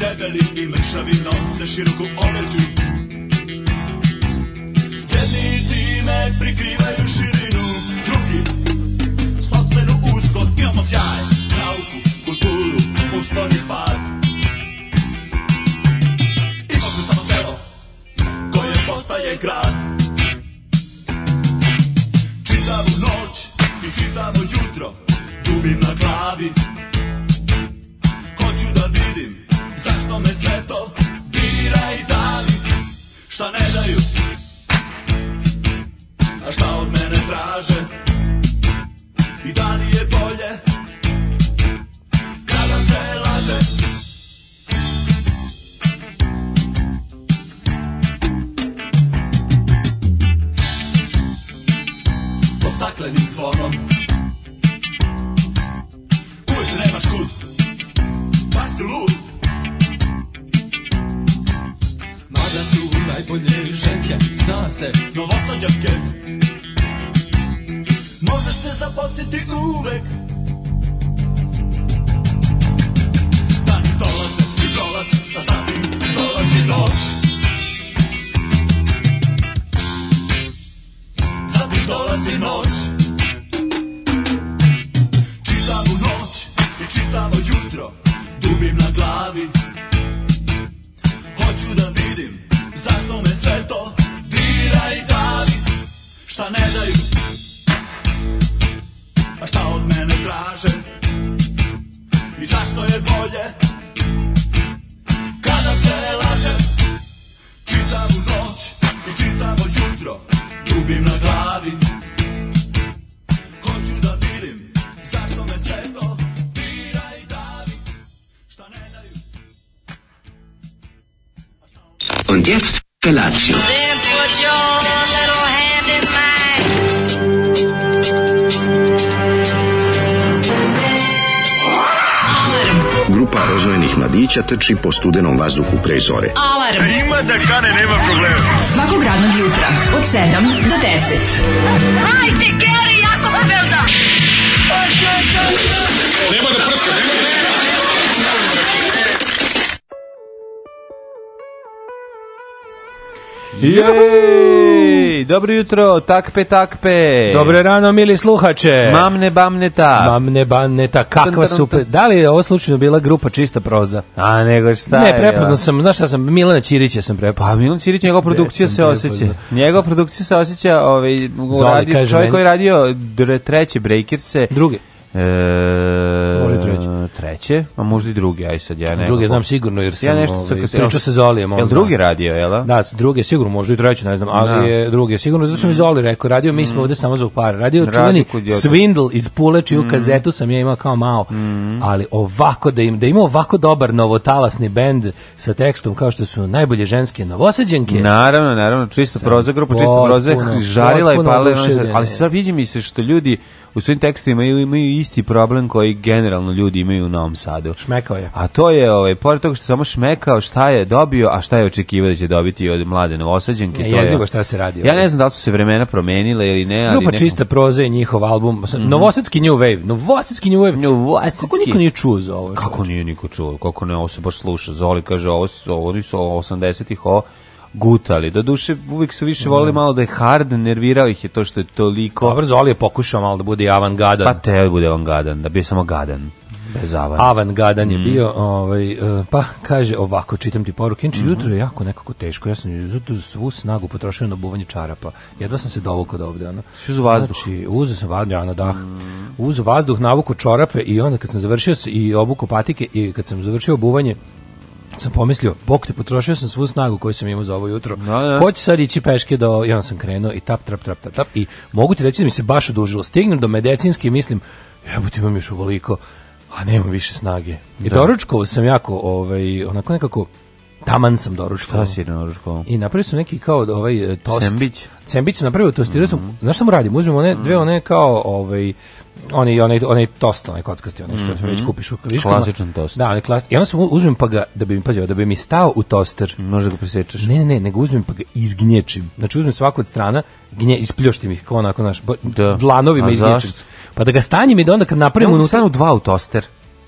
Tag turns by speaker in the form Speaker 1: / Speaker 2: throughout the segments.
Speaker 1: Debeli i mršavi nose široku odeću Jedni time prikrivaju širinu Drugi sopstvenu uskost Imamo sjaj, nauku, kulturu, uspon i pad Imamo se samo selo koje postaje grad Čitavu noć i čitavo jutro dubim na glavi Hoću da vidim zašto me sve to dira i davi Šta ne daju, a šta od mene traže I da li je bolje kada se laže Pod staklenim zvonom Uvijek nemaš kud Baš si lud
Speaker 2: Mada su najbolje ženske snace
Speaker 1: Novosađanke Možeš se zaposliti uvek Dani dolaze i prolaze A zatim dolazi noć Zatim dolazi noć Čitavu noć i čitavo jutro Dubim na glavi Hoću da vidim zašto me sve to dira i davi Šta ne daju, a šta od mene traže I zašto je bolje kada se laže Čitavu noć i čitavo jutro dubim na glavi Hoću da vidim zašto me sve to dira i davi Šta ne daju
Speaker 3: Und jetzt Felatio.
Speaker 4: Then put your little hand in mine.
Speaker 5: Grupa rozvojenih mladića trči po studenom vazduhu pre zore.
Speaker 6: Alarm. E Ima da kane, nema problema. Svakog radnog jutra, od 7 do 10. Hajde, Geri, jako se velda!
Speaker 7: Jej, dobro jutro, takpe, takpe.
Speaker 8: Dobro rano, mili sluhače.
Speaker 7: E. Mamne, bamneta.
Speaker 8: Mamne baneta, kakva su... pe- Da li je ovo slučajno bila grupa čista proza?
Speaker 7: A nego šta je,
Speaker 8: ne,
Speaker 7: ja?
Speaker 8: prepoznao sam, znaš šta sam, Milana Ćirića sam
Speaker 7: Pa
Speaker 8: prepoznao.
Speaker 7: Milan Ćirić, njegova produkcija
Speaker 8: sam
Speaker 7: se osjeća.
Speaker 8: prepoznao.
Speaker 7: Njegova produkcija se osjeća, ovaj, radi,
Speaker 8: kaže
Speaker 7: čovjek
Speaker 8: meni-
Speaker 7: koji je radio dre- treće Breakerse.
Speaker 8: Drugi.
Speaker 7: E,
Speaker 8: Može i treće.
Speaker 7: Treće, a možda i drugi, aj sad ja nekako.
Speaker 8: Druge znam sigurno jer sam
Speaker 7: Ja nešto
Speaker 8: ovaj,
Speaker 7: sam kad-
Speaker 8: pričao sa Zolijem. ono, on
Speaker 7: Jel
Speaker 8: zna.
Speaker 7: drugi radio, jel? a?
Speaker 8: Da, s druge sigurno, možda i treće, ne znam, ali
Speaker 7: Da.
Speaker 8: je druge sigurno, zato što mi Zoli rekao, radio, mi smo ovde samo zbog para. Radio
Speaker 7: Radio
Speaker 8: čuveni
Speaker 7: kod Jota.
Speaker 8: Svindl iz Pule, čiju
Speaker 7: Mm.
Speaker 8: kazetu sam ja imao kao mao, ali ovako da im, da ima ovako dobar novotalasni bend sa tekstom kao što su najbolje ženske novoseđenke.
Speaker 7: Naravno, naravno, čista proza grupa, čista proza je
Speaker 8: potpuno,
Speaker 7: žarila i
Speaker 8: potpuno
Speaker 7: palila,
Speaker 8: oduševljen.
Speaker 7: ali sad vidi mi se što ljudi u svojim tekstovima imaju, imaju isti problem koji generalno ljudi imaju u Novom Sadu.
Speaker 8: Šmekao je.
Speaker 7: A to je, ovaj, pored toga što je samo šmekao šta je dobio, a šta je očekivao da će dobiti od mlade novosađenke.
Speaker 8: Ne,
Speaker 7: Mm, to je-
Speaker 8: e, jezivo šta se radi
Speaker 7: Ja
Speaker 8: ovdje.
Speaker 7: ne znam da li su se vremena promenile ili ne, ali...
Speaker 8: Grupa
Speaker 7: neko-
Speaker 8: čista proza je njihov album, mm Novosadski New Wave, Novosadski New Wave.
Speaker 7: Mhm. Novosadski.
Speaker 8: Kako niko nije čuo za ovo?
Speaker 7: Kako nije niko čuo, kako ne, ovo se baš sluša. Zoli kaže, ovo, su- ovo oni su 80-ih ovo gutali. Do duše, uvijek su više volili malo da je hard, nervirao ih je to što je toliko...
Speaker 8: Dobro, Mm. Zoli je pokušao malo da bude i avangadan.
Speaker 7: Pa te bude on gadan, da bi je samo gadan. Bez Mm. avan.
Speaker 8: avangadan
Speaker 7: Mhm.
Speaker 8: je bio, ovaj, e, pa kaže ovako, čitam ti poruke,
Speaker 7: Mhm.
Speaker 8: inče jutro je jako nekako teško, ja sam jutro svu snagu potrošio na buvanje čarapa, jedva sam se dovukao do ovde, ono.
Speaker 7: Si uzeo vazduh? Mhm.
Speaker 8: Znači, uzeo sam vazduh, ja na dah, uzeo vazduh, navuku čorape i onda kad sam završio s- i obuku patike i kad sam završio obuvanje, sam pomislio, bok te, potrošio sam svu snagu koju sam imao za ovo jutro.
Speaker 7: Da, da.
Speaker 8: Ko će sad ići peške do... I onda sam krenuo i tap, trap, trap, tap, tap. I mogu ti reći da mi se baš odužilo. Stignem do medicinske i mislim, jebo ti imam još uvoliko, a nemam više snage. I doručkovo sam jako, ovaj, onako nekako, taman sam doručkovo.
Speaker 7: Šta si na ručku?
Speaker 8: I napravio sam neki kao ovaj e, tost.
Speaker 7: Sembić? Mhm.
Speaker 8: Sembić sam napravio, tostirao sam. Znaš šta mu radim? Uzmem one dve one kao ovaj oni onaj onaj tost, onaj kockasti, onaj što se već kupiš u kliškama.
Speaker 7: Mhm. Klasičan tost.
Speaker 8: Da, onaj klas. I onda sam u- uzmem pa ga da bi mi pazio, da bi mi stao u toster.
Speaker 7: Može da presečeš.
Speaker 8: Ne, ne, ne, nego uzmem pa ga izgnječim. Znači uzmem svaku od strana, gnje, ispljoštim ih kao onako, znaš, bo-
Speaker 7: Da.
Speaker 8: dlanovima
Speaker 7: A
Speaker 8: izgnječim.
Speaker 7: zašto?
Speaker 8: Pa da ga stanjem i da onda kad napravim
Speaker 7: Mogu
Speaker 8: unutra...
Speaker 7: stanu dva u toster.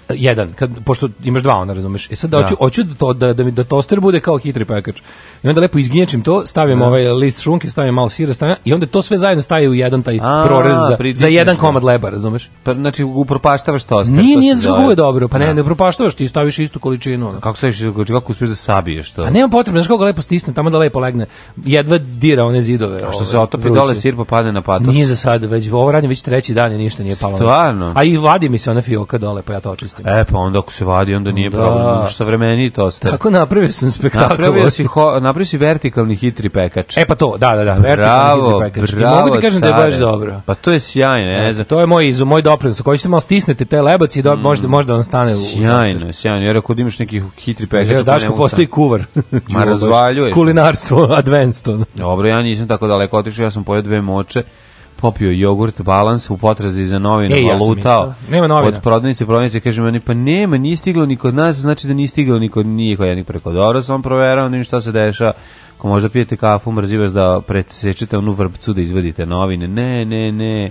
Speaker 8: jedan, kad, pošto imaš dva, onda razumeš. E sad da.
Speaker 7: Da.
Speaker 8: hoću, hoću da, to, da, da, mi, da toster bude kao hitri pekač. I onda lepo izgnječim to, stavim ovaj list šunke, stavim malo sira, stavim, i onda to sve zajedno staje u jedan taj
Speaker 7: A,
Speaker 8: prorez za, za
Speaker 7: pritisneš
Speaker 8: jedan
Speaker 7: ga.
Speaker 8: komad leba, razumeš?
Speaker 7: Pa, znači, upropaštavaš toster.
Speaker 8: Nije,
Speaker 7: to se
Speaker 8: nije za
Speaker 7: zove.
Speaker 8: kako je dobro, pa ne,
Speaker 7: Da.
Speaker 8: ne propaštavaš, ti staviš istu količinu. ono.
Speaker 7: Kako se više, kako uspiješ da sabiješ to?
Speaker 8: A nema potrebe, znaš kako ga lepo stisnem, tamo da lepo legne. Jedva dira one zidove.
Speaker 7: Što
Speaker 8: ove,
Speaker 7: se otopi
Speaker 8: vruće.
Speaker 7: dole, sir popade na patos.
Speaker 8: Nije za sada, već ovo radim već treći dan i ništa nije palo.
Speaker 7: Stvarno?
Speaker 8: A i vadi mi se ona fioka dole, pa ja to očistim.
Speaker 7: E, pa onda ako se vadi, onda nije
Speaker 8: Da.
Speaker 7: problem. Imaš savremeniji toster.
Speaker 8: Tako napravio sam spektakl.
Speaker 7: Napravio si, ho, napravio si vertikalni hitri pekač.
Speaker 8: E pa to, da, da, da.
Speaker 7: bravo,
Speaker 8: vertikalni hitri pekač. I
Speaker 7: bravo,
Speaker 8: mogu ti kažem da je baš
Speaker 7: care.
Speaker 8: dobro.
Speaker 7: Pa to je sjajno, ne znam. Mm.
Speaker 8: To je moj izum, moj doprinos. Ako ćete malo stisnete te lebac i do, možda, možda on stane u... u
Speaker 7: Sjajno, sjajno. Jer ako imaš neki hitri pekač,
Speaker 8: Kaže,
Speaker 7: ako
Speaker 8: Daško,
Speaker 7: ne
Speaker 8: postoji
Speaker 7: ustane-
Speaker 8: kuvar.
Speaker 7: Ma, razvaljuješ.
Speaker 8: Kulinarstvo, advanced. ono.
Speaker 7: Dobro, ja nisam tako daleko otišao, ja sam pojeo dve moče, popio jogurt, balans u potrazi za novinu,
Speaker 8: E, ja sam
Speaker 7: valutao.
Speaker 8: isto. Nema novina.
Speaker 7: Od prodavnice, prodavnice, kaže meni, pa nema, nije stiglo ni kod nas, znači da nije stiglo ni kod njih, a ja ni preko dobro sam proverao, ni šta se dešava. Ako možda pijete kafu, mrzi vas da presečete onu vrpcu da izvadite novine. Ne, ne, ne.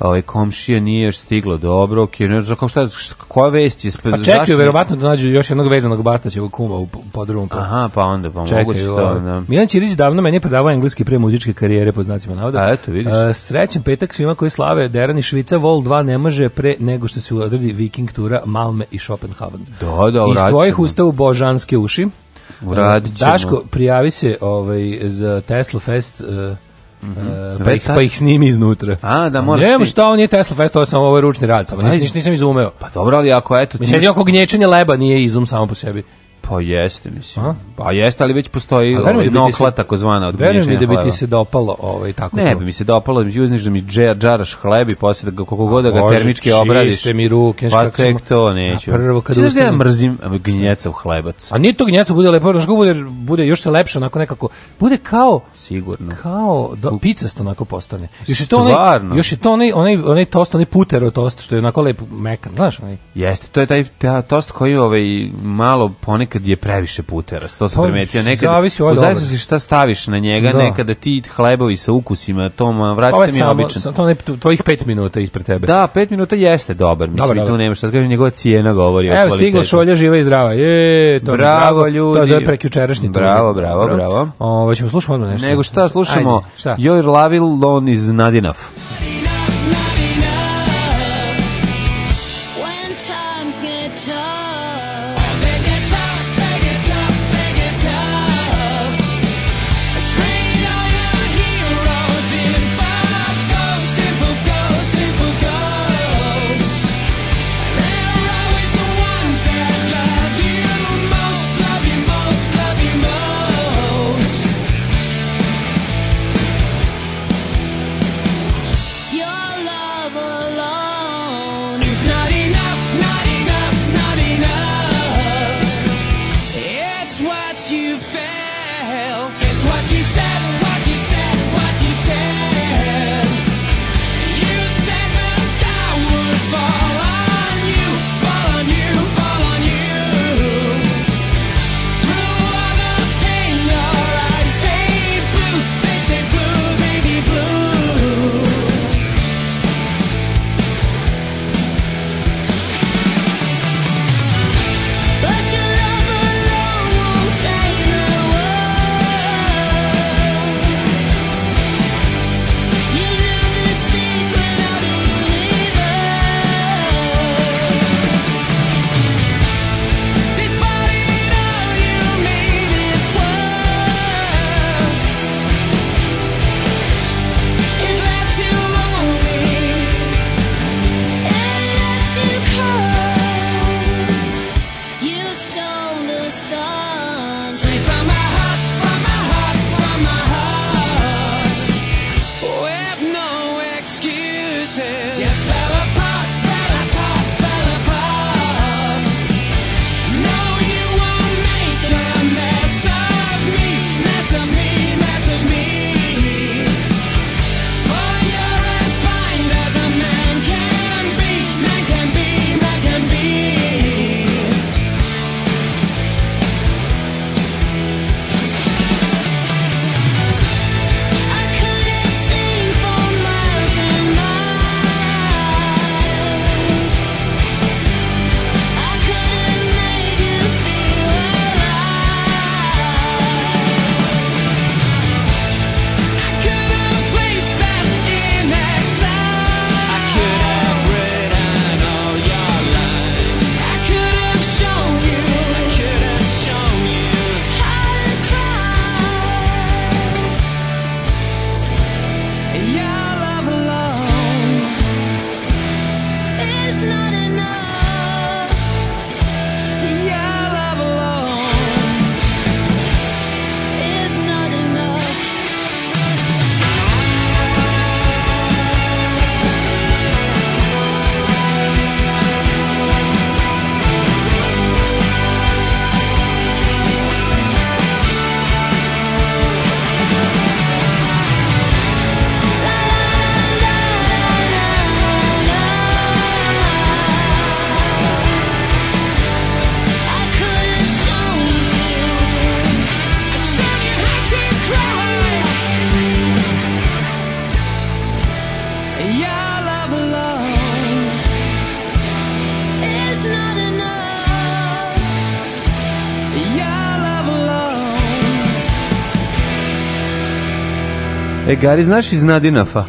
Speaker 7: Ovaj komšija nije još stiglo dobro, ok, ne znam kako šta, šta- koja vest je
Speaker 8: Pa
Speaker 7: zašto-
Speaker 8: čekaju, verovatno da nađu još jednog vezanog Bastaćevog kuma u po- podrumu. po-
Speaker 7: Aha, pa onda, pa
Speaker 8: Čekaj, ovaj,
Speaker 7: moguće to,
Speaker 8: ovo.
Speaker 7: da.
Speaker 8: Milan Ćirić davno meni je predavao engleski pre muzičke karijere po znacima navoda.
Speaker 7: A, eto, vidiš.
Speaker 8: E, srećan petak svima koji slave Deran i Švica Vol 2 ne može pre nego što se odredi Viking tura Malme i Schopenhaven.
Speaker 7: Da, da,
Speaker 8: Iz
Speaker 7: uradit
Speaker 8: tvojih
Speaker 7: ćemo.
Speaker 8: usta u božanske uši. E,
Speaker 7: Uradit ćemo.
Speaker 8: Daško, prijavi se ovaj, za Tesla Fest e, e, pa,
Speaker 7: Mhm. Već
Speaker 8: ih,
Speaker 7: sad?
Speaker 8: pa ih snimi iznutra.
Speaker 7: A, da, moraš
Speaker 8: Nemo
Speaker 7: ti.
Speaker 8: šta, on je Tesla Fest, ovo je samo ovaj ručni rad, samo
Speaker 7: Ajde.
Speaker 8: ništa, nisam izumeo. Pa,
Speaker 7: Dobro, ali ako eto... ti
Speaker 8: Mislim,
Speaker 7: imaš-
Speaker 8: jedino oko gnječenja leba nije izum samo po sebi.
Speaker 7: Pa jeste, mislim.
Speaker 8: Aha.
Speaker 7: Pa jeste, ali već postoji
Speaker 8: A verujem
Speaker 7: ovaj,
Speaker 8: da bi ti
Speaker 7: nokla
Speaker 8: se-
Speaker 7: takozvana od
Speaker 8: Verujem mi
Speaker 7: gnječenja
Speaker 8: da bi ti
Speaker 7: hleba.
Speaker 8: se dopalo ovaj, tako
Speaker 7: Ne
Speaker 8: to.
Speaker 7: bi mi se dopalo, da mi uzniš da mi džer, džaraš hleb i poslije da ga- koliko god da ga
Speaker 8: Bože,
Speaker 7: termički
Speaker 8: čiste
Speaker 7: obradiš.
Speaker 8: mi ruke, znaš
Speaker 7: Pa
Speaker 8: kako sam-
Speaker 7: tek to neću.
Speaker 8: A prvo kad
Speaker 7: Ti znaš da ja
Speaker 8: ustanem-
Speaker 7: mrzim gnjeca u hlebac.
Speaker 8: A nije to gnjeca bude lepo, znaš kako bude, bude još se lepše onako nekako, bude kao
Speaker 7: Sigurno.
Speaker 8: kao do, picasto onako postane. Još je to onaj,
Speaker 7: Stvarno?
Speaker 8: još je to onaj, onaj, onaj tost, onaj putero tost, što je onako lepo mekan, znaš, onaj.
Speaker 7: Jeste, to je taj ta, tost koji ovaj, malo ponekad je previše puteras, to sam
Speaker 8: Pa,
Speaker 7: primetio. Nekad,
Speaker 8: zavisi, ovo je
Speaker 7: u
Speaker 8: dobro.
Speaker 7: zavisnosti šta staviš na njega,
Speaker 8: Da.
Speaker 7: nekada ti hlebovi sa ukusima, to ma,
Speaker 8: Ovo je
Speaker 7: vratite mi
Speaker 8: samo,
Speaker 7: običan.
Speaker 8: sam, to onaj tu- tvojih pet minuta ispred tebe.
Speaker 7: Da, pet minuta jeste dobar, mislim,
Speaker 8: Dobar,
Speaker 7: i tu
Speaker 8: dobar.
Speaker 7: nema šta da kažem, njegova cijena govori o
Speaker 8: Evo,
Speaker 7: kvalitetu.
Speaker 8: stigla šolja živa i zdrava. Je, to mi je
Speaker 7: Bravo,
Speaker 8: drago. To je
Speaker 7: ljudi.
Speaker 8: za prekjučerašnji. tur.
Speaker 7: Bravo, bravo, bravo.
Speaker 8: Ovo, ćemo slušati odmah nešto.
Speaker 7: Nego šta slušamo?
Speaker 8: Ajde, šta?
Speaker 7: Joj Lavil on iz Nadinav.
Speaker 3: When times get tough, they get tough, they get tough, they get tough. Train on your heroes in five ghosts, simple ghosts, simple ghosts. They're always the ones that love you most, love you most, love you most. Your love alone is not enough, not enough, not enough. It's what you felt, it's what you said, what you said, what you said. You said the sky would fall on you, fall on you, fall on you. Through all the pain, your eyes stay blue, they stay blue, baby blue. But your love alone won't save the world. Oh,
Speaker 7: E, Gari, znaš iz Nadinafa?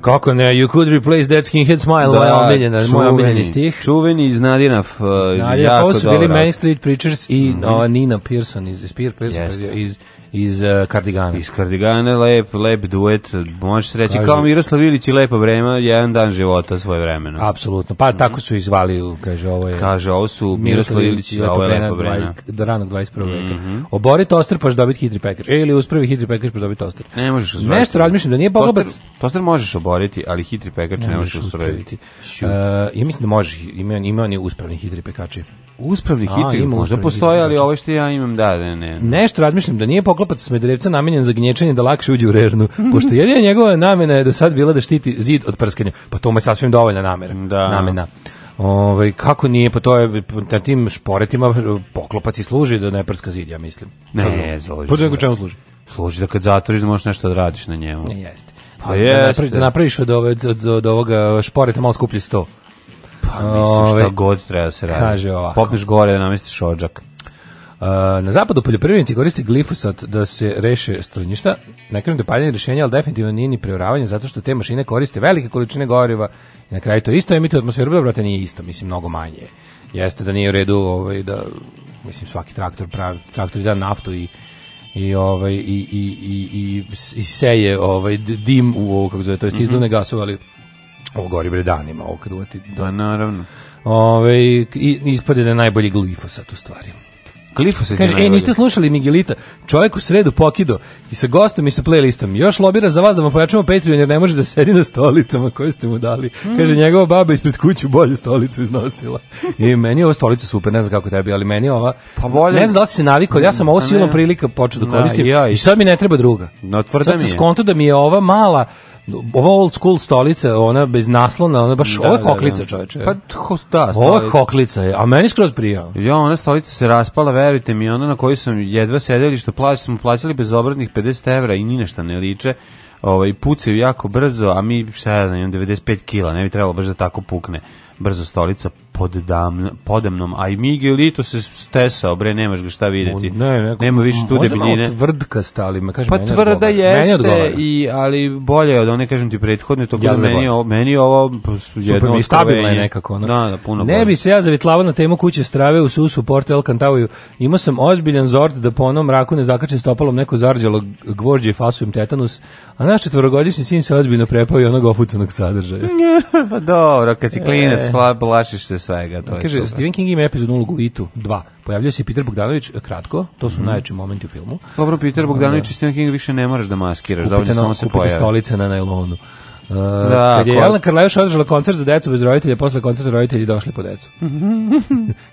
Speaker 8: Kako ne, you could replace that skinhead smile, moja omiljena, moj omiljeni stih.
Speaker 7: Čuveni iz Nadinaf. Uh,
Speaker 8: Nadja,
Speaker 7: jako
Speaker 8: ovo su bili
Speaker 7: dobar
Speaker 8: Manic Street Preachers i o, Nina Pearson iz, iz Pear- Pearson,
Speaker 7: Jeste.
Speaker 8: iz, iz uh, Kardigana.
Speaker 7: Iz Kardigana, lep, lep duet, možeš reći
Speaker 8: Kažu-
Speaker 7: kao Miroslav Ilić i Lepa vrema, jedan dan života svoje vremena.
Speaker 8: Apsolutno, pa tako su izvali, u- kaže, ovo je...
Speaker 7: Kaže, ovo su Miroslav Ilić i
Speaker 8: Lepo
Speaker 7: ovo je
Speaker 8: Brena,
Speaker 7: Lepa Mhm. vremena.
Speaker 8: dvaj- do ranog 21. veka. Obori toster pa ćeš dobiti hitri pekač. E, ili uspravi hitri pekač pa ćeš dobiti toster.
Speaker 7: Ne možeš uspraviti.
Speaker 8: Nešto razmišljam da nije Bogobac.
Speaker 7: Toster, toster možeš oboriti, ali hitri pekač ne, možeš uspraviti.
Speaker 8: Uh, ja mislim da možeš, ima, ima on je uspravni hitri pekači.
Speaker 7: Uspravni
Speaker 8: A,
Speaker 7: hitri,
Speaker 8: ima
Speaker 7: možda
Speaker 8: uspravni znači.
Speaker 7: postoje,
Speaker 8: hitri
Speaker 7: ali
Speaker 8: pekač.
Speaker 7: ovo što ja imam, da, ne, ne.
Speaker 8: Nešto razmišljam da nije poklopac Smederevca namenjen za gnječenje da lakše uđe u rernu, pošto jedina njegova namena je do sad bila da štiti zid od prskanja. Pa to mu je sasvim dovoljna namera.
Speaker 7: Da.
Speaker 8: Namena. Ovaj, kako nije, pa to je, na tim šporetima poklopac i služi da ne prska zid, ja mislim.
Speaker 7: Ne, služi.
Speaker 8: Pa nego čemu služi?
Speaker 7: Služi da kad zatvoriš da možeš nešto da radiš na njemu.
Speaker 8: Ne, jeste.
Speaker 7: Pa
Speaker 8: Da
Speaker 7: jeste.
Speaker 8: napravi- Da napraviš od, ove, od, od ovoga šporeta malo skuplji sto.
Speaker 7: Pa mislim, šta
Speaker 8: Ove,
Speaker 7: god treba da se radi.
Speaker 8: kaže ovako.
Speaker 7: Popneš gore da namestiš ođak.
Speaker 8: Uh, na zapadu poljoprivrednici koriste glifosat da se reše strunjišta. Ne kažem da je paljenje rješenje, ali definitivno nije ni preoravanje zato što te mašine koriste velike količine goriva i na kraju to isto emituje atmosferu, dobro, brate, nije isto, mislim, mnogo manje. je. Jeste da nije u redu ovaj, da, mislim, svaki traktor pravi, traktor da naftu i i ovaj i i i i, i seje ovaj d- dim u ovo kako zove to jest izduvne gasove ali ovo gori bre danima ovo kad uvati
Speaker 7: Pa naravno.
Speaker 8: ovaj i ispade da je najbolji glifosat u stvari
Speaker 7: Glifosat je
Speaker 8: Kaže, e,
Speaker 7: najbolje.
Speaker 8: niste slušali Migilita, čovjek u sredu pokido i sa gostom i sa playlistom. Još lobira za vas da vam pojačamo Patreon jer ne može da sedi na stolicama koje ste mu dali.
Speaker 7: Hmm.
Speaker 8: Kaže, njegova baba ispred kuće bolju stolicu iznosila. I meni je ova stolica super, ne znam kako tebi, ali meni je ova...
Speaker 7: Pa volim-
Speaker 8: Ne znam da li si se navikao, ali ja sam ovo
Speaker 7: Pa ne.
Speaker 8: silom prilika počeo da
Speaker 7: Da,
Speaker 8: koristim
Speaker 7: i ja
Speaker 8: i
Speaker 7: isto.
Speaker 8: sad mi ne treba druga.
Speaker 7: No, tvrda
Speaker 8: sad
Speaker 7: mi
Speaker 8: sam
Speaker 7: je.
Speaker 8: skonto da mi je ova mala ova old school stolica, ona bez naslona, ona baš, ovo je koklica čoveče.
Speaker 7: Pa tho- da,
Speaker 8: Ovo
Speaker 7: stolica.
Speaker 8: je koklica, je, a meni skroz prijao.
Speaker 7: Ja, ono, ona stolica se raspala, verujte mi, ona na kojoj sam jedva sedeli, što plaći, smo plaćali bezobraznih 50 evra i ni na šta ne liče. Ovaj, pucaju jako brzo, a mi, šta ja znam, imam 95 kila, ne bi trebalo baš da tako pukne brzo stolica pod dam, podemnom, a i Miguel Lito se stesao, bre, nemaš ga šta videti.
Speaker 8: neko-
Speaker 7: Nema više tu
Speaker 8: možda malo
Speaker 7: debiljine.
Speaker 8: tvrdka stali, me kaže
Speaker 7: Pa
Speaker 8: meni
Speaker 7: tvrda
Speaker 8: odgovara. Meni
Speaker 7: jeste,
Speaker 8: odgovara.
Speaker 7: i, ali bolje je od one, kažem ti, prethodne, to
Speaker 8: Ja
Speaker 7: ja meni, je
Speaker 8: zaboravim.
Speaker 7: ovo- meni je ovo p-
Speaker 8: Super,
Speaker 7: jedno
Speaker 8: i stabilna je
Speaker 7: otkrovenje.
Speaker 8: nekako. Ono.
Speaker 7: Da, da, puno
Speaker 8: ne
Speaker 7: bolje.
Speaker 8: bi se ja zavitlavao na temu kuće strave u susu Porto El Cantavaju. Imao sam ozbiljan zord da po onom mraku ne zakačem stopalom neko zarđalo g- gvožđe i fasujem tetanus, a naš četvorogodišnji sin se ozbiljno prepao i onog ofucanog sadržaja.
Speaker 7: Pa dobro, kad si klinec, hla- plašiš se svega, to je
Speaker 8: E. Kaže,
Speaker 7: super.
Speaker 8: Stephen King ima epizodnu ulogu u Itu 2. Pojavljuje se i Peter Bogdanović e, kratko, to su najjači momenti u filmu.
Speaker 7: Mhm. Dobro, Peter Bogdanović i Stephen King više ne moraš da maskiraš, dovoljno
Speaker 8: kupite,
Speaker 7: samo
Speaker 8: no,
Speaker 7: se
Speaker 8: kupite
Speaker 7: pojavi.
Speaker 8: stolice na najlonu. Uh,
Speaker 7: Da,
Speaker 8: kad je
Speaker 7: ko-
Speaker 8: Jelena Karlajuš održala koncert za decu bez roditelja, posle koncerta roditelji došli po decu.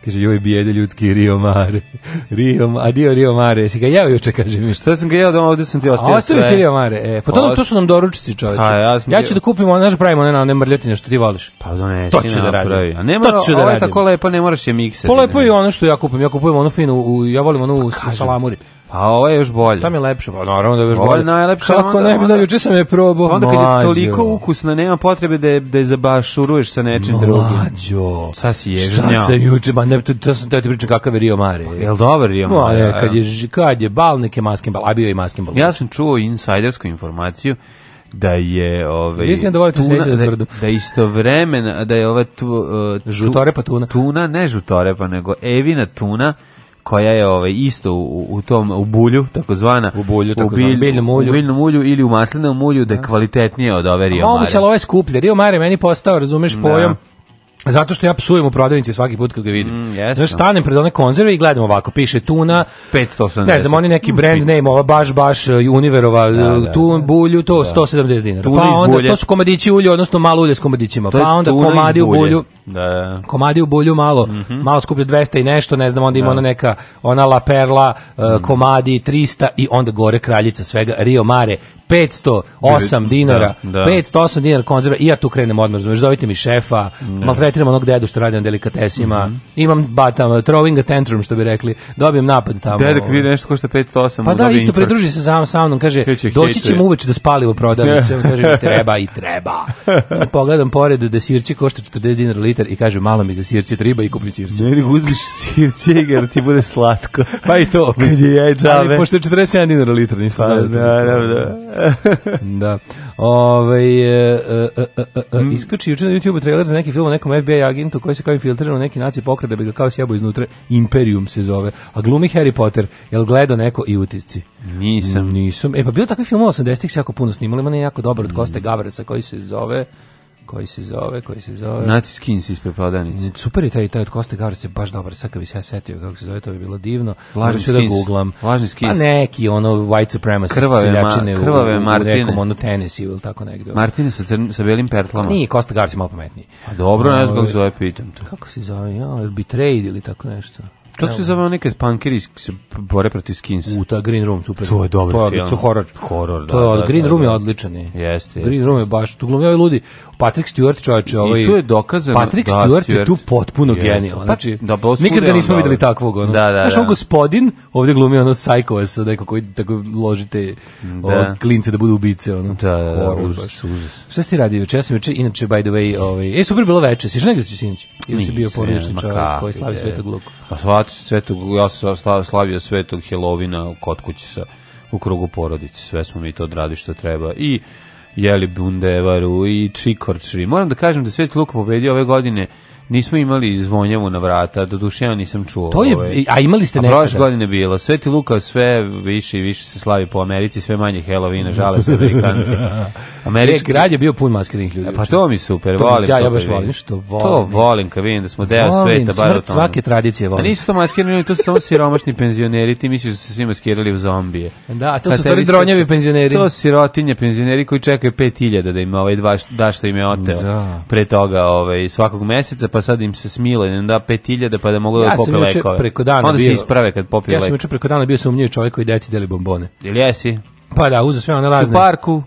Speaker 8: kaže, joj bijede ljudski Rio Mare. Rio, Ma- adio Rio Mare. Si ga jeo juče, kaže mi.
Speaker 7: Sad sam ga jeo doma, ovde sam ti
Speaker 8: A
Speaker 7: ostavio sve.
Speaker 8: ostavi si Rio Mare. E, pa to, nam- to su nam doručici, čoveče.
Speaker 7: Ha, ja sam
Speaker 8: ja
Speaker 7: bio-
Speaker 8: ću da kupim, ono, znaš, pravimo one, na- one mrljotine što ti voliš.
Speaker 7: Pa donesi,
Speaker 8: To ću da radim.
Speaker 7: napravi. A ne
Speaker 8: To
Speaker 7: mora,
Speaker 8: ću da
Speaker 7: ovo je
Speaker 8: radim.
Speaker 7: tako lepo, ne moraš je miksati.
Speaker 8: Pa lepo
Speaker 7: ne.
Speaker 8: je ono što ja kupim. Ja kupujem ono fino, u, ja volim ono u salamuri.
Speaker 7: Pa ovo je još bolje.
Speaker 8: Tam je lepše, pa naravno da je još
Speaker 7: Ovo je
Speaker 8: bolje.
Speaker 7: najlepše,
Speaker 8: Kako
Speaker 7: onda-
Speaker 8: ne bi znao,
Speaker 7: onda-
Speaker 8: juče sam je probao.
Speaker 7: Pa Onda kad je
Speaker 8: Mlađo.
Speaker 7: toliko ukusna, nema potrebe da je, da je zabašuruješ sa nečim drugim.
Speaker 8: Mlađo.
Speaker 7: Sad si ježnjao.
Speaker 8: Šta se juče, ma ne, to, to sam teo ti pričam kakav je Rio Mare.
Speaker 7: Jel dobar je?
Speaker 8: Ma,
Speaker 7: Maja?
Speaker 8: ne, kad je, ž- kad je bal, neke maskin bal, a bio je maskin bal.
Speaker 7: Ja sam čuo insajdersku informaciju da je ovaj
Speaker 8: Vi ste da volite sjediti na
Speaker 7: da,
Speaker 8: tvrdo.
Speaker 7: da istovremeno da je ova tu, uh, tu-
Speaker 8: Žutorepa tuna.
Speaker 7: Tuna ne žutorepa nego evina tuna koja je ovaj isto u, u tom u bulju takozvana
Speaker 8: U bulju, takozvana, biljnom ulju.
Speaker 7: u biljnom ulju ili u maslinovom ulju da je kvalitetnije od ove Rio
Speaker 8: Moguće, ali
Speaker 7: Mare.
Speaker 8: ovo je skuplje. Rio Mare je meni postao, razumeš, pojam. Zato što ja psujem u prodavnici svaki put kad ga vidim.
Speaker 7: Mm, jeste.
Speaker 8: Znaš, stanem pred one konzerve i gledam ovako, piše tuna,
Speaker 7: 580.
Speaker 8: ne znam, oni neki brand name, ova baš, baš uh, Univerova, uh,
Speaker 7: da,
Speaker 8: tu bulju, to 170 dinara.
Speaker 7: Tuna
Speaker 8: pa
Speaker 7: iz
Speaker 8: onda,
Speaker 7: bulje.
Speaker 8: to su komadići ulja, odnosno malo ulje s komadićima.
Speaker 7: To je
Speaker 8: Pa onda
Speaker 7: tuna iz
Speaker 8: komadi u
Speaker 7: bulje.
Speaker 8: bulju,
Speaker 7: Da, da. Mhm.
Speaker 8: komadi u bulju malo, malo skuplje 200 i nešto, ne znam, onda ima ona neka, ona La Perla, e,
Speaker 7: Mhm.
Speaker 8: komadi 300 i onda gore kraljica svega, Rio Mare, 508 dinara,
Speaker 7: da.
Speaker 8: 508 dinara konzerva i ja tu krenem odmah, razumeš, zovite mi šefa, maltretiram onog dedu što radi na delikatesima,
Speaker 7: Mhm.
Speaker 8: imam ba, tamo, throwing a tantrum, što bi rekli, dobijem napad tamo. ono.
Speaker 7: Dedek vidi nešto košta 508.
Speaker 8: Pa
Speaker 7: mu
Speaker 8: da,
Speaker 7: ono dobi
Speaker 8: isto
Speaker 7: infarkt.
Speaker 8: pridruži se sam sa mnom, kaže,
Speaker 7: Kreće,
Speaker 8: doći
Speaker 7: hejtuje.
Speaker 8: ćemo uveče da spalimo prodavnicu, on kaže, treba i treba. Pogledam pored da sirće košta 40 dinara litar i kaže, malo mi za sirće treba i kupim sirće.
Speaker 7: Ne, nego uzmiš sirće jer ti bude slatko.
Speaker 8: Pa i to.
Speaker 7: Kad je jaj džave.
Speaker 8: Ali pošto je 47 dinara litar, nisam
Speaker 7: E,
Speaker 8: znao.
Speaker 7: Pa,
Speaker 8: da to-
Speaker 7: naravno.
Speaker 8: da. Ove, e, e, e, e,
Speaker 7: Mm.
Speaker 8: e, iskači juče na YouTube trailer za neki film o nekom FBI agentu koji se kao infiltrira u neki naci pokret da bi ga kao sjebo iznutra. Imperium se zove. A glumi Harry Potter. Jel gledao neko i utisci?
Speaker 7: Nisam.
Speaker 8: Nisam. E pa bilo takvi film 80-ih se jako puno snimali. Ima ne jako dobar
Speaker 7: Mm.
Speaker 8: od Koste Gavresa koji se zove koji se zove, koji se zove.
Speaker 7: Naci skins ispred prodavnice.
Speaker 8: Super je taj, taj od Koste Gavresa, baš dobar, sad kad bi se ja setio kako se zove, to bi bilo divno.
Speaker 7: Lažni
Speaker 8: Moram ću da
Speaker 7: skins.
Speaker 8: googlam.
Speaker 7: Lažni skins.
Speaker 8: Pa neki, ono, white supremacist,
Speaker 7: Krvave ma-
Speaker 8: seljačine u-
Speaker 7: krvave
Speaker 8: u, u,
Speaker 7: Martine.
Speaker 8: nekom, ono, Tennessee ili tako negde.
Speaker 7: Martine sa, crn, sa belim pertlama.
Speaker 8: Nije, Kosta Gavris je malo pametniji.
Speaker 7: A dobro, ne znam kako
Speaker 8: Ove,
Speaker 7: se ovaj zove, pitam te.
Speaker 8: Ovaj, Kako se zove, ja, ili Betrayed ili tako nešto.
Speaker 7: Kako se zove nekad punkeri se bore protiv skinsa?
Speaker 8: U, ta Green Room, super.
Speaker 7: To je dobar
Speaker 8: to
Speaker 7: film.
Speaker 8: To je horor.
Speaker 7: Horor, da,
Speaker 8: To je, od-
Speaker 7: da,
Speaker 8: Green
Speaker 7: da,
Speaker 8: Room je
Speaker 7: da.
Speaker 8: odličan. je.
Speaker 7: Jeste,
Speaker 8: Green
Speaker 7: jeste,
Speaker 8: Room je baš, tu glumi ovi ludi. Patrick Stewart, čovječe, ovaj...
Speaker 7: I tu je dokazano
Speaker 8: Patrick
Speaker 7: da,
Speaker 8: Stewart, je
Speaker 7: Stewart-
Speaker 8: tu potpuno
Speaker 7: Jeste.
Speaker 8: genijalan.
Speaker 7: Pa,
Speaker 8: Znači,
Speaker 7: da, pa osvuda
Speaker 8: nikad
Speaker 7: je
Speaker 8: ga
Speaker 7: on
Speaker 8: nismo
Speaker 7: dobar.
Speaker 8: videli takvog. Ono.
Speaker 7: Da, da,
Speaker 8: Znaš, on
Speaker 7: da.
Speaker 8: gospodin, ovdje glumi ono sajkova sa neko koji tako ložite ovo, klince da budu ubice. Ono.
Speaker 7: Da, da, da,
Speaker 8: Horor baš.
Speaker 7: užas, užas.
Speaker 8: Šta si ti radio juče? Ja sam juče, inače, by the way, ovaj, e, super bilo veče, si negdje si sinoć? Ili si bio
Speaker 7: Nisam,
Speaker 8: porodični
Speaker 7: ma
Speaker 8: čovjek
Speaker 7: kakvi,
Speaker 8: koji slavi
Speaker 7: bre.
Speaker 8: svetog luku?
Speaker 7: Pa slavio svetog, ja sam sla- slavio svetog Helovina kod kuće sa, u krugu porodice. Sve smo mi to odradili što treba. I jeli bundevaru i čikorčri. Moram da kažem da Sveti Luka pobedio ove godine Nismo imali zvonjavu na vrata, doduše ja nisam čuo.
Speaker 8: To je-
Speaker 7: ovaj.
Speaker 8: a imali ste
Speaker 7: A
Speaker 8: nekada?
Speaker 7: Prošle godine bilo. Sveti Luka sve više i više se slavi po Americi, sve manje Helovina, žale se Amerikanci.
Speaker 8: Reč
Speaker 7: Američki
Speaker 8: grad je bio pun maskiranih ljudi.
Speaker 7: E, Pa
Speaker 8: juče.
Speaker 7: to mi super,
Speaker 8: To mi-
Speaker 7: volim.
Speaker 8: ja- ja
Speaker 7: to
Speaker 8: baš
Speaker 7: kad
Speaker 8: volim
Speaker 7: vidim.
Speaker 8: što volim.
Speaker 7: To volim kad vidim da smo deo
Speaker 8: Volim,
Speaker 7: sveta. bar
Speaker 8: smrt
Speaker 7: u tome.
Speaker 8: svake tradicije volim.
Speaker 7: A nisu to maskirani, ljudi, to su samo siromašni penzioneri, ti misliš da se svi maskirali u zombije.
Speaker 8: Da, a to
Speaker 7: Kad
Speaker 8: su u stvari
Speaker 7: tebi
Speaker 8: dronjevi
Speaker 7: srce-
Speaker 8: penzioneri.
Speaker 7: To su sirotinje penzioneri koji čekaju 5000 da im ovaj dva, da što im je oteo
Speaker 8: Da.
Speaker 7: pre toga ovaj, svakog meseca, pa sad im se smilo i da 5000 pa da mogu da
Speaker 8: Ja sam
Speaker 7: pope
Speaker 8: juče
Speaker 7: lekove.
Speaker 8: preko dana
Speaker 7: Onda se
Speaker 8: bio-
Speaker 7: isprave kad popiju
Speaker 8: Ja
Speaker 7: lekove.
Speaker 8: sam juče preko dana bio sumnjiv čovjek koji deci deli bombone.
Speaker 7: Ili jesi?
Speaker 8: Pa da, uzeo sve one
Speaker 7: U
Speaker 8: razne.
Speaker 7: parku,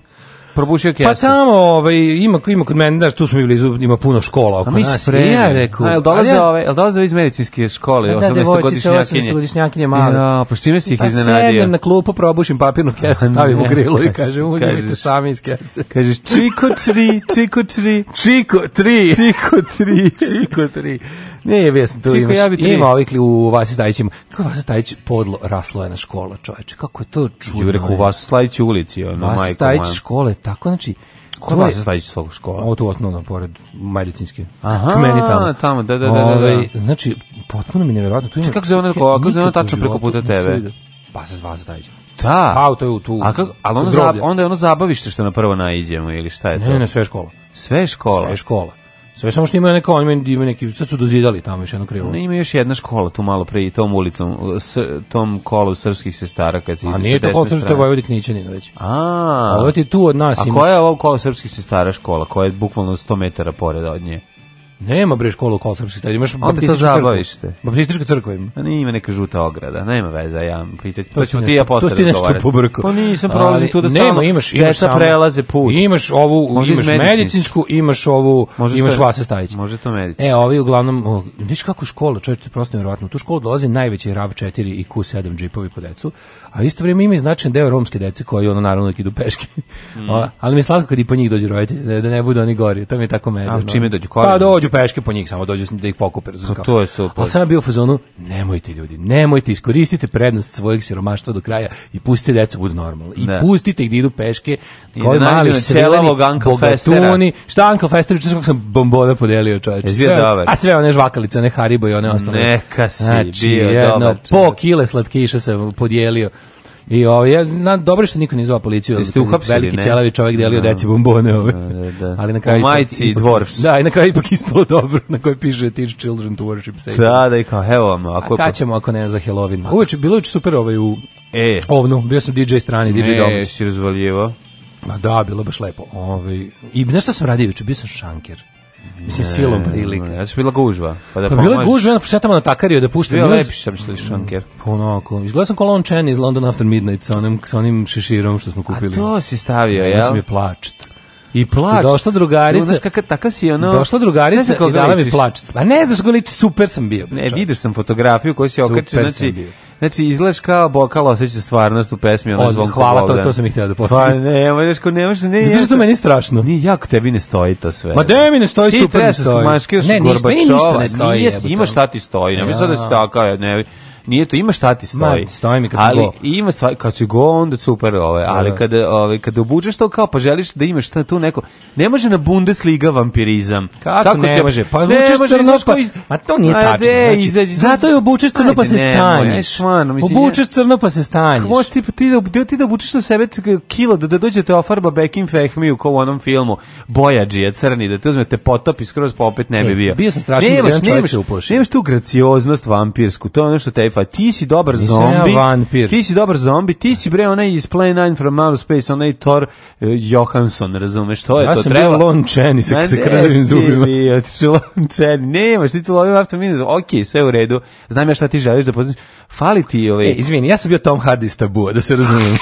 Speaker 7: probušio kesu.
Speaker 8: Pa tamo, ovaj, ima, ima kod mene, znaš, tu smo bili, blizu, ima puno škola oko
Speaker 7: A Pa mi
Speaker 8: nas.
Speaker 7: se
Speaker 8: I
Speaker 7: spremi.
Speaker 8: Ja rekao,
Speaker 7: A, jel
Speaker 8: ali
Speaker 7: dolaze
Speaker 8: ja-
Speaker 7: ove, jel dolaze ove iz medicinske škole,
Speaker 8: Da, devojčice,
Speaker 7: 18-godišnjakinje?
Speaker 8: 18-godišnjakinje male.
Speaker 7: Ja, pa s čime si ih
Speaker 8: Pa
Speaker 7: iznenadio?
Speaker 8: sednem na klupu, probušim papirnu kesu, stavim u
Speaker 7: Ne,
Speaker 8: grilo i
Speaker 7: kažeš,
Speaker 8: kažem, uzmite
Speaker 7: kažeš.
Speaker 8: sami iz kese.
Speaker 7: Kažeš, čiko tri, čiko tri,
Speaker 8: Čiko, tri.
Speaker 7: čiko tri.
Speaker 8: Čiko tri. Ne, ja sam tu
Speaker 7: Čiko,
Speaker 8: imaš,
Speaker 7: ja bi tri.
Speaker 8: ima ovih li u Vasi Stajić, ima- kako Vasi Stajić podlo raslo je na škola, čoveče, kako je to čudno.
Speaker 7: Ju rekao,
Speaker 8: je.
Speaker 7: u vas slajić ulici, ono, majko.
Speaker 8: Vasi Stajić škole, tako, znači,
Speaker 7: Kod
Speaker 8: to je-
Speaker 7: vas slajić svog škola.
Speaker 8: Ovo tu osnovno, pored medicinske.
Speaker 7: Aha,
Speaker 8: K meni tamo.
Speaker 7: tamo, da, da, da, da, da.
Speaker 8: Ovaj, znači, potpuno mi nevjerojatno. Tu ima-
Speaker 7: Čekaj, kako se ona-
Speaker 8: Nikad
Speaker 7: kako se ona
Speaker 8: u
Speaker 7: tačno preko
Speaker 8: životu
Speaker 7: puta
Speaker 8: nisam
Speaker 7: tebe?
Speaker 8: vidio. Pa sa dva zadajića.
Speaker 7: Da.
Speaker 8: Auto je u tu.
Speaker 7: A kako, ali ono
Speaker 8: u groblje.
Speaker 7: zab- onda je ono zabavište što na prvo naiđemo, ili šta je to?
Speaker 8: Ne, ne, sve je škola.
Speaker 7: Sve je škola.
Speaker 8: Sve je škola. Sve samo što ima neka, oni ima neki, sad su dozidali tamo još jedno krilo.
Speaker 7: Ne, Ono ima još jedna škola tu malo pre i tom ulicom, s, tom kolu srpskih sestara kad se ide
Speaker 8: A
Speaker 7: sa
Speaker 8: nije to
Speaker 7: desne
Speaker 8: koncert, to je
Speaker 7: strane.
Speaker 8: Vojvodik Nićanin već.
Speaker 7: A,
Speaker 8: A ovo ti tu od nas
Speaker 7: A
Speaker 8: imaš.
Speaker 7: koja je ovo kolo srpskih sestara škola, koja je bukvalno 100 metara pored od nje?
Speaker 8: Nema bre školu kod srpskih stadiona, imaš
Speaker 7: Onda je to
Speaker 8: baptističku
Speaker 7: zabavište.
Speaker 8: Baptistička crkva ima.
Speaker 7: A nije ima neka žuta ograda, nema veze, ja pitati. To,
Speaker 8: si
Speaker 7: ćemo ti
Speaker 8: nešto-
Speaker 7: i ja posle
Speaker 8: to si ti nešto
Speaker 7: razgovarati.
Speaker 8: pobrkao.
Speaker 7: Pa nisam prolazim
Speaker 8: Ali
Speaker 7: tu da
Speaker 8: nema,
Speaker 7: stalno
Speaker 8: imaš, imaš
Speaker 7: deca
Speaker 8: samo-
Speaker 7: prelaze put.
Speaker 8: Imaš ovu,
Speaker 7: Možda
Speaker 8: imaš
Speaker 7: iz medicinske.
Speaker 8: medicinsku, imaš ovu,
Speaker 7: Možda
Speaker 8: imaš
Speaker 7: to-
Speaker 8: Vasa Stajić.
Speaker 7: Može to medicinski.
Speaker 8: E, ovi uglavnom, o, vidiš kako škola, čovječe, to je prosto nevjerojatno. U tu školu dolazi najveći RAV 4 i Q7 džipovi po decu, a isto vrijeme ima i značajan deo romske dece koji ono naravno uvijek idu peške.
Speaker 7: Mm.
Speaker 8: O, ali mi je slatko kad i po njih dođu roditelji, da, da ne budu oni gori, to mi je tako medno.
Speaker 7: A čime dođu, kolima?
Speaker 8: Pa dođu peške po njih, samo dođu s- da ih pokupe. razumiješ
Speaker 7: Pa
Speaker 8: kako?
Speaker 7: to je super.
Speaker 8: E, Ali sam ja bio u fazonu, nemojte ljudi, nemojte, iskoristite prednost svojeg siromaštva do kraja i pustite decu da budu normalni. I
Speaker 7: Da.
Speaker 8: pustite ih da idu peške,
Speaker 7: I
Speaker 8: koji
Speaker 7: da naiđu
Speaker 8: mali
Speaker 7: na
Speaker 8: sreleni,
Speaker 7: ćelavog Anka
Speaker 8: bogatuni, šta Anka Festera, češ kako sam bombona podelio čoveče.
Speaker 7: Jesi bio
Speaker 8: Sve- ono-
Speaker 7: dobar?
Speaker 8: A sve one žvakalice, one Haribo i one ostale.
Speaker 7: Neka si bio dobar čovek.
Speaker 8: po kile slatkiša sam podijelio. I ovo, ja, na, dobro je što niko nije zvao policiju. ali
Speaker 7: ste
Speaker 8: tu
Speaker 7: uhapsili,
Speaker 8: Veliki
Speaker 7: ne?
Speaker 8: ćelavi čovjek delio
Speaker 7: Da.
Speaker 8: deci bombone ove.
Speaker 7: Da, da.
Speaker 8: Ali na
Speaker 7: U
Speaker 8: kraju... ipak-
Speaker 7: majici
Speaker 8: ipak-
Speaker 7: Dwarfs.
Speaker 8: Da, i na kraju ipak ispalo dobro, na kojoj piše Teach Children to Worship Satan.
Speaker 7: Da, da i kao, evo vam, ako
Speaker 8: A
Speaker 7: je...
Speaker 8: kad ćemo ako ne za Halloween? Uveče, bilo je uveče super ovaj u
Speaker 7: E,
Speaker 8: ovnu, bio sam DJ strani, DJ
Speaker 7: ne,
Speaker 8: domaći.
Speaker 7: si razvaljivo.
Speaker 8: Ma da, bilo je baš lepo. Ovaj, I znaš šta sam radio juče? Bio sam šanker. Mislim, silom prilika.
Speaker 7: Ja ću bila gužva. Pa da
Speaker 8: Pa bilo je
Speaker 7: pomažeš.
Speaker 8: gužve, ja šetamo na takariju da puštam.
Speaker 7: Bio
Speaker 8: Bilo je-
Speaker 7: lepi sam što je šanker.
Speaker 8: Onako, izgledao sam kolon Chen iz London After Midnight sa onim, sa onim šeširom što smo kupili.
Speaker 7: A to si stavio,
Speaker 8: Ja
Speaker 7: jel?
Speaker 8: sam je plačt.
Speaker 7: I plač.
Speaker 8: došla drugarica-
Speaker 7: Znaš kakav, takav si ono...
Speaker 8: Došla
Speaker 7: Ne znam
Speaker 8: drugarica
Speaker 7: koga
Speaker 8: i dala mi
Speaker 7: ličiš.
Speaker 8: plačt. Pa ne znaš ko liči, super sam bio.
Speaker 7: Ne,
Speaker 8: čovječe.
Speaker 7: vidio sam fotografiju koju si
Speaker 8: Super
Speaker 7: okačio,
Speaker 8: sam
Speaker 7: znači,
Speaker 8: bio.
Speaker 7: znači izgledaš kao bokal osjeća stvarnost u pesmi, ono
Speaker 8: Odmah,
Speaker 7: zvonko
Speaker 8: hvala, to-
Speaker 7: Bogdan.
Speaker 8: to sam i htio da potvrdim.
Speaker 7: Pa ne, možeš ko ne možeš, ne,
Speaker 8: Zato što
Speaker 7: jeste-
Speaker 8: meni je strašno.
Speaker 7: Nije jako tebi Pa ne stoji to sve.
Speaker 8: Ma da mi ne stoji,
Speaker 7: Ti
Speaker 8: super
Speaker 7: treba
Speaker 8: ne
Speaker 7: se
Speaker 8: stoji.
Speaker 7: smaškiraš
Speaker 8: Ne, ništa- meni ništa
Speaker 7: Gorbačova,
Speaker 8: ne stoji,
Speaker 7: nije,
Speaker 8: jebote.
Speaker 7: imaš šta ti stoji, ne bi sad da si takav, ne, Nije to, ima šta ti stoji.
Speaker 8: Ma, stoji mi kad si
Speaker 7: ali,
Speaker 8: go.
Speaker 7: Ima stvari, kad si go, onda super, ove, ali
Speaker 8: da.
Speaker 7: kada, ove, kada obučeš to kao, pa želiš da imaš šta tu neko, ne može na Bundesliga vampirizam.
Speaker 8: Kako, ne
Speaker 7: ti-
Speaker 8: može? Pa
Speaker 7: Ne
Speaker 8: obučeš
Speaker 7: može,
Speaker 8: crno,
Speaker 7: znaš
Speaker 8: pa-
Speaker 7: koji-
Speaker 8: Ma to nije
Speaker 7: Ajde,
Speaker 8: tačno, znači,
Speaker 7: izađi,
Speaker 8: zato je obučeš crno, pa
Speaker 7: Ajde,
Speaker 8: se
Speaker 7: nemoj,
Speaker 8: stanješ.
Speaker 7: aj, stvarno, mislim,
Speaker 8: Obučeš crno, pa se stanješ.
Speaker 7: Možeš ti, ti, da, da, ti da obučeš na sebe c- kilo, da, da dođete ofarba Bekim Fehmiju kao u onom filmu Bojađija crni, da te uzmete potopi skroz pa opet ne bi
Speaker 8: E,
Speaker 7: bio.
Speaker 8: bio sam strašan,
Speaker 7: Nemaš-
Speaker 8: jedan čovjek
Speaker 7: nemaš-
Speaker 8: se uplašio.
Speaker 7: Nemaš tu gracioznost vampirsku, to je ono što te fa. Ti si dobar
Speaker 8: Nisam
Speaker 7: zombi,
Speaker 8: ja vampir.
Speaker 7: ti si dobar zombi, ti si bre onaj iz Play 9 from Outer Space, onaj Thor eh, Johansson, razumeš, to je
Speaker 8: Ja
Speaker 7: to
Speaker 8: sam
Speaker 7: treba.
Speaker 8: bio Lon Chaney sa-
Speaker 7: Ma
Speaker 8: sa
Speaker 7: ne,
Speaker 8: krvavim
Speaker 7: si
Speaker 8: zubima.
Speaker 7: bio, ti si Lon Chaney. nemaš, ti ti lovim after minute, ok, sve u redu, znam ja šta ti želiš da poznaš, fali ti ovaj...
Speaker 8: E, izvini, ja sam bio Tom Hardy iz Tabua, da se razumemo.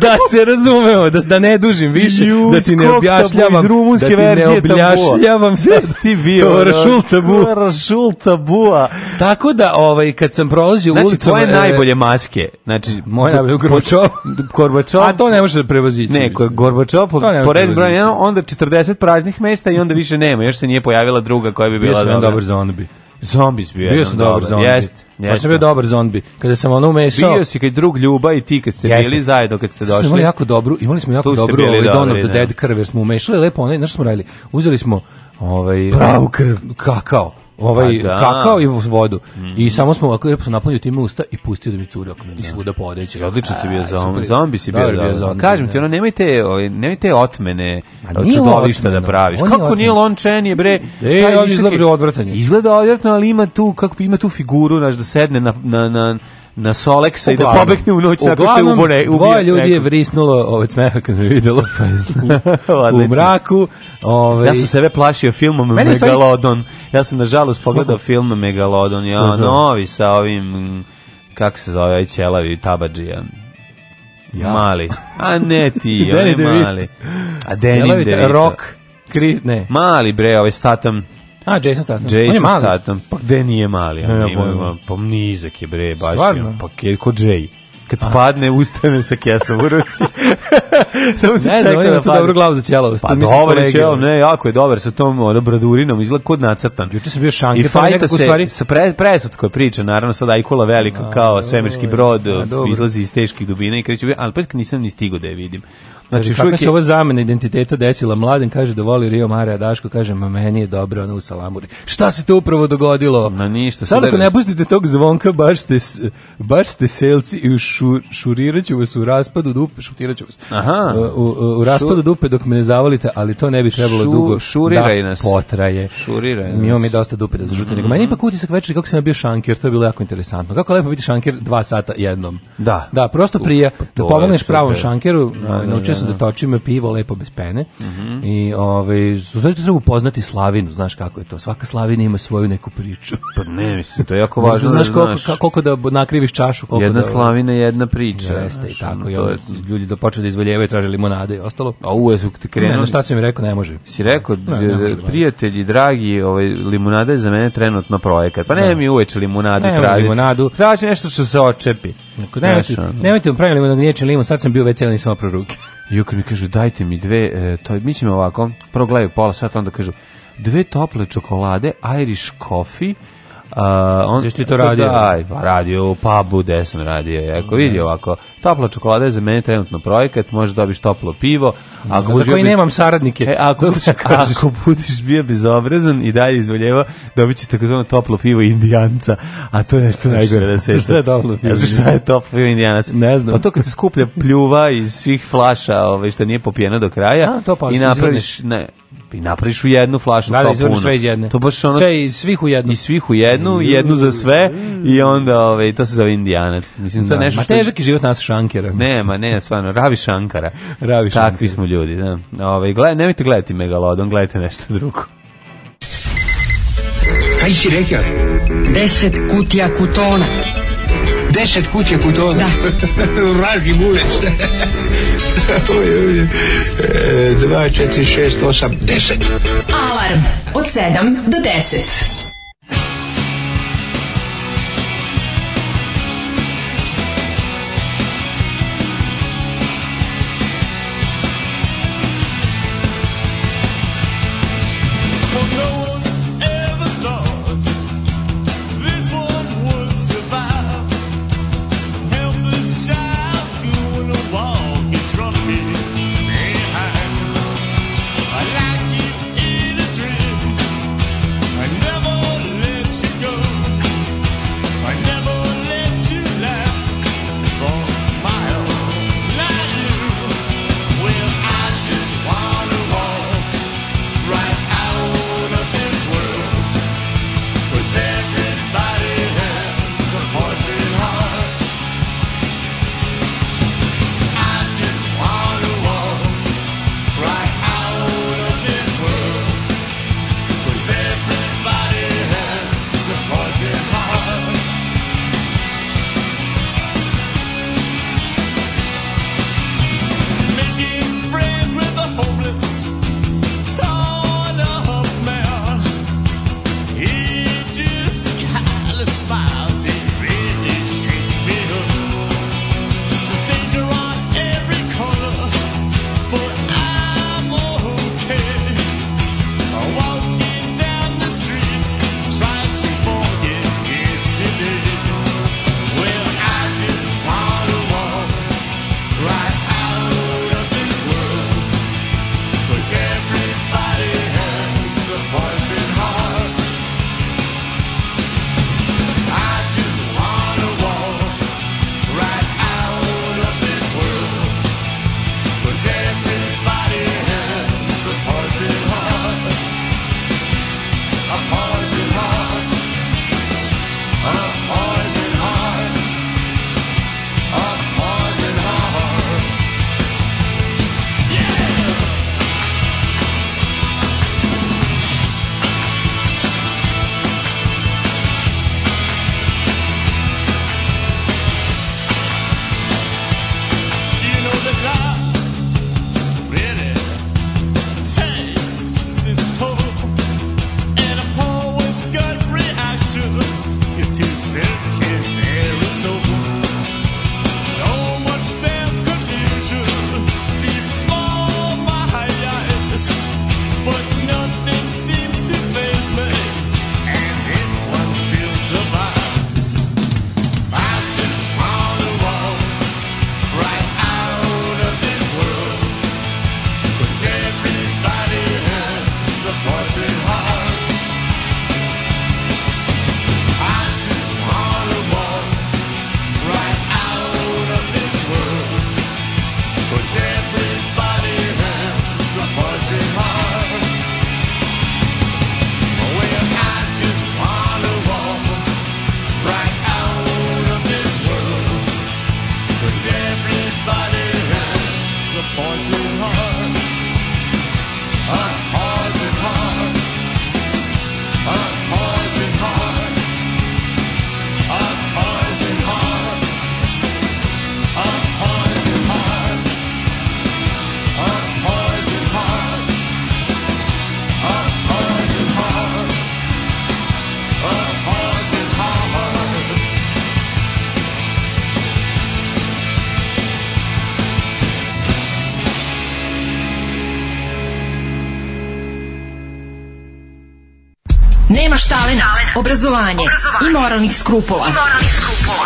Speaker 8: da se razumemo, da, da ne dužim više,
Speaker 7: Ju,
Speaker 8: da ti ne
Speaker 7: skok
Speaker 8: objašnjavam,
Speaker 7: tabu iz rumunske
Speaker 8: da ti ne
Speaker 7: verzije tabua.
Speaker 8: objašnjavam sve.
Speaker 7: Da si ti bio.
Speaker 8: To je Rašul Tabu.
Speaker 7: Rašul tabua.
Speaker 8: Tako da, ovaj, kad sam prolazio
Speaker 7: Znači,
Speaker 8: ulicom...
Speaker 7: tvoje
Speaker 8: e,
Speaker 7: najbolje maske. Znači,
Speaker 8: Moja najbolja Gorbačov.
Speaker 7: Gorbačov.
Speaker 8: A to ne može da prevozići.
Speaker 7: Ne, ko-
Speaker 8: mislim.
Speaker 7: Gorbačov, po,
Speaker 8: To ne može
Speaker 7: Pa po redu
Speaker 8: prevazići.
Speaker 7: broj 1, onda 40 praznih mesta i onda više nema. Još se nije pojavila druga koja bi
Speaker 8: Bio
Speaker 7: bila
Speaker 8: sam
Speaker 7: dobra.
Speaker 8: jedan dobar zombi.
Speaker 7: Zombis bio.
Speaker 8: Bio
Speaker 7: jedan
Speaker 8: sam dobar zombi.
Speaker 7: Jest,
Speaker 8: Baš
Speaker 7: jest.
Speaker 8: sam bio dobar zombi. Kada sam ono umešao...
Speaker 7: Bio si kad drug Ljuba i ti kad ste
Speaker 8: Jeste.
Speaker 7: bili zajedno kad ste
Speaker 8: Došli. Smo imali
Speaker 7: došli.
Speaker 8: jako dobru, imali smo jako
Speaker 7: Tu ste
Speaker 8: dobru
Speaker 7: bili
Speaker 8: ovaj Dawn
Speaker 7: dobri,
Speaker 8: of the
Speaker 7: da.
Speaker 8: Dead krv, jer smo umešali lepo onaj, znaš što smo radili? Uzeli smo ovaj pravu krv, kakao. Ovaj
Speaker 7: Pa da. Mhm.
Speaker 8: kakao i vodu. I samo smo ovako lepo sam napunio time usta i pustio da mi curi oko i svuda po odeći.
Speaker 7: Odlično si bio
Speaker 8: Aj,
Speaker 7: zombi,
Speaker 8: super.
Speaker 7: zombi si bio,
Speaker 8: Dobar
Speaker 7: dobro.
Speaker 8: zombi,
Speaker 7: Kažem ti,
Speaker 8: da.
Speaker 7: ono, nemojte, ovaj, nemojte otmene
Speaker 8: A nije
Speaker 7: čudovišta da
Speaker 8: otmeno,
Speaker 7: praviš.
Speaker 8: on je
Speaker 7: Kako nije
Speaker 8: otmeno.
Speaker 7: lončen je, bre?
Speaker 8: E,
Speaker 7: taj
Speaker 8: on
Speaker 7: visoki-
Speaker 8: izgleda odvratan je.
Speaker 7: Izgleda odvratno, ali ima tu, kako, ima tu figuru, znaš, da sedne na, na, na, na Soleksa i da
Speaker 8: Uglavnom-
Speaker 7: pobegne u noć tako što je
Speaker 8: uglavnom,
Speaker 7: ubore, ubije.
Speaker 8: Dvoje ljudi je
Speaker 7: nekog.
Speaker 8: vrisnulo ovaj smeha kad me videlo u
Speaker 7: Odlično.
Speaker 8: mraku. Ovaj,
Speaker 7: Ja sam sebe plašio filmom
Speaker 8: Meni je stvari-
Speaker 7: Megalodon. Ja sam, nažalost, pogledao film Megalodon. Ja,
Speaker 8: Šta je to?
Speaker 7: novi sa ovim, mm, kako se zove, ovaj ćelavi tabadžija.
Speaker 8: Ja.
Speaker 7: Mali. A ne ti,
Speaker 8: Danny
Speaker 7: on je
Speaker 8: DeVito.
Speaker 7: mali. A Danny
Speaker 8: Jelavite,
Speaker 7: DeVito.
Speaker 8: Rock, kri, ne.
Speaker 7: Mali bre, ovaj Statham,
Speaker 8: A, Jason Statham. On je
Speaker 7: Jason
Speaker 8: mali.
Speaker 7: Statham. Pa gde nije mali?
Speaker 8: Ne,
Speaker 7: on
Speaker 8: ja
Speaker 7: ima,
Speaker 8: pojma.
Speaker 7: ima, pa nizak je bre, baš
Speaker 8: Stvarno?
Speaker 7: je. Pa ke, ko Jay. Kad padne, ustane sa kesom u ruci. Samo se
Speaker 8: Ne znam,
Speaker 7: čeka
Speaker 8: on ima
Speaker 7: da
Speaker 8: tu
Speaker 7: padne.
Speaker 8: dobru glavu za ćelavost.
Speaker 7: Pa
Speaker 8: Tu mislim
Speaker 7: dobar je
Speaker 8: kolege.
Speaker 7: čelo, ne, jako je dobar sa tom ono, bradurinom, izgleda kod nacrtan.
Speaker 8: Juče sam bio
Speaker 7: I
Speaker 8: šanker, pa mi
Speaker 7: fajta
Speaker 8: nekako u
Speaker 7: se
Speaker 8: stvari...
Speaker 7: sa pre, presudskoj priča, naravno sad Ajkula velika kao svemirski brod,
Speaker 8: a, pa, dobro.
Speaker 7: izlazi iz teških dubina i kreće, ali pa nisam ni stigo da je vidim. Znači,
Speaker 8: Znači,
Speaker 7: još
Speaker 8: kako
Speaker 7: uvijek
Speaker 8: se
Speaker 7: je,
Speaker 8: ova zamena identiteta desila? Mladen kaže da voli Rio Mare, a Daško kaže, ma meni je dobro, ono u Salamuri. Šta se to upravo dogodilo?
Speaker 7: Ma ništa,
Speaker 8: Sad
Speaker 7: sad
Speaker 8: ako
Speaker 7: je-
Speaker 8: ne pustite tog zvonka, baš ste, s- baš ste selci i šu, šurirat ću vas u raspadu dupe, šutirat ću vas.
Speaker 7: Aha.
Speaker 8: U, u, u raspadu dupe dok me ne zavalite, ali to ne bi trebalo
Speaker 7: Šu-
Speaker 8: dugo
Speaker 7: šuriraj
Speaker 8: da
Speaker 7: nas.
Speaker 8: potraje.
Speaker 7: Šuriraj nas. Mhm.
Speaker 8: Mi imamo mi dosta dupe da zažuti, Znači, nego meni ipak utisak večeri kako sam ja bio šanker, to je bilo jako interesantno. Kako lepo biti šanker dva sata jednom.
Speaker 7: Da. pa
Speaker 8: Da, prosto prije, da
Speaker 7: je
Speaker 8: pomogneš
Speaker 7: super.
Speaker 8: pravom šankeru, ovaj, naučio sam da točim pivo lepo bez pene
Speaker 7: Mhm.
Speaker 8: i ovaj, u stvari to treba upoznati slavinu, znaš kako je to, svaka slavina ima svoju neku priču.
Speaker 7: pa ne, mislim, to je jako
Speaker 8: Možda
Speaker 7: važno da
Speaker 8: znaš koliko,
Speaker 7: znaš.
Speaker 8: ka- koliko da bo- nakriviš čašu, koliko
Speaker 7: Jedna
Speaker 8: da...
Speaker 7: slavina, jedna priča.
Speaker 8: Jeste i
Speaker 7: znaš, ono,
Speaker 8: tako, i
Speaker 7: to
Speaker 8: onda
Speaker 7: je-
Speaker 8: ljudi da počeli da izvoljevaju, traže limonade i ostalo.
Speaker 7: A uve su ti
Speaker 8: Ne,
Speaker 7: krenuli.
Speaker 8: na šta sam im rekao, ne može.
Speaker 7: Si rekao,
Speaker 8: Ne, ne
Speaker 7: d-
Speaker 8: može da
Speaker 7: prijatelji, dragi, ovaj, limunada je za mene trenutno projekat. Pa ne, mi uveče limunadu
Speaker 8: Ne,
Speaker 7: traži.
Speaker 8: limunadu.
Speaker 7: Traži nešto što se očepi.
Speaker 8: Ako Nemojte,
Speaker 7: Znaš, ono.
Speaker 8: nemojte vam pravili limonad gnječen limon, sad sam bio već cijeli sam oprao ruke.
Speaker 7: I kad mi kažu, dajte mi dve, e, to, mi ćemo ovako, prvo gledaju pola sata, onda kažu, dve tople čokolade, Irish coffee, a, on,
Speaker 8: Jesi ti to radio?
Speaker 7: Da, aj, pa radio u pubu, gde sam radio. Ako vidi ovako, topla čokolada je za mene trenutno projekat, možeš dobiš toplo pivo.
Speaker 8: Za
Speaker 7: Ako budeš
Speaker 8: koji
Speaker 7: bio bez-
Speaker 8: nemam saradnike.
Speaker 7: E, ako, budeš,
Speaker 8: kažeš.
Speaker 7: ako budeš bio bezobrazan i dalje izvoljeva, dobit ćeš takozvano toplo pivo indijanca, a to je nešto najgore da se
Speaker 8: Šta je toplo pivo
Speaker 7: Ja znam šta je toplo pivo indijanac?
Speaker 8: Ne znam.
Speaker 7: Pa to kad se skuplja pljuva iz svih flaša, ovaj, što nije popijena do kraja,
Speaker 8: A, to pa
Speaker 7: i napraviš, ne, i napraviš u jednu flašu
Speaker 8: Da,
Speaker 7: kao
Speaker 8: da, izvrnu
Speaker 7: punu.
Speaker 8: sve iz jedne.
Speaker 7: To baš ono,
Speaker 8: Sve iz svih u jednu.
Speaker 7: i svih u jednu, jednu za sve, i onda ovaj, to se zove indijanac. Mislim, to je nešto
Speaker 8: Ma
Speaker 7: što...
Speaker 8: težak je život nas šankera.
Speaker 7: Nema, ne, stvarno, Ravi Šankara.
Speaker 8: Ravi
Speaker 7: Takvi smo ljudi, da. Ovaj, gled, nemojte gledati Megalodon, gledajte nešto drugo.
Speaker 9: Kaj si rekao?
Speaker 6: Deset kutija kutona.
Speaker 9: Deset kuće kutona. Vraži gulec. Oj, oj, oj. E, Dva, četiri, šest, osam, deset.
Speaker 6: Alarm od 7 do 10.
Speaker 3: Well, no one ever thought this one would survive. walk in front of me behind. I like you in a dream. I never let you go. I never let you laugh or smile like you. Well, I just wanna walk right out of this world. 'Cause everybody has a poison heart. I just wanna walk right out of this world. 'Cause everybody has a poison heart. Making friends with the homeless, sort of man. He just kinda smiles and really shakes me up. There's danger on every corner, but I'm okay. I'm walking down the street, trying to forget yesterday. Well, I just wanna walk right out of this world, 'cause everybody has a poison heart. I just wanna walk right out of this world. 'Cause everybody has a poison heart. A poison heart. A poison heart. A poison heart. Yeah! You know that love really takes its toll, and a poet's gut reaction is to sink his very soul. So much damn confusion before my eyes, but nothing seems to faze me, and this one still survives. I just wanna walk right out of this world. 'Cause everybody has a poison heart. I just wanna walk right out of this world. 'Cause everybody has a poison heart. Well, I just wanna walk right out of this world. Cause everybody has a poison heart. A poison heart. A poison heart. A poison heart. A poison heart. A poison heart. A poison heart. A poison heart.
Speaker 6: Nemaš talena, obrazovanje, i moralnih skrupula.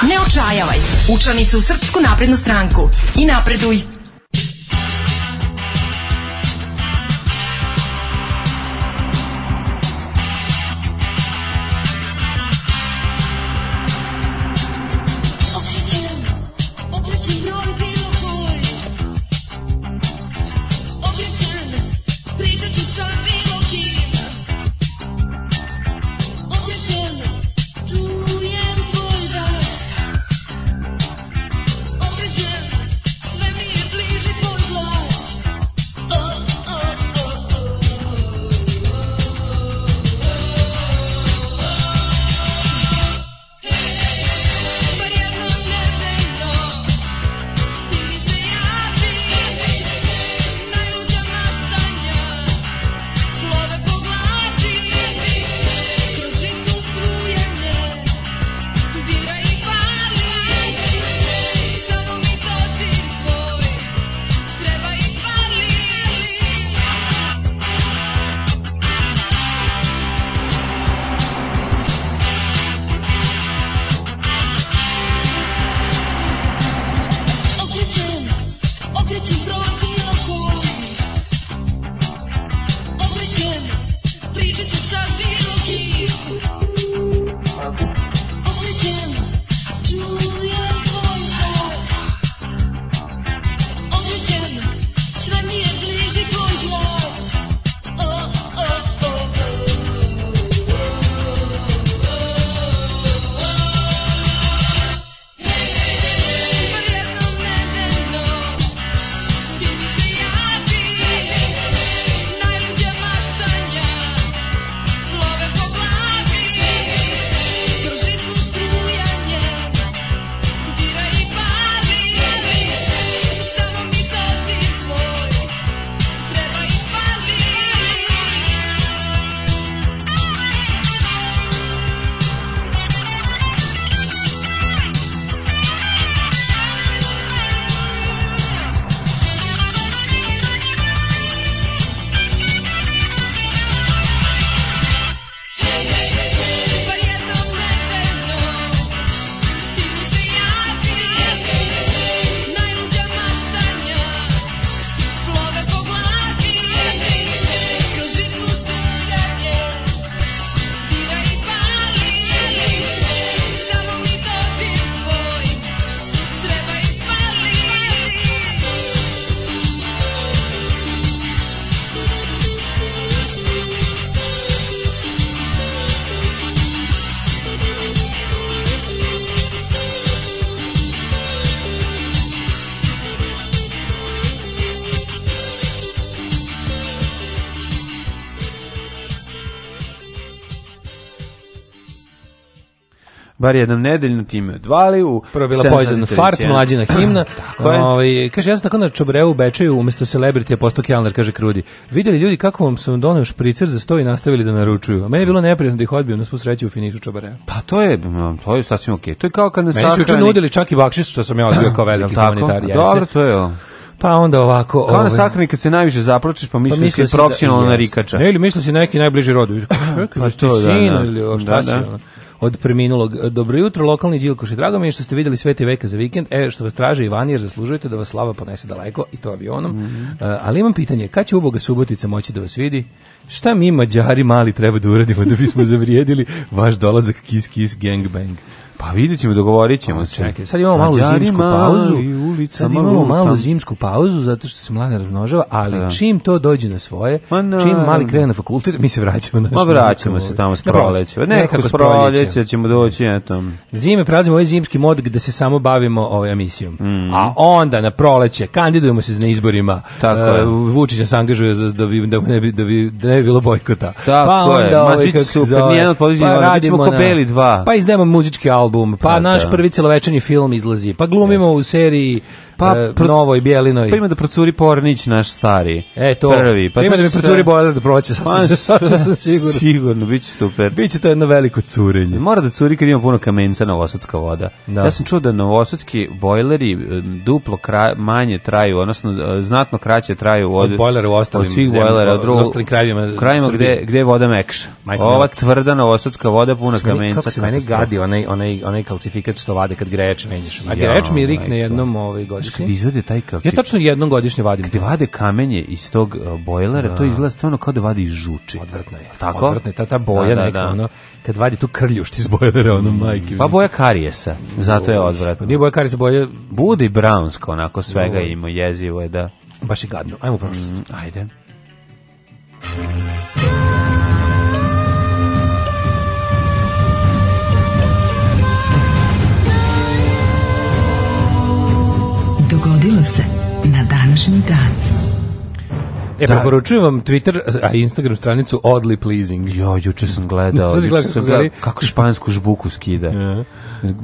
Speaker 6: Ne očajavaj. Učlani se u Srpsku naprednu stranku i napreduj.
Speaker 10: Sve mi je blizu
Speaker 7: Bar jednom nedeljno time odvali u...
Speaker 8: Prvo je bila
Speaker 7: 7
Speaker 8: Poison
Speaker 7: sati
Speaker 8: Fart,
Speaker 7: 31.
Speaker 8: mlađina himna.
Speaker 7: Tako je.
Speaker 8: Ovaj, kaže, ja sam tako na Čobreu u Bečeju, umesto celebrity je postao kelner, kaže Krudi. Videli ljudi kako vam sam doneo špricer za sto i nastavili da naručuju. A meni je bilo neprijatno da ih odbijem na svu sreću u finišu Čobreu.
Speaker 7: Pa to je, m, to je sasvim okej. To je kao kad nas
Speaker 8: Meni su juče
Speaker 7: sahrani...
Speaker 8: nudili čak i bakšiš, što sam ja odbio kao
Speaker 7: Jel
Speaker 8: veliki
Speaker 7: tako?
Speaker 8: humanitar. jeste.
Speaker 7: Dobro, to je ovo.
Speaker 8: Pa onda ovako...
Speaker 7: Kao na
Speaker 8: ovaj,
Speaker 7: sahrani kad se najviše zapročiš, pa misliš da si profesionalno
Speaker 8: da-
Speaker 7: narikača.
Speaker 8: Ne, ili misli si neki najbliži rodu.
Speaker 7: Pa
Speaker 8: Pa
Speaker 7: to
Speaker 8: to
Speaker 7: da,
Speaker 8: sin
Speaker 7: da.
Speaker 8: ili o, šta
Speaker 7: Da,
Speaker 8: si,
Speaker 7: da.
Speaker 8: ono? od preminulog. Dobro jutro, lokalni Đilkoši. Drago mi je što ste videli Sveti veka za vikend. E, što vas traže Ivan, jer zaslužujete da vas slava ponese daleko, i to avionom.
Speaker 7: Mhm.
Speaker 8: E, ali imam pitanje, kad će uboga Subotica moći da vas vidi? Šta mi mađari mali treba da uradimo da bismo zavrijedili vaš dolazak Kiss Kiss Gangbang?
Speaker 7: Pa vidjet ćemo, dogovorit ćemo se.
Speaker 8: Čekaj, sad imamo malu
Speaker 7: Mađari
Speaker 8: zimsku
Speaker 7: mali,
Speaker 8: pauzu.
Speaker 7: ulica
Speaker 8: Sad imamo
Speaker 7: malutam.
Speaker 8: malu zimsku pauzu zato što se mlade razmnožava, ali
Speaker 7: Da.
Speaker 8: čim to dođe na svoje,
Speaker 7: Ma na-
Speaker 8: čim mali krene na fakultet, mi se vraćamo na
Speaker 7: Ma vraćamo se tamo s proleće. Nekako s proleće ćemo doći, eto.
Speaker 8: Zime prazimo ovaj zimski mod gde se samo bavimo ovaj emisijom.
Speaker 7: Mhm.
Speaker 8: A onda na proleće kandidujemo se na izborima.
Speaker 7: Tako je.
Speaker 8: E, Vučić nas angažuje za, da bi da ne bi da bi da ne bi bilo bojkota.
Speaker 7: Tako
Speaker 8: pa
Speaker 7: je.
Speaker 8: onda
Speaker 7: Ma,
Speaker 8: ovaj,
Speaker 7: bit će
Speaker 8: kako se
Speaker 7: super,
Speaker 8: zove,
Speaker 7: nijedan od područja
Speaker 8: pa
Speaker 7: ne mora, bit
Speaker 8: radimo
Speaker 7: ćemo ko
Speaker 8: na-
Speaker 7: Beli dva.
Speaker 8: Pa izdajemo muzički album, pa
Speaker 7: Pa
Speaker 8: naš
Speaker 7: da.
Speaker 8: prvi celovečernji film izlazi, pa glumimo u seriji
Speaker 7: Pa,
Speaker 8: pa
Speaker 7: proc-
Speaker 8: Novoj Bjelinoj.
Speaker 7: Pa ima da procuri Pornić, naš stari.
Speaker 8: E to.
Speaker 7: Prvi.
Speaker 8: ima
Speaker 7: to
Speaker 8: da mi
Speaker 7: će
Speaker 8: procuri
Speaker 7: sve-
Speaker 8: bojler da proće, sasvim,
Speaker 7: Pa,
Speaker 8: sam- sasvim sam siguran.
Speaker 7: Sigurno, bit će super.
Speaker 8: Biće to jedno veliko curenje.
Speaker 7: Mora da curi kad ima puno kamenca novosadska voda.
Speaker 8: Da.
Speaker 7: Ja sam čuo da novosadski bojleri e, duplo kra, manje traju, odnosno e, znatno kraće traju od,
Speaker 8: Od bojlera u ostalim
Speaker 7: od svih
Speaker 8: zemljama,
Speaker 7: bojlera,
Speaker 8: od ostalim krajevima
Speaker 7: krajima
Speaker 8: Srbije.
Speaker 7: gde, gde je voda mekša.
Speaker 8: Majko
Speaker 7: Ova
Speaker 8: mila.
Speaker 7: tvrda novosadska voda puna
Speaker 8: Kako se meni-
Speaker 7: kamenca.
Speaker 8: Kako se mene
Speaker 7: katastrofa.
Speaker 8: gadi onaj, onaj, onaj kalcifikat što vade kad greč menjaš. A
Speaker 7: Ja,
Speaker 8: greč mi
Speaker 7: majko.
Speaker 8: rikne jednom ovaj godišnje.
Speaker 7: Kad izvede taj
Speaker 8: Ja
Speaker 7: kalcit,
Speaker 8: tačno jednom godišnje vadim.
Speaker 7: gde vade kamenje iz tog e, bojlera, to izgleda stvarno kao da vadi iz žuči.
Speaker 8: Odvrtno je.
Speaker 7: Tako?
Speaker 8: Odvrtno je. Ta, ta boja
Speaker 7: Da, da,
Speaker 8: neka,
Speaker 7: da.
Speaker 8: ono, kad vadi tu krljuš ti iz bojlera, ono, majke.
Speaker 7: Pa
Speaker 8: mi.
Speaker 7: boja karijesa, zato je
Speaker 8: Pa
Speaker 7: odvratno.
Speaker 8: Nije boja karica, boja
Speaker 7: Bude i brownsko, onako svega ima, jezivo je da...
Speaker 8: baš i gadno. Ajmo u prošlost.
Speaker 7: Mm, Ajde.
Speaker 6: Dogodilo se na današnji dan.
Speaker 8: E, preporučujem vam Twitter, a i Instagram stranicu Oddly Pleasing.
Speaker 7: Jo, juče sam gledao,
Speaker 8: Sad si
Speaker 7: juče
Speaker 8: gledao
Speaker 7: sam
Speaker 8: kako
Speaker 7: gledao
Speaker 8: gari?
Speaker 7: kako špansku žbuku skida.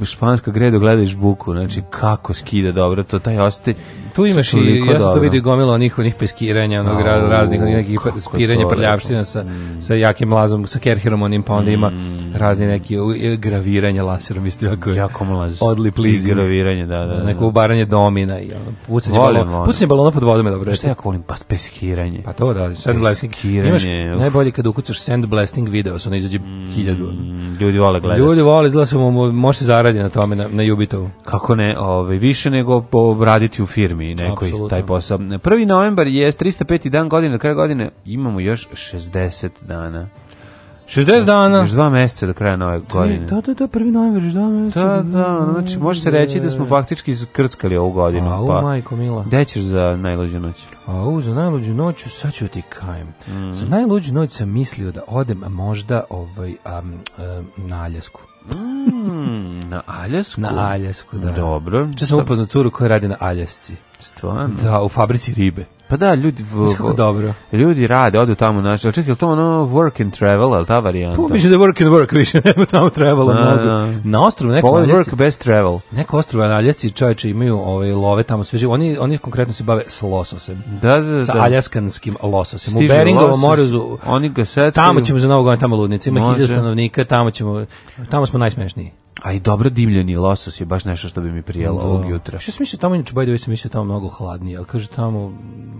Speaker 7: Španska gredo gleda i žbuku, znači kako skida dobro, to taj osjeti.
Speaker 8: Tu imaš i,
Speaker 7: toliko
Speaker 8: ja sam to
Speaker 7: dobro.
Speaker 8: vidio gomilo onih, onih peskiranja, onog ra-
Speaker 7: Au,
Speaker 8: raznih onih nekih
Speaker 7: kako je
Speaker 8: spiranja
Speaker 7: to Mm.
Speaker 8: prljavština sa, sa jakim lazom, sa kerherom onim, pa onda ima razni neki u- i graviranja laserom, isto jako je.
Speaker 7: Jako mlaz.
Speaker 8: Oddly pleasing.
Speaker 7: Izgraviranje, da, da, da.
Speaker 8: Neko ubaranje domina i ono, pucanje
Speaker 7: Volim
Speaker 8: balona,
Speaker 7: ono.
Speaker 8: pucanje balona pod vodom je dobro.
Speaker 7: Šta ja volim, pa speskiranje.
Speaker 8: Pa to da, sandblasting.
Speaker 7: Peskiranje,
Speaker 8: Imaš
Speaker 7: uf.
Speaker 8: najbolje kad ukucaš sandblasting video, ono izađe hiljadu. ono.
Speaker 7: Ljudi vole gledati.
Speaker 8: Ljudi vole, izgleda se mu, mu- može se zaradi na tome, na, na Jubitovu.
Speaker 7: kako ne, ovaj više nego po- raditi u firmi nekoj
Speaker 8: Apsolutno.
Speaker 7: taj posao. 1. novembar je 305. dan godine, do kraja godine imamo još 60 dana.
Speaker 8: 60 dana.
Speaker 7: Još dva meseca do kraja nove godine.
Speaker 8: Da, da, da, prvi novembar, još dva meseca.
Speaker 7: Da, da, znači može se reći da smo faktički skrckali ovu godinu.
Speaker 8: Au,
Speaker 7: pa,
Speaker 8: majko mila.
Speaker 7: Gde ćeš za najluđu noć?
Speaker 8: A u, za najluđu noću, sad ću ti kajem.
Speaker 7: Mhm.
Speaker 8: Za najluđu noć sam mislio da odem a možda ovaj, am, em, na Aljasku.
Speaker 7: Mm, na Aljasku?
Speaker 8: Na Aljasku, da.
Speaker 7: Dobro.
Speaker 8: Če sam upoznao curu koja radi na Aljasci.
Speaker 7: Stvarno.
Speaker 8: Da, u fabrici ribe.
Speaker 7: Pa da, ljudi... v-
Speaker 8: Znaš kako
Speaker 7: v-
Speaker 8: dobro.
Speaker 7: Ljudi rade, odu tamo, znači, ali čekaj, je li to ono work and travel, ali ta varijanta?
Speaker 8: Tu mislim da je work and work više, nema tamo trebalo
Speaker 7: Da,
Speaker 8: mnogo.
Speaker 7: da.
Speaker 8: Na ostrovu
Speaker 7: Pa
Speaker 8: nekom
Speaker 7: ovo je
Speaker 8: Aljasci,
Speaker 7: work bez travel.
Speaker 8: neko ostrovu na Aljasci čovječe imaju ovaj, love tamo sve živo. Oni, oni konkretno se bave s lososem.
Speaker 7: Da, da, da.
Speaker 8: Sa aljaskanskim lososem.
Speaker 7: Stiže
Speaker 8: u Beringovom
Speaker 7: losos,
Speaker 8: morezu
Speaker 7: Oni ga setkaju.
Speaker 8: Tamo ćemo za novu godinu, tamo ludnici, ima
Speaker 7: Može.
Speaker 8: hiljadu stanovnika, tamo ćemo, tamo smo najsmešniji.
Speaker 7: A i dobro dimljeni losos je baš nešto što bi mi prijelo ovog jutra.
Speaker 8: Što sam mislio tamo, inače, by the way, sam mislio tamo mnogo hladnije, ali kaže tamo,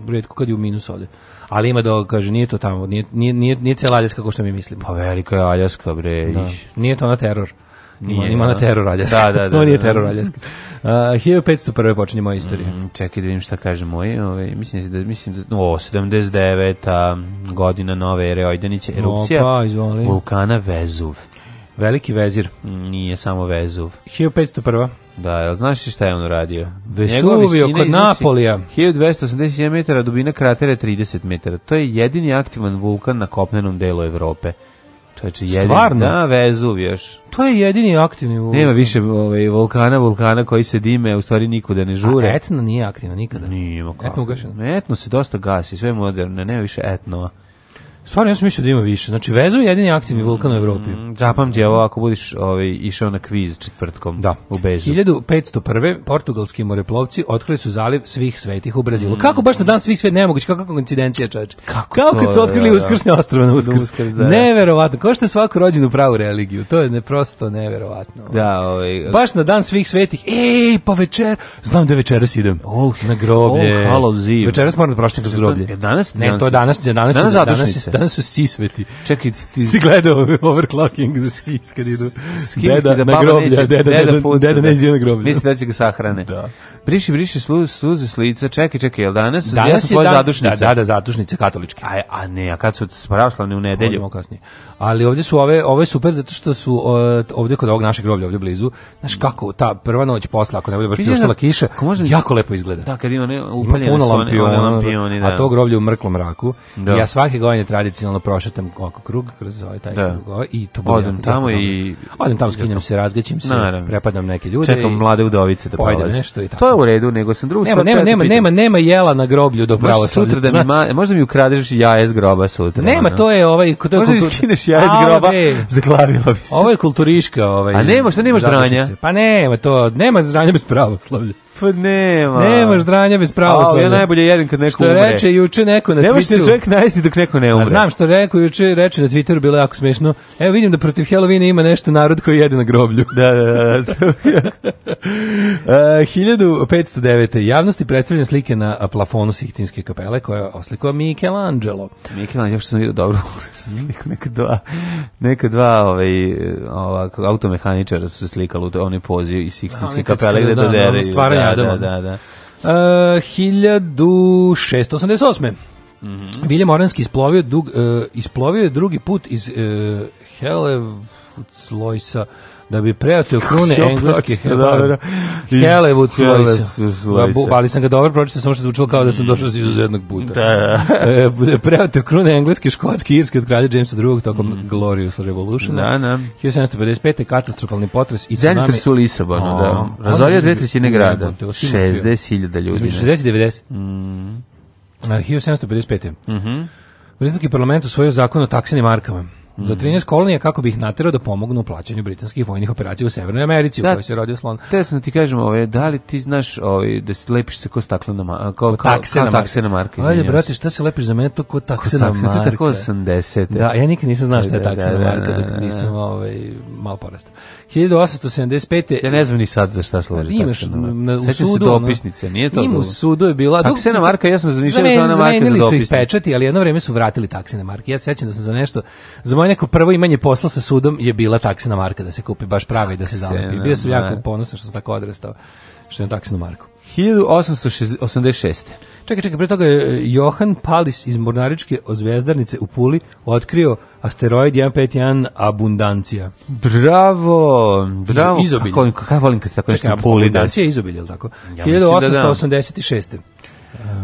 Speaker 8: redko kad je u minus ode. Ali ima da, kaže, nije to tamo, nije, nije, nije, nije cijela Aljaska kao što mi mislimo.
Speaker 7: Pa velika je Aljaska, bre.
Speaker 8: Da.
Speaker 7: iš.
Speaker 8: Nije to na teror. Ima,
Speaker 7: Nije,
Speaker 8: ima
Speaker 7: da.
Speaker 8: na teror Aljaska.
Speaker 7: Da, da, da,
Speaker 8: Ovo nije
Speaker 7: da.
Speaker 8: teror Aljaska. Uh, 1501. počinje moja istorija.
Speaker 7: Mm, Čekaj da vidim šta kaže moj. Ove, mislim da, mislim da, o, 79. godina nove ere Ojdanića, erupcija
Speaker 8: Opa, pa, izvoli.
Speaker 7: vulkana Vezuv.
Speaker 8: Veliki vezir.
Speaker 7: Mm, Nije samo Vezuv.
Speaker 8: 1501.
Speaker 7: Da, jel znaš šta je on uradio?
Speaker 8: Vesuvio
Speaker 7: Njegova visina
Speaker 8: kod
Speaker 7: iznosi
Speaker 8: Napolija.
Speaker 7: 1287 metara, dubina kratera je 30 metara. To je jedini aktivan vulkan na kopnenom delu Evrope. To je jedini.
Speaker 8: Stvarno?
Speaker 7: Da, Vezuv još.
Speaker 8: To je jedini aktivni vulkan.
Speaker 7: Nema više ovaj, vulkana, vulkana koji se dime, u stvari nikuda ne žure.
Speaker 8: A etna nije aktivna nikada.
Speaker 7: Nije, ma kako.
Speaker 8: Etno ugašeno.
Speaker 7: Etno se dosta gasi, sve je moderno, nema više etnova.
Speaker 8: Stvarno, ja sam mislio da ima više. Znači, Vezo je jedini aktivni vulkan u Evropi.
Speaker 7: Mm, Zapamti ovo ako budeš ovaj, išao na kviz četvrtkom
Speaker 8: Da.
Speaker 7: u Bezu.
Speaker 8: 1501. portugalski moreplovci otkrili su zaliv svih svetih u Brazilu.
Speaker 7: Mm.
Speaker 8: Kako baš na dan svih svetih nemoguće, kako koincidencija, čoveče. Kako,
Speaker 7: to,
Speaker 8: kad su otkrili
Speaker 7: da, da.
Speaker 8: uskrsne ostrove na uskrs.
Speaker 7: Uskrs, da.
Speaker 8: Neverovatno. Kao što je svako rođen u pravu religiju. To je ne prosto neverovatno.
Speaker 7: Da, ovaj,
Speaker 8: Baš na dan svih svetih. Ej, pa večer, znam da večeras idem. na groblje.
Speaker 7: All Hallows Eve.
Speaker 8: Večeras moram da prošlim kroz
Speaker 7: Što,
Speaker 8: groblje.
Speaker 7: je danas?
Speaker 8: Ne,
Speaker 7: Danas
Speaker 8: to je danas,
Speaker 7: je-
Speaker 8: danas, danas,
Speaker 7: Danas
Speaker 8: danas,
Speaker 7: zadušnice.
Speaker 8: je- danas su svi sveti.
Speaker 7: čekaj, ti
Speaker 8: Si gledao overclocking za sis kad idu
Speaker 7: Kinski
Speaker 8: deda
Speaker 7: da
Speaker 8: na
Speaker 7: baba
Speaker 8: groblje,
Speaker 7: neće-
Speaker 8: deda, deda, deda,
Speaker 7: puca, da.
Speaker 8: neće ide na groblje.
Speaker 7: Misli da će ga sahrane. Da. Briši, briši slu, sluze s lica. Čekaj, čekaj, jel danas? ja sam tvoja zadušnica.
Speaker 8: Da, da, da, zadušnice katoličke.
Speaker 7: A, a ne, a kad su pravoslavne u nedelju?
Speaker 8: Idemo kasnije. Ali ovdje su ove, ovo je super zato što su e, ovdje kod ovog našeg groblja ovdje blizu, znaš kako ta prva noć posla ako ne bude baš
Speaker 7: Vidiš da-
Speaker 8: pristala kiša,
Speaker 7: ako možda-
Speaker 8: jako lepo izgleda.
Speaker 7: Da, kad ima ne,
Speaker 8: Ima
Speaker 7: upaljene
Speaker 8: puno
Speaker 7: su one- one
Speaker 8: lampiona, ono,
Speaker 7: lampioni, da.
Speaker 8: a to groblje u mrklom mraku.
Speaker 7: Da.
Speaker 8: I Ja svake godine tradicionalno prošetam oko krug kroz ovaj taj
Speaker 7: Da.
Speaker 8: krug ovaj, i to bude
Speaker 7: Odem
Speaker 8: jako-
Speaker 7: tamo
Speaker 8: jako
Speaker 7: i-
Speaker 8: dobro. Odem tamo, skinem se, razgaćim se,
Speaker 7: Naravno.
Speaker 8: prepadam neke ljude.
Speaker 7: Čekam
Speaker 8: i-
Speaker 7: mlade udovice da
Speaker 8: Pojedem
Speaker 7: prolaze.
Speaker 8: nešto i tako.
Speaker 7: To je u redu, nego sam drugu
Speaker 8: Nema,
Speaker 7: stvar
Speaker 8: nema,
Speaker 7: teo da
Speaker 8: nema,
Speaker 7: pitam.
Speaker 8: nema, nema jela na groblju do
Speaker 7: Možda
Speaker 8: pravo
Speaker 7: sutra da mi, ma, možda mi ukradeš jaje iz groba sutra.
Speaker 8: Nema,
Speaker 7: ono.
Speaker 8: to je ovaj... To je
Speaker 7: Možda mi
Speaker 8: kultura-
Speaker 7: skineš jaje iz
Speaker 8: A,
Speaker 7: groba,
Speaker 8: bre.
Speaker 7: zaglavila bi se.
Speaker 8: Ovo je kulturiška, ovaj.
Speaker 7: A nemaš, šta nemaš
Speaker 8: zadušnice.
Speaker 7: dranja?
Speaker 8: Pa nema to, nema dranja bez pravoslavlja.
Speaker 7: Pa nema.
Speaker 8: Nemaš dranja bez
Speaker 7: A,
Speaker 8: pravoslavlja.
Speaker 7: ja najbolje jedem kad neko
Speaker 8: Što
Speaker 7: umre.
Speaker 8: reče juče neko na
Speaker 7: Ne može se
Speaker 8: Twitteru.
Speaker 7: čovjek najesti dok neko ne umre.
Speaker 8: A znam što rekao juče, reče na Twitteru, bilo je jako smešno. Evo vidim da protiv Halloweena ima nešto narod koji jede na groblju.
Speaker 7: Da, da, da. da.
Speaker 8: Uh, 1509. Javnosti predstavljene slike na plafonu Sihtinske kapele koja je oslikao Michelangelo.
Speaker 7: Mikilan, još sam vidio dobro sliku, neka dva, neka dva ovaj, ovako, automehaničara su se slikali u onoj pozi iz Sixtinske
Speaker 8: Oni kad
Speaker 7: kapele gde
Speaker 8: skida,
Speaker 7: to
Speaker 8: da, na
Speaker 7: deraju.
Speaker 8: ono stvaranje
Speaker 7: da, da,
Speaker 8: Adama.
Speaker 7: da, da.
Speaker 8: Uh, 1688.
Speaker 7: Mhm.
Speaker 8: Viljem Oranski isplovio, dug, uh, isplovio je drugi put iz uh, Helevutslojsa da bi preoteo krune
Speaker 7: si ovo
Speaker 8: engleske
Speaker 7: pročitao, dobro? Iz
Speaker 8: Helevutslojsa.
Speaker 7: Helevutslojsa.
Speaker 8: Bu- Ali sam ga dobro pročitao, samo što je zvučilo kao da sam došao iz jednog puta.
Speaker 7: Mhm. Da,
Speaker 8: E, bude preoteo krune engleske, škotske, i irske od kralja Jamesa II tokom Glorious Revolution.
Speaker 7: Mm. Da, da.
Speaker 8: 1755. katastrofalni potres i tsunami.
Speaker 7: Zemljitre su u Lisabonu,
Speaker 8: A,
Speaker 7: da. Razorio dve trećine grada.
Speaker 8: jebote, osim je bio.
Speaker 7: 60.000 ljudi.
Speaker 8: Između 60 i 90. Mm. 1755. Mm
Speaker 7: Mhm.
Speaker 8: Britanski parlament usvojio zakon o taksenim markama.
Speaker 7: Mm.
Speaker 8: Za 13 kolonija kako bi ih naterao da pomognu u plaćanju britanskih vojnih operacija u Severnoj Americi,
Speaker 7: Da.
Speaker 8: u kojoj se rodio slon.
Speaker 7: Te sam ti kažem, ovaj, da li ti znaš ovaj, da se lepiš se ko staklena marka? Kao, kao,
Speaker 8: Taksena
Speaker 7: kao taksena marka,
Speaker 8: Ajde,
Speaker 7: izvinjavam
Speaker 8: brate,
Speaker 7: se.
Speaker 8: šta se lepiš za mene, to ko taksena
Speaker 7: Taksena,
Speaker 8: marka.
Speaker 7: To je tako 80.
Speaker 8: Da, ja nikad nisam znao šta je
Speaker 7: Da, da,
Speaker 8: taksena
Speaker 7: da,
Speaker 8: marka,
Speaker 7: da, da,
Speaker 8: dok nisam ovaj, malo porastao. 1875.
Speaker 7: Ja ne znam ni sad za šta služi
Speaker 8: Pa Imaš
Speaker 7: taksena marka.
Speaker 8: na, u
Speaker 7: Sećam
Speaker 8: sudu,
Speaker 7: se
Speaker 8: ono,
Speaker 7: dopisnice, nije to
Speaker 8: Ima u
Speaker 7: bilo?
Speaker 8: sudu je bila... dok-
Speaker 7: Taksena marka, ja sam zamišljao da je to ona
Speaker 8: Zameni-
Speaker 7: marka za
Speaker 8: Zamenili su ih
Speaker 7: dopisnice.
Speaker 8: pečati, ali jedno vrijeme su vratili taksene marke. Ja se sećam da sam za nešto, za moje neko prvo imanje posla sa sudom je bila taksena marka da se kupi baš prava i da se zalepi. Bio sam jako
Speaker 7: marka.
Speaker 8: ponosan što sam tako odrastao, što je taksenu marku.
Speaker 7: 1886.
Speaker 8: Čekaj, čekaj, pre toga je e, Johan Palis iz Mornaričke zvezdarnice u Puli otkrio asteroid 151 Abundancija.
Speaker 7: Bravo, bravo.
Speaker 8: izobilje.
Speaker 7: Kako, kako ja volim kad se tako
Speaker 8: Čekaj,
Speaker 7: nešto puli
Speaker 8: Abundancija
Speaker 7: daš.
Speaker 8: je izobilje, je li tako?
Speaker 7: mislim da da.
Speaker 8: 1886.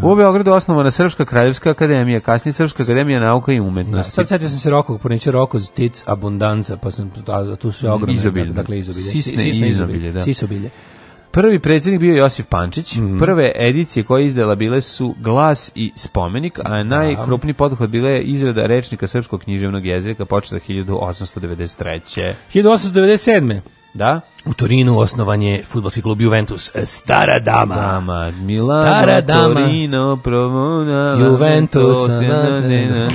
Speaker 7: U Beogradu osnovana Srpska kraljevska akademija, kasnije Srpska akademija nauka i
Speaker 8: Da,
Speaker 7: umetnosti.
Speaker 8: Pa sad setio sam se pa Rokog, poneće Roko Tic Abundanca, pa sam tu, a, tu sve ogromne.
Speaker 7: Izobilje.
Speaker 8: Dakle, izobilje.
Speaker 7: Sisne izobilje, da.
Speaker 8: Sisobilje.
Speaker 7: Prvi predsjednik bio je Josif Pančić.
Speaker 8: Mhm.
Speaker 7: Prve edicije koje je izdala bile su Glas i spomenik, a najkrupniji poduhod bila je izrada rečnika srpskog književnog jezika početa 1893.
Speaker 8: 1897.
Speaker 7: Da?
Speaker 8: U Torinu osnovan je futbolski klub Juventus. Stara dama.
Speaker 7: Dama, Milano,
Speaker 8: Stara dama.
Speaker 7: Torino, Promona,
Speaker 8: Juventus,
Speaker 7: Lantos, na, na, na, na.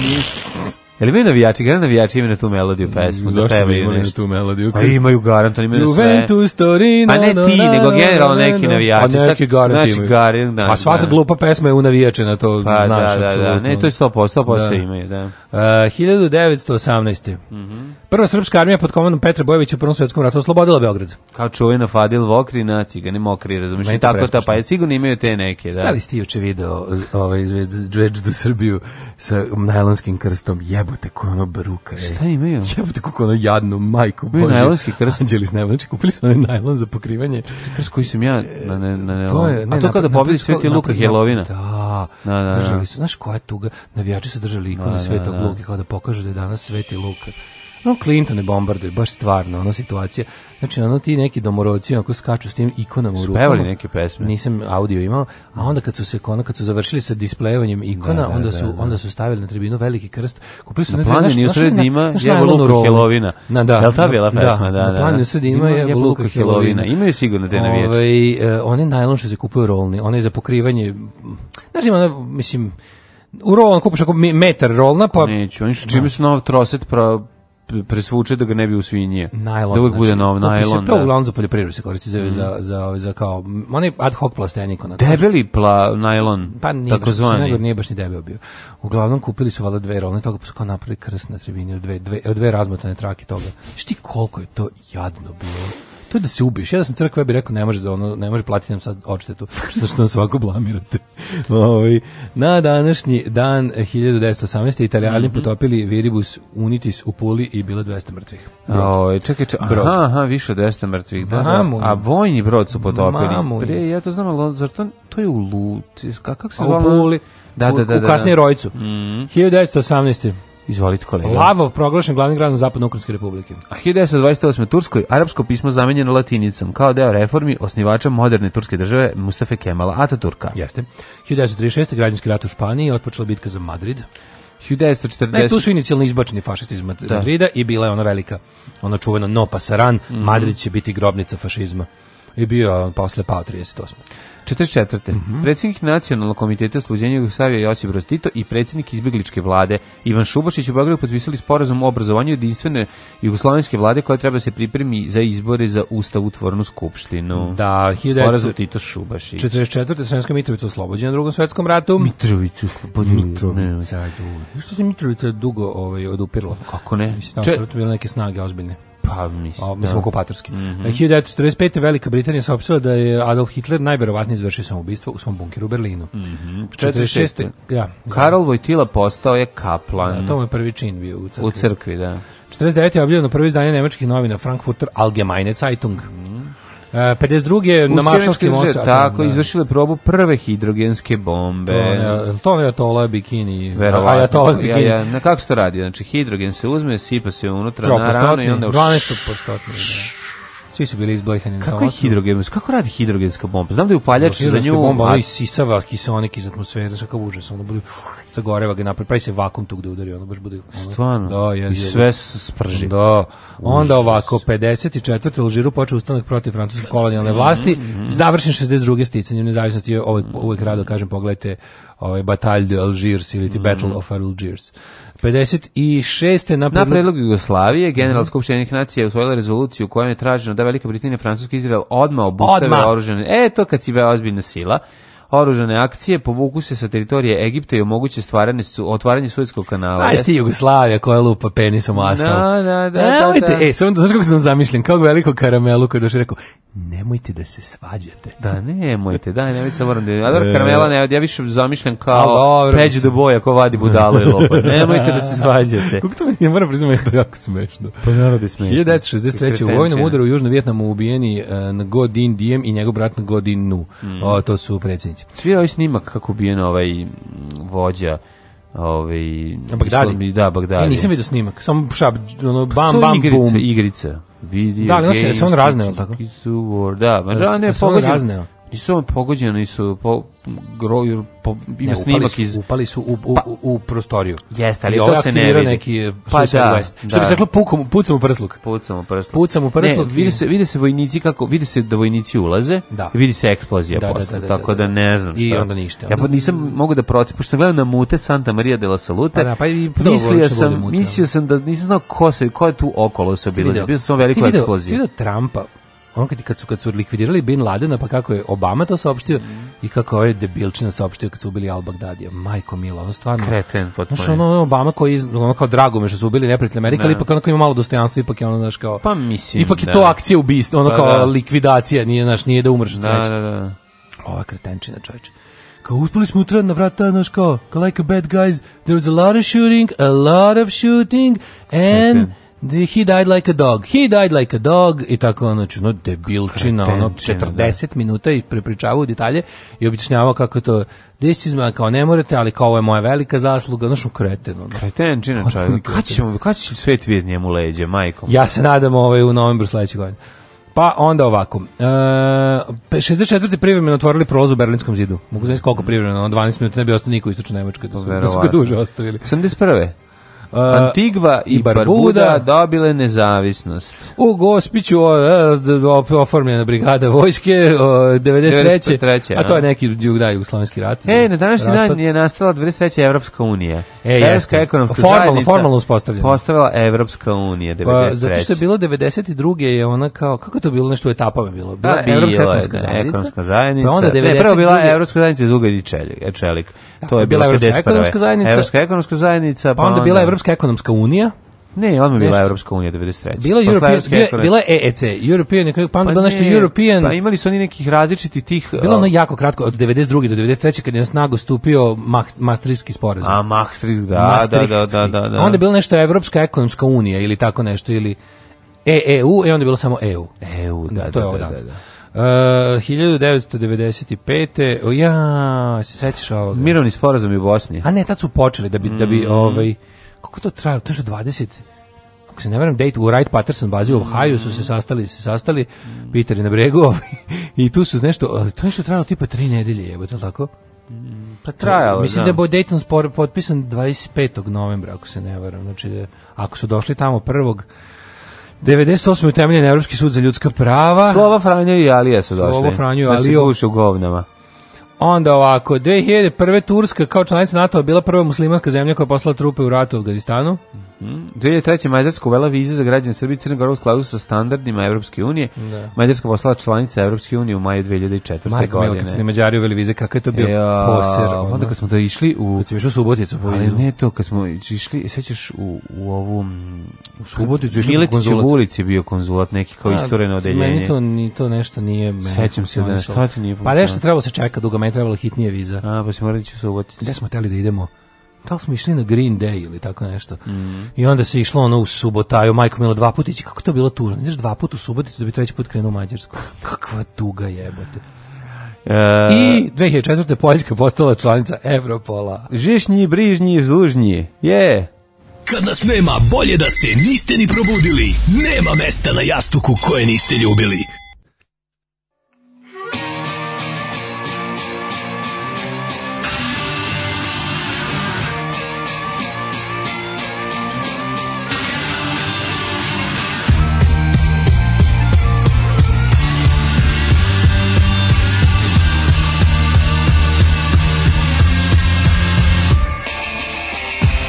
Speaker 7: Je li imaju navijači? Gara navijači imaju na tu melodiju pesmu. da
Speaker 8: Zašto bi
Speaker 7: pevaju
Speaker 8: imali na
Speaker 7: nešto.
Speaker 8: tu melodiju?
Speaker 7: Pa imaju garant, oni imaju na sve.
Speaker 8: Juventus, Torino...
Speaker 7: Pa ne ti,
Speaker 8: na, na,
Speaker 7: nego
Speaker 8: na,
Speaker 7: generalno
Speaker 8: na, na,
Speaker 7: neki
Speaker 8: na.
Speaker 7: navijači.
Speaker 8: A neki
Speaker 7: Sad-
Speaker 8: garant
Speaker 7: znači,
Speaker 8: imaju.
Speaker 7: garant, da,
Speaker 8: A svaka
Speaker 7: da.
Speaker 8: glupa pesma je unavijačena, to
Speaker 7: Pa
Speaker 8: znaš,
Speaker 7: da, da, da,
Speaker 8: apsolutno.
Speaker 7: ne, to je 100%, 100%
Speaker 8: Da.
Speaker 7: imaju, da. Mm,
Speaker 8: Uh, 1918. Prva srpska armija pod komandom Petra Bojevića u Prvom svjetskom ratu oslobodila Beograd.
Speaker 7: Kao čuvena Fadil Vokrina, cigani mokri, razumiješ,
Speaker 8: Meni
Speaker 7: i
Speaker 8: to
Speaker 7: tako ta,
Speaker 8: prestrašno.
Speaker 7: pa je sigurno imaju te neke,
Speaker 8: Da
Speaker 7: da.
Speaker 8: li ste juče video z- ovaj Zvezdu Srbiju sa najlonskim krstom? Jebote, koja ono bruka. ej.
Speaker 7: Šta imaju?
Speaker 8: Jebote, kako ono jadno, majko
Speaker 7: Imaju
Speaker 8: Bože.
Speaker 7: najlonski krst.
Speaker 8: Anđeli s najlon, znači kupili su onaj najlon za pokrivanje.
Speaker 7: Kroz koji sam ja na, na, na, na
Speaker 8: To je,
Speaker 7: A to kada
Speaker 8: napad-
Speaker 7: pobedi
Speaker 8: napad-
Speaker 7: Sveti
Speaker 8: napad-
Speaker 7: Luka Helovina.
Speaker 8: Da,
Speaker 7: Da, da, da.
Speaker 8: držali su, znaš koja je tuga, navijači su držali ikonu Svetog Luka, kao da pokažu da je danas Sveti Luka. No, Clinton je bombarduje, baš stvarno, ono situacija. Znači, ono ti neki domorodci, ako skaču s tim ikonama u rukama.
Speaker 7: Spevali neke pesme.
Speaker 8: Nisam audio imao, a onda kad su se ono, kad su završili sa displejevanjem ikona,
Speaker 7: da,
Speaker 8: onda,
Speaker 7: da,
Speaker 8: su,
Speaker 7: da.
Speaker 8: onda su stavili na tribinu veliki krst. Kupili su
Speaker 7: Na
Speaker 8: onaj-
Speaker 7: planini
Speaker 8: znaš-
Speaker 7: u sred
Speaker 8: znaš-
Speaker 7: dima
Speaker 8: znaš
Speaker 7: jebo
Speaker 8: najlonu
Speaker 7: luk
Speaker 8: rovu?
Speaker 7: helovina.
Speaker 8: Na, da,
Speaker 7: Jel ta bila
Speaker 8: na-
Speaker 7: pesma? Da, da,
Speaker 8: Na planini
Speaker 7: da.
Speaker 8: u sred dima jebo luka helovina.
Speaker 7: Imaju sigurno te navijače.
Speaker 8: Ovaj, e, one najlon što se kupuju rolni, one za pokrivanje, m, znaš ima, ono, mislim, u rolon kupiš ako mi- metar rolna, pa
Speaker 7: Neću, oni što čime su nov troset pra, pre- presvuče da ga ne bi usvinjio.
Speaker 8: najlon. znači,
Speaker 7: Da uvijek bude nov
Speaker 8: kupi
Speaker 7: najlon.
Speaker 8: Se, to
Speaker 7: Da. Mhm.
Speaker 8: uglavnom za poljoprivredu se koristi za, za, za, za kao, m, onaj ad hoc plastenik. Ono,
Speaker 7: Debeli pla, najlon,
Speaker 8: pa nije baš,
Speaker 7: takozvani.
Speaker 8: Crnogor nije baš ni debel bio. Uglavnom kupili su valjda dve rolne, toga pa su kao napravili krst na tribini od dve, dve, od dve razmotane trake toga. Znaš ti koliko je to jadno bilo? To je da se ubiješ. Ja da sam crkva, ja bih rekao, ne može, da ono, ne može platiti nam sad odštetu, što što nam svako blamirate. Ovaj, na današnji dan eh, 1918. Italijani potopili Viribus Unitis u Puli i bilo je 200 mrtvih.
Speaker 7: Oj, Ovaj, čekaj, čekaj.
Speaker 8: Brod.
Speaker 7: Aha, aha, više od 200 mrtvih. Da,
Speaker 8: Mamu.
Speaker 7: da. A vojni brod su potopili.
Speaker 8: mm, Mamu.
Speaker 7: Pre, ja to znam, ali zar to, to je u Luci, kako se
Speaker 8: A
Speaker 7: zvala?
Speaker 8: u Puli,
Speaker 7: Da, da, da.
Speaker 8: u, u
Speaker 7: da,
Speaker 8: kasnije
Speaker 7: da. Mm.
Speaker 8: Rojcu. 1918.
Speaker 7: Izvolite kolega.
Speaker 8: Lavov proglašen glavnim gradom Zapadno-Ukranske republike.
Speaker 7: A 1928. u Turskoj arapsko pismo zamenjeno latinicom kao deo reformi osnivača moderne turske države Mustafa Kemala Ataturka.
Speaker 8: Jeste. 1936. građanski rat u Španiji, otpočela bitka za Madrid. E,
Speaker 7: 1940.
Speaker 8: Ne, tu su inicijalno izbačeni fašisti iz Mad- Madrida i bila je ona velika, ona čuvena no pasaran,
Speaker 7: Mhm.
Speaker 8: Madrid će biti grobnica fašizma. I bio je on posle pao 38. Mhm.
Speaker 7: 44. Predsjednik Nacionalnog komiteta sluđenja Jugoslavije Josip Broz Tito i predsjednik izbjegličke vlade Ivan Šubašić u Beogradu potpisali sporazum o obrazovanju jedinstvene jugoslavenske vlade koja treba da se pripremi za izbore za ustavotvornu skupštinu.
Speaker 8: Da,
Speaker 7: Sporazum Tito Šubašić.
Speaker 8: 44. Sremska Mitrovica oslobođena u drugom svetskom ratu.
Speaker 7: Mitrovicu slobodili.
Speaker 8: Mitrovica. du- Što se Mitrovica dugo ovaj, odupirla?
Speaker 7: Kako ne?
Speaker 8: Mislim, tamo
Speaker 7: Če-
Speaker 8: su bile neke snage ozbiljne.
Speaker 7: Pa mislim.
Speaker 8: A, mislim,
Speaker 7: da. Mhm.
Speaker 8: okupatorski. 1945. Velika Britanija saopštila da je Adolf Hitler najverovatnije izvršio samoubistvo u svom bunkiru u Berlinu.
Speaker 7: Mhm.
Speaker 8: 46. Ja,
Speaker 7: Karol Vojtila postao je kaplan
Speaker 8: to mu je prvi čin bio u crkvi.
Speaker 7: u crkvi, da.
Speaker 8: 49. je objavljeno prvo izdanje nemačkih novina Frankfurter Allgemeine Zeitung. E, 52. je na
Speaker 7: Mhm. U Sjemenskim
Speaker 8: Maršalskim
Speaker 7: državama,
Speaker 8: ostravima.
Speaker 7: Tako,
Speaker 8: da.
Speaker 7: izvršile probu prve hidrogenske bombe.
Speaker 8: To ne- To ne je Atola bikini.
Speaker 7: Verovatno.
Speaker 8: Ajatola bikini.
Speaker 7: Ja, ja, na kako se to radi? Znači, hidrogen se uzme, sipa se unutra na rano
Speaker 8: Propostotni,
Speaker 7: i onda... u-
Speaker 8: 12 postotni. Svi su bili izblojhani na
Speaker 7: Kako je
Speaker 8: osnovu.
Speaker 7: hidrogen? Kako radi hidrogenska bomba? Znam da je upaljač za
Speaker 8: Hidrogenska
Speaker 7: nju...
Speaker 8: bomba,
Speaker 7: a-
Speaker 8: ono isisava kiseonik iz atmosfere, znaš kakav užas, ono bude, sagoreva ga napred, pravi se vakum tu gde udari, ono baš bude... Ono,
Speaker 7: Stvarno.
Speaker 8: Da, je,
Speaker 7: I sve s- sprži.
Speaker 8: Da. Onda ovako, 54. u Alžiru počeo ustanak protiv francuske kolonijalne
Speaker 7: Mhm,
Speaker 8: vlasti, završen 62. sticanjem nezavisnosti, ja uvek, uvek rado kažem, pogledajte ovaj Bataille de Algiers ili ti Battle of Algiers. 56. na
Speaker 7: Mhm. Na
Speaker 8: predlog-
Speaker 7: predlog Jugoslavije,
Speaker 8: Mhm.
Speaker 7: General Skupština Ujedinjenih nacija je usvojila rezoluciju u kojoj je traženo da Velika Britanija, Francuska i Izrael odmah obustave
Speaker 8: Odmah.
Speaker 7: oružane... E, to kad si bila ozbiljna sila. Oružane akcije povuku se sa teritorije Egipta i omoguće stvaranje su, otvaranje Suetskog kanala.
Speaker 8: Aj sti Jugoslavija koja lupa penisom u astal.
Speaker 7: Da, da, da,
Speaker 8: Nemojte,
Speaker 7: da, da.
Speaker 8: e, samo da znaš kako sam zamišljen, kao veliko karamelu koji je došao i rekao, nemojte da se svađate.
Speaker 7: Da, nemojte, da, nemojte se moram da... A dobro, Karmela, ne, ja više zamišljam
Speaker 8: A,
Speaker 7: kao
Speaker 8: E. dobro.
Speaker 7: peđu do boja ko vadi budalo i lopa. Nemojte da se svađate.
Speaker 8: Kako to meni, ja moram priznati, da je jako smešno.
Speaker 7: Pa narod je smešno.
Speaker 8: 1963. u vojnom
Speaker 7: Kretenčina.
Speaker 8: udaru u Južnom Vjetnamu ubijeni uh, Godin Diem i njegov brat Godin Nu. O, to su predsjednici.
Speaker 7: Mm. Svi ovaj snimak kako ubijen ovaj m, vođa ovaj
Speaker 8: Bagdadi?
Speaker 7: islam- Da, Bagdadi. Pa
Speaker 8: Ja E, nisam vidio snimak, samo šab, ono, bam,
Speaker 7: To je
Speaker 8: bam,
Speaker 7: igrica,
Speaker 8: bum.
Speaker 7: igrica. Video
Speaker 8: Da, ali on se-
Speaker 7: games,
Speaker 8: se on razneo, jel tako?
Speaker 7: is the war, Da, ma
Speaker 8: Jel
Speaker 7: da,
Speaker 8: se-
Speaker 7: ne,
Speaker 8: jel se on
Speaker 7: pogođen-
Speaker 8: razneo?
Speaker 7: Nisu on pogođeni, su po, groju, po, ima
Speaker 8: Ne, upali
Speaker 7: snimak
Speaker 8: su,
Speaker 7: iz...
Speaker 8: upali su u, u, u, u prostoriju.
Speaker 7: Jeste, ali
Speaker 8: I
Speaker 7: to
Speaker 8: ovaj
Speaker 7: se ne
Speaker 8: aktivirao
Speaker 7: vidi.
Speaker 8: neki eh,
Speaker 7: Pa
Speaker 8: Suicide
Speaker 7: da,
Speaker 8: West. Što
Speaker 7: da.
Speaker 8: bi se reklo, pukom, pucam u prsluk.
Speaker 7: Pucam u prsluk.
Speaker 8: Pucam u prsluk
Speaker 7: Ne,
Speaker 8: i-
Speaker 7: vidi se, vidi se vojnici kako, vidi se da vojnici ulaze,
Speaker 8: Da.
Speaker 7: i vidi se eksplozija
Speaker 8: Da, da,
Speaker 7: posle,
Speaker 8: da, da,
Speaker 7: tako da,
Speaker 8: da, da.
Speaker 7: ne znam
Speaker 8: I
Speaker 7: šta.
Speaker 8: onda ništa.
Speaker 7: Ja pa nisam mogu da proći, pošto sam gledao na mute Santa Maria de la Salute,
Speaker 8: Pa da, pa i prvo
Speaker 7: mislio,
Speaker 8: voliš da bude
Speaker 7: sam,
Speaker 8: mute,
Speaker 7: mislio sam da nisam znao ko, se, ko je tu okolo se bilo,
Speaker 8: video-
Speaker 7: bio sam
Speaker 8: jeste
Speaker 7: veliko
Speaker 8: video-
Speaker 7: eksplozija.
Speaker 8: jeste video Trumpa, ono kad, kad, su, kad su likvidirali Bin Ladena, pa kako je Obama to saopštio
Speaker 7: Mhm.
Speaker 8: i kako je ovaj debilčina saopštio kad su ubili Al Bagdadija. Majko Mila, ono stvarno...
Speaker 7: Kreten potpuno.
Speaker 8: Znaš, ono, ono Obama koji, iz- ono kao drago me što su ubili neprijatelj Amerika, ali
Speaker 7: Da.
Speaker 8: ipak onako ima malo dostojanstva, ipak je ono, znaš, kao...
Speaker 7: Pa mislim,
Speaker 8: Ipak je
Speaker 7: da.
Speaker 8: to akcija ubistva, ono
Speaker 7: Pa
Speaker 8: kao
Speaker 7: da.
Speaker 8: likvidacija, nije, znaš, nije da umreš od
Speaker 7: Da,
Speaker 8: sreće.
Speaker 7: da, da.
Speaker 8: Ova kretenčina, čoveče. Kao uspeli smo utra na vrata, znaš kao, kao like a bad guys, there was a lot of shooting, a lot of shooting, and The- He died like a dog. He died like a dog i tako ono, znači, no debilčina, ono
Speaker 7: Kretenčina,
Speaker 8: 40 minuta i prepričavao detalje i objašnjavao kako je to this is my- kao ne morate, ali kao ovo je moja velika zasluga, znaš, u kreten, ono.
Speaker 7: Kretenčina čovjek. Kad ćemo, kad će svet vidjeti njemu leđe, majkom?
Speaker 8: Ja se nadam ovaj u novembru sledećeg godine. Pa onda ovako. E, pe- 64. privremeno otvorili prolaz u Berlinskom zidu. Mogu znači koliko privremeno, ono 12 minuta ne bi ostao niko u istočnoj Nemačkoj da su, da su ga
Speaker 7: Verovatno.
Speaker 8: duže ostavili.
Speaker 7: 81.
Speaker 8: E,
Speaker 7: Antigva i,
Speaker 8: i Barbuda.
Speaker 7: Barbuda dobile nezavisnost.
Speaker 8: U Gospiću o, e, d- op- oformljena brigada vojske o, 93.
Speaker 7: 93.,
Speaker 8: A to je
Speaker 7: a?
Speaker 8: neki jug- da, jugoslovenski rat.
Speaker 7: E, na današnji
Speaker 8: Raspad.
Speaker 7: dan je nastala 23. Evropska unija.
Speaker 8: E, jeste.
Speaker 7: Evropska ekonomska
Speaker 8: Formalno-
Speaker 7: zajednica.
Speaker 8: formalno uspostavljena.
Speaker 7: Postavila Evropska unija, 93.
Speaker 8: Pa, zato što je bilo 92. je ona kao, kako je to bilo, nešto u etapama je bilo? Bila
Speaker 7: Da,
Speaker 8: je
Speaker 7: bila
Speaker 8: Evropska
Speaker 7: je,
Speaker 8: ekonomska
Speaker 7: da,
Speaker 8: zajednica.
Speaker 7: ekonomska Pa, zajednica.
Speaker 8: Pa onda
Speaker 7: Ne, prvo bila
Speaker 8: 92..
Speaker 7: Evropska zajednica iz ugalj i čelik. e, čelik. to
Speaker 8: pa
Speaker 7: je
Speaker 8: bila
Speaker 7: bila
Speaker 8: Evropska
Speaker 7: 51.
Speaker 8: ekonomska zajednica.
Speaker 7: Evropska ekonomska zajednica.
Speaker 8: Pa onda bila Evropska ekonomska unija.
Speaker 7: Ne, odmah bila
Speaker 8: Nešto.
Speaker 7: Evropska unija 93.
Speaker 8: Bila
Speaker 7: Posle
Speaker 8: European,
Speaker 7: Evropske
Speaker 8: bila,
Speaker 7: ekonomske-
Speaker 8: bila EEC, European, pa onda
Speaker 7: Pa
Speaker 8: bilo nešto
Speaker 7: ne,
Speaker 8: European,
Speaker 7: Pa imali su oni nekih različitih tih...
Speaker 8: bilo ono
Speaker 7: a,
Speaker 8: jako kratko, od 92. do 93. kad je na snagu stupio Mah, Maastrichtski sporazum.
Speaker 7: A, Maastricht, da, da, da, da, da, da.
Speaker 8: Onda je bilo nešto Evropska ekonomska unija ili tako nešto, ili E EEU, i onda je bilo samo EU.
Speaker 7: EU, E da,
Speaker 8: to je
Speaker 7: da,
Speaker 8: ovo
Speaker 7: da,
Speaker 8: danas.
Speaker 7: da, da.
Speaker 8: Uh, 1995. O, ja, se sećaš ovoga?
Speaker 7: Mirovni sporazum u Bosni.
Speaker 8: A ne, tad su počeli da bi, da
Speaker 7: Mm. Mhm.
Speaker 8: bi ovaj, kako to trajalo, to je što 20, ako se ne veram, date u Wright-Patterson bazi
Speaker 7: Mm.
Speaker 8: u Ohio su se sastali, se sastali, Peter je na bregu ovaj, i tu su nešto, ali to je što trajalo tipa tri nedelje, jebote, je tako?
Speaker 7: Pa trajalo,
Speaker 8: Mislim da
Speaker 7: da.
Speaker 8: je bo- Dayton spor potpisan 25. novembra, ako se ne varam. Znači, da- ako su došli tamo prvog, 98. utemeljen Evropski sud za ljudska prava.
Speaker 7: Slova Franjo i Alija su došli.
Speaker 8: Slobo, Franjo i Alija.
Speaker 7: Da se guše u govnama.
Speaker 8: Onda ovako, 2001. Turska kao članica NATO bila prva muslimanska zemlja koja je poslala trupe u ratu u Afganistanu.
Speaker 7: Mhm. 2003. Mađarska uvela vize za građane Srbije i Crne Gore u skladu sa standardima Evropske unije.
Speaker 8: Da.
Speaker 7: Mađarska postala članica Evropske unije u maju 2004.
Speaker 8: Majko Milo, kad su ni
Speaker 7: godine.
Speaker 8: Mađari uveli vize, kakav je to bio
Speaker 7: Ja,
Speaker 8: poser.
Speaker 7: onda kad smo da išli u...
Speaker 8: Kad sam išao u Suboticu po
Speaker 7: Ali
Speaker 8: vizu.
Speaker 7: ne to, kad smo išli, sećaš u, u ovu... U
Speaker 8: Suboticu išli u
Speaker 7: Miletićev
Speaker 8: konzulat.
Speaker 7: ulici je bio konzulat, neki kao istoreno odeljenje.
Speaker 8: Pa, Meni to, ni, to nešto nije... meni
Speaker 7: Sećam se da,
Speaker 8: funkcionisalo.
Speaker 7: šta ti nije
Speaker 8: Pa nešto
Speaker 7: funkcionisalo?
Speaker 8: trebalo se čeka dugo, meni trebalo hitnije viza.
Speaker 7: A, pa si morali ići u Suboticu.
Speaker 8: gde smo teli da idemo da li smo išli na Green Day ili tako nešto.
Speaker 7: Mhm.
Speaker 8: I onda se išlo ono u Subotaju, majko milo dva puta ići, kako to bilo tužno. Ideš dva puta u Suboticu da bi treći put krenuo u Mađarsku. Kakva tuga jebote.
Speaker 7: E,
Speaker 8: I 2004. Poljska postala članica Evropola.
Speaker 7: Žišnji, brižnji, zlužnji. Je.
Speaker 10: Kad nas nema, bolje da se niste ni probudili. Nema mesta na jastuku koje niste ljubili.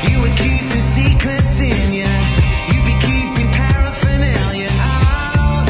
Speaker 5: You would keep the secrets Oh, in ya. You'd be keeping paraphernalia out.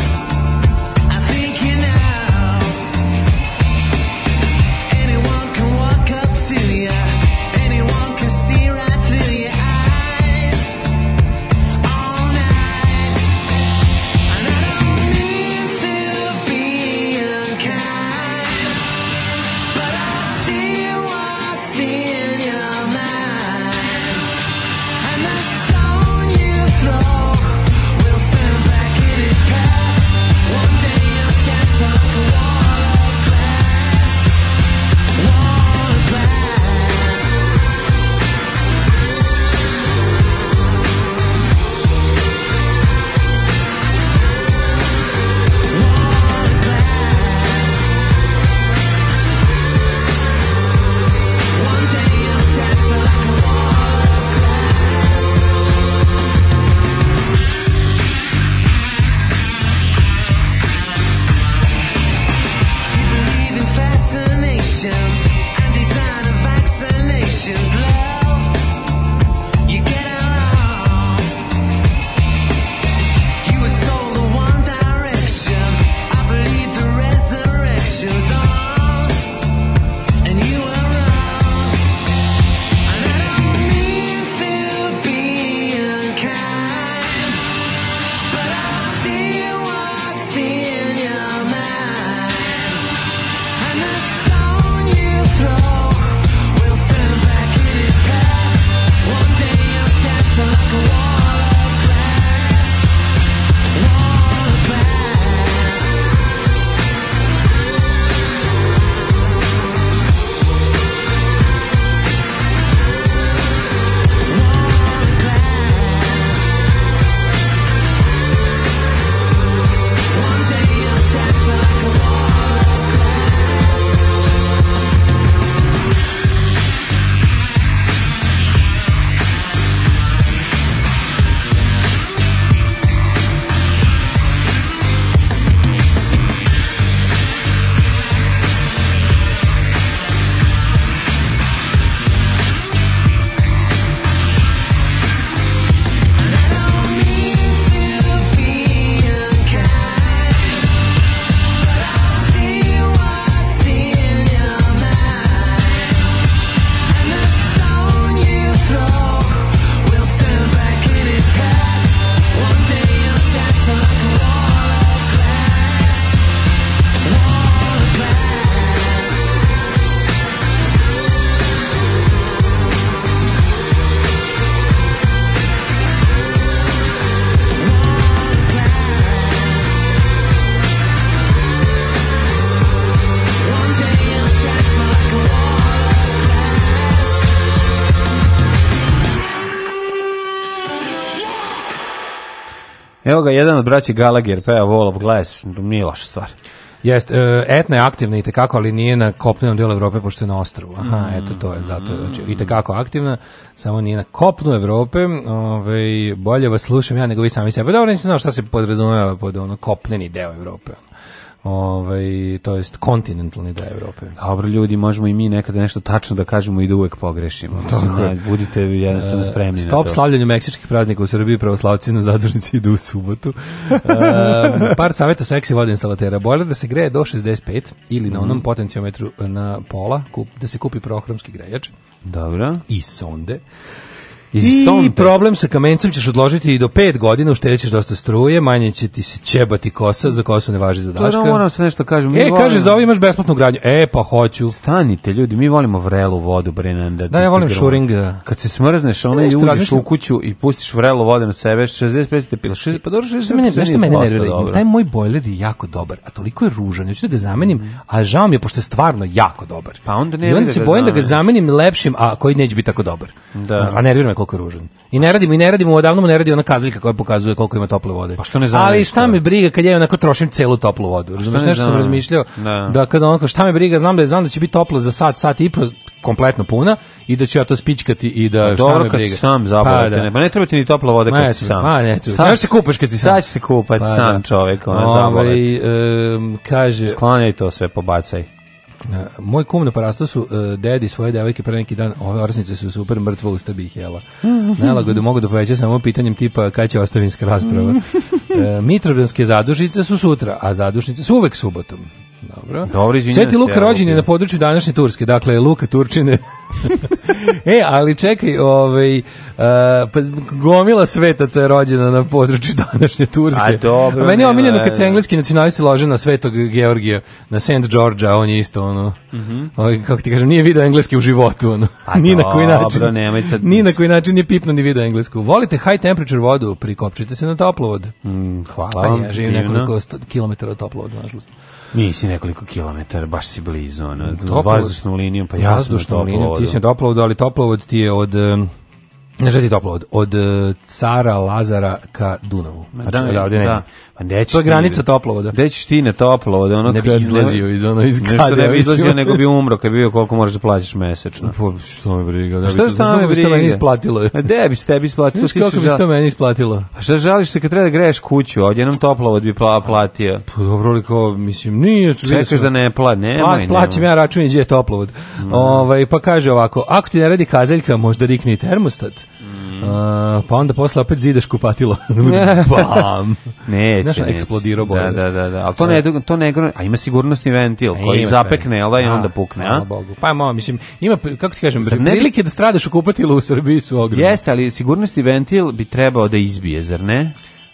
Speaker 7: Evo ga, jedan od braća Gallagher peva Wall of Glass, nije loša stvar.
Speaker 8: Jest, e, etna je aktivna i tekako, ali nije na kopnenom delu Evrope pošto je na ostrvu. Aha, eto to je zato. Znači, i tekako aktivna, samo nije na kopnu Evrope. Ovaj bolje vas slušam ja nego vi sami sebe. Dobro, nisam znao šta se podrazumeva pod ono kopneni deo Evrope. ono. Ovaj to jest kontinentalni deo Evrope.
Speaker 7: Dobro ljudi, možemo i mi nekada nešto tačno da kažemo i da uvek pogrešimo. Mislim, da, budite jednostavno spremni na
Speaker 8: E, Stop
Speaker 7: to.
Speaker 8: slavljanju meksičkih praznika u Srbiji, pravoslavci na zadružnici idu u subotu. E, par saveta seksi vodoinstalatera. Bojler da se greje do 65 ili
Speaker 7: Mhm.
Speaker 8: na onom potenciometru e, na pola, kup, da se kupi prohromski grejač
Speaker 7: Dobro.
Speaker 8: i sonde.
Speaker 7: I
Speaker 8: I
Speaker 7: sonde.
Speaker 8: problem sa kamencem ćeš odložiti i do 5 godina, uštedit ćeš dosta struje, manje će ti se ćebati kosa, za kosu ne važi
Speaker 7: To da
Speaker 8: zadaška.
Speaker 7: moram se nešto kažem. Mi
Speaker 8: E,
Speaker 7: volimo-
Speaker 8: kaže, za ovo imaš besplatnu gradnju. E, pa hoću.
Speaker 7: Stanite ljudi, mi volimo vrelu vodu, bre, ne, da,
Speaker 8: Da, ja volim
Speaker 7: da-
Speaker 8: šuring. da.
Speaker 7: Kad se smrzneš, ona i
Speaker 8: Nešto
Speaker 7: uđeš
Speaker 8: razmišljam.
Speaker 7: u kuću i pustiš vrelu vodu na sebe, 65 stepila, 60, pa dobro, 60
Speaker 8: Što mene, nešto mene
Speaker 7: dosta
Speaker 8: nervira,
Speaker 7: dobro.
Speaker 8: taj moj bojler je jako dobar, a toliko je ružan, ja ću da ga zamenim, a žao mi je pošto je stvarno jako dobar.
Speaker 7: Mhm. Pa onda ne
Speaker 8: I
Speaker 7: bi
Speaker 8: onda
Speaker 7: da
Speaker 8: se
Speaker 7: ga
Speaker 8: bojim da ga
Speaker 7: zameniš.
Speaker 8: zamenim lepšim, a koji neće biti tako dobar.
Speaker 7: Da.
Speaker 8: A nervira me koliko je ružan. I ne radimo, i ne radimo, odavno mu ne radi ona kazaljka koja pokazuje koliko ima tople vode. Pa
Speaker 7: što ne zameniš
Speaker 8: Ali šta
Speaker 7: to? Pa
Speaker 8: me briga kad ja onako trošim celu toplu vodu. Razumeš,
Speaker 7: ne
Speaker 8: nešto sam
Speaker 7: zameniš?
Speaker 8: razmišljao
Speaker 7: Da.
Speaker 8: da kad onako šta me briga, znam da je znam da će biti toplo za sat, sat i po kompletno puna i da ću ja to spičkati i da Pa, šta
Speaker 7: Pa Dobro
Speaker 8: me
Speaker 7: kad
Speaker 8: briga.
Speaker 7: si sam zabavite,
Speaker 8: da.
Speaker 7: ne, pa ne treba ti ni topla voda
Speaker 8: Ma,
Speaker 7: kad
Speaker 8: eto,
Speaker 7: si sam.
Speaker 8: ma, ne treba.
Speaker 7: Sad
Speaker 8: Znaš
Speaker 7: će
Speaker 8: se kupaš kad si sam. Pa
Speaker 7: Sad će se kupati sam
Speaker 8: da.
Speaker 7: čovek, ono, ona
Speaker 8: Ovaj,
Speaker 7: zabolet.
Speaker 8: em, kaže,
Speaker 7: Sklanjaj to sve, pobacaj.
Speaker 8: e, moj kum na parastosu, e, dedi svoje devojke pre neki dan, ove orsnice su super mrtvo usta bih jela. Nelagodu mogu da poveća samo pitanjem tipa kada će ostavinska rasprava. E, Mitrovdanske zadušnice su sutra, a zadušnice su uvek subotom. Dobro.
Speaker 7: Dobro, izvinjam
Speaker 8: Sveti
Speaker 7: se,
Speaker 8: Luka
Speaker 7: ja,
Speaker 8: rođen je
Speaker 7: Luka.
Speaker 8: na području današnje Turske, dakle Luka Turčine. e, ali čekaj, ovaj, e, pa gomila svetaca je rođena na području Znači, današnje Turske.
Speaker 7: A dobro,
Speaker 8: A meni je
Speaker 7: nema
Speaker 8: omiljeno kad
Speaker 7: veze.
Speaker 8: se engleski nacionalisti lože na Svetog Georgija, na St. Georgia, on je isto ono,
Speaker 7: Mhm.
Speaker 8: ovaj, kako ti kažem, nije video engleski u životu, ono,
Speaker 7: A
Speaker 8: ni na koji
Speaker 7: Pa dobro,
Speaker 8: način.
Speaker 7: nemoj sad-
Speaker 8: Ni na koji način nije pipno ni video englesku. Volite high temperature vodu, prikopčite se na toplovod.
Speaker 7: Mm, Hvala
Speaker 8: A
Speaker 7: vam.
Speaker 8: ja živim
Speaker 7: divno.
Speaker 8: nekoliko sto, kilometara od toplovoda, nažalost.
Speaker 7: Nisi nekoliko kilometara, baš si blizu, ono,
Speaker 8: Toplovod.
Speaker 7: vazdušnom linijom, pa ja sam
Speaker 8: Vazdušnom
Speaker 7: toplu
Speaker 8: linijom,
Speaker 7: vodu.
Speaker 8: Ti si na toplovodu, ali toplovod ti je od... em, Ne želi toplovod, od e, cara Lazara ka Dunavu. Znači,
Speaker 7: da,
Speaker 8: odavde nema.
Speaker 7: da. Pa gde ćeš
Speaker 8: To je
Speaker 7: ti-
Speaker 8: granica toplovoda.
Speaker 7: Gde ćeš ti na toplo, da ono
Speaker 8: Ne bi
Speaker 7: kad-
Speaker 8: izlazio iz ono iz
Speaker 7: Nešto
Speaker 8: kada.
Speaker 7: ne bi izlazio, nego bi umro, kad bi bio koliko moraš da plaćaš mesečno.
Speaker 8: Pa, što me briga, da
Speaker 7: Šta
Speaker 8: to-
Speaker 7: šta me
Speaker 8: bi to
Speaker 7: briga?
Speaker 8: meni isplatilo.
Speaker 7: A gde bi se tebi isplatilo?
Speaker 8: Znaš
Speaker 7: Ti si
Speaker 8: kako bi se
Speaker 7: žal-
Speaker 8: to meni isplatilo?
Speaker 7: Pa šta žališ se kad treba da greješ kuću, a odjednom toplovod bi pla- platio.
Speaker 8: Pa dobro li kao, mislim, nije...
Speaker 7: Čekaš da ne pla, nemoj,
Speaker 8: Pla,
Speaker 7: nemoj. Mm.
Speaker 8: plaćam ja račun i gdje je toplovod. Ovaj, pa kaže ovako, ako ti ne radi kazaljka, možda rikne i termostat.
Speaker 7: Mm.
Speaker 8: A, pa onda posle opet zidaš kupatilo. Bam!
Speaker 7: Neće,
Speaker 8: Znaš, ono
Speaker 7: neće.
Speaker 8: eksplodirao
Speaker 7: Da,
Speaker 8: bojler.
Speaker 7: da, da, da. Ali to ne, to ne, a ima sigurnosni ventil koji
Speaker 8: E, Ima
Speaker 7: zapekne,
Speaker 8: sve.
Speaker 7: jel da, E, i
Speaker 8: A,
Speaker 7: onda pukne,
Speaker 8: hvala
Speaker 7: a?
Speaker 8: Bogu. Pa malo, mislim, ima, pri- kako ti kažem,
Speaker 7: Zar ne bi-
Speaker 8: prilike da stradaš u kupatilu u Srbiji su ogromne.
Speaker 7: Jeste, ali sigurnosni ventil bi trebao da izbije, zar ne?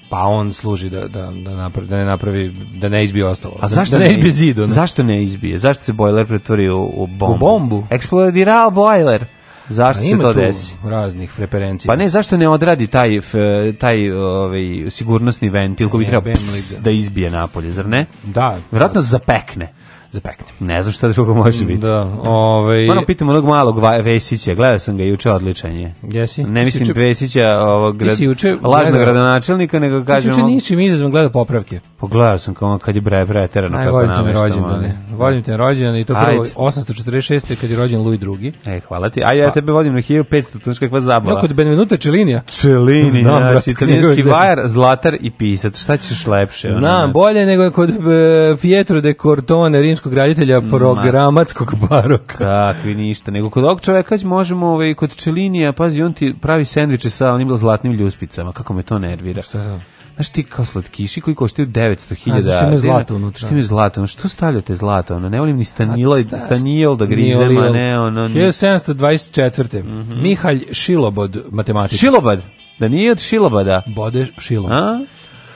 Speaker 8: Pa on služi da, da, da, napravi, da ne napravi, da ne izbije ostalo.
Speaker 7: A zašto
Speaker 8: da ne izbije zid, ono.
Speaker 7: Zašto ne izbije? Zašto se bojler pretvori u, u bombu?
Speaker 8: U bombu?
Speaker 7: Eksplodirao bojler.
Speaker 8: A
Speaker 7: Zašto se
Speaker 8: Pa ima
Speaker 7: to
Speaker 8: tu
Speaker 7: desi?
Speaker 8: raznih referencija.
Speaker 7: Pa ne, zašto ne odradi taj, f, taj ovaj, sigurnosni ventil koji bi trebao
Speaker 8: Jebem li
Speaker 7: ps,
Speaker 8: ga.
Speaker 7: da izbije napolje, zar ne?
Speaker 8: Da,
Speaker 7: Vjerojatno zapekne.
Speaker 8: zapeknem.
Speaker 7: Ne znam šta drugo može biti.
Speaker 8: Da, ovaj...
Speaker 7: Moram pitam onog malog Va- Vesića, gledao sam ga juče, odličan je.
Speaker 8: Jesi?
Speaker 7: Ne
Speaker 8: Ti si
Speaker 7: mislim
Speaker 8: juče-
Speaker 7: Vesića, ovog
Speaker 8: Ti si Mm, juče
Speaker 7: grad, lažnog
Speaker 8: gledao-
Speaker 7: gradonačelnika, nego
Speaker 8: Kažem,
Speaker 7: kažem...
Speaker 8: uče
Speaker 7: ono-
Speaker 8: ničim izazvan gleda popravke.
Speaker 7: Pogledao sam kao ono kad je bre preterano
Speaker 8: Aj,
Speaker 7: kako ono.
Speaker 8: volim te na
Speaker 7: nameštam, ali-
Speaker 8: rođendane. Volim te na rođendane i to
Speaker 7: Ajde.
Speaker 8: prvo 846. kad je rođen Louis Pa- II.
Speaker 7: E, hvala ti. A ja tebe vodim na 1500, to je kakva
Speaker 8: Da,
Speaker 7: zabava.
Speaker 8: kod Benvenuta Čelinija.
Speaker 7: Celini,
Speaker 8: Znam,
Speaker 7: znači,
Speaker 8: brate,
Speaker 7: italijanski
Speaker 8: njegove
Speaker 7: vajar, zlatar i pisac. Šta ćeš lepše? ono,
Speaker 8: Znam,
Speaker 7: ne?
Speaker 8: bolje nego kod e, Pietro de Cortone, rimskog graditelja programatskog baroka.
Speaker 7: Kakvi ništa, nego kod ovog čoveka možemo ovaj, kod Čelinija, pazi, on ti pravi sendviče sa onim zlatnim ljuspicama, kako me to nervira.
Speaker 8: Šta je to?
Speaker 7: Znaš ti kao slatkiši koji koštaju 900.000
Speaker 8: A, zašto imaju
Speaker 7: dinara.
Speaker 8: zlato unutra?
Speaker 7: Što imaju zlato? ono, Što stavljate zlato? Ono, ne volim ni stanilo,
Speaker 8: Šta-
Speaker 7: stanijel da grizem, a
Speaker 8: Niolil.
Speaker 7: ne ono... Ni... Mhm.
Speaker 8: 1724. Mihalj Šilobod, matematik.
Speaker 7: Šilobad! Da nije od Šilobada.
Speaker 8: Bode Šilobod.
Speaker 7: A?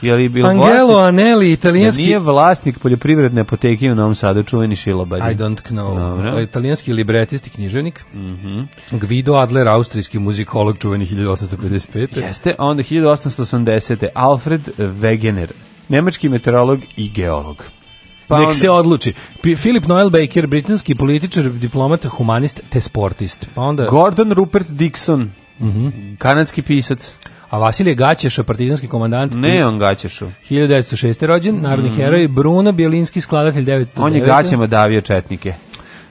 Speaker 7: Je li bilo
Speaker 8: Angelo Anelli,
Speaker 7: Ja
Speaker 8: italijanski...
Speaker 7: nije vlasnik poljoprivredne apoteke u Novom Sadu, čuveni Šilobad.
Speaker 8: I don't know. E,
Speaker 7: Dobro. Mhm.
Speaker 8: Italijanski libretist i književnik. Guido Adler, austrijski muzikolog čuveni 1855.
Speaker 7: Jeste, a onda 1880. Alfred Wegener, nemački meteorolog i geolog. Pa
Speaker 8: Nek
Speaker 7: onda-
Speaker 8: se odluči. P Philip Noel Baker, britanski političar, diplomat, humanist te sportist. Pa onda Mhm.
Speaker 7: Gordon Rupert Dixon, kanadski pisac.
Speaker 8: A Vasilije Gaćeša, partizanski komandant,
Speaker 7: Ne, on gaćešu. Mm. Mhm.
Speaker 8: 1906. rođen, narodni heroj, Bruno Bjelinski, skladatelj 909.
Speaker 7: On je gaćama davio četnike.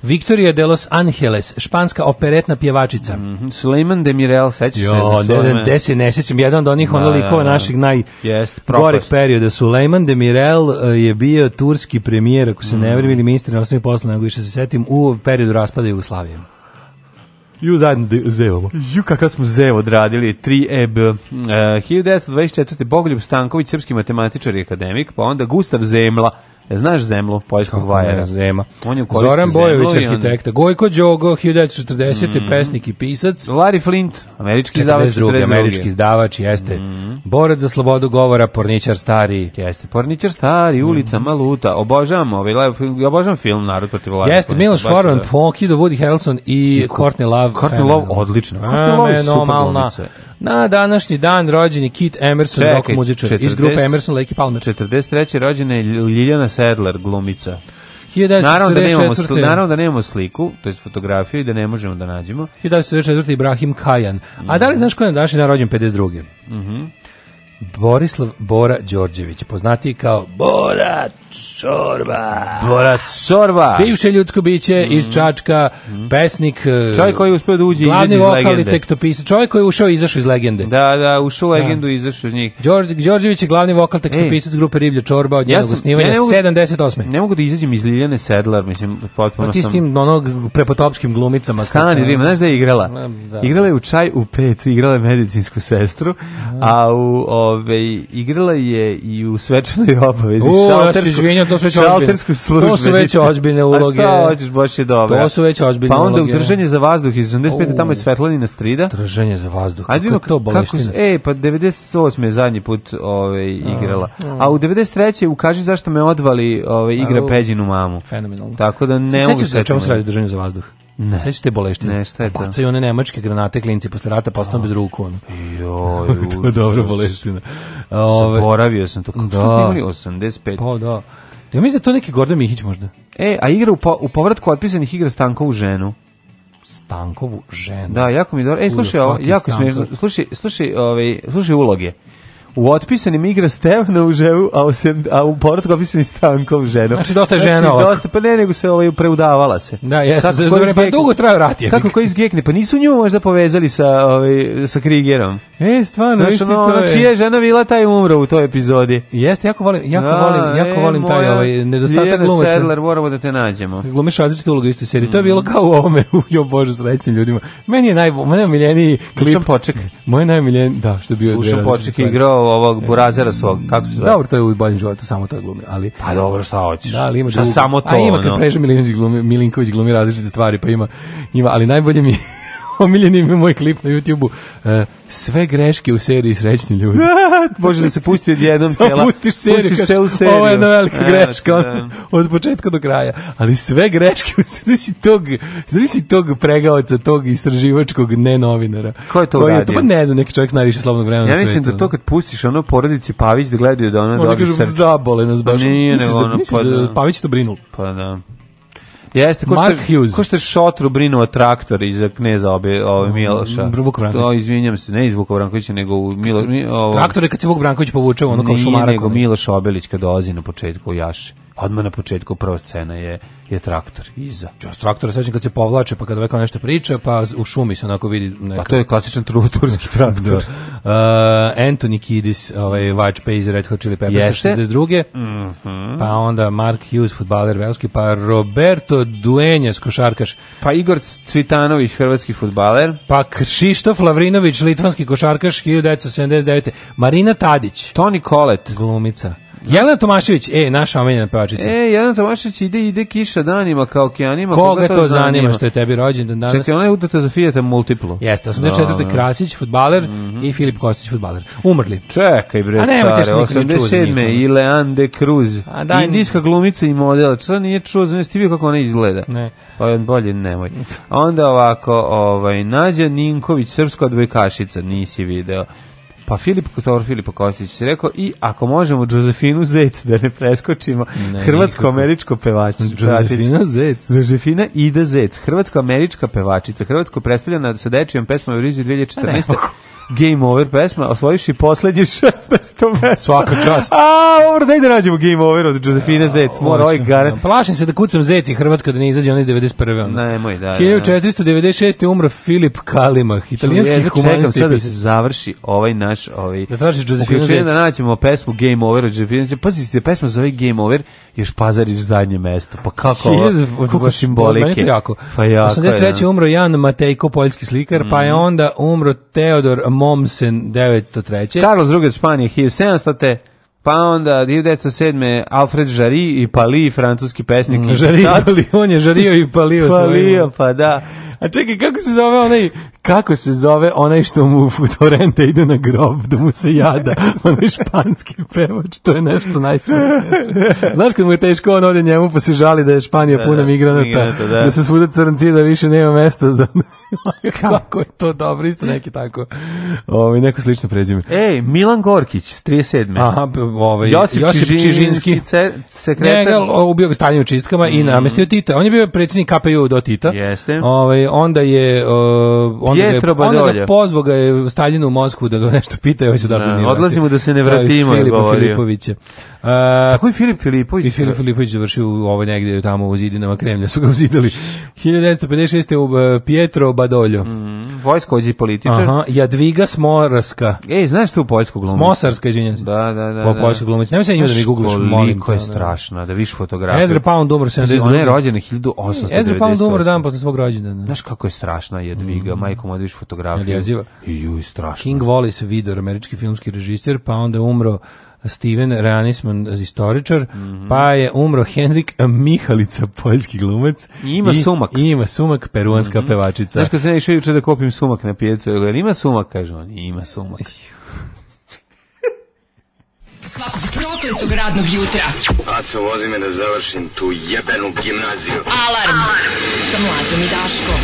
Speaker 8: Victoria de los Angeles, španska operetna pjevačica.
Speaker 7: Mhm, Sulejman Demirel, sećaš se?
Speaker 8: Jo,
Speaker 7: na
Speaker 8: ne,
Speaker 7: tome?
Speaker 8: ne, de se ne sjećam, jedan od onih
Speaker 7: Da,
Speaker 8: ono likova
Speaker 7: da, da.
Speaker 8: naših naj
Speaker 7: Jest, propast.
Speaker 8: goreg perioda. Sulejman Demirel e, je bio turski premijer, ako se
Speaker 7: Mhm.
Speaker 8: ne vrem, ili ministar na osnovi posla, nego više se setim, u periodu raspada Jugoslavije. Ju zajedno de- zevamo.
Speaker 7: Ju, kakav smo zev odradili,
Speaker 8: E
Speaker 7: 3EB. Uh, 1924. Bogoljub Stanković, srpski matematičar i akademik, pa onda Gustav Zemla. E, Znaš Zemlu, poljskog vajera?
Speaker 8: Ne, Zema.
Speaker 7: On je koristio
Speaker 8: Zoran Bojović,
Speaker 7: Zemlu i on- Mm.
Speaker 8: arhitekta. Gojko Đogo, 1940. pesnik i pisac.
Speaker 7: Larry Flint, američki izdavač
Speaker 8: 42.
Speaker 7: 42.
Speaker 8: američki izdavač, jeste.
Speaker 7: Mm.
Speaker 8: Borac za slobodu govora, porničar stari. Mhm.
Speaker 7: Jeste, Porničar stari, ulica Maluta. Obožavam ovaj, live- obožavam film Narod protiv Larry
Speaker 8: Jeste,
Speaker 7: Flinta,
Speaker 8: Miloš
Speaker 7: baš
Speaker 8: Forman,
Speaker 7: da.
Speaker 8: Pokido, Woody Harrelson i Courtney Love.
Speaker 7: Courtney
Speaker 8: fenomenalno.
Speaker 7: Love, odlično. Courtney Love je super
Speaker 8: Fenomenalna.
Speaker 7: glumica.
Speaker 8: Na današnji dan rođen je Kit Emerson,
Speaker 7: Čekaj,
Speaker 8: rock muzičar iz
Speaker 7: 40
Speaker 8: grupe Emerson, Lake i Palmer.
Speaker 7: 43. rođena je Ljiljana Sedler, glumica.
Speaker 8: 1944.
Speaker 7: Naravno da, nemamo, sli- naravno da nemamo sliku, to je fotografiju i da ne možemo da nađemo.
Speaker 8: 1944. Ibrahim Kajan. A
Speaker 7: Mhm.
Speaker 8: da li znaš ko je na današnji dan rođen 52. Borislav Bora Đorđević, poznatiji kao Bora Čorba.
Speaker 7: Borac Sorba. Mhm.
Speaker 8: Bivše ljudsko biće iz Čačka, pesnik, e,
Speaker 7: Čovjek koji je uspeo da uđe i
Speaker 8: glavni
Speaker 7: izađe iz
Speaker 8: vokal i
Speaker 7: legende.
Speaker 8: tekstopisac, čovjek koji je ušao i izašao iz legende.
Speaker 7: Da, da, ušao u legendu i izašao iz njih.
Speaker 8: Đorđe Đorđević je glavni vokal tekstopisac grupe Riblja čorba od njenog osnivanja
Speaker 7: ja ne mogu-
Speaker 8: 78.
Speaker 7: Ne mogu da izađem iz Ljiljane Sedlar, mislim, potpuno
Speaker 8: Pa ti s
Speaker 7: sam...
Speaker 8: tim onog prepotopskim glumicama.
Speaker 7: Stani, da ima, znaš da je igrala?
Speaker 8: Ne, da.
Speaker 7: Igrala je u čaj u pet, igrala je medicinsku sestru,
Speaker 8: Mhm.
Speaker 7: a u, ove, igrala je i u svečanoj obavezi.
Speaker 8: U, ja se
Speaker 7: šaltersku-
Speaker 8: izvinjam, to su već
Speaker 7: šaltersku
Speaker 8: ozbiljne. To su već
Speaker 7: službenicu.
Speaker 8: ozbiljne uloge.
Speaker 7: A šta hoćeš, baš je dobro.
Speaker 8: To su već ozbiljne
Speaker 7: Pa onda
Speaker 8: uloge.
Speaker 7: u držanje za vazduh iz 85. tamo je Svetlanina Strida.
Speaker 8: Držanje za vazduh.
Speaker 7: Ajde
Speaker 8: Ajde,
Speaker 7: vidimo
Speaker 8: kako je to
Speaker 7: kako
Speaker 8: boleština.
Speaker 7: se- E, pa 98 je zadnji put ovaj igrala. A u 93 ukaži zašto me odvali, ovaj igra
Speaker 8: Au.
Speaker 7: Peđinu mamu.
Speaker 8: Fenomenalno.
Speaker 7: Tako da
Speaker 8: Se
Speaker 7: ne mogu
Speaker 8: sećaš da čemu se
Speaker 7: setiti.
Speaker 8: radi držanje za vazduh? Ne. Sećaš te boleštine?
Speaker 7: Ne, šta je to?
Speaker 8: Bacaju one nemačke granate klinci posle rata, pa ostanu bez ruku. Ono.
Speaker 7: Joj,
Speaker 8: to je dobra
Speaker 7: užas.
Speaker 8: boleština. Ove,
Speaker 7: Zaboravio sam to. Kako da.
Speaker 8: Da.
Speaker 7: snimali? 85.
Speaker 8: pa da. Ja mislim da je to neki Gordon Mihić možda.
Speaker 7: E, a igra u, po, u povratku otpisanih igra Stankovu ženu.
Speaker 8: Stankovu ženu.
Speaker 7: Da, jako mi je dobro. E,
Speaker 8: Who the
Speaker 7: slušaj, ovo,
Speaker 8: fuck is
Speaker 7: jako
Speaker 8: Stanko?
Speaker 7: smiješno. Slušaj, slušaj, ovaj, slušaj uloge. U otpisanim igra Stevna u ženu, a u, sem, a u povratku otpisani Stankov ženu.
Speaker 8: Znači, dosta je žena ovako.
Speaker 7: dosta, pa ne, nego se ovaj, preudavala se.
Speaker 8: Da, jeste,
Speaker 7: Kako
Speaker 8: za-
Speaker 7: ko
Speaker 8: za vreme- pa
Speaker 7: izgekne-
Speaker 8: dugo traju rat, jebik.
Speaker 7: Kako koji izgekne, pa nisu nju možda povezali sa, ovaj, sa Krigerom.
Speaker 8: E, stvarno,
Speaker 7: Znaš,
Speaker 8: viš ti
Speaker 7: ono,
Speaker 8: to
Speaker 7: ono,
Speaker 8: je.
Speaker 7: čija je žena bila, taj je umro u toj epizodi.
Speaker 8: Jeste, jako volim, jako
Speaker 7: Da,
Speaker 8: volim, jako
Speaker 7: e,
Speaker 8: volim taj
Speaker 7: moja
Speaker 8: ovaj nedostatak
Speaker 7: Ljiljana
Speaker 8: glumaca.
Speaker 7: Sedlar, moramo da te nađemo.
Speaker 8: Glumiš različite uloge u istoj seriji. To
Speaker 7: Mm.
Speaker 8: je bilo kao u ovome, u jo bože, srećnim ljudima. Meni je naj, moj najmiljeniji klip.
Speaker 7: Dušan Poček.
Speaker 8: Moj najmiljeniji, da, što je bio dve
Speaker 7: Dušan
Speaker 8: različite
Speaker 7: Poček je
Speaker 8: stvari.
Speaker 7: igrao ovog burazera svog, kako se zove?
Speaker 8: E, Dobro, to je u boljem životu, samo to je glumi, ali...
Speaker 7: Pa dobro, šta hoćeš?
Speaker 8: Da, ali ima
Speaker 7: šta
Speaker 8: drugo.
Speaker 7: samo to,
Speaker 8: A ima kad
Speaker 7: ono?
Speaker 8: Preža Milinković glumi, Milinković glumi različite stvari, pa ima, ima ali najbolje mi je omiljeni mi je moj klip na YouTubeu e, sve greške u seriji srećni ljudi.
Speaker 7: Može da se pusti odjednom
Speaker 8: Samo
Speaker 7: cela.
Speaker 8: pustiš seriju,
Speaker 7: pustiš
Speaker 8: kažeš,
Speaker 7: celu seriju.
Speaker 8: Ovo je jedna velika
Speaker 7: Evo ti,
Speaker 8: greška,
Speaker 7: da.
Speaker 8: on, od početka do kraja. Ali sve greške, u seriji, zamisli tog, zamisli tog pregaoca, tog istraživačkog ne novinara.
Speaker 7: Ko je to
Speaker 8: Koji
Speaker 7: uradio?
Speaker 8: Pa ne znam, neki čovjek s najviše slobodnog vremena
Speaker 7: Ja
Speaker 8: na
Speaker 7: mislim
Speaker 8: svetu.
Speaker 7: da to kad pustiš ono porodici Pavić da gledaju da ona
Speaker 8: Oni
Speaker 7: dobiju
Speaker 8: kažu,
Speaker 7: srce.
Speaker 8: zabole nas baš.
Speaker 7: Nije,
Speaker 8: Misliš
Speaker 7: nego
Speaker 8: da-
Speaker 7: ono,
Speaker 8: misliš
Speaker 7: pa
Speaker 8: da
Speaker 7: da.
Speaker 8: Pavić to brinul.
Speaker 7: Pa da. Jeste, ko
Speaker 8: Mark
Speaker 7: što,
Speaker 8: Hughes.
Speaker 7: ko što je Šotru brinuo traktor iza kneza obe, ove Miloša.
Speaker 8: Mm, Vuk Branković.
Speaker 7: To, izvinjam se, ne iz Vuka Brankovića, nego u Milo, mi, ovo,
Speaker 8: Traktor je kad se Vuk Branković povuče ono kao
Speaker 7: Nije,
Speaker 8: šumarak.
Speaker 7: nego
Speaker 8: ono.
Speaker 7: Miloš Obelić kad dolazi na početku u Jaši. Odmah na početku prva scena je, je traktor iza.
Speaker 8: Ja Pa, s traktora sećam kad se povlače, pa kad ovaj kao nešto priča, pa z- u šumi se onako vidi neka...
Speaker 7: Pa to je klasičan tru- turski
Speaker 8: Da.
Speaker 7: traktor.
Speaker 8: Uh, Anthony Kiddis, ovaj Watch Pay iz Red Hot Chili Peppers
Speaker 7: Jeste. Mhm.
Speaker 8: 62. Pa onda Mark Hughes, futbaler velski, pa Roberto Duenjes, košarkaš,
Speaker 7: Pa Igor Cvitanović, hrvatski futbaler.
Speaker 8: pa Kšištof Lavrinović, litvanski košarkaš, 1979. Marina Tadić,
Speaker 7: Toni Kolet.
Speaker 8: glumica. Jelena Tomašević, e, naša omiljena pevačica.
Speaker 7: E, jedan Tomašić ide, ide kiša danima kao okeanima.
Speaker 8: Koga to zanima što je tebi rođendan danas?
Speaker 7: Čekaj, ona je udata za Fijata multiplu.
Speaker 8: Jeste, 84.
Speaker 7: Da, da.
Speaker 8: Znači, Krasić, futbaler
Speaker 7: Mhm.
Speaker 8: i Filip Kostić, futbaler. Umrli.
Speaker 7: Čekaj bre,
Speaker 8: A nemojte
Speaker 7: care,
Speaker 8: što niko nije čuo za njih.
Speaker 7: 87. i Leande Cruz.
Speaker 8: A daj mi-
Speaker 7: Indijska glumica i model. Šta nije čuo, znaš ti vidio kako ona izgleda?
Speaker 8: Ne.
Speaker 7: Pa je bolje nemoj. A Onda ovako, ovaj, Nađa Ninković, srpska odbojkašica, nisi video. Pa Filip Kotor, Filip Kostić si rekao i ako možemo Josefinu Zec da ne preskočimo, hrvatsko-američko pevač, pevačica.
Speaker 8: Josefina Zec.
Speaker 7: Žefina
Speaker 8: Pa
Speaker 7: Ida Zec, hrvatsko-američka pevačica, hrvatsko predstavljena sa dečijom pesmom u Rizi 2014. Game Over pesma, osvojiš i poslednje 16. mesto.
Speaker 8: Svaka čast.
Speaker 7: A, dobro, daj da nađemo Game Over od Josefine Zec. Mora, ovaj garant.
Speaker 8: Plašim se da kucam zeci Hrvatska da ne izađe onaj iz 91. ono.
Speaker 7: Nemoj, da, da, da.
Speaker 8: 1496. umro Filip Kalimah, italijanski
Speaker 7: Čekam čekam
Speaker 8: humanisti.
Speaker 7: sad
Speaker 8: i
Speaker 7: da se
Speaker 8: pisac.
Speaker 7: završi ovaj naš ovaj
Speaker 8: Da tražiš Josefinu
Speaker 7: uključenje
Speaker 8: Zec.
Speaker 7: da naćemo pesmu Game Over od Josefine Zec. Pazite, pesma zove Game Over, još Pazarić zadnje mesto. Pa kako ovo?
Speaker 8: Hiljadu- od-
Speaker 7: Koliko
Speaker 8: baš-
Speaker 7: simbolike.
Speaker 8: meni je to jako.
Speaker 7: Pa jako je, Mhm.
Speaker 8: 83. umro Jan Matejko, poljski slikar, pa je onda umro Teodor Mommsen 903.
Speaker 7: Carlos II od Španije 1700 pa onda 1907. Alfred Jarry i Pali, francuski
Speaker 8: Mm,
Speaker 7: pesnik. i
Speaker 8: Žario,
Speaker 7: pisac.
Speaker 8: ali on je žario i palio
Speaker 7: Palio,
Speaker 8: svojim.
Speaker 7: pa da.
Speaker 8: A čekaj, kako se zove onaj, kako se zove onaj što mu Torrente ide na grob da mu se jada, onaj španski pevač, to je nešto najsmešnije. na svetu. Znaš kad mu je teško, on ode njemu pa se žali da je Španija puna
Speaker 7: da,
Speaker 8: migranata,
Speaker 7: migranata, da.
Speaker 8: da su svuda crnci, da više nema mesta za... Kako je to dobro, isto neki tako. Ovi, neko slično prezime.
Speaker 7: Ej, Milan Gorkić, 37.
Speaker 8: Aha, p- ovaj,
Speaker 7: Josip, Čižinski, ce- sekretar.
Speaker 8: Njega l- ubio ga stanje u čistkama i namestio Tita. On je bio predsjednik KPU do Tita.
Speaker 7: Mhm. Jeste.
Speaker 8: Ovaj, onda je... Uh, onda ga je-
Speaker 7: Pietro
Speaker 8: onda ga
Speaker 7: Badolja.
Speaker 8: pozvao ga je Staljinu u Moskvu da ga nešto pita i ovaj se
Speaker 7: Da,
Speaker 8: da, nije
Speaker 7: odlazimo
Speaker 8: vratio.
Speaker 7: da se ne
Speaker 8: Kao i
Speaker 7: vratimo, je
Speaker 8: Filipa
Speaker 7: govorio.
Speaker 8: Filipovića. Uh,
Speaker 7: Tako i Filip Filipović.
Speaker 8: i Filip Filipović završio u ovo negde tamo u zidinama Kremlja su ga uzidali. 1956. u uh, Pietro Badoljo.
Speaker 7: Vojskođi Mhm, političar.
Speaker 8: Aha, Jadviga Smorarska.
Speaker 7: Ej, znaš tu poljsku glumicu?
Speaker 8: Mosarska, izvinjam se.
Speaker 7: Da, da, da.
Speaker 8: Po
Speaker 7: da.
Speaker 8: poljskoj glumici. Nemoj se njima da mi
Speaker 7: Znaš
Speaker 8: googlaš, molim.
Speaker 7: Koliko je
Speaker 8: te, ono.
Speaker 7: strašno, da vidiš fotografiju.
Speaker 8: Ezra Pound umro 72.
Speaker 7: Ona Znači, je rođena 1898.
Speaker 8: Ezra Pound umro dan posle svog rođendana.
Speaker 7: Znaš kako je strašna Jadviga, mm. majko moja da vidiš
Speaker 8: Je
Speaker 7: fotografiju.
Speaker 8: li jeziva?
Speaker 7: I Ju, strašno.
Speaker 8: King Wallace Vidor, američki filmski režiser, pa onda umro Steven Reanisman, istoričar,
Speaker 7: Mhm.
Speaker 8: pa je umro Henrik Mihalica, poljski glumac.
Speaker 7: I ima sumak. Mhm.
Speaker 8: I ima sumak, peruanska pevačica.
Speaker 7: Znaš kad sam ja išao juče da kupim sumak na pijecu, jel ima sumak, kaže on, ima sumak.
Speaker 6: Svakog prokletog radnog jutra.
Speaker 11: Aco, vozi me da završim tu jebenu gimnaziju.
Speaker 6: Alarm, sa mlađom i Daškom.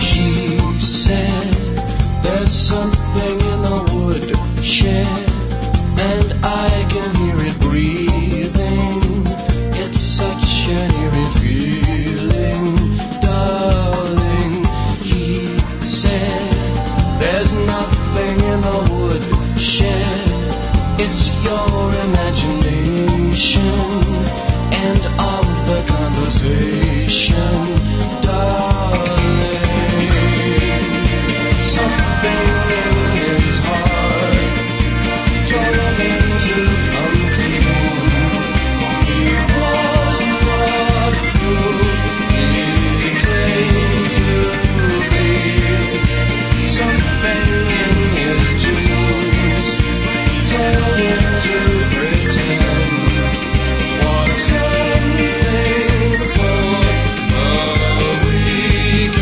Speaker 3: She said, There's something in the woodshed, and I can hear it breathing. It's such an eerie feeling, darling. He said, There's nothing in the woodshed, it's your imagination. End of the conversation, darling. Something in his heart told him to come clean. He was the proof he claimed to be. Something in his dreams told him to pretend for something for a week.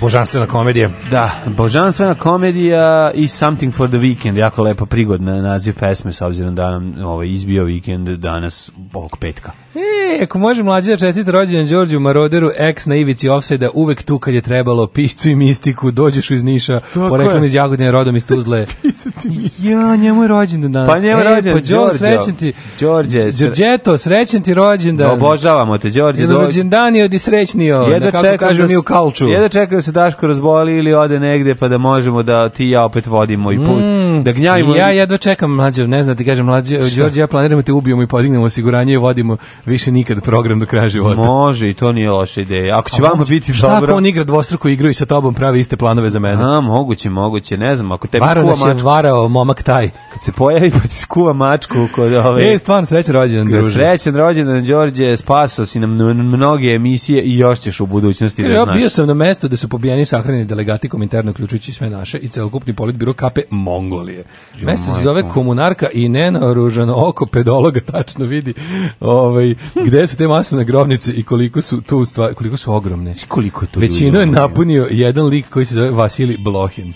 Speaker 8: Božanstvena komedija.
Speaker 7: Da, božanstvena komedija i Something for the Weekend, jako lepa prigodna naziv pesme s obzirom da nam ovaj, izbio vikend danas ovog petka.
Speaker 8: E, ako može mlađi da čestite rođendan Đorđu Maroderu, eks na ivici ofsajda, uvek tu kad je trebalo, piscu i mistiku, dođeš iz Niša,
Speaker 7: Tako
Speaker 8: poreklom
Speaker 7: je.
Speaker 8: iz Jagodine, rodom iz Tuzle. ja, njemu je rođendan danas.
Speaker 7: Pa njemu je rođendan,
Speaker 8: pa Đor,
Speaker 7: Đorđo.
Speaker 8: srećen ti.
Speaker 7: Đorđe, sre-
Speaker 8: Đorđeto, srećen ti rođendan.
Speaker 7: Obožavamo te, Đorđe.
Speaker 8: Jedan rođendan je od i srećnio, da kako kažu mi u kalču.
Speaker 7: Jedva čekam da se Daško razboli ili ode negde pa da možemo da ti i ja opet vodimo i put. da gnjavimo.
Speaker 8: Mm. Ja jedva čekam mlađe, ne znam ti kažem mlađe, Đorđe, ja planiramo te ubijemo i podignemo osiguranje i vodimo više nikad program do kraja života.
Speaker 7: Može i to nije loša ideja. Ako će
Speaker 8: A
Speaker 7: vama
Speaker 8: moguće-
Speaker 7: biti
Speaker 8: Šta
Speaker 7: dobro...
Speaker 8: ako on igra dvostruku igru i sa tobom pravi iste planove za mene?
Speaker 7: A, moguće, moguće, ne znam, ako tebi
Speaker 8: Varo nas
Speaker 7: skuva
Speaker 8: je
Speaker 7: mačku,
Speaker 8: varao momak taj.
Speaker 7: kad se pojavi pa ti skuva mačku kod ovaj- ove...
Speaker 8: E, stvarno srećan rođendan,
Speaker 7: Da
Speaker 8: druže.
Speaker 7: srećan rođendan Đorđe, spasao si nam mn- mnoge emisije i još ćeš u budućnosti
Speaker 8: Kaže,
Speaker 7: da
Speaker 8: ja
Speaker 7: znaš.
Speaker 8: bio sam na mestu da su pobijeni i sahranjeni delegati kominterno uključujući sve naše i celokupni politbiro kape Mongolije. Mesto se zove Komunarka i nenaoružano oko pedologa tačno vidi ovaj, gde su te masovne grobnice i koliko su tu stvari, koliko su ogromne.
Speaker 7: koliko je to
Speaker 8: Većinu
Speaker 7: ljudi,
Speaker 8: je
Speaker 7: ono,
Speaker 8: napunio jedan lik koji se zove Vasili Blohin.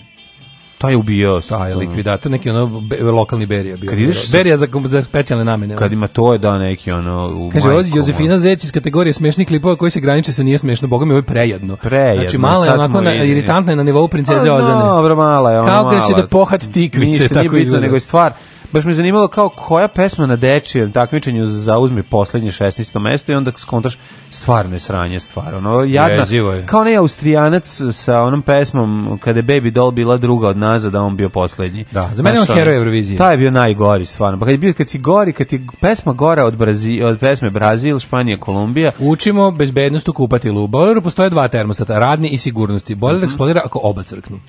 Speaker 7: Taj je ubio.
Speaker 8: Taj likvidator, neki ono be- lokalni berija bio.
Speaker 7: Kad ideš-
Speaker 8: Berija za, za specijalne namene. ono.
Speaker 7: Kad ima to je da neki ono... u
Speaker 8: Kaže,
Speaker 7: majku,
Speaker 8: ovo je Josefina Zec iz kategorije smešnih klipova koji se graniče sa nije smešno, boga mi ovo je prejedno.
Speaker 7: Prejedno,
Speaker 8: Znači, mala je
Speaker 7: sad
Speaker 8: onako
Speaker 7: smo
Speaker 8: na,
Speaker 7: vidjeli.
Speaker 8: iritantna je na nivou
Speaker 7: A,
Speaker 8: princeze Ozane.
Speaker 7: Dobro, mala je, ona
Speaker 8: Kao
Speaker 7: mala.
Speaker 8: kad će da pohat tikvice,
Speaker 7: Ništa,
Speaker 8: tako
Speaker 7: nije bitno,
Speaker 8: izgleda.
Speaker 7: nego je stvar. Baš me zanimalo kao koja pesma na dečijem takmičenju zauzme poslednje 16. mesto i onda skontaš stvarno je sranje stvar. Ono, jadna,
Speaker 8: Jezivo je.
Speaker 7: kao onaj austrijanac sa onom pesmom kada je Baby Doll bila druga od nas, da on bio poslednji.
Speaker 8: Da, za mene je on
Speaker 7: Znaš, ono,
Speaker 8: heroj Eurovizije.
Speaker 7: Taj je bio najgori stvarno. Pa kad, je bio, kad si gori, kad ti pesma gora od, Brazi, od pesme Brazil, Španija, Kolumbija,
Speaker 8: Učimo bezbednost u kupatilu. U bojleru postoje dva termostata, radni i sigurnosti. Bojler
Speaker 7: Mhm.
Speaker 8: eksplodira ako oba crknu.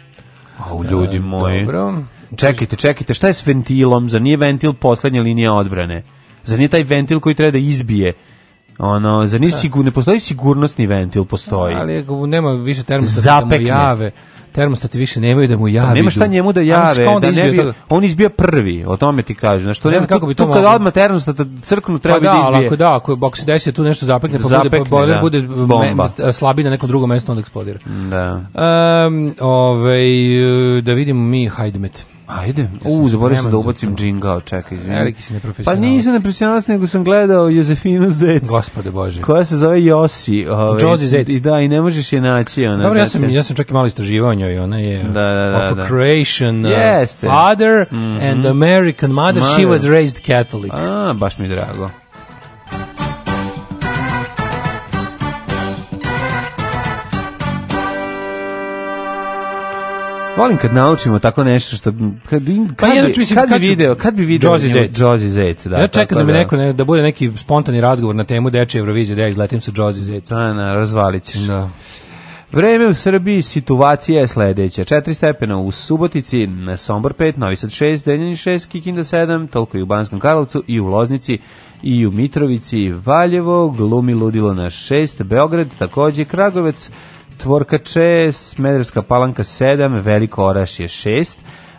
Speaker 7: au ljudi moji.
Speaker 8: E, Dobro.
Speaker 7: Čekajte, čekajte, šta je s ventilom? Zar nije ventil poslednja linija odbrane? Zar nije taj ventil koji treba da izbije? Ono, zar nije sigur, ne postoji sigurnosni ventil, postoji.
Speaker 8: Ali ako nema više termostata da mu
Speaker 7: Zapekne.
Speaker 8: jave, termostati više nemaju da mu jave.
Speaker 7: Nema Pa šta njemu da jave, da ne bi,
Speaker 8: Ne
Speaker 7: on izbija prvi, o tome ti kažem. Znaš, to
Speaker 8: Ne
Speaker 7: ne
Speaker 8: znam kako bi to
Speaker 7: tu, tu
Speaker 8: moglo.
Speaker 7: kad odmah termostata crknu, treba
Speaker 8: Pa
Speaker 7: bi
Speaker 8: da,
Speaker 7: da
Speaker 8: ali
Speaker 7: izbije.
Speaker 8: ako da, ako, ako se desi da tu nešto zapekne, pa bude,
Speaker 7: Zapekne,
Speaker 8: pa bojler
Speaker 7: da.
Speaker 8: bude
Speaker 7: Bomba.
Speaker 8: me- slabiji na nekom drugom mestu, onda eksplodira.
Speaker 7: Da.
Speaker 8: Um, ovaj, e, da vidimo mi Hajdmet.
Speaker 7: Ajde, u, zaboravio sam
Speaker 8: spreman
Speaker 7: da
Speaker 8: za
Speaker 7: ubacim džingao, čekaj, izvini.
Speaker 8: Veliki si
Speaker 7: Pa
Speaker 8: neprofesionalac.
Speaker 7: nisam neprofesionalac, nego sam gledao Josefinu Zec.
Speaker 8: Gospode Bože.
Speaker 7: Koja se zove Josi. Ovaj,
Speaker 8: Josie Zec.
Speaker 7: I da, i ne možeš je naći. Ona,
Speaker 8: Dobro, ja sam,
Speaker 7: znači.
Speaker 8: ja sam čak i malo istraživao o njoj, ona je
Speaker 7: Da, da, da,
Speaker 8: of a
Speaker 7: da.
Speaker 8: Croatian uh,
Speaker 7: Jeste. Mhm.
Speaker 8: father and American mother, she
Speaker 7: Mother.
Speaker 8: was raised Catholic.
Speaker 7: A, baš mi je drago. Volim kad naučimo tako nešto što kad bi kad,
Speaker 8: jedno ću,
Speaker 7: bi,
Speaker 8: Pa mislim,
Speaker 7: kad,
Speaker 8: kad
Speaker 7: bi
Speaker 8: ću-
Speaker 7: video, kad bi video
Speaker 8: Josie Zec.
Speaker 7: Josie Zec, da.
Speaker 8: ja čekam
Speaker 7: tako
Speaker 8: da mi neko ne, da bude neki spontani razgovor na temu dečje Eurovizije, da ja izletim sa Josie Zeca.
Speaker 7: Da, da, razvalit ćeš.
Speaker 8: Da.
Speaker 7: Vreme u Srbiji, situacija je sledeća. 4 stepena u Subotici, na Sombor 5, Novi Sad 6, Deljenin 6, Kikinda 7, toliko i u Banskom Karlovcu i u Loznici i u Mitrovici, Valjevo, glumi ludilo na 6, Beograd, takođe Kragovec, Tvorka 6, Smederska palanka 7, Veliko Oraš je 6,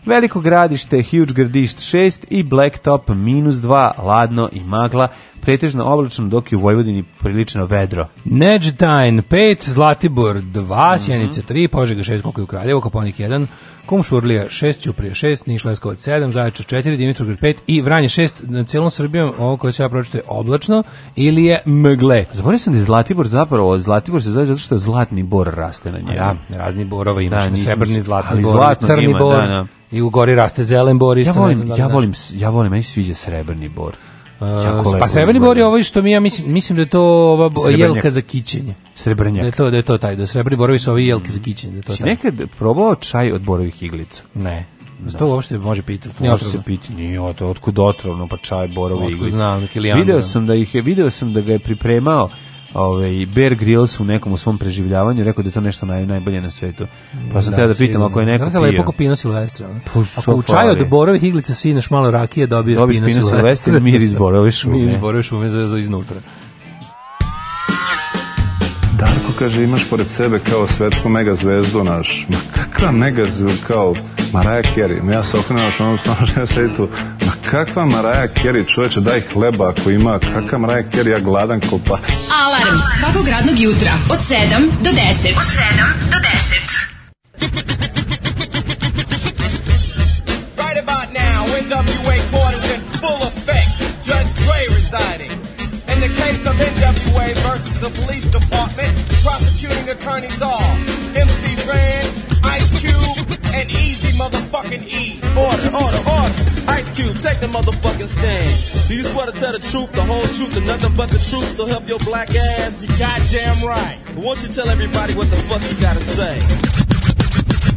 Speaker 7: Veliko gradište, Huge gradišt 6 i Blacktop minus 2, ladno i magla, pretežno oblačno dok je u Vojvodini prilično vedro.
Speaker 8: Neđetajn 5, Zlatibor 2,
Speaker 7: Mhm.
Speaker 8: Sjenica 3, Požega 6, koliko je u Kraljevo, Koponik 1, Kumšurlija 6, Ćuprija 6, Niš Leskovac 7, Zaječar 4, Dimitrovgrad 5 i Vranje 6. Na cijelom Srbijom ovo koje se ja pročito je oblačno ili je mgle.
Speaker 7: Zaboravio sam da je Zlatibor zapravo, Zlatibor se zove zato što zlatni bor raste na njemu.
Speaker 8: Ja, razni borova imaš, da,
Speaker 7: Da, nisam-
Speaker 8: srebrni, zlatni
Speaker 7: ali
Speaker 8: bor,
Speaker 7: zlatnog
Speaker 8: crni
Speaker 7: ima,
Speaker 8: bor,
Speaker 7: da, da.
Speaker 8: i u gori raste zelen bor, isto
Speaker 7: ja
Speaker 8: ne
Speaker 7: volim,
Speaker 8: znam da li
Speaker 7: ja
Speaker 8: znaš.
Speaker 7: volim, s- ja volim, meni se sviđa srebrni bor. Jako
Speaker 8: Pa
Speaker 7: lepo
Speaker 8: srebrni
Speaker 7: izgleda.
Speaker 8: bor je ovo što mi ja mislim, mislim da je to ova bo-
Speaker 7: Srebrnjak.
Speaker 8: jelka za kićenje. Da je
Speaker 7: Srebrnjak.
Speaker 8: to, da je to taj, da srebrni borovi su ovi jelke za kićenje. Da je to
Speaker 7: Si
Speaker 8: taj.
Speaker 7: Znači, nekad probao čaj od borovih iglica?
Speaker 8: Ne. To uopšte može pitati. Nije
Speaker 7: Može se
Speaker 8: otrovno.
Speaker 7: piti, nije o to, otkud otrovno, pa čaj borove
Speaker 8: Otkud
Speaker 7: iglice.
Speaker 8: znam, neki lijandra.
Speaker 7: video sam da ih je, video sam da ga je pripremao ovaj Bear Grylls u nekom u svom preživljavanju, rekao da je to nešto naj, najbolje na svetu. Pa sam teo da pitam
Speaker 8: sigurno.
Speaker 7: ako je neko
Speaker 8: Znate lepo
Speaker 7: pio.
Speaker 8: ko pino silvestra. ono?
Speaker 7: Pa,
Speaker 8: Ako u
Speaker 7: so
Speaker 8: čaju od
Speaker 7: fali.
Speaker 8: borovih iglica sineš malo rakije, dobiješ,
Speaker 7: Dobiješ
Speaker 8: pino,
Speaker 7: pino silvestra,
Speaker 8: silvestra.
Speaker 7: mir iz borove šume.
Speaker 8: Mir iz borove šume za, za iznutra.
Speaker 12: Darko kaže imaš pored sebe kao svetsku megazvezdu naš. Ma kakva megazvezdu kao Maraja Kerry. Ma Ja se okrenuo što ono stvarno što ja sedi tu. Ma kakva Maraja Kerry čoveče daj hleba ako ima. Kakva Maraja Kerry ja gladan ko pas.
Speaker 6: Alarm svakog radnog jutra od 7 do 10. Od 7 do 10.
Speaker 13: County versus the police department. Prosecuting attorneys are MC Ren, Ice Cube, and Easy Motherfucking E.
Speaker 14: Order, order, order. Ice Cube, take the motherfucking stand. Do you swear to tell the truth, the whole truth, and nothing but the truth? So help your black ass. You goddamn right. Won't you tell everybody what the fuck you gotta say?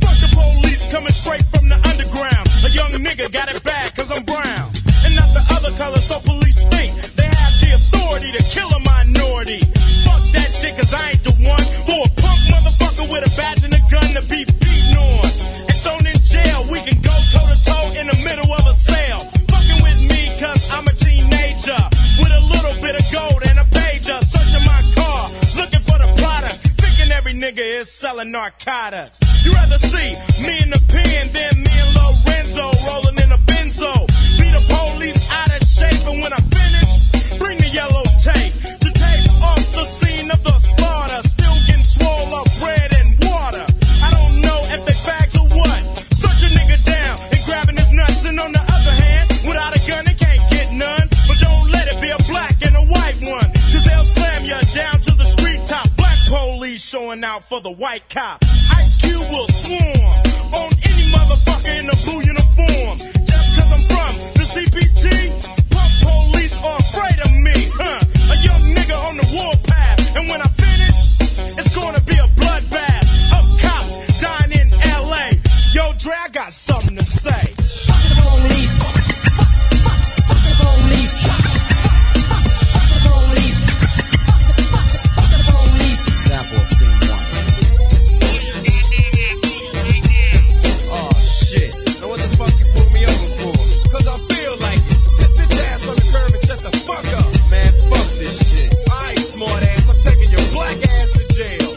Speaker 13: Fuck the police coming straight from the underground. A young nigga got it bad cause I'm brown. And not the other color, so police think they have the authority to kill a minority. Fuck that shit cause I ain't the one for a punk motherfucker with a badge and a gun to be beaten on. And thrown in jail, we can go toe to toe in the middle of a sale. Fucking with me cause I'm a teenager. With a little bit of gold and a pager. Searching my car, looking for the product. Thinking every nigga is selling narcotics. You rather see me in the pen than me and Lorenzo rolling in a benzo. Be the police out of shape, and when I finish, bring the yellow tape to take off the scene of the slaughter. Still getting swole up bread and water. I don't know if they bags or what. Search a nigga down and grabbing his nuts, and on the other hand, without a gun, it can't get none. But don't let it be a black and a white one, cause they'll slam you down to the street top. Black police showing out for the white cop. Ice Cube will swarm on any motherfucker in a blue uniform. Just cause I'm from the CPT, pump police are Oh, afraid of me, huh? A young nigga on the warpath, and when I finish, it's gonna be a bloodbath of cops dying in LA. Yo, Dre, I got something to say. Fuck the police.
Speaker 14: Example of scene one.
Speaker 13: Oh shit. Now what the fuck you pulled me over for? Cause I feel like it. Just sit your ass on the curb and shut the fuck up. Man, fuck this shit. Alright, smart ass, I'm taking your black ass to jail.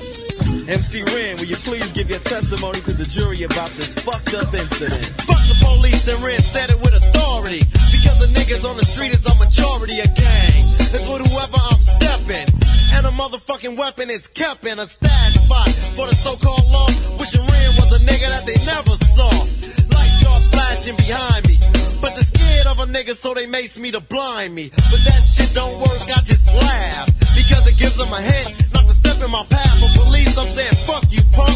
Speaker 14: MC Ren, will you please give your testimony to the jury about this fucked up incident?
Speaker 13: Fuck the police and Red said it with authority. Because the niggas on the street is a majority of gang. It's with whoever I'm stepping. And a motherfucking weapon is kept in a stash spot for the so-called law. Wishing Ren was a nigga that they never saw. Lights start flashing behind me. But they're scared of a nigga so they mace me to blind me. But that shit don't work, I just laugh. Because it gives them a hint not to step in my path. For police, I'm saying fuck you punk.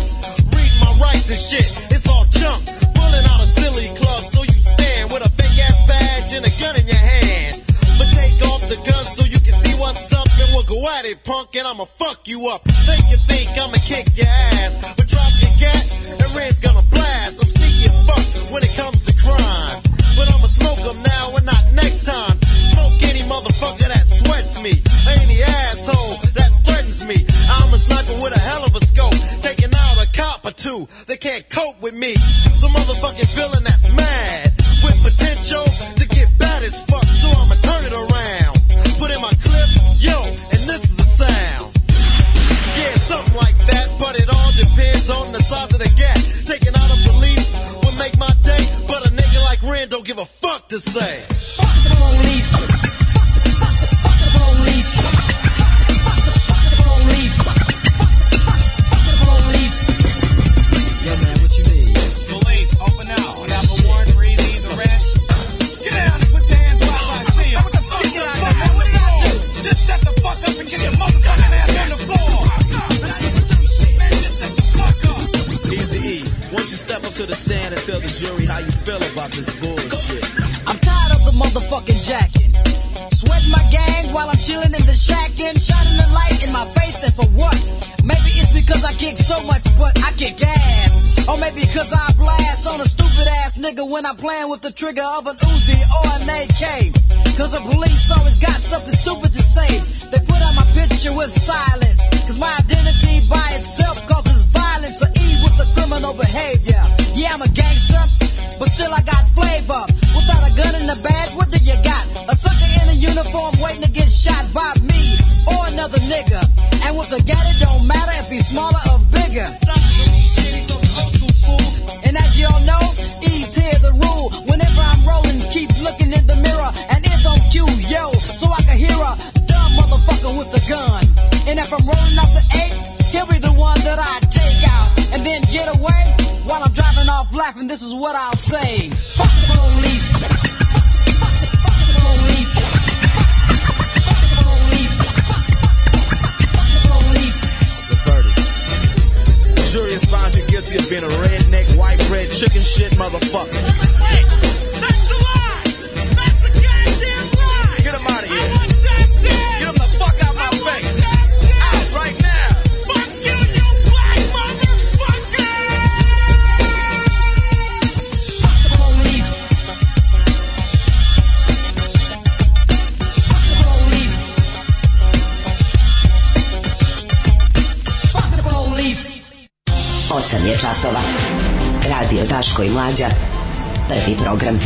Speaker 13: Read my rights and shit, it's all junk. Pulling out a silly club so you stand with a fake ass badge and a gun in your hand. But take off the gun so you can see what's up and we'll go at it, punk, and I'ma fuck you up. Think you think I'ma kick your ass, but drop your gat and Red's gonna blast. I'm sneaky as fuck when it comes to crime. But I'ma smoke 'em now and not next time. Smoke any motherfucker that sweats me, any asshole that threatens me. I'm a sniper with a hell of a scope, taking out a cop or two. They can't cope with me. The motherfucking villain that's mad with potential to get bad as fuck, so I'ma turn it around. Put in my clip, yo, and this is the sound. Yeah, something like that, but it all depends on the size of the gap. Taking out a police would make my day, but a nigga like Ren don't give a fuck to say. Fuck the police.
Speaker 14: Yo, man, what you need?
Speaker 13: Police, open up. We have a warrant for Easy's arrest. Get down and put your hands where I see you. What the fuck? Get out of here. What did I do? Just shut the fuck up and get your motherfucking ass on the floor.
Speaker 14: Easy E, won't you step up to the stand and tell the jury how you feel about this bullshit?
Speaker 4: I'm tired of the motherfucking jacking. Sweating my gang while I'm chilling in the shack and shining the light in my face and for what? Maybe it's because I kick so much but I kick ass. Or maybe because I blast on a stupid ass nigga when I'm playing with the trigger of an Uzi or an AK. Cause the police always got something stupid to say. They put out my picture with silence. Cause my identity by itself causes violence to E with the criminal behavior. Yeah, I'm a gangster but still I got flavor. Without a gun and a badge, what do you got? A sucker in a uniform waiting to get shot by me or another nigga. And with a gat, it don't matter if he's smaller or bigger. And as y'all know, E's here the rule. Whenever I'm rolling, keep looking in the mirror, and it's on cue, yo, so I can hear a dumb motherfucker with a gun. And if I'm rolling up the eight, he'll be the one that I take out, and then get away while I'm driving off laughing. This is what I'll say. Fuck the police. Fuck the police. Fuck the police. Fuck the police. Fuck the police. Fuck the police.
Speaker 14: motherfucker.
Speaker 3: Hey, that's a lie. That's a goddamn lie.
Speaker 14: Get him out of here.
Speaker 3: I want justice.
Speaker 14: Get him the fuck out my face. Out right now.
Speaker 3: Fuck you, you black motherfucker.
Speaker 4: Police. Police. Fuck the police.
Speaker 15: 8 je časova. Radio Daško i Mlađa. Prvi program.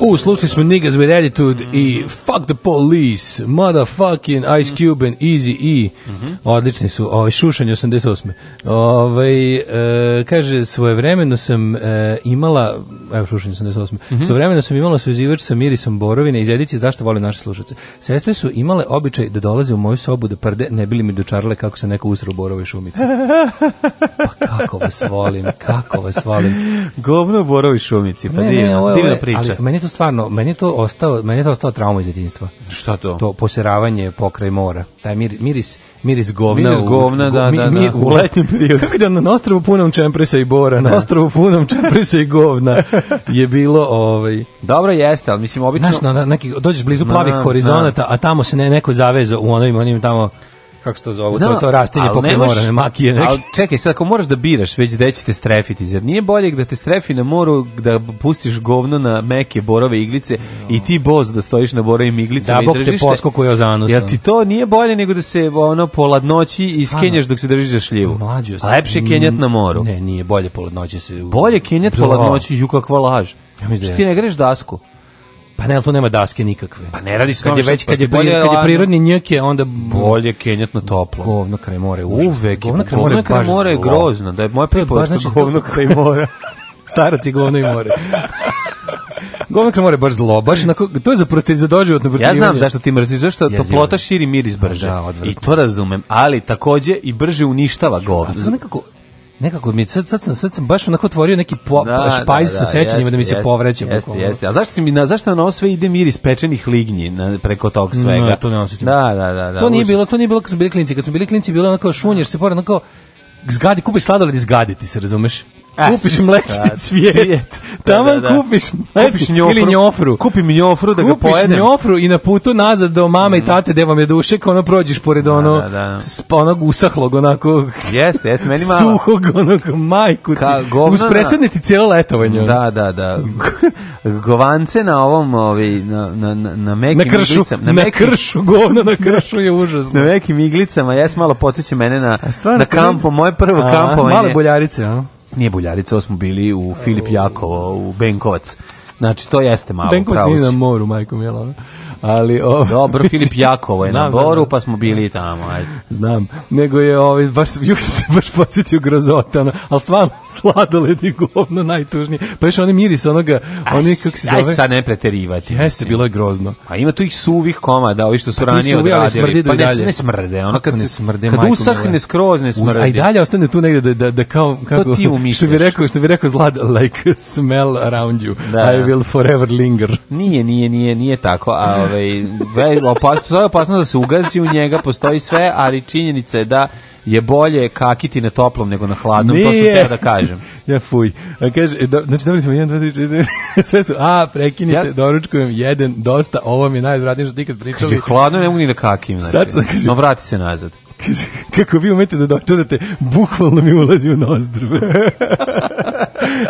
Speaker 8: U, slušali smo Niggas with Attitude i Fuck the Police, Motherfucking Ice Cube and Easy E.
Speaker 7: Mhm.
Speaker 8: Odlični su, ovaj, šušanje 88. Ovaj, e, kaže, svojevremeno sam e, imala, evo šušanje 88,
Speaker 7: Mhm.
Speaker 8: svojevremeno sam imala suzivač sa mirisom borovine iz edicije Zašto volim naše slušalce. Sestre su imale običaj da dolaze u moju sobu da prde, ne bili mi dočarale kako se neko usra u borove šumice. Pa kako vas volim, kako vas volim.
Speaker 7: Govno u borovoj šumici, pa
Speaker 8: Ne, ne, ovo
Speaker 7: divna,
Speaker 8: je- ovo
Speaker 7: divna
Speaker 8: je-
Speaker 7: priča.
Speaker 8: Ali meni je to stvarno, meni je to ostao, meni je to ostao trauma iz djetinjstva. Šta to? To poseravanje pokraj mora. Taj mir, miris, miris govna.
Speaker 7: Miris
Speaker 8: u-
Speaker 7: govna, da, da, da, u letnjem periodu.
Speaker 8: Kako da na ostrvu punom čemprisa i bora, na ostrvu punom čemprisa i govna je bilo ovaj...
Speaker 7: Dobro jeste, ali mislim obično...
Speaker 8: Znaš, na, na, neki, dođeš blizu
Speaker 7: Znam,
Speaker 8: plavih
Speaker 7: znam.
Speaker 8: horizonata, a tamo se ne, neko zaveza u onim, onim tamo kako se to zove, to,
Speaker 7: Znam,
Speaker 8: to rastinje
Speaker 7: ali
Speaker 8: pokraj
Speaker 7: ne moš-
Speaker 8: mora, ne, makije neke.
Speaker 7: Ali čekaj, sad ako moraš da biraš već gde će te strefiti, zar nije bolje da te strefi na moru, da pustiš govno na meke borove iglice i ti boz da stojiš na borovim iglicama
Speaker 8: Da,
Speaker 7: i
Speaker 8: bok
Speaker 7: držiš
Speaker 8: te poskokuje za anus.
Speaker 7: Jel ti to nije bolje nego da se ono po ladnoći iskenjaš dok se držiš za šljivu?
Speaker 8: Mlađo mm. sam.
Speaker 7: Lepše je kenjat na moru.
Speaker 8: Ne, nije bolje poladnoće se... u-
Speaker 7: Bolje kenjat
Speaker 8: Da.
Speaker 7: po ladnoći, ju kakva laž.
Speaker 8: Ja mislim da
Speaker 7: Što ti ne
Speaker 8: jeste.
Speaker 7: greš dasku?
Speaker 8: Pa ne, ali tu nema daske nikakve. Pa
Speaker 7: ne radi se o
Speaker 8: kad
Speaker 7: tome
Speaker 8: je
Speaker 7: što-
Speaker 8: već
Speaker 7: pa
Speaker 8: kad je,
Speaker 7: ti bolje
Speaker 8: pri- kad je
Speaker 7: ladno.
Speaker 8: prirodni njek je onda
Speaker 7: Bolje kenjat na toplo.
Speaker 8: govno kraj more
Speaker 7: Uvek.
Speaker 8: Govno kraj more je
Speaker 7: kraj
Speaker 8: baš
Speaker 7: mora je
Speaker 8: zlo.
Speaker 7: grozno. Da je moja
Speaker 8: To je baš,
Speaker 7: pripovedka
Speaker 8: znači, to-
Speaker 7: govno kraj mora.
Speaker 8: Starac i govno i more. govno kraj more je baš zlo, baš onako, to je za protiv za doživotno
Speaker 7: Ja
Speaker 8: protivljenje.
Speaker 7: znam zašto ti mrziš, zašto
Speaker 8: Jezivo je.
Speaker 7: toplota širi miris brže.
Speaker 8: Da, odvratno.
Speaker 7: I to razumem, ali takođe i brže uništava govno.
Speaker 8: Sad nekako nekako mi sad sad sam sad sam baš onako otvorio neki po,
Speaker 7: Da,
Speaker 8: špajz
Speaker 7: da,
Speaker 8: sa
Speaker 7: da,
Speaker 8: sećanjima da mi se
Speaker 7: jeste,
Speaker 8: povrećem.
Speaker 7: Jeste, jeste. A zašto si mi na zašto na ovo sve ide miris pečenih lignji na, preko tog svega?
Speaker 8: Ne, to ne osjetim.
Speaker 7: Da, da, da, da.
Speaker 8: to nije
Speaker 7: užas.
Speaker 8: bilo, to nije bilo kad smo bili klinci, kad smo bili klinci bilo je onako šunješ se pored onako zgadi, kupiš sladoled i zgadi ti se, razumeš?
Speaker 7: A,
Speaker 8: kupiš
Speaker 7: E, sad,
Speaker 8: mlečni cvijet,
Speaker 7: cvijet. Da,
Speaker 8: tamo
Speaker 7: da, da.
Speaker 8: kupiš
Speaker 7: Kupiš
Speaker 8: mlečni
Speaker 7: njofru.
Speaker 8: ili njofru.
Speaker 7: Kupim njofru da ga
Speaker 8: kupiš
Speaker 7: pojedem. Mhm.
Speaker 8: njofru i na putu nazad do mame i tate gde vam je dušek, ono prođeš pored ono,
Speaker 7: da, da.
Speaker 8: sp- onog usahlog, onako
Speaker 7: Jeste, jeste, meni malo.
Speaker 8: suhog, onog majku ti.
Speaker 7: Ka- govna na-
Speaker 8: Uspresadne ti cijelo letovanje. ono.
Speaker 7: Da, da, da. Govance na ovom, ovi, na, na, na, na mekim
Speaker 8: Na kršu,
Speaker 7: iglicama-
Speaker 8: na,
Speaker 7: mekim-
Speaker 8: kršu, govno na kršu je užasno.
Speaker 7: na nekim iglicama, jes malo podsjeća mene na, na kampo, moje prvo
Speaker 8: A,
Speaker 7: kampovanje.
Speaker 8: Male boljarice, a?
Speaker 7: Nije Buljarica, ovo smo bili u Filip Jakovo, u Benkovac. Znači, to jeste malo,
Speaker 8: Benkovac
Speaker 7: pravo
Speaker 8: nije
Speaker 7: si.
Speaker 8: na moru, majko Mjela. ono. Ali, ovo,
Speaker 7: Dobro, Filip Jakovo je na
Speaker 8: Znam, da,
Speaker 7: Boru,
Speaker 8: da.
Speaker 7: pa smo bili tamo, ajde.
Speaker 8: Znam, nego je ovaj, baš, juče se baš podsjetio grozota, ono, ali stvarno sladoled i govno najtužnije. Pa još oni miris onoga, oni kako se
Speaker 7: Aj
Speaker 8: zove...
Speaker 7: sad ne preterivati.
Speaker 8: Jeste, bilo je grozno.
Speaker 7: A ima tu ih suvih komada, ovi što su
Speaker 8: Pa ti
Speaker 7: ranije
Speaker 8: su uvi, ali smrdi
Speaker 7: odradili.
Speaker 8: do
Speaker 7: Pa
Speaker 8: i
Speaker 7: ne,
Speaker 8: dalje.
Speaker 7: ne smrde, ono
Speaker 8: Kako
Speaker 7: kad,
Speaker 8: ne
Speaker 7: se,
Speaker 8: smrde,
Speaker 7: kad
Speaker 8: majko
Speaker 7: usahne
Speaker 8: mila?
Speaker 7: skroz ne
Speaker 8: Uz-
Speaker 7: smrdi.
Speaker 8: A i dalje ostane tu negde da, da, da kao... Kako,
Speaker 7: ti umišljaš.
Speaker 8: Što bi rekao, što bi rekao zlad, like a smell around you.
Speaker 7: Da.
Speaker 8: I will forever linger.
Speaker 7: Nije, nije, nije, nije tako. A ovaj ve- opas, postoji opasnost da se ugazi u njega, postoji sve, ali činjenica je da je bolje kakiti na toplom nego na hladnom, to sam
Speaker 8: Nije.
Speaker 7: teo da kažem.
Speaker 8: Ja fuj. A kaže, e, do, znači dobili smo 1, 2, 3, 4, sve su, a, prekinite,
Speaker 7: Ja-
Speaker 8: doručkujem jedan, dosta, ovo mi je najodvratnije što ste ikad pričali.
Speaker 7: Kad je Znači, hladno, ne mogu ni da kakim, znači.
Speaker 8: Sad sam, kaže-
Speaker 7: no, vrati se nazad.
Speaker 8: Kaže, kako vi umete da dočarate, bukvalno mi ulazi u nozdrve.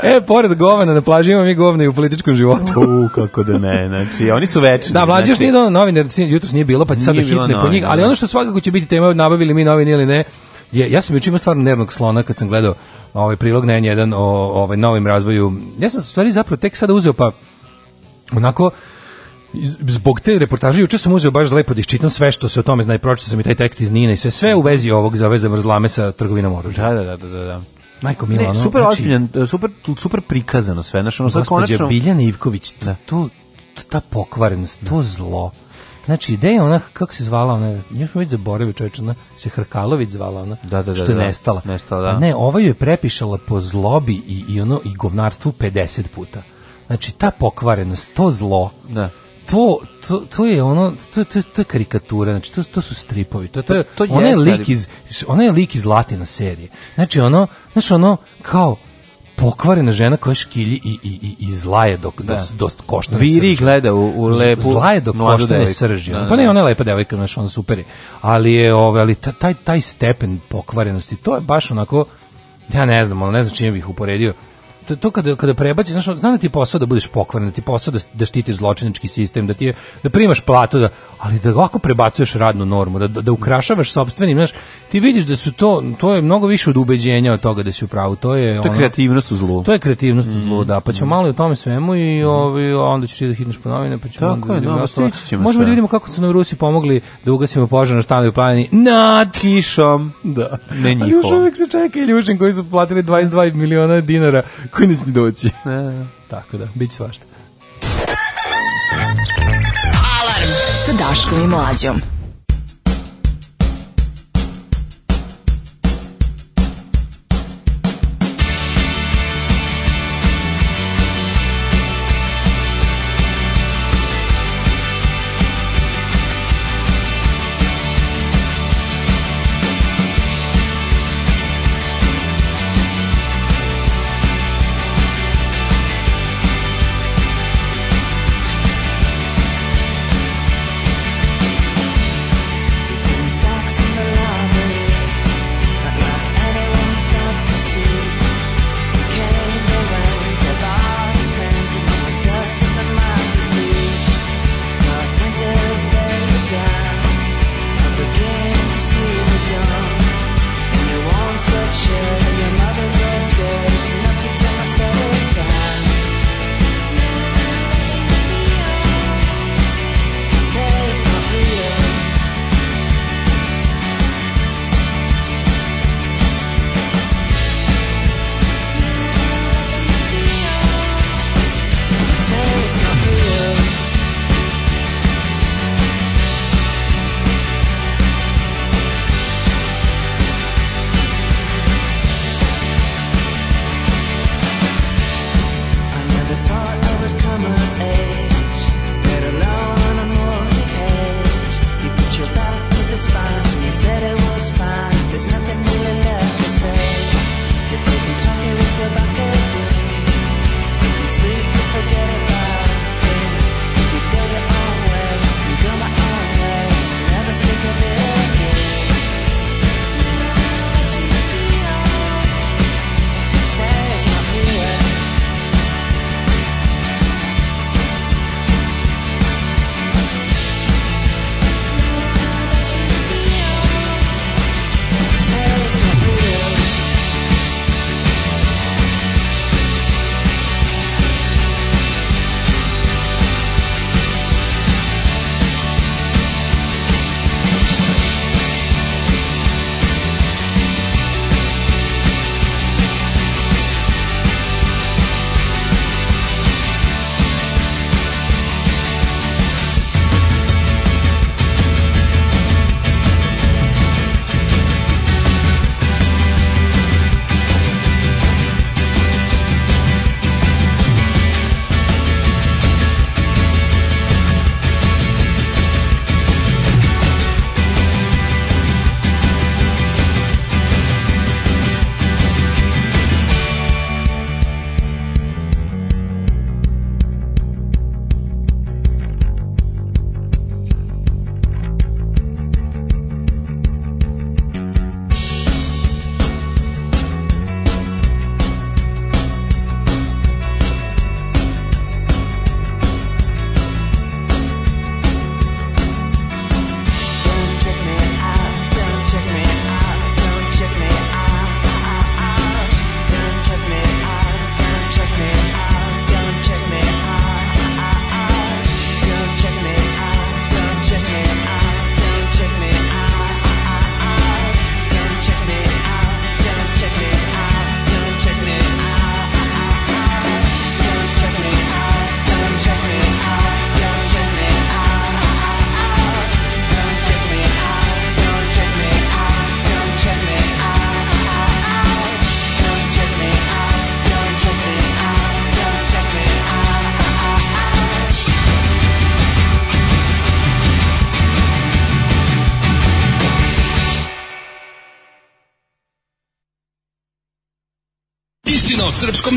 Speaker 8: e, pored govana na plaži imam i govna i u političkom životu.
Speaker 7: U, kako da ne, znači, oni su večni.
Speaker 8: Da, mlađe još
Speaker 7: znači,
Speaker 8: nije dono novine, jutros nije bilo, pa će sada
Speaker 7: Nije bilo
Speaker 8: hitne po njih,
Speaker 7: novina,
Speaker 8: ali
Speaker 7: da.
Speaker 8: ono što svakako će biti tema, nabavili mi novine ili ne, je, ja sam juče imao stvarno nervnog slona kad sam gledao ovaj prilog na N1 o ovaj novim razvoju. Ja sam u stvari zapravo tek sada uzeo pa onako iz- zbog te reportaže juče sam uzeo baš lepo da iščitam sve što se o tome zna i pročitao sam i taj tekst iz Nina i sve sve u vezi ovog za ove zamrzlame sa trgovinom oružja.
Speaker 7: Da, da, da, da, da, da.
Speaker 8: Majko Mila,
Speaker 7: Ne,
Speaker 8: ono,
Speaker 7: super
Speaker 8: znači,
Speaker 7: ozbiljan, e, super, super prikazano sve, znači, ono sad
Speaker 8: Gospođa
Speaker 7: konačno...
Speaker 8: Biljana Ivković, to, to, to- ta pokvarenost, to zlo. Znači, ideja je ona, kako se zvala ona, još smo već zaboravio čovječ, ona se Hrkalović zvala ona,
Speaker 7: Da, da, da,
Speaker 8: što je
Speaker 7: da.
Speaker 8: nestala.
Speaker 7: Nestala, da.
Speaker 8: A ne, ova ju je prepišala po zlobi i, i ono, i govnarstvu 50 puta. Znači, ta pokvarenost, to zlo,
Speaker 7: Da.
Speaker 8: to, to, to je ono to, to, to je karikatura znači to, to su stripovi to, to, je,
Speaker 7: Pa To- to
Speaker 8: ona je
Speaker 7: jeste,
Speaker 8: lik
Speaker 7: ali-
Speaker 8: iz ona je lik iz Latina serije znači ono znači ono kao pokvarena žena koja škilji i, i, i, i zlaje dok,
Speaker 7: Da.
Speaker 8: dok, dok koštane
Speaker 7: Viri i
Speaker 8: srži.
Speaker 7: gleda u, u lepu
Speaker 8: Zla je dok
Speaker 7: mladu
Speaker 8: koštane
Speaker 7: devojku.
Speaker 8: srži.
Speaker 7: Da,
Speaker 8: ono.
Speaker 7: da,
Speaker 8: Pa ne,
Speaker 7: da.
Speaker 8: ona je lepa devojka, znaš, ona super je. Ali je, ove, ali ta- taj, taj stepen pokvarenosti, to je baš onako, ja ne znam, ono, ne znam čime bih uporedio. To, to kada, kada prebaci, znaš, ono, znam da ti je posao da budeš pokvaren, da ti je posao da, da štitiš zločinački sistem, da ti je, da primaš platu, da, ali da ovako prebacuješ radnu normu, da, da, da ukrašavaš sopstvenim, znaš, ti vidiš da su to, to je mnogo više od ubeđenja od toga da si u pravu, to je...
Speaker 7: To je
Speaker 8: ono-
Speaker 7: kreativnost u zlu.
Speaker 8: to je kreativnost mm. zlu, da. Pa ćemo malo i o tome svemu i ovi, a onda ćeš ti da hitneš po novine, pa ćemo
Speaker 7: Tako
Speaker 8: onda
Speaker 7: je,
Speaker 8: vidimo
Speaker 7: da,
Speaker 8: ostalo.
Speaker 7: stići ćemo
Speaker 8: Možemo
Speaker 7: sve.
Speaker 8: da vidimo kako su nam Rusi pomogli da ugasimo požar na stanu i planini nad kišom. Da.
Speaker 7: Ne
Speaker 8: Ali još
Speaker 7: njihovom.
Speaker 8: uvek se čeka Iljušin koji su platili 22 miliona dinara koji neće ni doći. Tako da, bit će svašta.
Speaker 6: Alarm sa Daškom i Mlađom.
Speaker 16: srpskom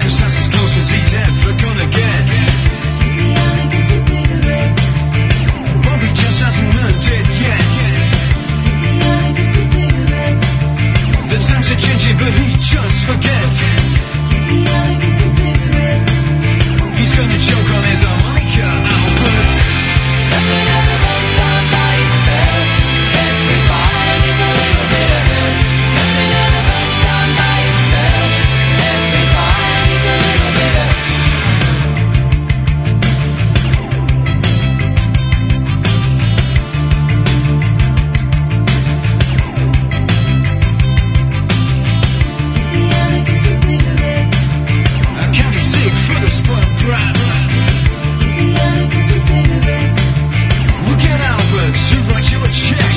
Speaker 10: Cause that's as close as these heads are gonna get. Bobby just hasn't learned it yet. The times are changing, but he just forgets. He's gonna choke on his harmonica, Albert. I can't be sick for the spoiled brats. Look at Albert, who write you a check.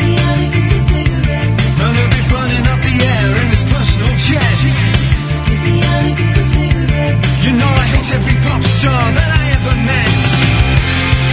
Speaker 10: And he'll be burning up the air in his personal jet. You know I hate every pop star that I ever met.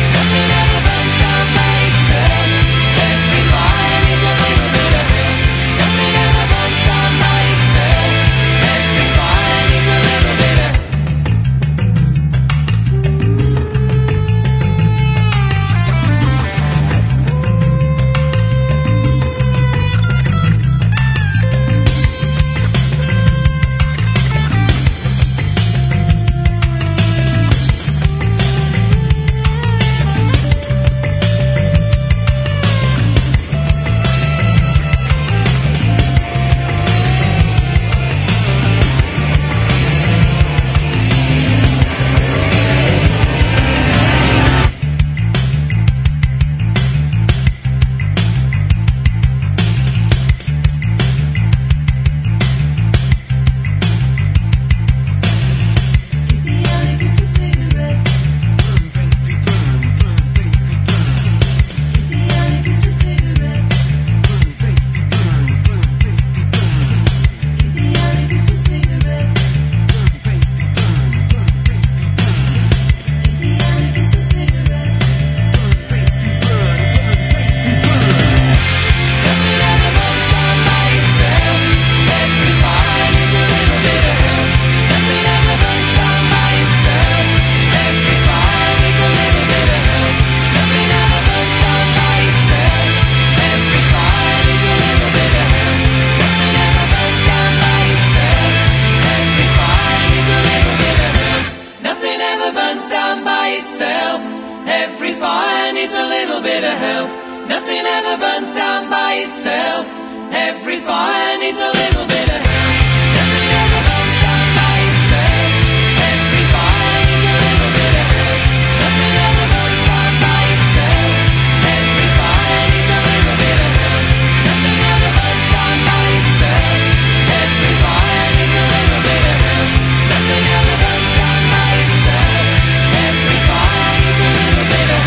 Speaker 3: Nothing ever burns down by itself. Every fire needs a little bit of help. Nothing ever burns down by itself. Every fire needs a little bit of help. Nothing ever burns down by itself. Every fire needs a little bit of help. Nothing ever burns down by itself. Every fire needs a little bit of help. Nothing ever burns down by itself. Every fire needs a little bit of help. Nothing ever burns down by itself. Every fire needs a little bit of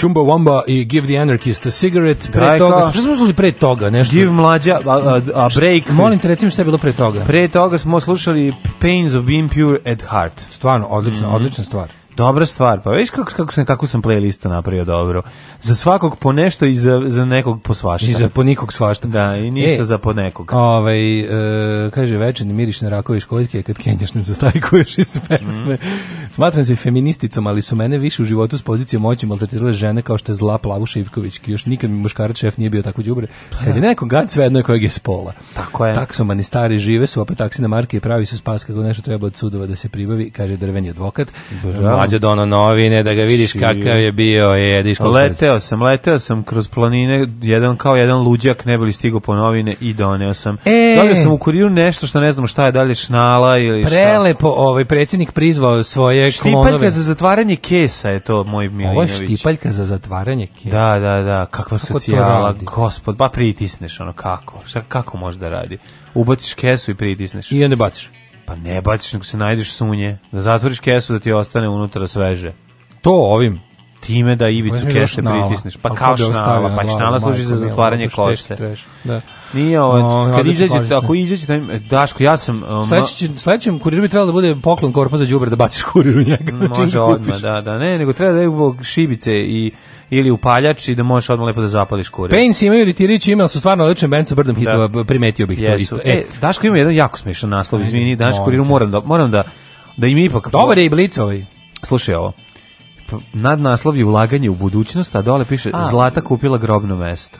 Speaker 8: Chumba Wamba i Give the Anarchist a Cigarette. Pre
Speaker 7: Daj,
Speaker 8: toga,
Speaker 7: kao-
Speaker 8: šta smo slušali pre toga? Nešto?
Speaker 7: Give mlađa, a, a, a break.
Speaker 8: Molim te, recimo šta je bilo pre toga.
Speaker 7: Pre toga smo slušali Pains of Being Pure at Heart. Mhm.
Speaker 8: Stvarno, odlična, odlična stvar.
Speaker 7: Dobra stvar, pa vidiš kako, kako, sam, kako sam playlistu napravio dobro. Za svakog po nešto i za, za nekog po svašta.
Speaker 8: I za po nikog svašta.
Speaker 7: Da, i ništa
Speaker 8: E,
Speaker 7: za po nekog.
Speaker 8: Ovaj, e, kaže, večerni miriš na rakove i školjke kad kenjaš ne zastajkuješ iz pesme.
Speaker 7: Mhm.
Speaker 8: Smatram se feministicom, ali su mene više u životu s pozicije moći maltretirale žene kao što je zla Plavuša Ivković. Još nikad mi muškarac šef nije bio tako đubre.
Speaker 7: Pa
Speaker 8: Kad je neko gad, svejedno je kojeg je spola. Tako je. Taksomani stari žive su, opet taksine marke i pravi su spas kako nešto treba od sudova da se pribavi, kaže drveni advokat.
Speaker 7: Bravo.
Speaker 8: mlađe dono novine, da ga vidiš kakav je bio, je, da iskol-
Speaker 7: Leteo sam, leteo sam kroz planine, jedan kao jedan luđak, ne bili stigo po novine i doneo sam.
Speaker 8: E!
Speaker 7: Dobio sam u kuriru nešto što ne znam šta je, da li je šnala ili šta.
Speaker 8: Prelepo ovaj predsjednik prizvao svoje
Speaker 7: Štipaljka
Speaker 8: klonove.
Speaker 7: za zatvaranje kesa je to moj
Speaker 8: Ovo je
Speaker 7: Milinović.
Speaker 8: štipaljka za zatvaranje kesa.
Speaker 7: Da, da, da, kakva
Speaker 8: Kako to
Speaker 7: socijala,
Speaker 8: radi?
Speaker 7: gospod, ba pritisneš ono, kako, šta, kako može da radi? Ubaciš kesu i pritisneš. I
Speaker 8: onda baciš?
Speaker 7: Pa ne baciš, nego se najdeš sunje, da zatvoriš kesu da ti ostane unutra sveže.
Speaker 8: To ovim?
Speaker 7: Time da
Speaker 8: Ovo je
Speaker 7: ivicu
Speaker 8: bilo
Speaker 7: kese
Speaker 8: šnala.
Speaker 7: pritisneš, pa
Speaker 8: A
Speaker 7: kao
Speaker 8: ko bi ovo stavio
Speaker 7: šnala,
Speaker 8: na
Speaker 7: pa
Speaker 8: glavu,
Speaker 7: šnala služi
Speaker 8: majko
Speaker 7: za
Speaker 8: mila,
Speaker 7: zatvaranje
Speaker 8: ovo je
Speaker 7: kose.
Speaker 8: teški treš, da.
Speaker 7: Nije ovo,
Speaker 8: No,
Speaker 7: kad
Speaker 8: odlično,
Speaker 7: izađete,
Speaker 8: slažem se.
Speaker 7: ako izađete, taj- Daško, ja sam... um,
Speaker 8: Sledeći, će- sledećem kuriru bi trebalo da bude poklon korpa za đubre da baciš kurir u njega. čim
Speaker 7: Može
Speaker 8: ga Znači, kupiš.
Speaker 7: odmah, da, da, ne, nego treba da je zbog šibice i, ili upaljač i da možeš odmah lepo da zapališ kurir.
Speaker 8: Pains imaju ritirići ime, ali su stvarno odličan band sa brdom hitova, primetio bih to
Speaker 7: Jesu.
Speaker 8: isto.
Speaker 7: E, Daško ima jedan jako smešan naslov, izvini, danas
Speaker 8: molim
Speaker 7: kuriru moram da, moram da, da im ipak...
Speaker 8: Dobar je i blic ovaj.
Speaker 7: Slušaj ovo. P- Nadnaslov je ulaganje u budućnost, a dole piše
Speaker 8: A.
Speaker 7: Zlata kupila grobno mesto.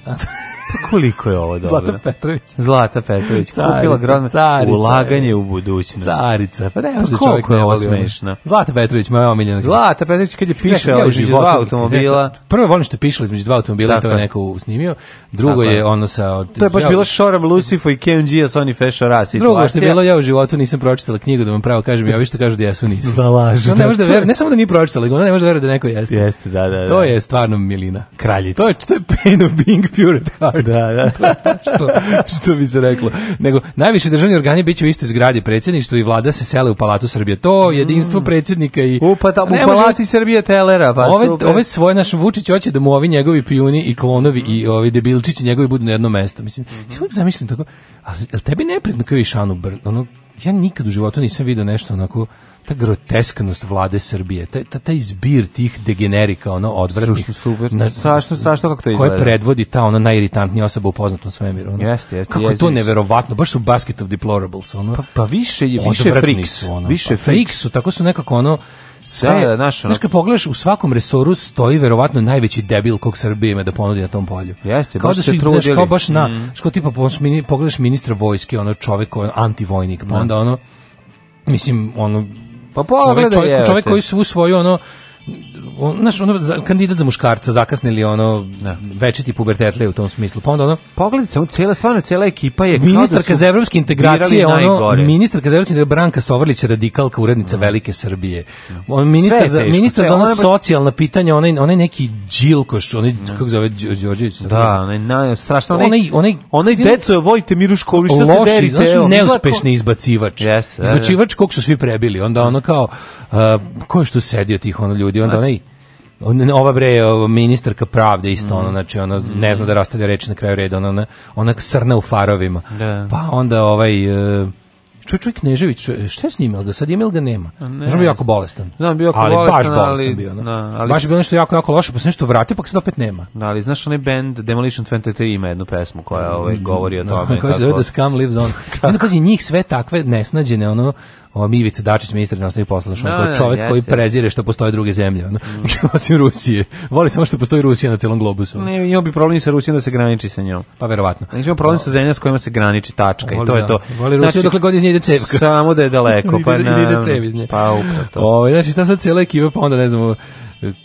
Speaker 7: Pa koliko je ovo dobro?
Speaker 8: Zlata Petrović.
Speaker 7: Zlata Petrović kupila
Speaker 8: Carica,
Speaker 7: grobno
Speaker 8: carica.
Speaker 7: ulaganje u budućnost.
Speaker 8: Carica, pa ne može da
Speaker 7: koliko
Speaker 8: čovjek ne
Speaker 7: je ovo
Speaker 8: voli ono.
Speaker 7: smešno?
Speaker 8: Zlata Petrović, moja omiljena.
Speaker 7: Zlata Petrović kad je piše
Speaker 8: Ja u
Speaker 7: ovo između
Speaker 8: životu
Speaker 7: dva
Speaker 8: nikad-
Speaker 7: automobila.
Speaker 8: Prvo volim što je pišala između dva automobila,
Speaker 7: Tako
Speaker 8: to je
Speaker 7: je.
Speaker 8: neko snimio. Drugo
Speaker 7: Tako je.
Speaker 8: je ono sa... od-
Speaker 7: To je baš
Speaker 8: ja-
Speaker 7: bilo Šoram Lucifo i Keon Gia Sony Fashion Ra situacija.
Speaker 8: Drugo što je bilo, ja u životu nisam pročitala knjigu, da vam pravo kažem, ja vi što kažu da jesu nisu.
Speaker 7: Da lažu,
Speaker 8: Ona ne,
Speaker 7: da,
Speaker 8: može da
Speaker 7: to je-
Speaker 8: veruje, ne samo da nije pročitala, nego ona ne može da veruje da neko jeste.
Speaker 7: Jeste, da, da, da.
Speaker 8: To je stvarno milina.
Speaker 7: Kraljica.
Speaker 8: To je, to je pain of being pure at heart.
Speaker 7: Da, da.
Speaker 8: što, što bi se reklo. Nego, najviše državni organi bit će u istoj zgradi predsjedništvo i vlada se sele u Palatu Srbije. To jedinstvo predsjednika i...
Speaker 7: Upa tamo Mm. u
Speaker 8: Ne može-
Speaker 7: palati Srbije Telera, pa
Speaker 8: ove,
Speaker 7: super.
Speaker 8: ove svoje naš Vučić hoće da mu ovi njegovi pijuni i klonovi i ovi debilčići njegovi budu na jednom mestu. Mislim, ja uvijek zamislim tako, a jel tebi neprijatno kao i Šanu Brn, ono, ja nikad u životu nisam video nešto onako, ta groteskanost vlade Srbije, taj, ta, taj zbir tih degenerika, ono, odvratnih.
Speaker 7: super. Strašno, strašno kako to
Speaker 8: Koje
Speaker 7: izgleda.
Speaker 8: predvodi ta ona najiritantnija osoba u poznatom svemiru. Ono.
Speaker 7: Jeste, jeste,
Speaker 8: Kako je to
Speaker 7: jezivi su.
Speaker 8: neverovatno, baš su basket of deplorables. Ono. Pa,
Speaker 7: pa više je, više freaks,
Speaker 8: Su, ono.
Speaker 7: više
Speaker 8: pa,
Speaker 7: freaks.
Speaker 8: freaks su, tako su nekako ono, sve,
Speaker 7: Da, da, znaš, ono-
Speaker 8: znaš kad pogledaš, u svakom resoru stoji verovatno najveći debil kog Srbija ima da ponudi na tom polju.
Speaker 7: Jeste,
Speaker 8: kao
Speaker 7: baš
Speaker 8: da
Speaker 7: se
Speaker 8: su, znaš,
Speaker 7: trudili.
Speaker 8: kao baš na,
Speaker 7: Mhm.
Speaker 8: znaš, kao tipa pogledaš mini- pogledaš ministra vojske, ono čovek koji je antivojnik, pa
Speaker 7: Da.
Speaker 8: onda ono, mislim, ono,
Speaker 7: Pa
Speaker 8: čovjek,
Speaker 7: pogledaj,
Speaker 8: čovjek,
Speaker 7: jebote.
Speaker 8: čovjek koji svu svoju ono on, znaš, ono, za, kandidat za muškarca zakasnili ono večiti pubertetle u tom smislu. Pa onda ono,
Speaker 7: Pogledaj samo cela stvarno cela ekipa je kao da
Speaker 8: ministarka
Speaker 7: su
Speaker 8: za evropske integracije,
Speaker 7: birali
Speaker 8: ono,
Speaker 7: najgore. Mm.
Speaker 8: ministarka za evropske integracije, Branka Sovrlić, radikalka, urednica Velike Srbije. On,
Speaker 7: Sve
Speaker 8: ministar
Speaker 7: je
Speaker 8: za,
Speaker 7: teško,
Speaker 8: ministar
Speaker 7: sve,
Speaker 8: za ono
Speaker 7: ona baš-
Speaker 8: socijalna pitanja, onaj, onaj neki džilkoš, onaj, kako zove, Đo- Đorđević?
Speaker 7: Da, onaj naj strašno onaj
Speaker 8: Onaj- onaj-
Speaker 7: onaj deco je vojte miru školu šta se
Speaker 8: loši,
Speaker 7: derite.
Speaker 8: znaš,
Speaker 7: evo,
Speaker 8: neuspešni izbacivač.
Speaker 7: Jeste, da, da.
Speaker 8: izbacivač kog su svi prebili. Onda ono kao, uh, ko je što sedio tih ono ljudi? Onda
Speaker 7: Nas.
Speaker 8: onaj, on- ova bre ovo, ministarka pravde isto
Speaker 7: Mm.
Speaker 8: ono znači ona ne zna da rastavlja reči na kraju reda ono, ona ona, ona srna u farovima
Speaker 7: Da.
Speaker 8: pa onda ovaj uh, čuj čuj Knežević čuj, šta je s njim jel ga sad ima ili ga nema
Speaker 7: ne
Speaker 8: znači bio jako
Speaker 7: znam.
Speaker 8: bolestan
Speaker 7: Znam, bio jako
Speaker 8: ali baš
Speaker 7: bolestan,
Speaker 8: bolestan
Speaker 7: ali-
Speaker 8: bio ono.
Speaker 7: da, ali-
Speaker 8: baš je bilo nešto jako jako loše pa se nešto vratio pa ga sad opet nema
Speaker 7: Da, ali znaš onaj band Demolition 23 ima jednu pesmu koja ovaj, govori o tome.
Speaker 8: Kako Mm, se zove The Scum Lives On. I onda pazi, njih sve takve nesnađene, ono, o, Mivica Dačić, ministar inostranih poslova, što
Speaker 7: Da,
Speaker 8: ono kao
Speaker 7: da,
Speaker 8: čovjek
Speaker 7: jeste, Mm.
Speaker 8: koji
Speaker 7: jeste.
Speaker 8: prezire što postoje druge zemlje, ono, osim Rusije. Voli samo što postoji Rusija na celom globusu. ono.
Speaker 7: Ne, imao bi problem i sa Rusijom da se graniči sa njom.
Speaker 8: Pa verovatno.
Speaker 7: Znači, imamo problem sa zemljama s kojima se graniči tačka i
Speaker 8: Voli,
Speaker 7: to je
Speaker 8: da.
Speaker 7: to.
Speaker 8: Voli Rusiju Znači, dokle god iz nje ide cevka.
Speaker 7: Samo da je daleko.
Speaker 8: Ide-
Speaker 7: pa
Speaker 8: ide
Speaker 7: naravno.
Speaker 8: cev iz nje.
Speaker 7: Pa upravo to.
Speaker 8: Ovaj, znači, ta sad cijela ekipa, pa onda, ne znam, o,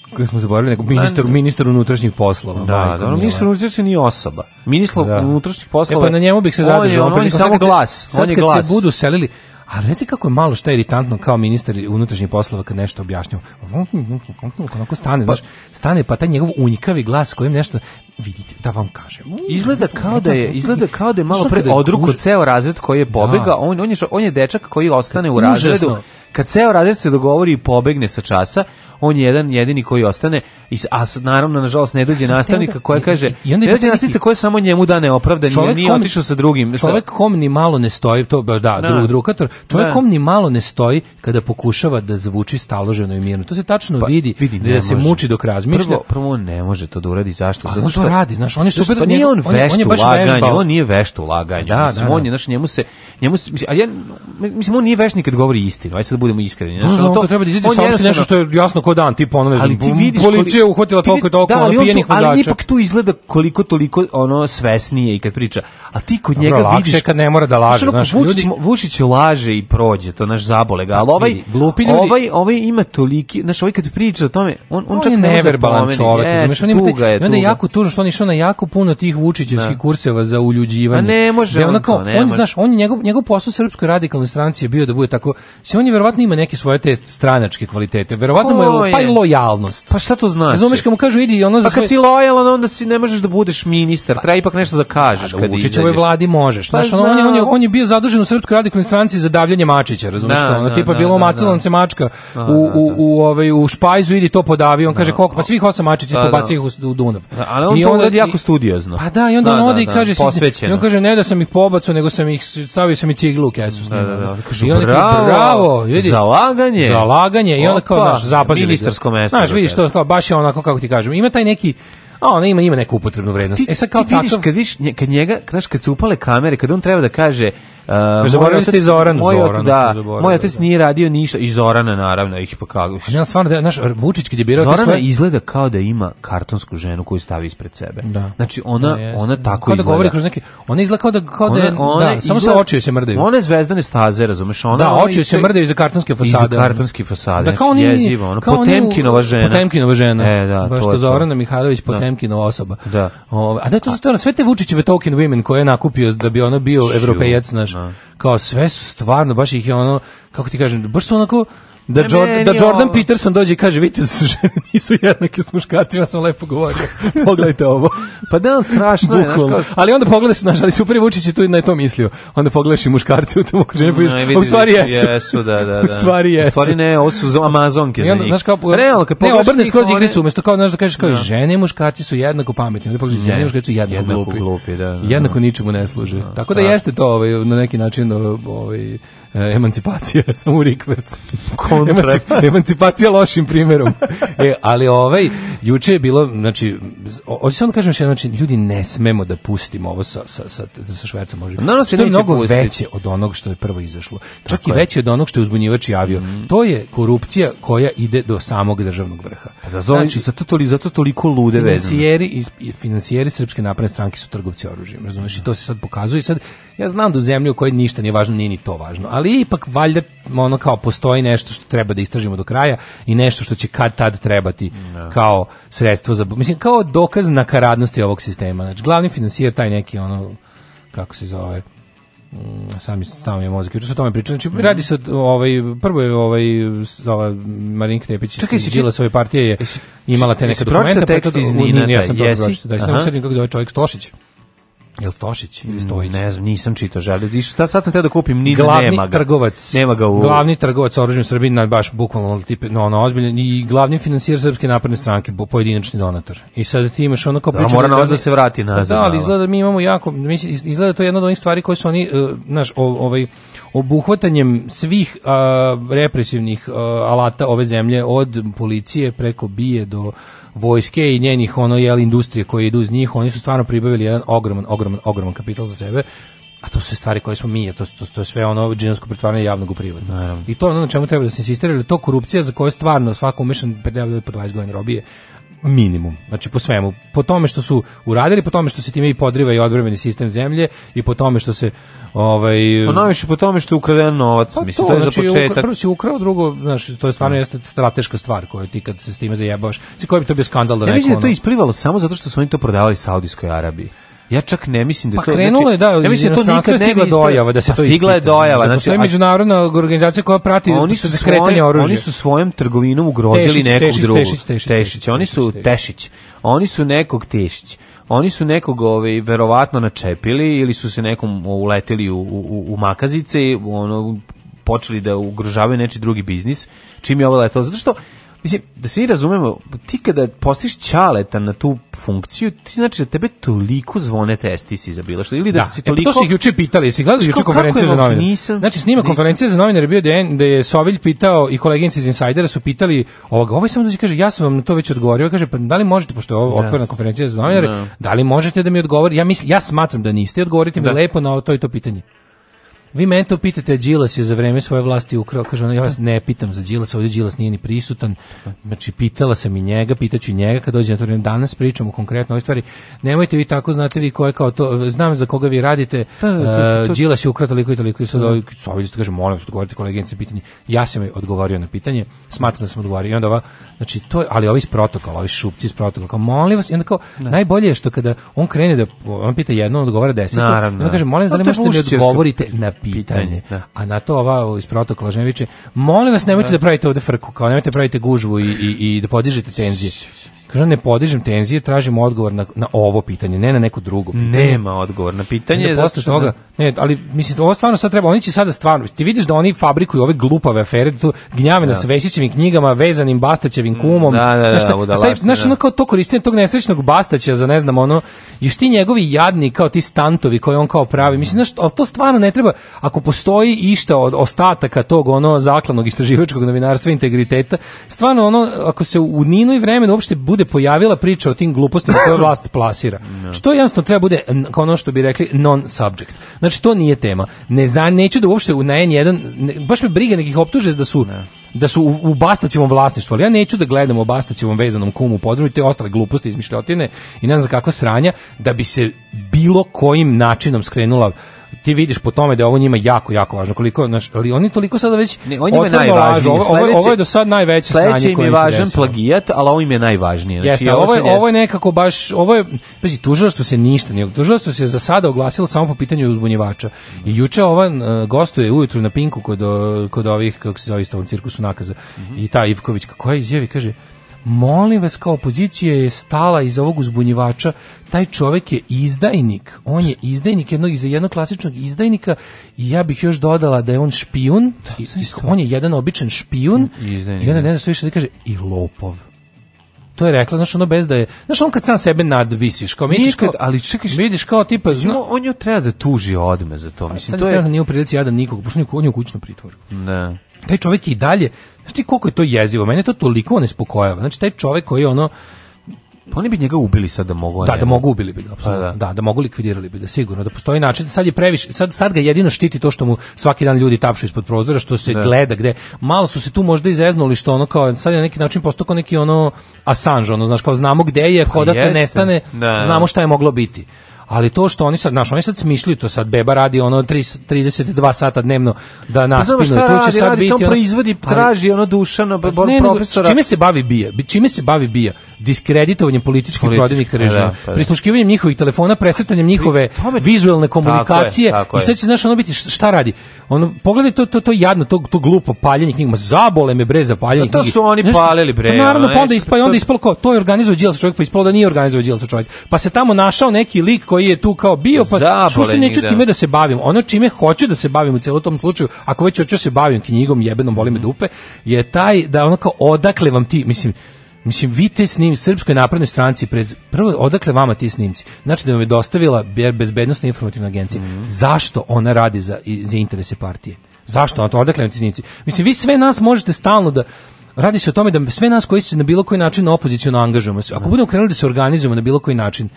Speaker 8: kako smo zaboravili, neko ministar, ministar unutrašnjih poslova.
Speaker 7: Da,
Speaker 8: majko
Speaker 7: dobro,
Speaker 8: mila.
Speaker 7: ministar unutrašnjih nije osoba. Ministar
Speaker 8: Da.
Speaker 7: unutrašnjih
Speaker 8: E
Speaker 7: poslova.
Speaker 8: pa na njemu bih se
Speaker 7: on je-
Speaker 8: zadržao.
Speaker 7: On, je
Speaker 8: otprilike. Sad
Speaker 7: samo
Speaker 8: kad se-
Speaker 7: glas.
Speaker 8: Sad
Speaker 7: on je
Speaker 8: kad
Speaker 7: glas.
Speaker 8: se budu selili, a reci kako je malo šta iritantno kao ministar unutrašnjih poslova kad nešto objašnjava. Onako stane, znaš, stane pa taj njegov unjikavi glas kojim nešto, vidite, da vam kažem.
Speaker 7: Izgleda kao da je izgleda kao da je malo
Speaker 8: Znaš,
Speaker 7: pre
Speaker 8: kada je
Speaker 7: odruko
Speaker 8: kuž-
Speaker 7: ceo razred koji je
Speaker 8: Da.
Speaker 7: pobegao, on on je š- on je dečak koji ostane u
Speaker 8: Užasno.
Speaker 7: razredu. Kad ceo razred se dogovori i pobegne sa časa, on je jedan jedini koji ostane, i s- a s- naravno, nažalost, ne dođe
Speaker 8: Sam te
Speaker 7: nastavnika
Speaker 8: onda-
Speaker 7: koja
Speaker 8: i-
Speaker 7: kaže,
Speaker 8: i- i onda
Speaker 7: ne
Speaker 8: je
Speaker 7: dođe
Speaker 8: neki-
Speaker 7: nastavnica koja samo njemu da neopravdan, jer
Speaker 8: Čovjek
Speaker 7: nije
Speaker 8: kom-
Speaker 7: otišao sa drugim. sa-
Speaker 8: Čovjek kom ni malo ne stoji, to da, da.
Speaker 7: Da.
Speaker 8: Dru, drugator, čovjek
Speaker 7: Da.
Speaker 8: kom ni malo ne stoji kada pokušava da zvuči staloženo i mirno. To se tačno
Speaker 7: Pa,
Speaker 8: vidi,
Speaker 7: ne
Speaker 8: da se
Speaker 7: može.
Speaker 8: muči dok razmišlja.
Speaker 7: Prvo, prvo on ne može to da uradi, zašto?
Speaker 8: Ali on to radi, znaš, on je
Speaker 7: Zašto?
Speaker 8: super-
Speaker 7: Pa nije
Speaker 8: njegov-
Speaker 7: on
Speaker 8: on je-
Speaker 7: vešt
Speaker 8: on je
Speaker 7: u
Speaker 8: baš
Speaker 7: laganju,
Speaker 8: vežbao.
Speaker 7: on nije vešt u laganju.
Speaker 8: Da,
Speaker 7: mislim,
Speaker 8: da, da.
Speaker 7: on je, znaš, njemu se, njemu se, mislim, a ja, mislim, on nije vešt ni kad govori istinu, aj sad da budemo iskreni.
Speaker 8: Da, da, onda treba da izađe
Speaker 7: on
Speaker 8: saopšti
Speaker 7: jednostavno-
Speaker 8: nešto što je jasno ko dan, tipa ono, ne
Speaker 7: ali
Speaker 8: znam,
Speaker 7: ti vidiš
Speaker 8: policija je
Speaker 7: koliko-
Speaker 8: uhvatila
Speaker 7: ti
Speaker 8: toliko i
Speaker 7: vidi-
Speaker 8: toliko ono,
Speaker 7: da, ali on
Speaker 8: pijenih
Speaker 7: tu- Ali
Speaker 8: vozača.
Speaker 7: ipak tu izgleda koliko toliko ono svesnije i kad priča. A ti kod
Speaker 8: Dobro,
Speaker 7: njega
Speaker 8: lakše
Speaker 7: vidiš
Speaker 8: je kad ne mora da laže,
Speaker 7: onako,
Speaker 8: znaš,
Speaker 7: Vučić,
Speaker 8: ljudi-
Speaker 7: mo- Vučić laže i prođe, to naš zabole ga, ali ovaj
Speaker 8: Vidi, glupi ljudi-
Speaker 7: ovaj ovaj ima toliki, znaš, ovaj kad priča o tome, on on,
Speaker 8: on,
Speaker 7: čak
Speaker 8: je
Speaker 7: ne može da
Speaker 8: neverbalan
Speaker 7: promeni.
Speaker 8: čovek,
Speaker 7: Jeste,
Speaker 8: razumeš, on ima te-
Speaker 7: tuga je,
Speaker 8: i onda je
Speaker 7: tuga.
Speaker 8: jako tužno što on je išao na jako puno tih Vučićevskih
Speaker 7: Da.
Speaker 8: kurseva za uljuđivanje.
Speaker 7: A ne može
Speaker 8: Gde ono
Speaker 7: on
Speaker 8: kao,
Speaker 7: to, ne
Speaker 8: on,
Speaker 7: može.
Speaker 8: znaš, on je- njegov njegov posao u srpskoj radikalnoj stranci je bio da bude tako, mislim on je verovatno ima neke svoje te stranačke kvalitete. Verovatno mu je,
Speaker 7: Ko
Speaker 8: lo- pa i
Speaker 7: je?
Speaker 8: lojalnost.
Speaker 7: Pa šta to znači?
Speaker 8: Razumeš kad mu kažu idi ono za
Speaker 7: Pa kad si lojalan, onda si ne možeš da budeš ministar, treba ipak nešto da kažeš kad
Speaker 8: Vučićevoj
Speaker 7: izađeš.
Speaker 8: vladi možeš.
Speaker 7: Pa
Speaker 8: Znaš, ono, on, je, on, je,
Speaker 7: znam.
Speaker 8: on je bio zadužen u Srpskoj radikalnoj stranci za davljanje Mačića, razumiješ
Speaker 7: Da,
Speaker 8: kao, ono,
Speaker 7: da,
Speaker 8: tipa
Speaker 7: da,
Speaker 8: bilo
Speaker 7: da,
Speaker 8: omatila
Speaker 7: da.
Speaker 8: nam se mačka
Speaker 7: Da,
Speaker 8: u,
Speaker 7: da,
Speaker 8: u, u, ovaj, u špajzu, idi to podavi, on kaže koliko, pa svih osam Mačića
Speaker 7: Da, da.
Speaker 8: pobaci ih u, u Dunav.
Speaker 7: Ali on
Speaker 8: I
Speaker 7: to
Speaker 8: onda-
Speaker 7: uradi jako
Speaker 8: i-
Speaker 7: studiozno.
Speaker 8: Pa da, i onda on ode i kaže, si-
Speaker 7: posvećeno.
Speaker 8: i on kaže ne da sam ih pobacao, nego sam ih stavio sam i ciglu u kesu s njima.
Speaker 7: da, da. Kažu,
Speaker 8: I onda kaže,
Speaker 7: "Bravo,
Speaker 8: bravo, vidi.
Speaker 7: zalaganje."
Speaker 8: Zalaganje i onda kao
Speaker 7: Opa,
Speaker 8: naš zapazili.
Speaker 7: ministarsko
Speaker 8: ga.
Speaker 7: mesto
Speaker 8: Znaš,
Speaker 7: za
Speaker 8: vidiš
Speaker 7: tebe.
Speaker 8: to kao baš je onako kako ti kažem. Ima taj neki A ona ima ima neku upotrebnu vrednost.
Speaker 7: Ti,
Speaker 8: e sad kao
Speaker 7: ti vidiš,
Speaker 8: takav-
Speaker 7: kad, vidiš, nje- kad njega, znaš, kad su upale kamere, kad on treba da kaže... Uh, moj
Speaker 8: zaboravili
Speaker 7: otac-
Speaker 8: ste i Zoranu,
Speaker 7: moj otac-
Speaker 8: Zoranu
Speaker 7: da,
Speaker 8: ste zaboravili,
Speaker 7: moj otac nije radio ništa, i Zorana naravno, ih pa kako...
Speaker 8: A Ne, stvarno, da, znaš, Vučić kad je birao te
Speaker 7: Zorana
Speaker 8: svoje...
Speaker 7: izgleda kao da ima kartonsku ženu koju stavi ispred sebe.
Speaker 8: Da.
Speaker 7: Znači ona
Speaker 8: Da, jeste.
Speaker 7: ona tako
Speaker 8: kao da
Speaker 7: izgleda.
Speaker 8: govori kroz neke... Ona izgleda kao da... Kao da, je- da samo se
Speaker 7: izgleda-
Speaker 8: očiju se mrdaju.
Speaker 7: One zvezdane staze, razumeš, ona.
Speaker 8: da,
Speaker 7: ona
Speaker 8: očiju se
Speaker 7: isto-
Speaker 8: mrdaju za kartonske fasade. ono.
Speaker 7: Iza kartonske fasade.
Speaker 8: Da,
Speaker 7: znači,
Speaker 8: kao oni,
Speaker 7: jezivo, ono,
Speaker 8: kao oni u-
Speaker 7: Potemkinova žena.
Speaker 8: Potemkinova žena.
Speaker 7: E, da,
Speaker 8: Baš
Speaker 7: to
Speaker 8: to
Speaker 7: je to.
Speaker 8: Zorana Mihajlović, Potemkinova osoba. Da. a da je to stvarno, sve te Vučićeve token women koje je nakupio da bi ono bio evropejac, znaš, kao sve su stvarno, baš ih je ono, kako ti kažem, baš su onako, Da,
Speaker 7: Ne,
Speaker 8: Jor-
Speaker 7: meni
Speaker 8: da
Speaker 7: je
Speaker 8: Jordan
Speaker 7: ovo-
Speaker 8: Peterson dođe i kaže, vidite da su žene nisu jednake s muškarcima, ja sam lepo govorio. Pogledajte ovo.
Speaker 7: Pa da, strašno je, znaš,
Speaker 8: Bukvalno.
Speaker 7: kao-
Speaker 8: Ali onda pogledaš, znaš, ali super je Vučić je tu na to mislio. Onda pogledaš i muškarce u tom okruženju, pa vidiš,
Speaker 7: Ne,
Speaker 8: a
Speaker 7: vidi,
Speaker 8: u stvari
Speaker 7: vidi,
Speaker 8: jesu.
Speaker 7: jesu, da, da, da.
Speaker 8: U stvari jesu.
Speaker 7: U stvari ne, ovo su za- amazonke
Speaker 8: I
Speaker 7: za
Speaker 8: onda,
Speaker 7: njih.
Speaker 8: znaš kao,
Speaker 7: Realno, kad
Speaker 8: ne,
Speaker 7: pogledaš
Speaker 8: obrne
Speaker 7: njih,
Speaker 8: skroz
Speaker 7: one-
Speaker 8: igricu, umjesto kao, znaš, da kažeš kao,
Speaker 7: Da.
Speaker 8: žene i muškarci su jednako pametni, onda pogledaš, žene i muškarci su jednako,
Speaker 7: jednako
Speaker 8: glupi.
Speaker 7: glupi, da, da, da.
Speaker 8: jednako ničemu ne služe. Tako da
Speaker 7: strašno.
Speaker 8: jeste to ovaj, na neki način ovaj, e, emancipacija, samo u rikverc.
Speaker 7: Kontra.
Speaker 8: Emanci- emancipacija lošim primjerom. e, ali ovaj, juče je bilo, znači, o- hoću samo da kažem što znači, ljudi ne smemo da pustimo ovo sa, sa, sa, sa švercom. Može.
Speaker 7: Naravno se
Speaker 8: Što je
Speaker 7: neće
Speaker 8: mnogo
Speaker 7: pustiti.
Speaker 8: veće od onog što je prvo izašlo. Čak i veće od onog što je uzbunjivač javio.
Speaker 7: Mhm.
Speaker 8: To je korupcija koja ide do samog državnog vrha.
Speaker 7: Pa Da, zove-
Speaker 8: Znači,
Speaker 7: zato, toli, zato toliko lude vezano.
Speaker 8: Finansijeri iz i finansijeri srpske napredne stranke su trgovci oružjem, razumeš? I to se sad pokazuje i sad ja znam da u zemlji u kojoj ništa nije važno, nije ni to važno, ali ipak valjda ono kao postoji nešto što treba da istražimo do kraja i nešto što će kad tad trebati kao sredstvo za mislim kao dokaz nakaradnosti ovog sistema. Znači glavni finansijer taj neki ono kako se zove Mm, sami sami je mozak juče su o tome pričali znači
Speaker 7: Mhm.
Speaker 8: radi se o ovaj prvo je ovaj s- ova Marinka Tepić
Speaker 7: Čekaj, jesi
Speaker 8: iz Đila
Speaker 7: čit-
Speaker 8: svoje partije je imala te neke
Speaker 7: Jesi pročitao
Speaker 8: dokumenta
Speaker 7: tekst
Speaker 8: to-
Speaker 7: iz
Speaker 8: u
Speaker 7: Nina
Speaker 8: Nini, ja
Speaker 7: taj,
Speaker 8: sam to
Speaker 7: jesi?
Speaker 8: pročitao da se ne mogu
Speaker 7: Aha. Mm,
Speaker 8: setim kako se zove čovjek Stošić Jel Stošić ili Stojić?
Speaker 7: Ne znam, nisam čitao žalio. I šta sad sam teo da kupim, ni da
Speaker 8: glavni
Speaker 7: nema ga.
Speaker 8: trgovac
Speaker 7: Nema ga u...
Speaker 8: glavni trgovac oružjem u Srbiji na baš bukvalno ono, tipe no ono ozbiljan i glavni finansijer srpske napredne stranke bo- pojedinačni donator i sada ti imaš ono kao
Speaker 7: Da,
Speaker 8: priču
Speaker 7: mora
Speaker 8: da-
Speaker 7: novac da se vrati
Speaker 8: Pa
Speaker 7: nazad, ovaj
Speaker 8: da ali
Speaker 7: malo.
Speaker 8: izgleda da mi imamo jako mislim izgleda to je jedna od onih stvari koje su oni eh, znaš o- ovaj obuhvatanjem svih a, represivnih eh, alata ove zemlje od policije preko bije do vojske i njenih ono jel industrije koje idu uz njih oni su stvarno pribavili jedan ogroman ogroman ogroman kapital za sebe a to su sve stvari koje smo mi, to, to, to je sve ono džinovsko pretvaranje javnog u privatno. I to je ono na čemu treba da se insistira, jer je to korupcija za koju stvarno svako umešan treba da po 20 godina robije minimum. Znači po svemu, po tome što su uradili, po tome što se time i podriva i odbrambeni sistem zemlje i po tome što se ovaj
Speaker 7: Pa najviše po tome što je ukraden novac,
Speaker 8: Pa
Speaker 7: mislim, to, je
Speaker 8: znači,
Speaker 7: za
Speaker 8: ukra-
Speaker 7: početak.
Speaker 8: Prvo si ukrao, drugo, znaš, to je stvarno jeste strateška stvar koju ti kad se s time zajebavaš. Znači, koji bi to bio skandal da
Speaker 7: Ja
Speaker 8: neko,
Speaker 7: mislim da je to
Speaker 8: ono-
Speaker 7: isplivalo samo zato što su oni to prodavali Saudijskoj Arabiji. Ja čak ne mislim da
Speaker 8: Pa
Speaker 7: to...
Speaker 8: krenulo je,
Speaker 7: znači,
Speaker 8: da,
Speaker 7: ja
Speaker 8: iz
Speaker 7: mislim da to
Speaker 8: inostranstva je
Speaker 7: nikad ne bi
Speaker 8: stigla
Speaker 7: isplivalo.
Speaker 8: dojava da se
Speaker 7: Pa
Speaker 8: to
Speaker 7: Stigla je
Speaker 8: ispita.
Speaker 7: dojava,
Speaker 8: Znači,
Speaker 7: znači...
Speaker 8: postoji
Speaker 7: a-
Speaker 8: međunarodna organizacija koja prati
Speaker 7: oni su
Speaker 8: kretanje
Speaker 7: svoje-
Speaker 8: oružja.
Speaker 7: Oni su svojom trgovinom ugrozili
Speaker 8: Tešić,
Speaker 7: nekog
Speaker 8: Tešić,
Speaker 7: drugog.
Speaker 8: Tešić, Tešić, Tešić,
Speaker 7: Oni su
Speaker 8: Tešić.
Speaker 7: Tešić. Oni su nekog Tešić. Oni su nekog ovaj, verovatno načepili ili su se nekom uleteli u, u, u makazice i ono, počeli da ugrožavaju neči drugi biznis. Čim je ovo letalo? Zato što Mislim, da se mi razumemo, ti kada postiš ćaleta na tu funkciju, ti znači da tebe toliko zvone testisi za bilo što, ili da,
Speaker 8: Da,
Speaker 7: si
Speaker 8: e, pa
Speaker 7: toliko...
Speaker 8: to su ih juče pitali, jesi gledali
Speaker 7: Znaš,
Speaker 8: juče
Speaker 7: kao, kako
Speaker 8: konferenciju
Speaker 7: je
Speaker 8: za
Speaker 7: moguće?
Speaker 8: novinare?
Speaker 7: Nisam,
Speaker 8: znači, snima
Speaker 7: nisam.
Speaker 8: konferencije za novinare je bio da je, da je Sovilj pitao i koleginici iz Insajdera su pitali ovoga, ovaj samo dođe i kaže, ja sam vam na to već odgovorio, kaže, pa da li možete, pošto je ovo
Speaker 7: Da.
Speaker 8: otvorena konferencija za novinare, da.
Speaker 7: Da.
Speaker 8: li možete da mi odgovorite, ja, mislim, ja smatram da niste, odgovorite mi
Speaker 7: Da.
Speaker 8: lepo na to i to pitanje. Vi mene to pitate, Đilas je za vreme svoje vlasti ukrao, kaže ona, ja vas ne pitam za Đilasa, ovdje Đilas nije ni prisutan, znači pitala sam i njega, pitaću i njega kad dođe na to vreme. danas pričamo konkretno o ovoj stvari, nemojte vi tako, znate vi ko je kao to, znam za koga vi radite,
Speaker 7: Da, da, to-
Speaker 8: eh,
Speaker 7: to-
Speaker 8: Đilas je ukrao toliko i toliko i sad
Speaker 7: Da.
Speaker 8: ovi- sa ovdje kaže, molim vas odgovorite koleginice pitanje, ja sam joj odgovorio na pitanje, smatram da sam odgovorio i onda ova, znači to, je- ali ovi iz protokola, ovi šupci iz protokola, kao, molim vas, i onda kao, najbolje je što kada on krene da, on pita jedno, on odgovara deseto,
Speaker 7: Naravno.
Speaker 8: i onda kaže, molim vas, da li
Speaker 7: Pa to je
Speaker 8: možete da mi
Speaker 7: pušćersko
Speaker 8: odgovorite na pitanje,
Speaker 7: pitanje, da.
Speaker 8: a na to ova iz protokola žena viče, molim vas nemojte da,
Speaker 7: Da.
Speaker 8: pravite ovde frku, kao nemojte da pravite gužvu i, i, i da podižete tenzije. Kaže, ne podižem tenzije, tražim odgovor na, na ovo pitanje, ne na neko drugo pitanje.
Speaker 7: Nema odgovor na pitanje,
Speaker 8: Onda
Speaker 7: zato
Speaker 8: posle
Speaker 7: što-
Speaker 8: toga, ne, ali mislim ovo stvarno sad treba, oni će sada stvarno, ti vidiš da oni fabrikuju ove glupave afere, tu gnjave na
Speaker 7: Da.
Speaker 8: Svesićevim knjigama, vezanim Bastaćevim kumom.
Speaker 7: Da, da, da,
Speaker 8: znaš, šta-
Speaker 7: budalaštine,
Speaker 8: a taj- znaš,
Speaker 7: da.
Speaker 8: ono kao to koristim tog nesrećnog Bastaća za ne znam ono, i što ti njegovi jadni kao ti stantovi koje on kao pravi. Mislim znaš, ali to stvarno ne treba ako postoji išta od ostataka tog ono zaklanog istraživačkog novinarstva i integriteta. Stvarno ono ako se u Ninu i vremenu uopšte bude pojavila priča o tim glupostima koje vlast plasira. Što jednostavno treba bude n- kao ono što bi rekli non subject. Znači to nije tema. Ne za neću da uopšte u na N1 ne- baš me briga nekih optuže da su da su u, u Bastaćevom vlasništvu, ali ja neću da gledam o Bastaćevom vezanom kumu podrumu i te ostale gluposti izmišljotine i ne znam za kakva sranja, da bi se bilo kojim načinom skrenula ti vidiš po tome da je ovo njima jako, jako važno. Koliko, znaš, ali oni toliko sada već
Speaker 7: Ne, on njima je
Speaker 8: otvoreno lažu.
Speaker 7: najvažniji.
Speaker 8: Ovo, ovo, je-
Speaker 7: Sledeće-
Speaker 8: ovo je do sad najveće sranje
Speaker 7: Sledeće im
Speaker 8: koje
Speaker 7: je
Speaker 8: im se
Speaker 7: važan
Speaker 8: desilo.
Speaker 7: plagijat, ali ovo im je najvažnije. Znači,
Speaker 8: Jeste, ovo, je,
Speaker 7: sve jeste.
Speaker 8: ovo je nekako baš, ovo je, pazi, tužilaštvo se ništa nije, tužilaštvo se za sada oglasilo samo po pitanju uzbunjivača. I juče ovan e, gostuje ujutru na Pinku kod, o- kod ovih, kako se zove isto, u cirkusu nakaza, i ta Ivković, koja izjavi, kaže, molim vas, kao opozicija je stala iz ovog uzbunjivača, taj čovek je izdajnik, on je izdajnik jednog, za jednog klasičnog izdajnika i ja bih još dodala da je on špijun, i- on je jedan običan špijun,
Speaker 7: I izdajnik,
Speaker 8: i onda
Speaker 7: da.
Speaker 8: ne zna sve više da kaže i lopov. To je rekla, znaš, ono bez da je... Znaš, on kad sam sebe nadvisiš, kao misliš...
Speaker 7: Nije kad-
Speaker 8: Kao, ali čekaj... Vidiš kao tipa... Zna,
Speaker 7: Samo on joj treba da tuži odme za to. Mislim,
Speaker 8: Pa sad
Speaker 7: to je...
Speaker 8: trenutno nije u prilici jadan nikog, pošto on je u- on je u kućnom pritvoru.
Speaker 7: Da.
Speaker 8: Taj čovjek je i dalje... Znaš ti koliko je to jezivo? Mene to toliko nespokojava. Znači, taj čovjek koji je ono...
Speaker 7: Pa oni bi njega ubili sad da mogu. a
Speaker 8: Da,
Speaker 7: ne
Speaker 8: da
Speaker 7: mogu.
Speaker 8: mogu ubili bi ga, apsolutno. Da. da, mogu likvidirali bi ga, sigurno. Da postoji način, sad je previše, sad, sad ga jedino štiti to što mu svaki dan ljudi tapšu ispod prozora, što se
Speaker 7: Da.
Speaker 8: gleda gde. Malo su se tu možda izeznuli što ono kao, sad je na neki način postao kao neki ono Assange, ono, znaš, kao znamo gde je, ako odakle
Speaker 7: Pa jeste.
Speaker 8: nestane,
Speaker 7: Da.
Speaker 8: znamo šta je moglo biti. Ali to što oni sad, znaš, oni sad smišljuju to sad, beba radi ono 3, 32 sata dnevno da
Speaker 7: Pa znamo
Speaker 8: naspinu.
Speaker 7: šta
Speaker 8: tu će
Speaker 7: radi,
Speaker 8: sad
Speaker 7: radi,
Speaker 8: biti
Speaker 7: samo
Speaker 8: ono-
Speaker 7: proizvodi,
Speaker 8: Ali- Pa
Speaker 7: traži ono Dušana, b-
Speaker 8: ne, nego,
Speaker 7: profesora.
Speaker 8: čime se bavi bija? Bi- Čime se bavi bija? Diskreditovanjem političkih
Speaker 7: Politički,
Speaker 8: protivnika
Speaker 7: pa da,
Speaker 8: režima,
Speaker 7: pa da.
Speaker 8: prisluškivanjem njihovih telefona, presretanjem njihove vizuelne komunikacije.
Speaker 7: tako
Speaker 8: I
Speaker 7: je.
Speaker 8: sad će znaš ono biti š- šta radi? Ono pogledaj to to to jadno, to to glupo paljenje knjiga. Ma zabole me bre za paljenje
Speaker 7: Pa to
Speaker 8: knjige.
Speaker 7: su oni
Speaker 8: Znaš,
Speaker 7: palili, bre,
Speaker 8: pa Naravno
Speaker 7: ono,
Speaker 8: pa onda
Speaker 7: ne,
Speaker 8: ispalo
Speaker 7: to-
Speaker 8: onda ispalo kao to je organizovao Đilas čovjek, pa ispalo da nije organizovao Đilas čovjek. Pa se tamo našao neki lik koji je tu kao bio, pa
Speaker 7: Zabole
Speaker 8: što
Speaker 7: njih,
Speaker 8: neću
Speaker 7: da.
Speaker 8: time da se bavim. Ono čime hoću da se bavim u celom tom slučaju, ako već hoću da se bavim knjigom jebenom boli me dupe, je taj da ono kao odakle vam ti, mislim, Mislim, vi te snim, srpskoj naprednoj stranci, pred, prvo, odakle vama ti snimci? Znači da vam je dostavila be- bezbednostna informativna agencija. Zašto ona radi za, i- za interese partije? Zašto ona to? Odakle vam ti snimci? Mislim, vi sve nas možete stalno da... Radi se o tome da sve nas koji se na bilo koji način opoziciono angažujemo, se, ako budemo krenuli da se organizujemo na bilo koji način,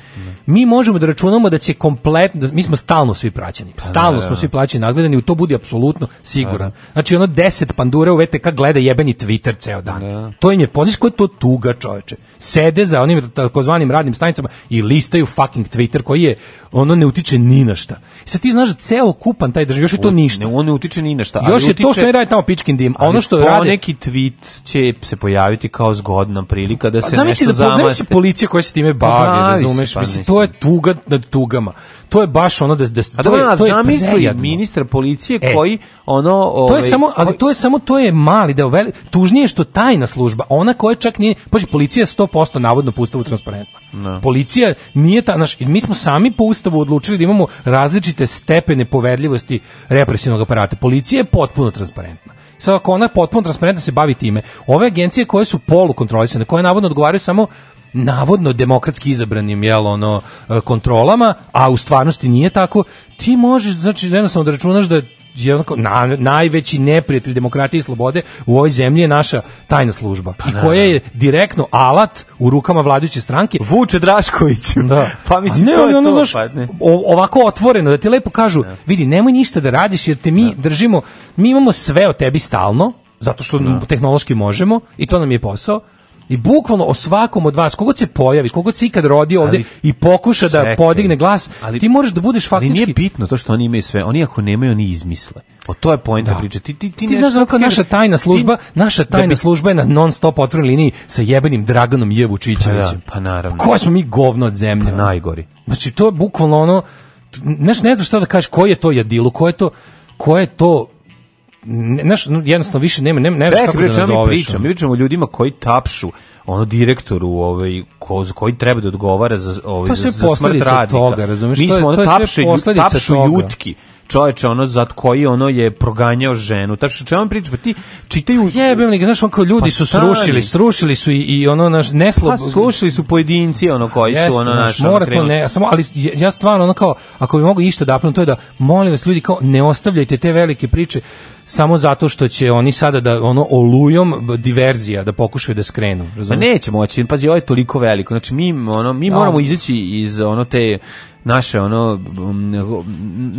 Speaker 8: mi možemo da računamo da će kompletno, da mi smo stalno svi praćeni, stalno
Speaker 7: da,
Speaker 8: smo
Speaker 7: da.
Speaker 8: svi plaćeni, nadgledani, u to budi apsolutno siguran. Znači ono 10 pandure u VTK gleda jebeni Twitter ceo dan. To im je poziv koja je to tuga, čoveče. Sede za onim takozvanim radnim stanicama i listaju fucking Twitter koji je ono ne utiče ni na šta. I sad ti znaš da ceo kupan taj drži, još je to ništa.
Speaker 7: Ne, on ne utiče ni na šta. ali
Speaker 8: Još je to
Speaker 7: utiče-
Speaker 8: što ne radi tamo pičkin dim, a ono
Speaker 7: ali
Speaker 8: što radi
Speaker 7: Poneki tweet će se pojaviti kao zgodna prilika da
Speaker 8: Pa
Speaker 7: se
Speaker 8: zamisli
Speaker 7: nešto
Speaker 8: da
Speaker 7: zamaste.
Speaker 8: zamisli policija koja se time bavi,
Speaker 7: Pa bavi se,
Speaker 8: razumeš?
Speaker 7: pa
Speaker 8: mislim,
Speaker 7: mislim.
Speaker 8: to je tuga nad tugama. To je baš ono da da
Speaker 7: A
Speaker 8: to
Speaker 7: dobro,
Speaker 8: je
Speaker 7: a
Speaker 8: to je
Speaker 7: zamisli
Speaker 8: prejadno.
Speaker 7: ministra policije
Speaker 8: E.
Speaker 7: koji ono...
Speaker 8: To je
Speaker 7: ovaj,
Speaker 8: samo, ali to je samo to je mali deo, veli, tužnije je što tajna služba, ona koja čak nije, paži, policija je 100% navodno po ustavu transparentna.
Speaker 7: Da.
Speaker 8: Policija nije ta, naš, mi smo sami po ustavu odlučili da imamo različite stepene poverljivosti represivnog aparata. Policija je potpuno transparentna. Sad ako ona je potpuno transparentna se bavi time, ove agencije koje su polukontrolisane, koje navodno odgovaraju samo navodno demokratski izabranim jel ono e, kontrolama, a u stvarnosti nije tako, ti možeš znači jednostavno da računaš da je je onako na, najveći neprijatelj demokratije i slobode u ovoj zemlji je naša tajna služba i
Speaker 7: da,
Speaker 8: koja je direktno alat u rukama vladajuće stranke
Speaker 7: Vuče Drašković
Speaker 8: da.
Speaker 7: Pa mislim,
Speaker 8: A ne,
Speaker 7: to
Speaker 8: ali
Speaker 7: je
Speaker 8: ono,
Speaker 7: to,
Speaker 8: znaš,
Speaker 7: pa, ne.
Speaker 8: o- ovako otvoreno, da ti lepo kažu, vidi, nemoj ništa da radiš, jer te mi držimo, mi imamo sve o tebi stalno, zato što tehnološki možemo, i to nam je posao, i bukvalno o svakom od vas, kogod se pojavi, kogod se ikad rodi ovde
Speaker 7: Ali-
Speaker 8: i pokuša da
Speaker 7: Čekaj.
Speaker 8: podigne glas,
Speaker 7: Ali-
Speaker 8: ti moraš da budeš
Speaker 7: Ali
Speaker 8: faktički...
Speaker 7: nije bitno to što oni imaju sve. Oni ako nemaju, oni izmisle. O to je poenta priče. Ti, ti,
Speaker 8: Ti
Speaker 7: ti, nešto
Speaker 8: znaš ono kao
Speaker 7: kažeš-
Speaker 8: naša tajna služba, naša tajna
Speaker 7: bi-
Speaker 8: služba je na non stop otvorenoj liniji sa jebenim Draganom Jevučićevićem.
Speaker 7: Pa da, pa naravno.
Speaker 8: Ko smo mi govno od zemlje? Pa
Speaker 7: najgori.
Speaker 8: Znači to je bukvalno ono t- znaš ne znaš šta da kažeš, koji je to jadilo, ko je to ko je to ne, znaš, no, jednostavno više nema, nema, ne znaš
Speaker 7: Čekaj,
Speaker 8: kako
Speaker 7: bre,
Speaker 8: da
Speaker 7: čemu mi
Speaker 8: nazoveš. ono.
Speaker 7: pričamo? Mi pričamo o ljudima koji tapšu ono direktoru ovaj ko, koji treba da odgovara za ovaj
Speaker 8: To je
Speaker 7: za,
Speaker 8: sve
Speaker 7: za smrt
Speaker 8: posledica
Speaker 7: radnika.
Speaker 8: toga, razumeš?
Speaker 7: Mi
Speaker 8: To je-
Speaker 7: smo
Speaker 8: to
Speaker 7: ono
Speaker 8: je sve
Speaker 7: tapše lju-
Speaker 8: posledica
Speaker 7: tapšu
Speaker 8: toga.
Speaker 7: jutki. Čoveče, ono za koji ono je proganjao ženu. Tapšu, čemu mi pričamo? Ti čitaju
Speaker 8: Jebem li, ga, znaš, onako ljudi
Speaker 7: Pa
Speaker 8: su
Speaker 7: stani.
Speaker 8: srušili, srušili su i, i ono naš neslo...
Speaker 7: Pa slušali su pojedinci ono koji
Speaker 8: Jeste,
Speaker 7: su ono
Speaker 8: znaš,
Speaker 7: naš
Speaker 8: mora to ne, samo ali ja- ja stvarno ono kao ako bi mogu išta da apelem, to je da molim vas ljudi kao ne ostavljajte te velike priče samo zato što će oni sada da ono olujom b- diverzija da pokušaju da skrenu,
Speaker 7: Ma
Speaker 8: razumeš?
Speaker 7: neće moći, pazi, ovo je toliko veliko. Znači mi ono mi
Speaker 8: Da.
Speaker 7: moramo izaći iz ono te naše ono m,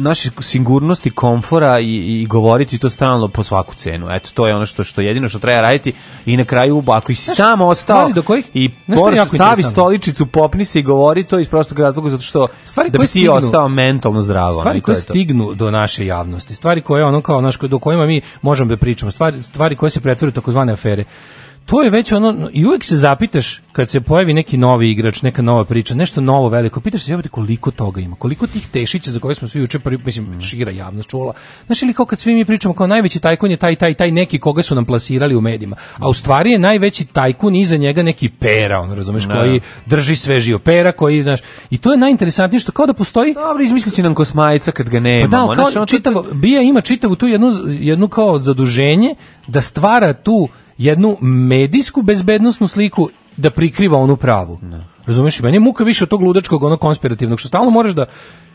Speaker 7: naše sigurnosti, komfora i, i govoriti to stalno po svaku cenu. Eto to je ono što što jedino što treba raditi i na kraju ako i samo ostao
Speaker 8: stvari do kojih-
Speaker 7: i
Speaker 8: znaš šta je
Speaker 7: moraš
Speaker 8: jako
Speaker 7: stavi
Speaker 8: interesantno?
Speaker 7: stoličicu, popni se i govori to iz prostog razloga zato što
Speaker 8: Stvari
Speaker 7: da bi
Speaker 8: koje
Speaker 7: ti
Speaker 8: stignu-
Speaker 7: ostao mentalno zdravo. ono,
Speaker 8: Stvari
Speaker 7: i to
Speaker 8: koje
Speaker 7: je to.
Speaker 8: stignu do naše javnosti, stvari koje ono kao naš do kojima mi možemo da pričamo, stvari stvari koje se pretvore u takozvane afere. To je već ono i uvek se zapitaš kad se pojavi neki novi igrač, neka nova priča, nešto novo veliko, pitaš se jebote koliko toga ima, koliko tih tešića za koje smo svi juče prvi mislim Mhm. šira javnost čula. Znaš ili kao kad svi mi pričamo kao najveći tajkun je taj taj taj neki koga su nam plasirali u medijima, a u stvari je najveći tajkun i iza njega neki pera, on razumeš,
Speaker 7: Da.
Speaker 8: koji drži sve živo pera, koji znaš. I to je najinteresantnije što kao da postoji
Speaker 7: Dobro, izmislit će nam kosmajica kad ga nema.
Speaker 8: pa da, ali kao čitavo, Bija ima čitavu tu jednu, jednu kao zaduženje da stvara tu jednu medijsku bezbednostnu sliku da prikriva onu pravu. Razumeš? I Meni je muka više od tog ludačkog, ono konspirativnog, što stalno moraš da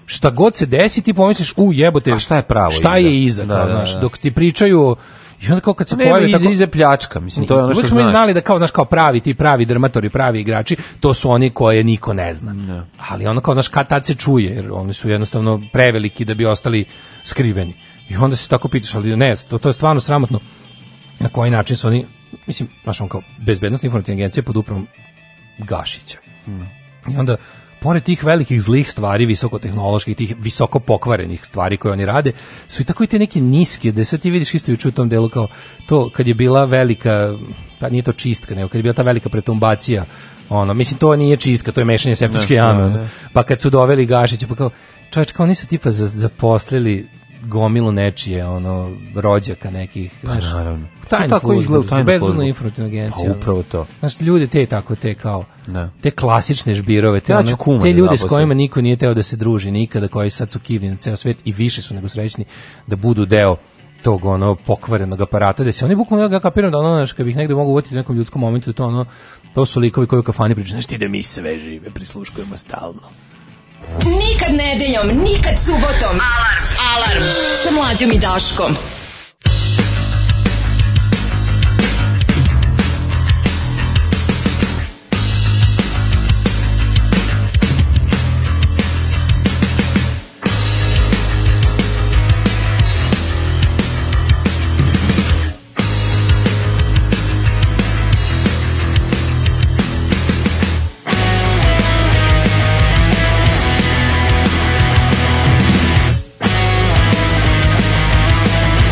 Speaker 8: šta god se desi, ti pomisliš, u jebote,
Speaker 7: A šta je pravo
Speaker 8: Šta
Speaker 7: iza?
Speaker 8: je iza,
Speaker 7: Da,
Speaker 8: kao,
Speaker 7: da,
Speaker 8: znaš,
Speaker 7: da. Pa
Speaker 8: dok ti pričaju o- I onda kao kad se
Speaker 7: Nema
Speaker 8: pojavi
Speaker 7: iza,
Speaker 8: tako...
Speaker 7: iza pljačka, mislim, to je ono što
Speaker 8: Uvijek
Speaker 7: znaš.
Speaker 8: smo mi znali da kao, znaš, kao pravi ti, pravi drmatori, pravi igrači, to su oni koje niko ne zna. Ali ono kao, znaš, kad tad se čuje, jer oni su jednostavno preveliki da bi ostali skriveni. I onda se tako pitaš, ali ne, to, to je stvarno sramotno na koji način su oni, mislim, znaš, on kao bezbednostna informativna agencija pod upravom Gašića. I onda, pored tih velikih zlih stvari, visokotehnoloških, tih visoko pokvarenih stvari koje oni rade, su i tako i te neke niske, da sad ti vidiš isto juče u tom delu kao to kad je bila velika, pa nije to čistka, nego kad je bila ta velika pretumbacija, ono, mislim to nije čistka, to je mešanje septičke
Speaker 7: Ne,
Speaker 8: jame,
Speaker 7: ne,
Speaker 8: ono.
Speaker 7: ne.
Speaker 8: pa kad su doveli Gašića, pa kao, čovječ, kao oni su tipa za- zaposlili gomilu nečije, ono, rođaka nekih,
Speaker 7: Pa
Speaker 8: znaš.
Speaker 7: naravno.
Speaker 8: Tajna
Speaker 7: To tako
Speaker 8: služba,
Speaker 7: izgleda u
Speaker 8: znači,
Speaker 7: tajnu
Speaker 8: bezbedna
Speaker 7: službu.
Speaker 8: informativna agencija, ono.
Speaker 7: Pa upravo to.
Speaker 8: Znaš, ljude te tako, te kao,
Speaker 7: Da.
Speaker 8: te klasične žbirove, te,
Speaker 7: Ja
Speaker 8: ono-
Speaker 7: ću kuma
Speaker 8: te
Speaker 7: da
Speaker 8: ljude s
Speaker 7: zaposlim.
Speaker 8: kojima niko nije teo da se druži nikada, koji sad su kivni na ceo svet i više su nego srećni da budu deo tog ono pokvarenog aparata da se oni bukvalno ja ga kapiram da ono znaš kad bih negde mogu uvatiti u nekom ljudskom momentu da to ono to su likovi koji u kafani pričaju znaš ti da mi sve žive prisluškujemo stalno
Speaker 6: Nikad nedeljom, nikad subotom. Alarm. Alarm. Sa mlađom i Daškom.
Speaker 3: Thank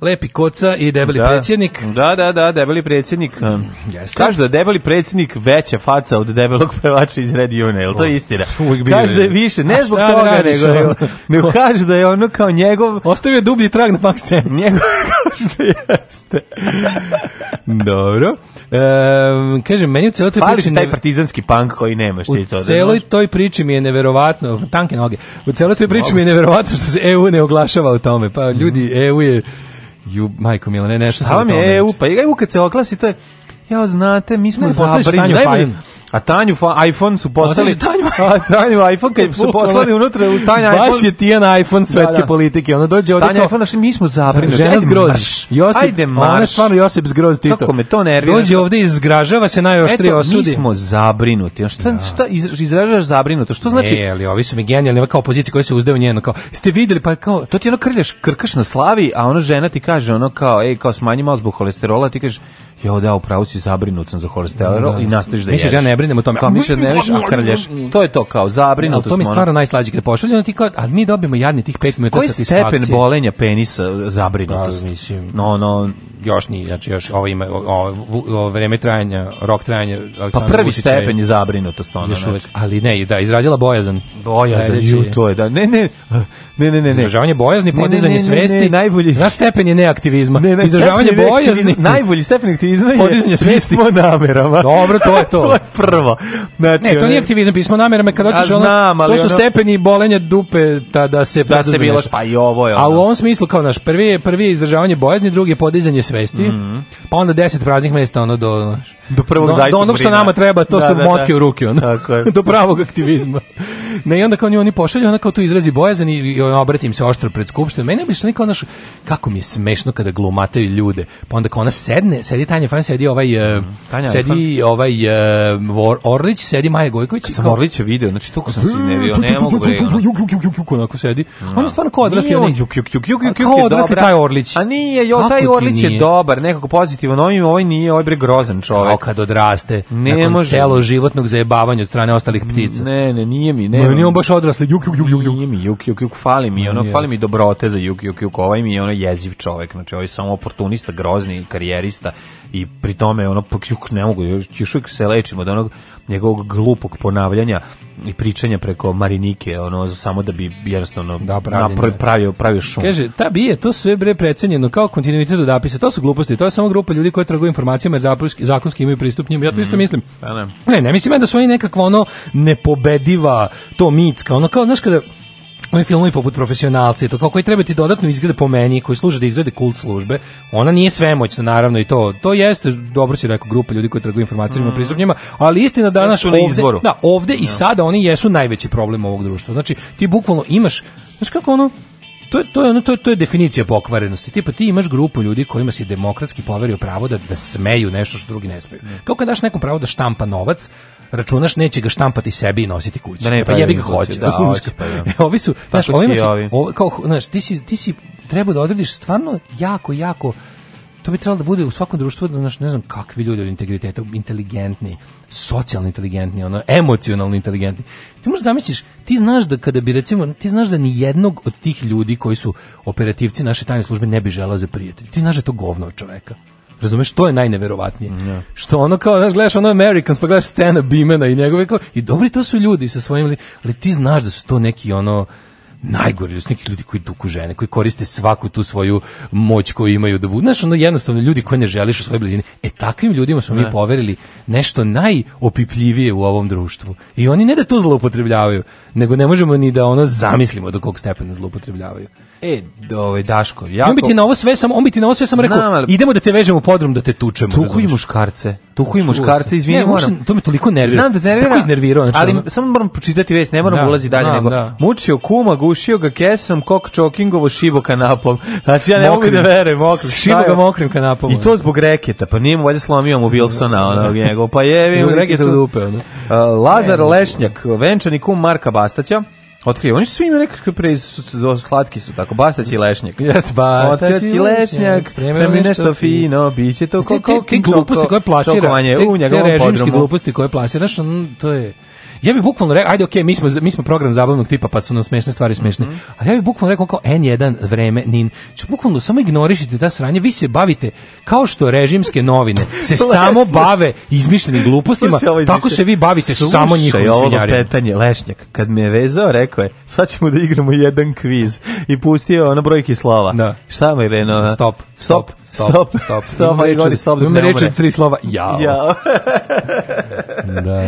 Speaker 8: Lepi koca i debeli
Speaker 7: Da.
Speaker 8: predsjednik.
Speaker 7: Da, da, da, debeli predsjednik. Kažu da je debeli predsjednik veća faca od debelog pevača iz Red June, jel to
Speaker 8: O,
Speaker 7: istina?
Speaker 8: uvijek bio
Speaker 7: Kažu da je
Speaker 8: je.
Speaker 7: više,
Speaker 8: A
Speaker 7: ne
Speaker 8: šta
Speaker 7: zbog
Speaker 8: da
Speaker 7: toga,
Speaker 8: radiš,
Speaker 7: nego, je-
Speaker 8: ono?
Speaker 7: nego kažu da je ono kao njegov...
Speaker 8: Ostavio dublji trag na punk sceni.
Speaker 7: Njegov, kažu da jeste.
Speaker 8: Dobro. Ehm, kažem, meni u celoj toj
Speaker 7: Fali
Speaker 8: priči
Speaker 7: ti
Speaker 8: ne-
Speaker 7: taj partizanski punk koji nemaš ti to.
Speaker 8: U
Speaker 7: da
Speaker 8: celoj
Speaker 7: znaš.
Speaker 8: toj priči mi je neverovatno, tanke noge. U celoj toj priči mi je neverovatno što se EU ne oglašava o tome. Pa
Speaker 7: Mhm.
Speaker 8: ljudi, EU je ju majko mila, ne nešto
Speaker 7: Šta vam je EU? Pa EU kad se oklasi, to je... Ja, znate, mi smo
Speaker 8: Ne, poslali su
Speaker 7: zabrinuti.
Speaker 8: Tanju
Speaker 7: Najbolje-
Speaker 8: Fajn. Znači,
Speaker 7: A Tanju fa- iPhone su
Speaker 8: Poslali
Speaker 7: postali...
Speaker 8: su Tanju
Speaker 7: A, Tanju iPhone, kad su poslali unutra u Tanju iPhone...
Speaker 8: Baš je Tijan iPhone svetske
Speaker 7: Da, da.
Speaker 8: politike. Ona dođe ovde
Speaker 7: Tanja
Speaker 8: kao-
Speaker 7: iPhone, znači mi smo zabrinuti.
Speaker 8: Žena
Speaker 7: Ajde,
Speaker 8: zgroz.
Speaker 7: marš.
Speaker 8: Josip,
Speaker 7: Ajde,
Speaker 8: Ona je
Speaker 7: marš.
Speaker 8: stvarno Josip zgroz Tito.
Speaker 7: Kako me to nervira.
Speaker 8: Dođe ovde i zgražava se najoštrije
Speaker 7: Eto,
Speaker 8: osudi.
Speaker 7: mi smo zabrinuti. A Šta, šta iz- izražavaš zabrinuto? Što
Speaker 8: Znači,
Speaker 7: znači...
Speaker 8: e, ali ovi su mi genijalni, ova kao opozicija koja se uzde u njeno, kao, ste videli, pa kao,
Speaker 7: to ti ono krljaš, krkaš na slavi, a ono žena ti kaže ono kao, ej, kao smanji malo zbog holesterola, ti kažeš, jo da, upravo si zabrinut sam za holesterol
Speaker 8: Da.
Speaker 7: i nastaviš da ješ.
Speaker 8: Misliš, ja ne brinem o tome.
Speaker 7: Kao misliš da ne briniš, a krljaš. To je to kao, zabrinut
Speaker 8: ali to mi je stvarno najslađe kad pošalju, ono ti kao, a mi dobijemo jadni tih 5 minuta
Speaker 7: Koji
Speaker 8: satisfakcije.
Speaker 7: stepen bolenja penisa e, zabrinutost?
Speaker 8: Pa, mislim.
Speaker 7: No, no.
Speaker 8: Još nije, znači još ovo ima, ovo, ovo vreme trajanja, rok trajanja
Speaker 7: Pa
Speaker 8: Aleksandra
Speaker 7: prvi
Speaker 8: Vučića je-
Speaker 7: stepen je zabrinutost. Ono,
Speaker 8: Još uvek,
Speaker 7: znači.
Speaker 8: ali ne, da, izrazila bojazan.
Speaker 7: Bojazan,
Speaker 8: Sledeći
Speaker 7: ju,
Speaker 8: je-
Speaker 7: to je, da. Ne, ne, ne, ne, ne.
Speaker 8: Izražavanje bojazni,
Speaker 7: Ne, ne,
Speaker 8: podizanje
Speaker 7: ne, ne,
Speaker 8: svesti.
Speaker 7: ne, najbolji.
Speaker 8: Naš stepen je neaktivizma.
Speaker 7: Ne, ne,
Speaker 8: Izražavanje
Speaker 7: stepen je
Speaker 8: bojazni.
Speaker 7: aktivizma- Najbolji stepen aktivizma je
Speaker 8: Podizanje svesti.
Speaker 7: pismo namerama.
Speaker 8: Dobro, to je to.
Speaker 7: to je prvo. Znači,
Speaker 8: Ne, to
Speaker 7: ono-
Speaker 8: nije aktivizam, pismo namerama kad hoćeš
Speaker 7: Ja
Speaker 8: ono,
Speaker 7: znam, ali
Speaker 8: to su
Speaker 7: ono-
Speaker 8: stepeni bolenja dupe ta, da se
Speaker 7: Da se
Speaker 8: preduzme
Speaker 7: bilo,
Speaker 8: nešto.
Speaker 7: pa i ovo je ono.
Speaker 8: A u ovom smislu kao naš prvi je prvi je izražavanje bojazni, drugi je podizanje svesti. Pa onda 10 praznih mesta ono do znaš,
Speaker 7: Mhm. Do prvog
Speaker 8: do, do
Speaker 7: zaista
Speaker 8: onog što
Speaker 7: brine.
Speaker 8: nama treba, to
Speaker 7: Da,
Speaker 8: su
Speaker 7: da,
Speaker 8: motke
Speaker 7: da.
Speaker 8: u ruke ono.
Speaker 7: Tako je.
Speaker 8: do pravog aktivizma. Ne, i onda kao nju oni pošalju, ona kao tu izrazi bojazan i, i obratim se oštro pred skupštinom. Meni je obično niko naš, kako mi je smešno kada glumataju ljude. Pa onda kao ona sedne, sedi Tanja Fan, sedi ovaj, e,
Speaker 7: Tanja
Speaker 8: sedi ovaj e, Vor- Orlić, sedi Maja Gojković. i
Speaker 7: Sam
Speaker 8: kao-
Speaker 7: Orlića video, znači toliko sam se iznevio, ne mogu bre. ono.
Speaker 8: Juk, juk, juk, juk, juk, onako sedi. On je stvarno kao odrasli.
Speaker 7: Nije on
Speaker 8: onaj-
Speaker 7: juk, juk, juk, juk, juk,
Speaker 8: Kao
Speaker 7: je
Speaker 8: odrasli
Speaker 7: dobra.
Speaker 8: taj Orlić.
Speaker 7: A nije, jo,
Speaker 8: Kako
Speaker 7: taj
Speaker 8: ti
Speaker 7: Orlić je
Speaker 8: nije?
Speaker 7: dobar, nekako pozitivan, ovaj, ovaj nije, ovaj bre grozan
Speaker 8: Kao
Speaker 7: čovek.
Speaker 8: kad odraste,
Speaker 7: Ne
Speaker 8: nakon
Speaker 7: može.
Speaker 8: celo životnog zajebavanja od strane ostalih ptica.
Speaker 7: Ne, ne, nije mi, ne.
Speaker 8: Ma nije on baš odrasli, juk, juk, juk, juk, juk.
Speaker 7: Nije mi juk, juk, juk, fali mi, ono,
Speaker 8: Jeste.
Speaker 7: fali mi dobrote za juk, juk, juk, ovaj mi je ono jeziv čovek, znači ovaj je samo oportunista, grozni, karijerista i pri tome, ono, pak juk, ne mogu, još, još uvijek se lečim od onog njegovog glupog ponavljanja i pričanja preko Marinike, ono, samo da bi jednostavno
Speaker 8: Da, pravljenje.
Speaker 7: napra- pravio, pravio šum.
Speaker 8: Kaže, ta bi je to sve bre precenjeno kao kontinuitet od apisa. To su gluposti, to je samo grupa ljudi koji trguju informacijama jer zapruski- zakonski imaju pristup njima. Ja to isto mislim.
Speaker 7: Pa ne.
Speaker 8: Ne, ne mislim ja da su oni nekakva ono nepobediva, to mitska, ono kao, znaš kada oni filmovi poput profesionalci, to kao koji treba ti dodatno izglede po meni, koji služe da izgrade kult službe, ona nije svemoćna, naravno, i to, to jeste, dobro si rekao, grupa ljudi koji trguju informacijama mm. pristupnjima, ali istina danas
Speaker 7: su Mhm. na
Speaker 8: ovde,
Speaker 7: izvoru.
Speaker 8: da, ovde i sada oni jesu najveći problem ovog društva. Znači, ti bukvalno imaš, znaš kako ono, To je, to, je ono, to, je, to je definicija pokvarenosti. Tipa ti imaš grupu ljudi kojima si demokratski poverio pravo da, da smeju nešto što drugi ne smeju.
Speaker 7: Mhm.
Speaker 8: Kao kad daš nekom pravo da štampa novac, računaš neće ga štampati sebi i nositi kući.
Speaker 7: Da ne
Speaker 8: pa
Speaker 7: pravi
Speaker 8: jebi ga
Speaker 7: kući,
Speaker 8: hoće.
Speaker 7: da,
Speaker 8: razumeš?
Speaker 7: hoće, pa da.
Speaker 8: Ovi su, znaš,
Speaker 7: Tako
Speaker 8: ovima
Speaker 7: će i
Speaker 8: si-
Speaker 7: ovi.
Speaker 8: ovo- kao, znaš, ti si, ti si treba da odrediš stvarno jako, jako to bi trebalo da bude u svakom društvu, znaš, ne znam kakvi ljudi od integriteta, inteligentni, socijalno inteligentni, ono, emocionalno inteligentni. Ti možda zamisliš, ti znaš da kada bi recimo, ti znaš da ni jednog od tih ljudi koji su operativci naše tajne službe ne bi želao za prijatelj. Ti znaš da je to govno od čoveka. Razumeš, to je najneverovatnije. Što ono kao, znaš, gledaš ono Americans, pa gledaš Stana Bimena i njegove kao, i dobri to su ljudi sa svojim, li- ali ti znaš da su to neki ono, najgori ljudi, neki ljudi koji tuku žene, koji koriste svaku tu svoju moć koju imaju da budu. Znaš, ono jednostavno ljudi koje ne želiš u svojoj blizini. E takvim ljudima smo mi poverili nešto najopipljivije u ovom društvu. I oni ne da to zloupotrebljavaju, nego ne možemo ni da ono zamislimo do kog stepena zloupotrebljavaju.
Speaker 7: E, ovaj, Daško,
Speaker 8: I
Speaker 7: jako...
Speaker 8: On bi ti na ovo sve samo, on bi ti na ovo sve samo rekao,
Speaker 7: Znam, ali-
Speaker 8: idemo da te vežemo u podrum da te tučemo.
Speaker 7: Tuku i
Speaker 8: razumeš?
Speaker 7: muškarce. Tuku i
Speaker 8: Čuo sam.
Speaker 7: muškarce, izvini,
Speaker 8: Ne,
Speaker 7: moram.
Speaker 8: uopšte, to me toliko nervira.
Speaker 7: Znam da te
Speaker 8: Sam
Speaker 7: nervira.
Speaker 8: tako iznervirao, znači,
Speaker 7: ali
Speaker 8: ono-
Speaker 7: samo moram pročitati vest, ne moram
Speaker 8: Da,
Speaker 7: ulaziti dalje.
Speaker 8: znam,
Speaker 7: nego,
Speaker 8: da.
Speaker 7: Mučio kuma, gušio ga kesom, kok čokingovo, šibo kanapom. Znači ja ne mogu
Speaker 8: Mokrim.
Speaker 7: da verujem, mokrim.
Speaker 8: Šibo
Speaker 7: Šta je
Speaker 8: ga
Speaker 7: ovo?
Speaker 8: mokrim kanapom,
Speaker 7: I to zbog reketa, pa nije mu valjda slomio mu Wilsona, onog njegov. Pa je,
Speaker 8: Zbog reketa u dupe, ono.
Speaker 7: Uh, Lazar Lešnjak, venčani kum Marka Bastaća, otkrio. Oni su svi imaju nekakve pre su- su- slatki su tako, Bastać i Lešnjak.
Speaker 8: Jeste, Bastać i
Speaker 7: Otkrio si
Speaker 8: Lešnjak,
Speaker 7: Lešnjak,
Speaker 8: spremio
Speaker 7: spremi
Speaker 8: nešto
Speaker 7: nešto fino, bit će to
Speaker 8: Te,
Speaker 7: ko
Speaker 8: te, te
Speaker 7: kokin
Speaker 8: gluposti
Speaker 7: čoko-
Speaker 8: koje plasira,
Speaker 7: čokovanje
Speaker 8: te,
Speaker 7: u
Speaker 8: te
Speaker 7: njegovom
Speaker 8: režimske
Speaker 7: podrumu.
Speaker 8: gluposti koje plasiraš, on, to je... ja bih bukvalno rekao, ajde okej, mi smo mi smo program zabavnog tipa, pa su nam smešne stvari smešne.
Speaker 7: Mhm.
Speaker 8: Ali ja bih bukvalno rekao kao N1 vreme nin. Znači, bukvalno samo ignorišite ta sranja, vi se bavite kao što režimske novine se samo bave izmišljenim glupostima,
Speaker 7: Slušaj, ovo izmišlja-
Speaker 8: tako se vi bavite samo njihovim
Speaker 7: Slušaj, ovo
Speaker 8: svinjarima.
Speaker 7: petanje, Lešnjak, kad me je vezao, rekao je, sad ćemo da igramo jedan kviz. I pustio na brojki slova. Da. Šta mu je reno?
Speaker 8: Stop,
Speaker 7: stop, stop, stop, stop,
Speaker 8: Imam
Speaker 7: ali
Speaker 8: reč
Speaker 7: govori
Speaker 8: od-
Speaker 7: stop dok
Speaker 8: imam
Speaker 7: ne
Speaker 8: reč
Speaker 7: umre.
Speaker 8: od tri slova, jao.
Speaker 7: Jao.
Speaker 8: da.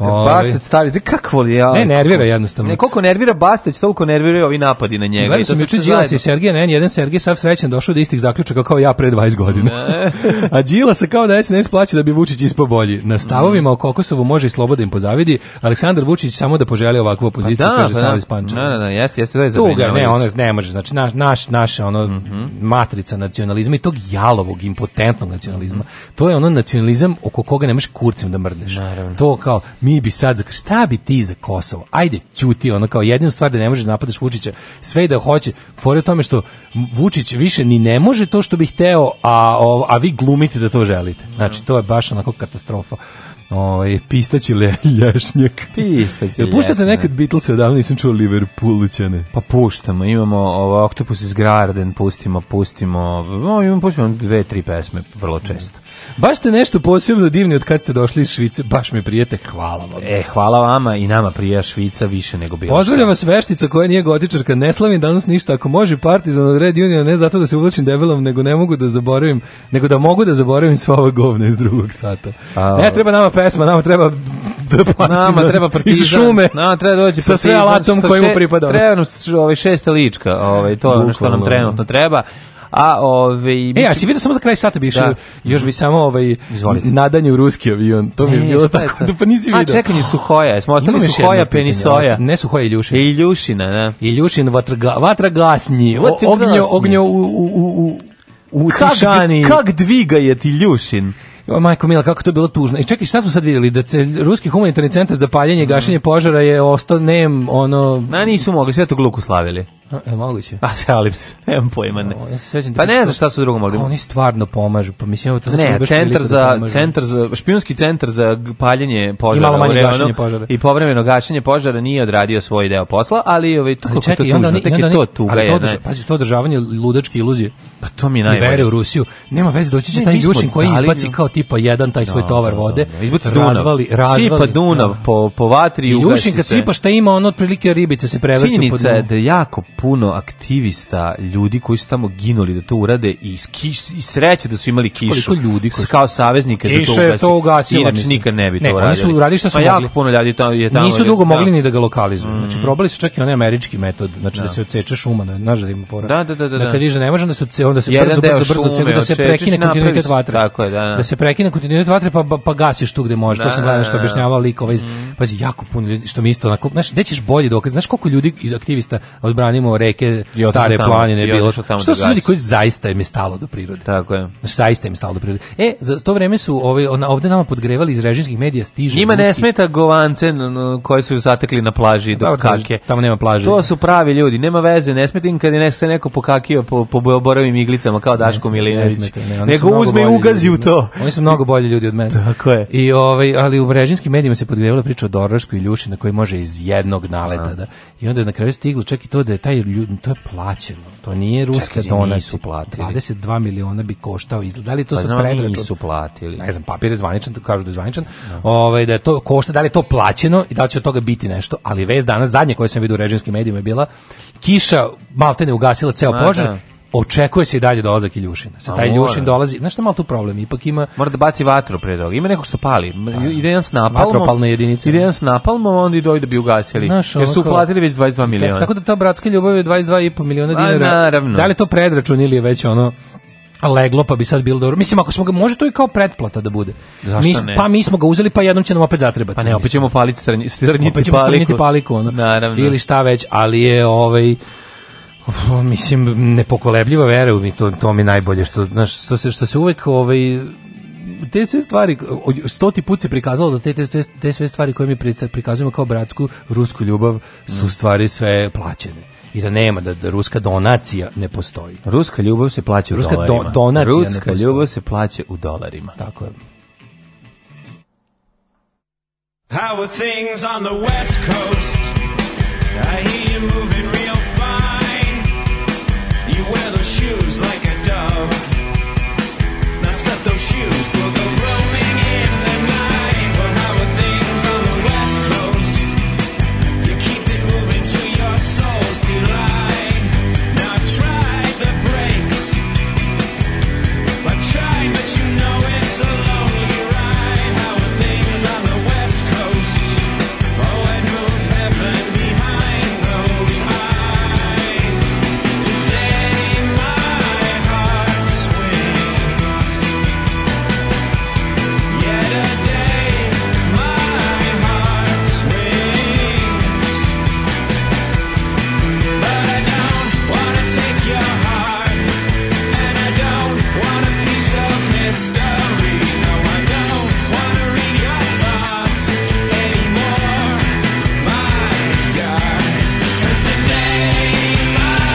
Speaker 8: Ovaj.
Speaker 7: Bastać stari, znaš kakvo li ja?
Speaker 8: Ne, nervira jednostavno.
Speaker 7: Ne, koliko nervira Bastać, toliko nerviraju ovi napadi na njega.
Speaker 8: Gledao
Speaker 7: I to
Speaker 8: sam
Speaker 7: sad
Speaker 8: juče
Speaker 7: sve
Speaker 8: Đilas
Speaker 7: zajedno.
Speaker 8: i Sergija Nen, jedan Sergij sav srećan došao do istih zaključaka kao ja pre 20 godina. A Đila se kao da SNS plaća da bi Vučić ispao bolji. Na stavovima o Kokosovu može i sloboda im pozavidi. Aleksandar Vučić samo da poželi ovakvu opoziciju,
Speaker 7: Pa da,
Speaker 8: kaže
Speaker 7: pa da.
Speaker 8: Sava iz Pančeva.
Speaker 7: Da, da, da, jeste, jeste, to je
Speaker 8: Tuga, ne,
Speaker 7: zabrinjavajuće.
Speaker 8: ono ne može. Znači naš naš naša ono
Speaker 7: Mhm.
Speaker 8: matrica nacionalizma i tog jalovog impotentnog
Speaker 7: Mhm.
Speaker 8: nacionalizma. To je ono nacionalizam oko koga ne možeš kurcem da mrdneš. To kao mi bi sad za šta bi ti za Kosovo? Ajde, ćuti, ono kao jedinu stvar da ne možeš da napadaš Vučića, sve i da hoće. Fore u tome što Vučić više ni ne može to što bi hteo, a o- a vi glumite da to želite.
Speaker 7: Mhm.
Speaker 8: Znači to je baš onako katastrofa. Ovaj pistaći le, lješnjak.
Speaker 7: Pistaći
Speaker 8: Jel puštate
Speaker 7: lješnjak.
Speaker 8: nekad Beatles odavno nisam čuo Liverpoolućane.
Speaker 7: Pa puštamo, imamo ovo, Octopus iz Garden, pustimo, pustimo, no, imamo, pustimo dve, tri pesme, vrlo često.
Speaker 8: Baš ste nešto posebno divni od kad ste došli iz Švice, baš mi prijete, hvala vam.
Speaker 7: E, hvala vama i nama prija Švica više nego bilo.
Speaker 8: Pozdravlja vas veštica koja nije gotičarka, ne slavim danas ništa, ako može Partizan od Red Union, ne zato da se uvlačim debelom, nego ne mogu da zaboravim, nego da mogu da zaboravim sva ova govna iz drugog sata.
Speaker 7: A-
Speaker 8: ne treba nama pesma, nama treba The Partizan
Speaker 7: Nama treba partizan.
Speaker 8: iz šume,
Speaker 7: Nama treba doći
Speaker 8: sa sve
Speaker 7: partizan,
Speaker 8: alatom
Speaker 7: sa
Speaker 8: koji mu
Speaker 7: še-
Speaker 8: pripada.
Speaker 7: Treba nam š- ovaj šesta lička, ovaj to je ono što nam
Speaker 8: Bukvalno.
Speaker 7: trenutno treba. A ovaj
Speaker 8: E, a si vidio samo za kraj sata bi išao,
Speaker 7: Da.
Speaker 8: još bi samo ovaj nadanje u ruski avion, to mi je
Speaker 7: E,
Speaker 8: bilo
Speaker 7: šta je
Speaker 8: tako,
Speaker 7: to?
Speaker 8: da pa nisi
Speaker 7: A,
Speaker 8: vidio.
Speaker 7: čekanje Suhoja, jesmo ostali
Speaker 8: Imam još jedno
Speaker 7: Suhoja,
Speaker 8: pitanje,
Speaker 7: Penisoja.
Speaker 8: Ne Suhoja, Iljušina.
Speaker 7: Iljušina, da.
Speaker 8: Iljušin vatrga, vatragasni, o-
Speaker 7: Vatragasni.
Speaker 8: ognjo, ognjo u, u, u, u, u
Speaker 7: Kak-
Speaker 8: tišani.
Speaker 7: kak dviga je ti Ljušin?
Speaker 8: Jo, majko Mila, kako to je bilo tužno. I čekaj, šta smo sad vidjeli? Da se Ruski humanitarni centar za paljenje i gašenje požara je ostao nem, ono...
Speaker 7: Na nisu mogli, sve to gluku slavili.
Speaker 8: A, e, moguće.
Speaker 7: A se ali nemam pojma ne.
Speaker 8: Ja se sećam da-
Speaker 7: Pa ne znam šta su drugo mogli.
Speaker 8: Oni stvarno pomažu, pa mislim... Evo, to sam
Speaker 7: Ne,
Speaker 8: baš
Speaker 7: centar
Speaker 8: veliko da
Speaker 7: za
Speaker 8: pomažu.
Speaker 7: centar za špijunski centar za g- paljenje požara
Speaker 8: I malo manje
Speaker 7: u Reonu
Speaker 8: gašenje požara.
Speaker 7: I povremeno gašenje požara nije odradio svoj deo posla, ali ovaj tu
Speaker 8: Ali
Speaker 7: kako je to
Speaker 8: čekaj, i onda
Speaker 7: tužno,
Speaker 8: oni-
Speaker 7: tek
Speaker 8: i onda
Speaker 7: je to
Speaker 8: oni-
Speaker 7: tuga
Speaker 8: ali to
Speaker 7: je.
Speaker 8: održa- Pazi, to održavanje ludačke iluzije.
Speaker 7: Pa to mi je
Speaker 8: I
Speaker 7: najbolje.
Speaker 8: vere u Rusiju. Nema veze, doći će
Speaker 7: Ne,
Speaker 8: taj
Speaker 7: mi smo
Speaker 8: Ljušin koji
Speaker 7: dali
Speaker 8: izbaci
Speaker 7: njom-
Speaker 8: kao tipa jedan taj svoj
Speaker 7: Da,
Speaker 8: tovar
Speaker 7: da,
Speaker 8: vode.
Speaker 7: da, da. Izbaci Dunav.
Speaker 8: razvali, razvali.
Speaker 7: Sipa Dunav po, po vatri i ugasi
Speaker 8: Ljušin kad
Speaker 7: se.
Speaker 8: sipa šta ima, on otprilike ribice se prevrću pod
Speaker 7: Činjenica je
Speaker 8: dnu.
Speaker 7: da je jako puno aktivista, ljudi koji su tamo ginuli da to urade i, s kiš, i sreće da su imali kišu.
Speaker 8: Koliko ljudi koji su-
Speaker 7: Kao saveznika da to
Speaker 8: Kiša
Speaker 7: ugasi.
Speaker 8: je to ugasila,
Speaker 7: Inače
Speaker 8: mislim.
Speaker 7: nikad ne bi
Speaker 8: Ne,
Speaker 7: to
Speaker 8: oni
Speaker 7: uradili.
Speaker 8: su uradili šta su
Speaker 7: Pa jako
Speaker 8: mogli.
Speaker 7: puno ljudi tamo je tamo.
Speaker 8: Nisu dugo
Speaker 7: da. Mm.
Speaker 8: mogli ni da ga lokalizuju. Znači probali su čak i onaj američki metod, znači da, se odseče šuma, da znaš da ima fora.
Speaker 7: Da, da, da, da,
Speaker 8: Da
Speaker 7: da.
Speaker 8: kad više ne može da se odse- onda se
Speaker 7: Jedan
Speaker 8: brzo
Speaker 7: deo
Speaker 8: brzo brzo
Speaker 7: šume
Speaker 8: odseka, da se
Speaker 7: odsečeš,
Speaker 8: prekine
Speaker 7: napraviš-
Speaker 8: kontinuitet vatre.
Speaker 7: Tako je, da, da.
Speaker 8: se prekine kontinuitet vatre pa pa, pa gasiš tu gde može.
Speaker 7: Da,
Speaker 8: to sam gledao
Speaker 7: da,
Speaker 8: što
Speaker 7: da. Mm.
Speaker 8: objašnjavao lik ovaj iz, pazi jako puno ljudi što mi isto onako, znaš, gde ćeš bolji dokaz? Znaš koliko ljudi iz aktivista odbranimo reke
Speaker 7: I otišlo
Speaker 8: stare
Speaker 7: tamo,
Speaker 8: planine
Speaker 7: i
Speaker 8: bilo.
Speaker 7: otišlo tamo
Speaker 8: Što
Speaker 7: da
Speaker 8: su ljudi
Speaker 7: gasi.
Speaker 8: koji zaista im je stalo do prirode.
Speaker 7: Tako je.
Speaker 8: Znaš, zaista im je stalo do prirode. E, za to vreme su ovaj, ona- ovde nama podgrevali iz režimskih medija stižu
Speaker 7: Njima ne
Speaker 8: ruski-
Speaker 7: smeta govance n- n- koji su zatekli na plaži do
Speaker 8: Dobro,
Speaker 7: kake.
Speaker 8: tamo nema plaže.
Speaker 7: To su pravi ljudi, nema veze, ne smeta im kad je ne- se neko pokakio po, po borovim iglicama kao Daško Milinović.
Speaker 8: Ne smete, ne, oni su
Speaker 7: Nego
Speaker 8: mnogo
Speaker 7: uzme i
Speaker 8: bolji
Speaker 7: ugazi u
Speaker 8: ljudi.
Speaker 7: to.
Speaker 8: Oni su mnogo bolji ljudi od mene. Tako
Speaker 7: je.
Speaker 8: I ovaj, ali u brežinskim medijima se podgrevala priča o Dorošku i Ljušina koji može iz jednog naleta. Da. I onda je na kraju stiglo čak i to da je taj ljud, to je plaćeno. To nije ruska
Speaker 7: Čekaj,
Speaker 8: donacija.
Speaker 7: nisu platili.
Speaker 8: 22 miliona bi koštao izgled. Da li je to
Speaker 7: Pa
Speaker 8: sad
Speaker 7: znam, ali
Speaker 8: predračun?
Speaker 7: nisu platili.
Speaker 8: Ne znam, papir je zvaničan, kažu da je zvaničan. Ovaj, da je to košta, da li je to plaćeno i da li će od toga biti nešto. Ali vez danas, zadnje koje sam vidio u režinskim medijima je bila, kiša maltene ugasila ceo
Speaker 7: Ma,
Speaker 8: požar,
Speaker 7: da.
Speaker 8: Očekuje se i dalje dolazak Iljušina. Sa
Speaker 7: A
Speaker 8: taj
Speaker 7: mora.
Speaker 8: Iljušin dolazi, znaš šta je malo tu problem, ipak ima Pa,
Speaker 7: Mora da baci vatru pre toga. Ima neko što pali. M- Ide jedan s napalmom.
Speaker 8: Vatropalna jedinica.
Speaker 7: Ide jedan s napalmom, onda i dojde da bi ugasili.
Speaker 8: Znaš,
Speaker 7: Jer su
Speaker 8: ono kao-
Speaker 7: uplatili već 22 miliona.
Speaker 8: Tako, tako da ta bratska ljubav je 22,5 miliona
Speaker 7: A,
Speaker 8: dinara.
Speaker 7: naravno.
Speaker 8: Da li je to predračun ili je već ono leglo pa bi sad bilo dobro. Mislim ako smo ga može to i kao pretplata da bude.
Speaker 7: Zašto
Speaker 8: Mi s-
Speaker 7: ne?
Speaker 8: Pa mi smo ga uzeli pa jednom će nam opet zatrebati.
Speaker 7: Pa ne, opet ćemo paliti strnji, strnjiti
Speaker 8: opet ćemo strnjiti
Speaker 7: paliku.
Speaker 8: paliku ono.
Speaker 7: Naravno.
Speaker 8: Ili šta već, ali je ovaj uf, mislim nepokolebljiva vera u mi to to mi je najbolje što znaš što se što se uvek ovaj te sve stvari, o- stoti put se prikazalo da te, te, sve- te sve stvari koje mi pri- prikazujemo kao bratsku rusku ljubav su stvari sve plaćene i da nema, da, da ruska donacija ne postoji.
Speaker 7: Ruska ljubav se plaća
Speaker 8: Ruska
Speaker 7: u
Speaker 8: do-
Speaker 7: dolarima.
Speaker 8: donacija ne
Speaker 7: Ruska
Speaker 8: postoji.
Speaker 7: ljubav se plaća u dolarima.
Speaker 8: Tako je.
Speaker 3: How are things on the West Coast? I hear you moving real fine. You wear those shoes like a dove. Now step those shoes, we'll go roaming in the night. But how are things on the West Coast? You keep it moving to your soul's delight. Now I've tried the brakes. I've tried, but you know it's a lonely ride. How are things on the West Coast? Oh, I'd move heaven behind those eyes. Today my heart swings. Yeah, today my heart swings. But I don't wanna take your heart. And I don't want a piece of history. No, I don't wanna read your thoughts anymore. My God, 'Cause today my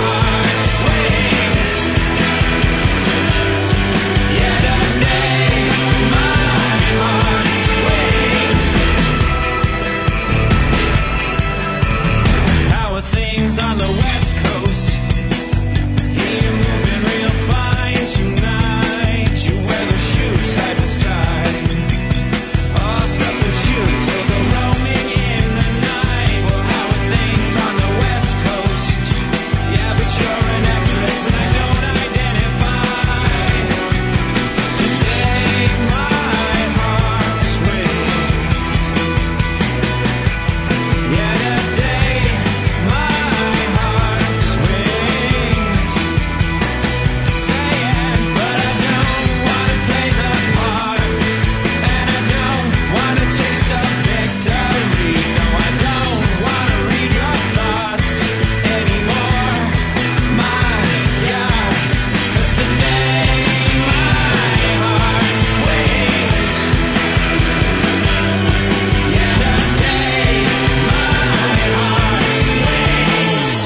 Speaker 3: heart swings. Yeah, today my heart swings. How are things on the West Coast? Here you're moving real fine tonight. You wear the shoes side to side. Oh, step the shoes. We'll go roaming in the night. Well, how are things on the West Coast? Yeah, but you're an actress and I don't identify. Today my heart swings. Yeah, today my heart swings. Say it, but I don't wanna play the part, and I don't wanna taste of victory. No, I don't wanna read your thoughts anymore. My God, 'cause today my heart swings. Yeah, today my heart swings.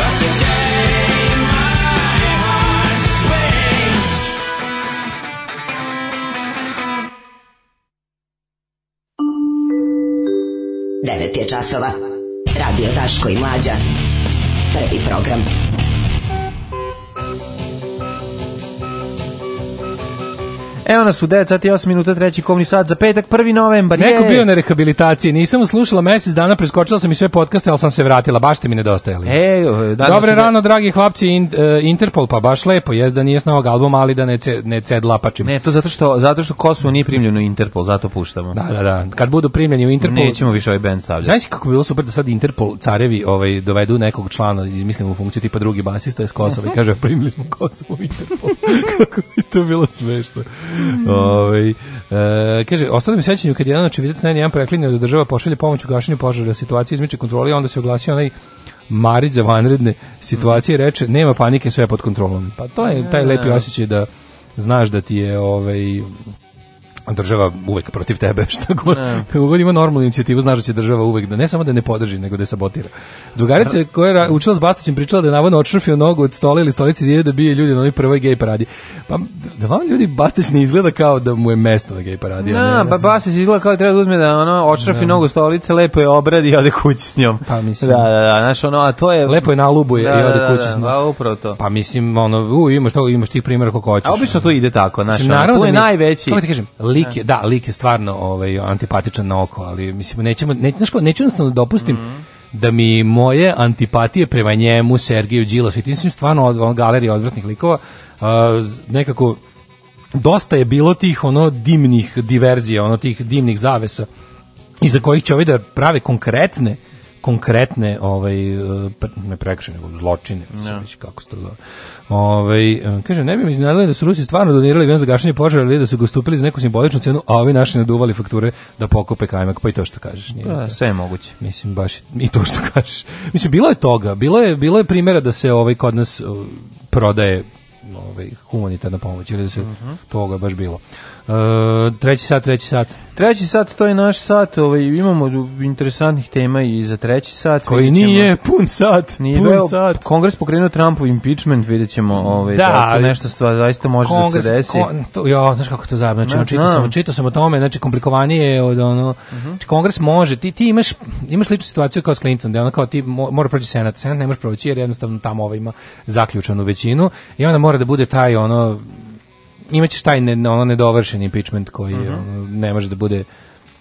Speaker 3: Today my heart swings
Speaker 15: Devet je časova. Radio Daško i Mlađa. Prvi program.
Speaker 7: Evo nas u 9 sati i 8 minuta, treći komni sat za petak, 1. novembar.
Speaker 8: Pa Neko
Speaker 7: je.
Speaker 8: bio na rehabilitaciji, nisam slušala mesec dana, preskočila sam i sve podcaste, ali sam se vratila, baš ste mi nedostajali.
Speaker 7: E, o, danas
Speaker 8: Dobre
Speaker 7: je-
Speaker 8: rano, dragi hlapci, in- e, Interpol, pa baš lepo, jest da nije s novog albuma, ali da ne, ce, ne cedlapačim.
Speaker 7: Ne, to zato što, zato što Kosovo nije primljeno u Interpol, zato puštamo.
Speaker 8: Da, da, da. Kad budu primljeni u Interpol...
Speaker 7: Nećemo više ovaj band stavljati.
Speaker 8: Znaš kako bi bilo super da sad Interpol carevi ovaj, dovedu nekog člana, izmislimo u funkciju tipa drugi basista iz Kosova i kaže primili smo Kosovo u Interpol. kako bi to bilo smešno. Ovaj, e, kaže, ostalo mi sećanju kad jedan očevidac na jedan preklinio da država pošalje pomoć u gašenju požara, situacija izmiče kontroli, a onda se oglasio onaj Marić za vanredne situacije i reče nema panike, sve je pod kontrolom. Pa to je taj lepi osjećaj da znaš da ti je ovaj, država uvek protiv tebe što god,
Speaker 7: Ne.
Speaker 8: kako god ima normalnu inicijativu znaš da će država uvek da ne samo da ne podrži nego da je sabotira. Drugarica je koja je ra- učila s Bastaćem pričala da je navodno odšrfio nogu od stola ili stolice i ide da bije ljudi na onoj prvoj gej paradi. Pa da vam ljudi Bastać ne izgleda kao da mu je mesto na gej paradi. a ne-
Speaker 7: Na, pa Basić izgleda kao da treba da uzme da ono očrafi
Speaker 8: Da.
Speaker 7: nogu stolice, lepo je obradi i ode kući s njom.
Speaker 8: Pa mislim.
Speaker 7: Da, da, da, znaš ono, a to je...
Speaker 8: Lepo je nalubuje
Speaker 7: Da,
Speaker 8: i ode
Speaker 7: da,
Speaker 8: kući
Speaker 7: da,
Speaker 8: s njom.
Speaker 7: Pa upravo to.
Speaker 8: Pa mislim ono u imaš to imaš ti primjera koliko hoćeš.
Speaker 7: A obično to ide tako, znaš,
Speaker 8: Mislim,
Speaker 7: ono,
Speaker 8: naravno
Speaker 7: tu
Speaker 8: da
Speaker 7: je
Speaker 8: mi-
Speaker 7: najveći.
Speaker 8: Kako ti kažem, lik je, da, lik je stvarno ovaj, antipatičan na oko, ali mislim, nećemo, ne, znaš ko, neću jednostavno da dopustim da mi moje antipatije prema njemu, Sergiju Đilasu i tim svim stvarno od, on galerija odvratnih likova a, z- nekako dosta je bilo tih ono dimnih diverzija, ono tih dimnih zavesa iza kojih će ovi da prave konkretne konkretne ovaj e, pre- ne prekršaje nego zločine mislim,
Speaker 17: Ne.
Speaker 8: već kako se to zove. Ovaj e, kaže ne bi me iznenadilo da su Rusi stvarno donirali avion za gašenje požara ili da su ga ustupili za neku simboličnu cenu, a ovi naši naduvali fakture da pokupe kajmak, pa i to što kažeš. Nije,
Speaker 7: Da, sve je moguće.
Speaker 8: Mislim baš i to što kažeš. Mislim bilo je toga, bilo je bilo je primjera da se ovaj kod nas uh, prodaje ovaj humanitarna pomoć ili da se
Speaker 7: Mhm.
Speaker 8: toga je baš bilo. E, treći sat, treći sat.
Speaker 7: Treći sat, to je naš sat, ovaj, imamo du- interesantnih tema i za treći sat.
Speaker 8: Koji
Speaker 7: vidjet ćemo-
Speaker 8: nije pun sat,
Speaker 7: Nije
Speaker 8: pun
Speaker 7: bio-
Speaker 8: sat.
Speaker 7: Kongres pokrenuo Trumpov impeachment, vidjet ćemo ovaj,
Speaker 8: Da,
Speaker 7: da, li to
Speaker 8: ali-
Speaker 7: nešto stva, zaista može da
Speaker 8: Kongres-
Speaker 7: se desi.
Speaker 8: kon- to, ja, znaš kako to zajedno, znači,
Speaker 7: Ne
Speaker 8: ono, čitao sam,
Speaker 7: znam. Mhm.
Speaker 8: čitao sam o tome, znači, komplikovanije je od ono, znači, kongres može, ti, ti imaš, imaš sličnu situaciju kao s Clinton, da ono kao ti mo- mora proći senat, senat ne može proći jer jednostavno tamo ova ima zaključanu većinu i onda mora da bude taj ono, imaćeš taj ne, ono nedovršen impeachment koji
Speaker 7: Mhm.
Speaker 8: je, ono, ne može da bude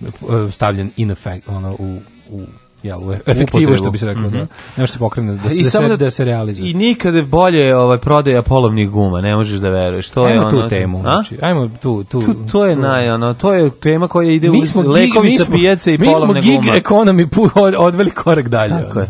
Speaker 8: e, stavljen in effect, ono, u, u jel, u e- efektivu,
Speaker 7: Upotrebu.
Speaker 8: što bi se reklo,
Speaker 7: Mhm.
Speaker 8: da. ne može se pokrene, da se,
Speaker 7: I
Speaker 8: da se,
Speaker 7: samo da-
Speaker 8: da se realizuje.
Speaker 7: I nikada bolje ovaj, prodaja polovnih guma, ne možeš da veruješ. To je
Speaker 8: Ajmo tu
Speaker 7: ono,
Speaker 8: temu,
Speaker 7: A?
Speaker 8: znači, ajmo tu, tu,
Speaker 7: To, to je
Speaker 8: tu.
Speaker 7: naj, ono, to je tema koja ide
Speaker 8: mi
Speaker 7: uz
Speaker 8: smo gig-
Speaker 7: lekovi
Speaker 8: mi
Speaker 7: sa
Speaker 8: smo-
Speaker 7: pijace i polovne
Speaker 8: Mi smo
Speaker 7: gume.
Speaker 8: gig economy pu- od- odveli korak dalje. ono. Tako je.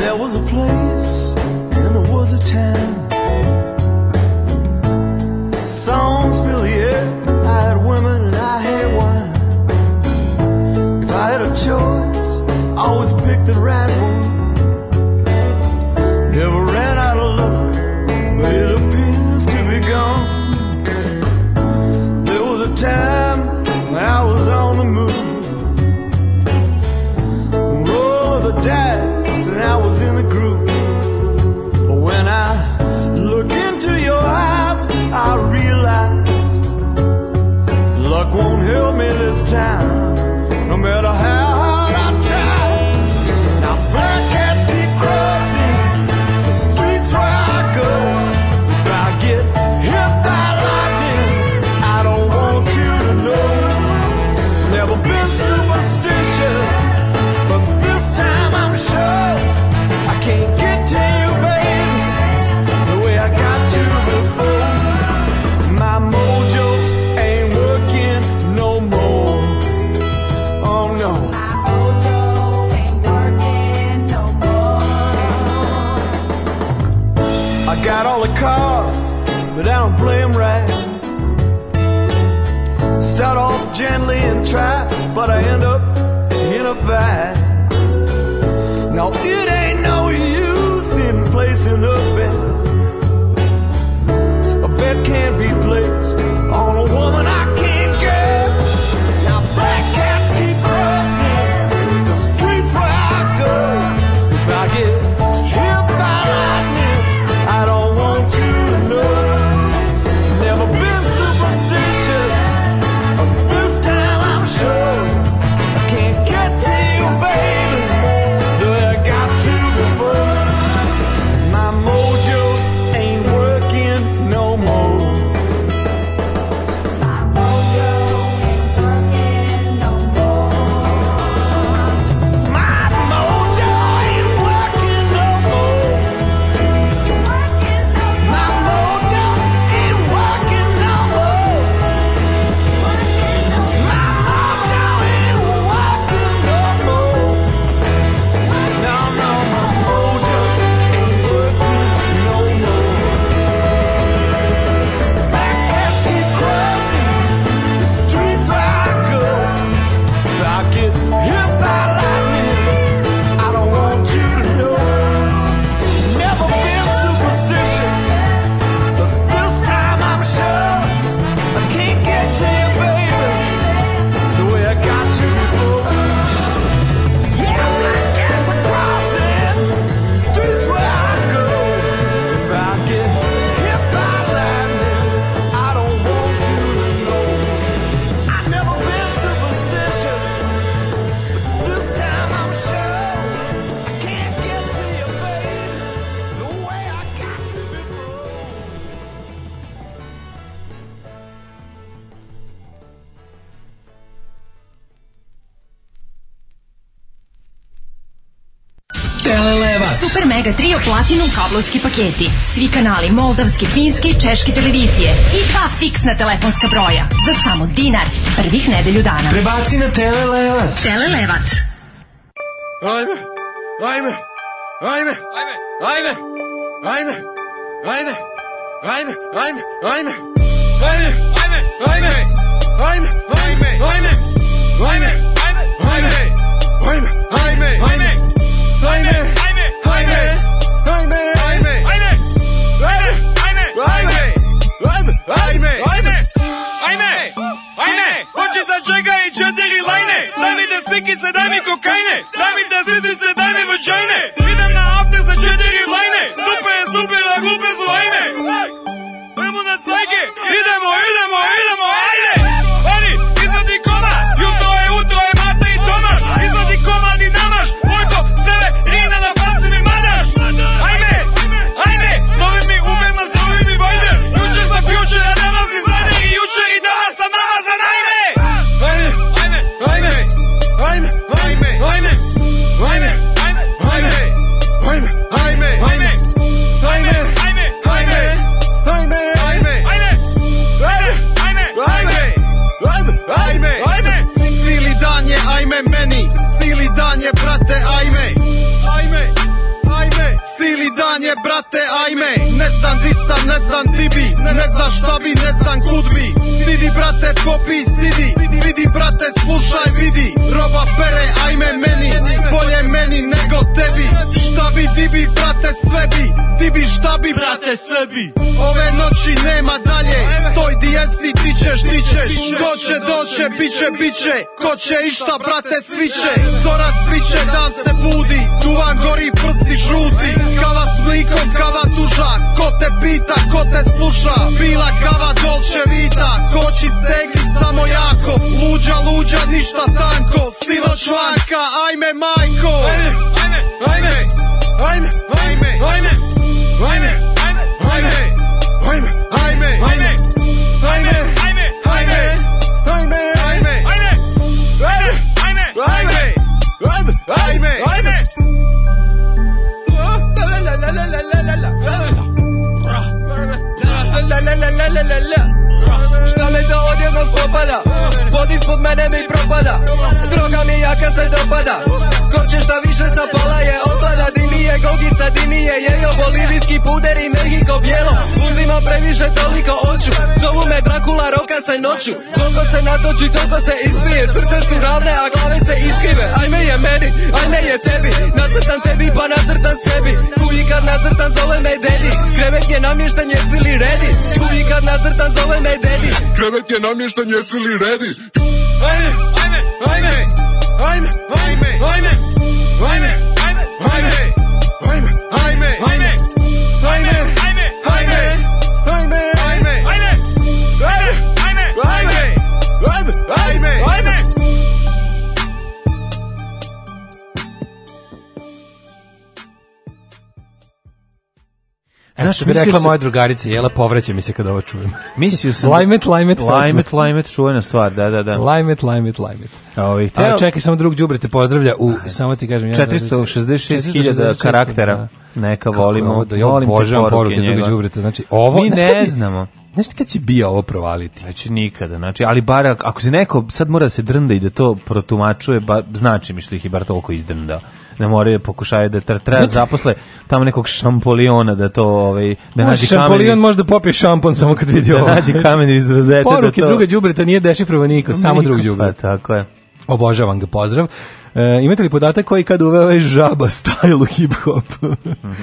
Speaker 3: There was a place and there was a time. Songs fill the air. I had women and I had wine. If I had a choice, I always picked the right one. Never ran out of luck, but it appears to be gone. There was a time when I was on the move. roll of the dice and I was in the groove. But when I look into your eyes, I realize luck won't help me this time, no matter how hard I try. Now black cats keep crossing the streets where I go. If I get hit by lightning, I don't want you to know. Never been superstitious. But this time I'm sure I can't get to you, babe, the way I got you before. My mojo ain't working no more. Oh no. I got all the cards, but I don't play 'em right. Start off gently and try, but I end up in a fight. Now it ain't no use in placing the bet. A bet can't be placed on a woman I can't get. Now black cats keep crossing the streets where I go. If I get hit by lightning, I don't want you to know. Never been superstitious, but this time I'm sure. I can't get to you, baby. Do I got to Telelevac.
Speaker 6: Super Mega Trio Platinum kablovski paketi. Svi kanali moldavske, finske i češke televizije. I dva fiksna telefonska broja. Za samo dinar. Prvih nedelju dana.
Speaker 3: Prebaci na Telelevac.
Speaker 6: Telelevac.
Speaker 18: Ajme, ajme, ajme, ajme, ajme, ajme, ajme, ajme, ajme, ajme, ajme, ajme, ajme, ajme, ajme, ajme, ajme, ajme, ajme, ajme, ajme, ajme, ajme, ajme, ajme,
Speaker 10: Ajme, ajme, ajme, ajme, hoće sa čega i četiri lajne, daj mi da spikice, daj mi kokajne, daj mi da sisice, daj mi vođajne, idem na after za četiri lajne, dupe je super, a glupe su ajme, idemo na cajke, idemo, idemo, idemo, ajde, oni, izvadi koma, jutro je, utro je, mata i Tomaš, izvadi koma, ni namaš, Vojko, sebe, Rina na fasi mi madaš, ajme, ajme, zove mi Uberman, zove mi Vojder, juče sam ključen, a danas dizajner i juče i danas sa nama za najme, ajme, ajme, ajme, ajme, ajme, ajme, ajme, ajme, ajme, ajme, ajme, ajme, ajme, ajme, ajme, ajme, ajme, ajme, ajme, ajme, ajme, ajme,
Speaker 19: Cili dan je ajme meni, cili dan je brate ajme. Ajme, ajme, cili dan je brate ajme. Ne znam di sam, ne znam di bi, ne znam šta bi, ne znam kud bi. Sidi brate popi, sidi, vidi, vidi brate slušaj, vidi. Roba pere ajme meni, bolje meni nego tebi. Šta bi di bi brate sve bi, di bi šta bi brate sve bi. Ove noći nema dalje, stoj di jesi ti ćeš, ti ćeš. Ko će doće, biće, biće, ko će išta brate sviće. Zora sviće, dan se budi, duvan gori, prsti žuti. Kava s mlikom, kava duža, ko te pita, ko te sluša. Bila kava dolče vita, koči stegli samo jako. Luđa, luđa, ništa tanko, silo članka, ajme majko.
Speaker 18: ajme, ajme, ajme, ajme, ajme, ajme, ajme, ajme, ajme, ajme, ajme, ajme, ajme, ajme, ajme, ajme, ajme, ajme, ajme, ajme.
Speaker 5: Šta me to odjedno spopada Pod ispod mene mi propada Droga mi jaka se dopada Koče šta više sa pala je opada Di mi je gogica, di mi je jejo Bolivijski puder i Mehiko bijelo Uzima previše toliko oču Zovu me Drakula, roka se noću Koliko se natoči, toliko se izbije Crte su ravne, a glave se iskrive Ajme je meni, ajme je tebi Nacrtam tebi, pa nacrtam sebi Kuji kad nacrtam, zove me dedi Krevet je namješten, jesi li ready? Kuji kad nacrtam, zove me dedi
Speaker 18: Krevet je namješten, jesi li ready? Ajme, ajme, ajme, ajme, ajme, ajme, ajme, ajme, ajme, ajme, ajme, ajme, ajme, ajme, ajme, ajme, ajme, ajme, ajme, ajme, ajme, ajme.
Speaker 8: Znaš, što bi
Speaker 7: mislio
Speaker 8: rekla
Speaker 7: sam-
Speaker 8: moja drugarica, jela povraća mi se kada ovo čujem.
Speaker 7: Mislio sam...
Speaker 8: Lajmet, lajmet,
Speaker 7: Lajmet, lajmet, čuvena stvar, da, da, da.
Speaker 8: Lajmet, lajmet, lajmet.
Speaker 7: A ovaj,
Speaker 8: A čekaj, samo drug đubre te pozdravlja u, samo ti kažem...
Speaker 7: 466.000 karaktera. Neka volimo,
Speaker 8: da ja
Speaker 7: volim te
Speaker 8: obožavam
Speaker 7: poruke
Speaker 8: poruke drugog
Speaker 7: njega.
Speaker 8: đubreta. Znači, ovo...
Speaker 7: Mi
Speaker 8: znaš
Speaker 7: ne
Speaker 8: kad bi-
Speaker 7: znamo.
Speaker 8: Znaš ti kad će bio ovo provaliti?
Speaker 7: Znači nikada, znači, ali bar ak- ako se neko sad mora da se drnda i da to protumačuje, ba, znači mi što ih je bar toliko izdrndao. Ne moraju pokušaju da tra, treba zaposle tamo nekog šampoliona da to ovaj da nađe
Speaker 8: Šampolion
Speaker 7: kamen.
Speaker 8: može da popije šampon samo kad vidi ovo.
Speaker 7: Da nađe kamen iz rozete da
Speaker 8: Poruke
Speaker 7: to-
Speaker 8: druga đubreta nije dešifrovan niko, samo
Speaker 7: Niko,
Speaker 8: drug
Speaker 7: pa
Speaker 8: đubre.
Speaker 7: tako je.
Speaker 8: Obožavam ga, pozdrav. E, imate li podatak koji kad uveo ovaj žaba style u hip-hop?